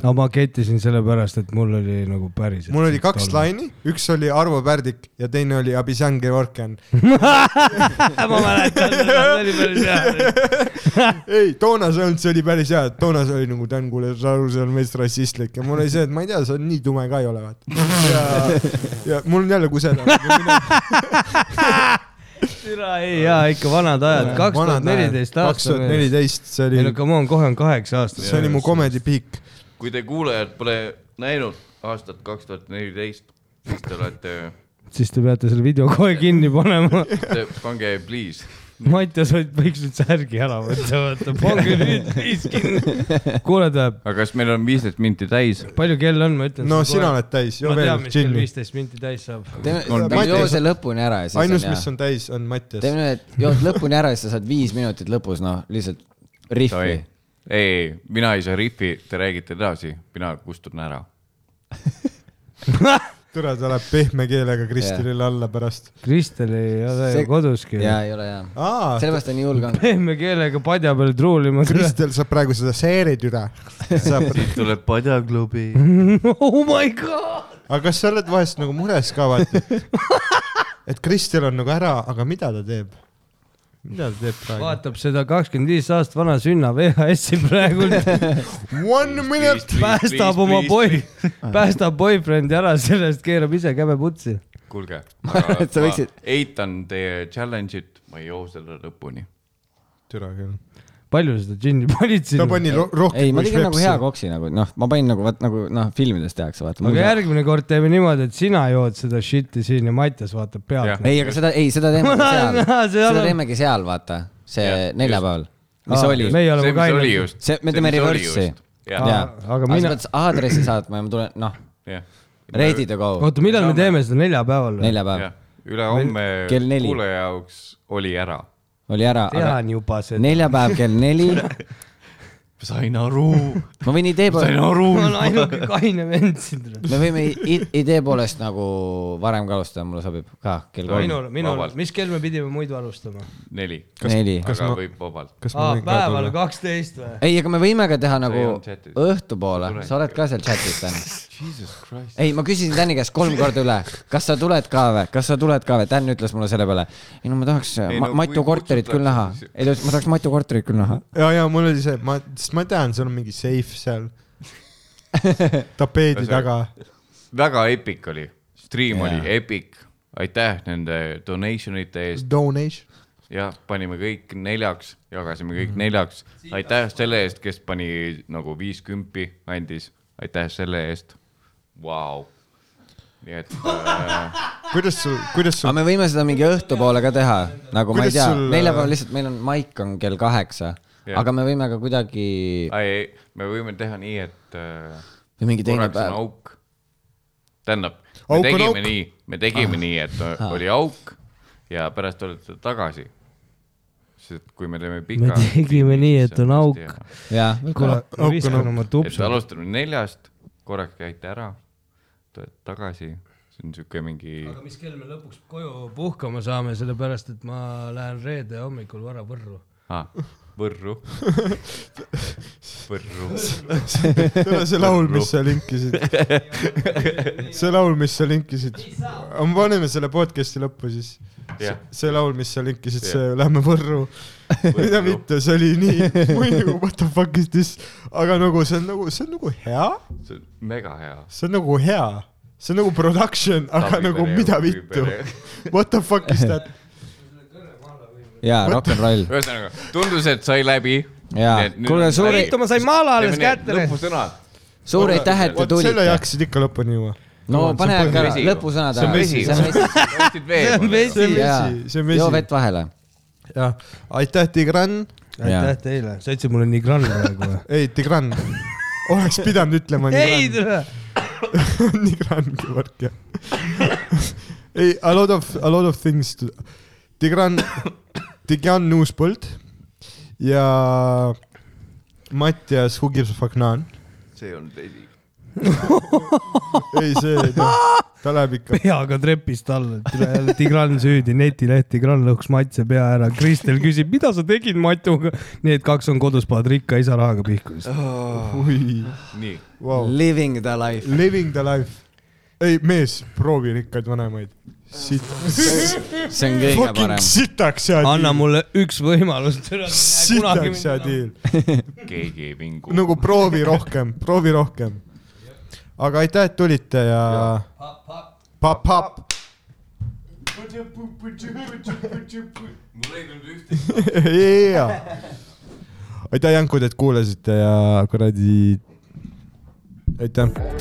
Speaker 4: no ma kettisin sellepärast , et mul oli nagu päriselt .
Speaker 3: mul oli kaks . laini , üks oli Arvo Pärdik ja teine oli Abisjan Georgian .
Speaker 4: ma mäletan , see oli päris hea .
Speaker 3: ei , toona see ei olnud , see oli päris hea , toona see oli nagu Dan , kuule , sa aru , see on meist rassistlik ja mul oli see , et ma ei tea , sa nii tume ka ei ole , vaata . ja , ja mul on jälle kuseda .
Speaker 4: türa ei , jaa ikka vanad ajad , kaks tuhat neliteist aastat .
Speaker 3: kaks tuhat . neliteist , see
Speaker 4: ei no
Speaker 3: oli ,
Speaker 4: come on , kohe on kaheksa aastat .
Speaker 3: see oli mu comedy peak .
Speaker 1: kui te kuulajad pole näinud aastat kaks tuhat neliteist , siis te olete ,
Speaker 4: siis te peate selle video kohe kinni panema .
Speaker 1: pange please .
Speaker 4: Mattias Ott võiks nüüd särgi ära võtta , vaata , pange nüüd viis kinni . kuule , tähendab ,
Speaker 1: aga kas meil on viisteist minti täis ?
Speaker 4: palju kell on , ma ütlen .
Speaker 3: no sina . oled täis , joo
Speaker 4: ma tean ,
Speaker 3: veel
Speaker 4: mis kell
Speaker 3: džinni .
Speaker 4: viisteist minti täis saab .
Speaker 3: On
Speaker 2: teeme ,
Speaker 3: Mattias-
Speaker 2: joo see lõpuni ära ja siis
Speaker 3: ainus ,
Speaker 2: on
Speaker 3: mis
Speaker 2: hea .
Speaker 3: on täis , on Mattias .
Speaker 2: teeme nüüd , et jood lõpuni ära ja siis sa saad viis minutit lõpus , noh , lihtsalt rihvi
Speaker 1: ei ,. ei , mina ei saa rifi , te räägite edasi , mina kustun ära .
Speaker 3: tere , ta läheb pehme keelega Kristelile alla pärast .
Speaker 4: Kristel ei ole
Speaker 2: See-
Speaker 4: ju koduski .
Speaker 2: ja ei ole
Speaker 4: Ah.
Speaker 2: hea .
Speaker 3: aa ,
Speaker 2: sellepärast ta nii julge on .
Speaker 4: pehme keelega padja peal truulima .
Speaker 3: Kristel saab praegu seda seerid üle . saab
Speaker 1: siit tuleb padjaklubi .
Speaker 4: oh my god .
Speaker 3: aga kas sa oled vahest nagu mures ka vaata ? et Kristel on nagu ära , aga mida ta teeb ? mida ta teeb praegu ?
Speaker 4: vaatab seda kakskümmend viis aastat vana sünna VHS-i praegult ,
Speaker 3: One minute !
Speaker 4: päästab oma boi- , päästab boyfriend'i ära sellest , keerab ise käbe putsi .
Speaker 1: kuulge ,
Speaker 2: arvan, et sa
Speaker 1: ma
Speaker 2: võiksid-
Speaker 1: eitan teie challenge'it , ma ei joo selle lõpuni .
Speaker 3: türa küll .
Speaker 4: palju sa seda džinni panid
Speaker 3: ta
Speaker 4: sinna ?
Speaker 3: pani ro- rohkem
Speaker 2: ei , ma
Speaker 3: kui
Speaker 2: tegin nagu
Speaker 3: švepsi
Speaker 2: hea . koksi nagu , noh , ma panin nagu , vaat nagu , noh , filmides tehakse , vaata .
Speaker 4: aga järgmine kord teeme niimoodi , et sina jood seda shit'i siin ja Mattias vaatab pealt
Speaker 1: Jah. .
Speaker 2: ei , aga seda , ei , seda teemegi seal
Speaker 4: See ,
Speaker 2: seda
Speaker 4: on-
Speaker 2: teemegi seal , vaata , see
Speaker 1: Jah,
Speaker 2: neljapäeval , mis oli .
Speaker 4: meie
Speaker 1: see ,
Speaker 4: oleme
Speaker 1: mis oli
Speaker 4: kained .
Speaker 1: just .
Speaker 2: See- me teeme reverse'i.
Speaker 1: jah ,
Speaker 2: jaa ,
Speaker 4: Aga- aga
Speaker 2: aga mina .
Speaker 4: mina-
Speaker 2: sa pead aadressi saatma ja ma tulen , noh ,
Speaker 1: jah .
Speaker 2: ready to go ,
Speaker 4: oota , millal me teeme seda neljapäeval või ?
Speaker 2: neljapäev
Speaker 1: ülehomme
Speaker 2: Kell neli.
Speaker 1: kuulaja jaoks oli ära .
Speaker 2: oli ära , aga
Speaker 4: tean juba seda .
Speaker 2: neljapäev kell neli ,
Speaker 1: sain aru ,
Speaker 2: ma võin idee
Speaker 1: sain
Speaker 2: poolest ,
Speaker 1: aru
Speaker 4: ma . olen ainuke kaine vend siin .
Speaker 2: me võime i- idee poolest nagu varem ka alustada , mulle sobib ka kell kolm ,
Speaker 4: minul , minul
Speaker 1: Vabalt. ,
Speaker 4: mis kell me pidime muidu alustama ?
Speaker 1: neli ,
Speaker 2: neli .
Speaker 1: aga võib vabalt .
Speaker 3: kas ma
Speaker 4: aa ,
Speaker 3: võin ka
Speaker 4: päeval
Speaker 3: tulla ?
Speaker 4: kaksteist või ?
Speaker 2: ei , aga me võime ka teha nagu
Speaker 1: on chatis.
Speaker 2: õhtupoole
Speaker 1: Tulen. ,
Speaker 2: sa oled ka seal chatis , Dan .
Speaker 1: Jesus Christ .
Speaker 2: ei , ma küsisin Täni käest kolm korda üle , kas sa tuled ka või , kas sa tuled ka või , Tän ütles mulle selle peale . ei no ma tahaks
Speaker 1: Ei,
Speaker 2: ma,
Speaker 1: no
Speaker 2: Matu
Speaker 1: kui
Speaker 2: korterit küll näha
Speaker 1: kutsutakse, . siis-
Speaker 2: ei ta ütles , ma tahaks Matu korterit küll näha .
Speaker 4: nagu-
Speaker 3: ja , ja mul oli see , ma , sest ma tean , sul on mingi seif seal tapeedi taga .
Speaker 1: väga epic oli , stream
Speaker 2: Jaa.
Speaker 1: yeah. oli epic , aitäh nende donation ite eest
Speaker 3: Donation .
Speaker 1: ja panime kõik neljaks , jagasime kõik neljaks , aitäh selle eest , kes pani nagu viis kümpi andis , aitäh selle eest wow. . nii et äh,
Speaker 3: kuidas sul , kuidas
Speaker 2: aga
Speaker 3: sul ,
Speaker 2: me võime seda mingi õhtupoole ka teha , nagu ma ei
Speaker 3: Kuidas
Speaker 2: tea
Speaker 3: sul- ,
Speaker 2: neljapäeval lihtsalt meil on , maik on kell kaheksa ,
Speaker 1: Jah.
Speaker 2: aga me võime ka kuidagi ,
Speaker 1: ai, ei, me võime teha nii , et äh,
Speaker 2: või mingi teine
Speaker 1: korraks on
Speaker 2: päev .
Speaker 1: auk . tähendab , me
Speaker 3: Auk on
Speaker 1: tegime
Speaker 3: auk.
Speaker 1: nii , me tegime ah. nii , et o- oli auk ja pärast olete tagasi . sest kui me teeme pika .
Speaker 4: tegime nii, et on auk.
Speaker 2: jah ,
Speaker 4: kuule , ma
Speaker 3: Auk on
Speaker 4: viskan
Speaker 3: auk.
Speaker 4: oma
Speaker 1: et
Speaker 4: tupsu .
Speaker 1: alustame neljast , korraks käite ära , tulete tagasi , see on siuke mingi ,
Speaker 4: aga mis kell me lõpuks koju puhkama saame , sellepärast et ma lähen reede hommikul vara Võrru .
Speaker 1: Võrru . Võrru .
Speaker 3: see laul , mis sa linkisid , see laul , mis sa linkisid , me paneme selle podcast'i lõppu siis
Speaker 1: jah ,
Speaker 3: see laul , mis sa linkisid ,
Speaker 1: Jah.
Speaker 3: see Lähme Võrru . mida mitte , see oli nii , või nagu what the fuck is this , aga nagu see on nagu , see on nagu hea ,
Speaker 1: see on mega hea .
Speaker 3: see on nagu hea , see on nagu production , aga nagu mida vittu , what the fuck is that .
Speaker 2: jaa , rock n roll .
Speaker 1: ühesõnaga , tundus , et sai läbi ,
Speaker 2: jaa , kuulge suur ,
Speaker 4: Priit, ma sain maala alles kätte.
Speaker 1: lõpusõnad .
Speaker 2: suur aitäh , et te
Speaker 3: vot selle
Speaker 2: tulite .
Speaker 3: jaksid ikka lõpuni juua .
Speaker 2: no pane
Speaker 1: põhjus.
Speaker 2: ära
Speaker 1: Vesi.
Speaker 2: lõpusõnad
Speaker 1: see on vesi . ostsid vee .
Speaker 3: see on vesi , see on
Speaker 2: vesi , joo
Speaker 3: vesi .
Speaker 2: vett vahele .
Speaker 3: jah , aitäh , Tigran .
Speaker 7: aitäh teile , sa ütlesid mulle nii grann praegu või ?
Speaker 3: ei , Tigran . oleks pidanud ütlema
Speaker 4: ei
Speaker 3: Nigran .
Speaker 4: tule .
Speaker 3: Nigran Georg , jah . ei , a lot of , a lot of things to... . Tigran , Tigran Uuspõld ja Mattias Who gives a fuck naan .
Speaker 1: see on vesi .
Speaker 3: ei , see , ta läheb ikka .
Speaker 4: peaga trepist alla , et üle jälle Tigran süüdi , netileht Tigran lõhkus Matse pea ära . Kristel küsib , mida sa tegid Matuga . Need kaks on kodus , panevad rikka isa rahaga pihku vist .
Speaker 3: oi ,
Speaker 1: nii ,
Speaker 3: vau .
Speaker 2: Living the life .
Speaker 3: Living the life . ei , mees , proovi rikkaid vanemaid . siit ,
Speaker 2: see on kõige
Speaker 3: fucking
Speaker 2: parem .
Speaker 3: sitaks hea
Speaker 4: anna
Speaker 3: deal .
Speaker 4: mulle üks võimalus .
Speaker 3: sitaks hea deal .
Speaker 1: keegi ei vingu .
Speaker 3: nagu proovi rohkem , proovi rohkem . aga aitäh , et tulite ja . papp-papp .
Speaker 1: mul ei tulnud ühtegi .
Speaker 3: aitäh , Jankud , et kuulasite ja kuradi , aitäh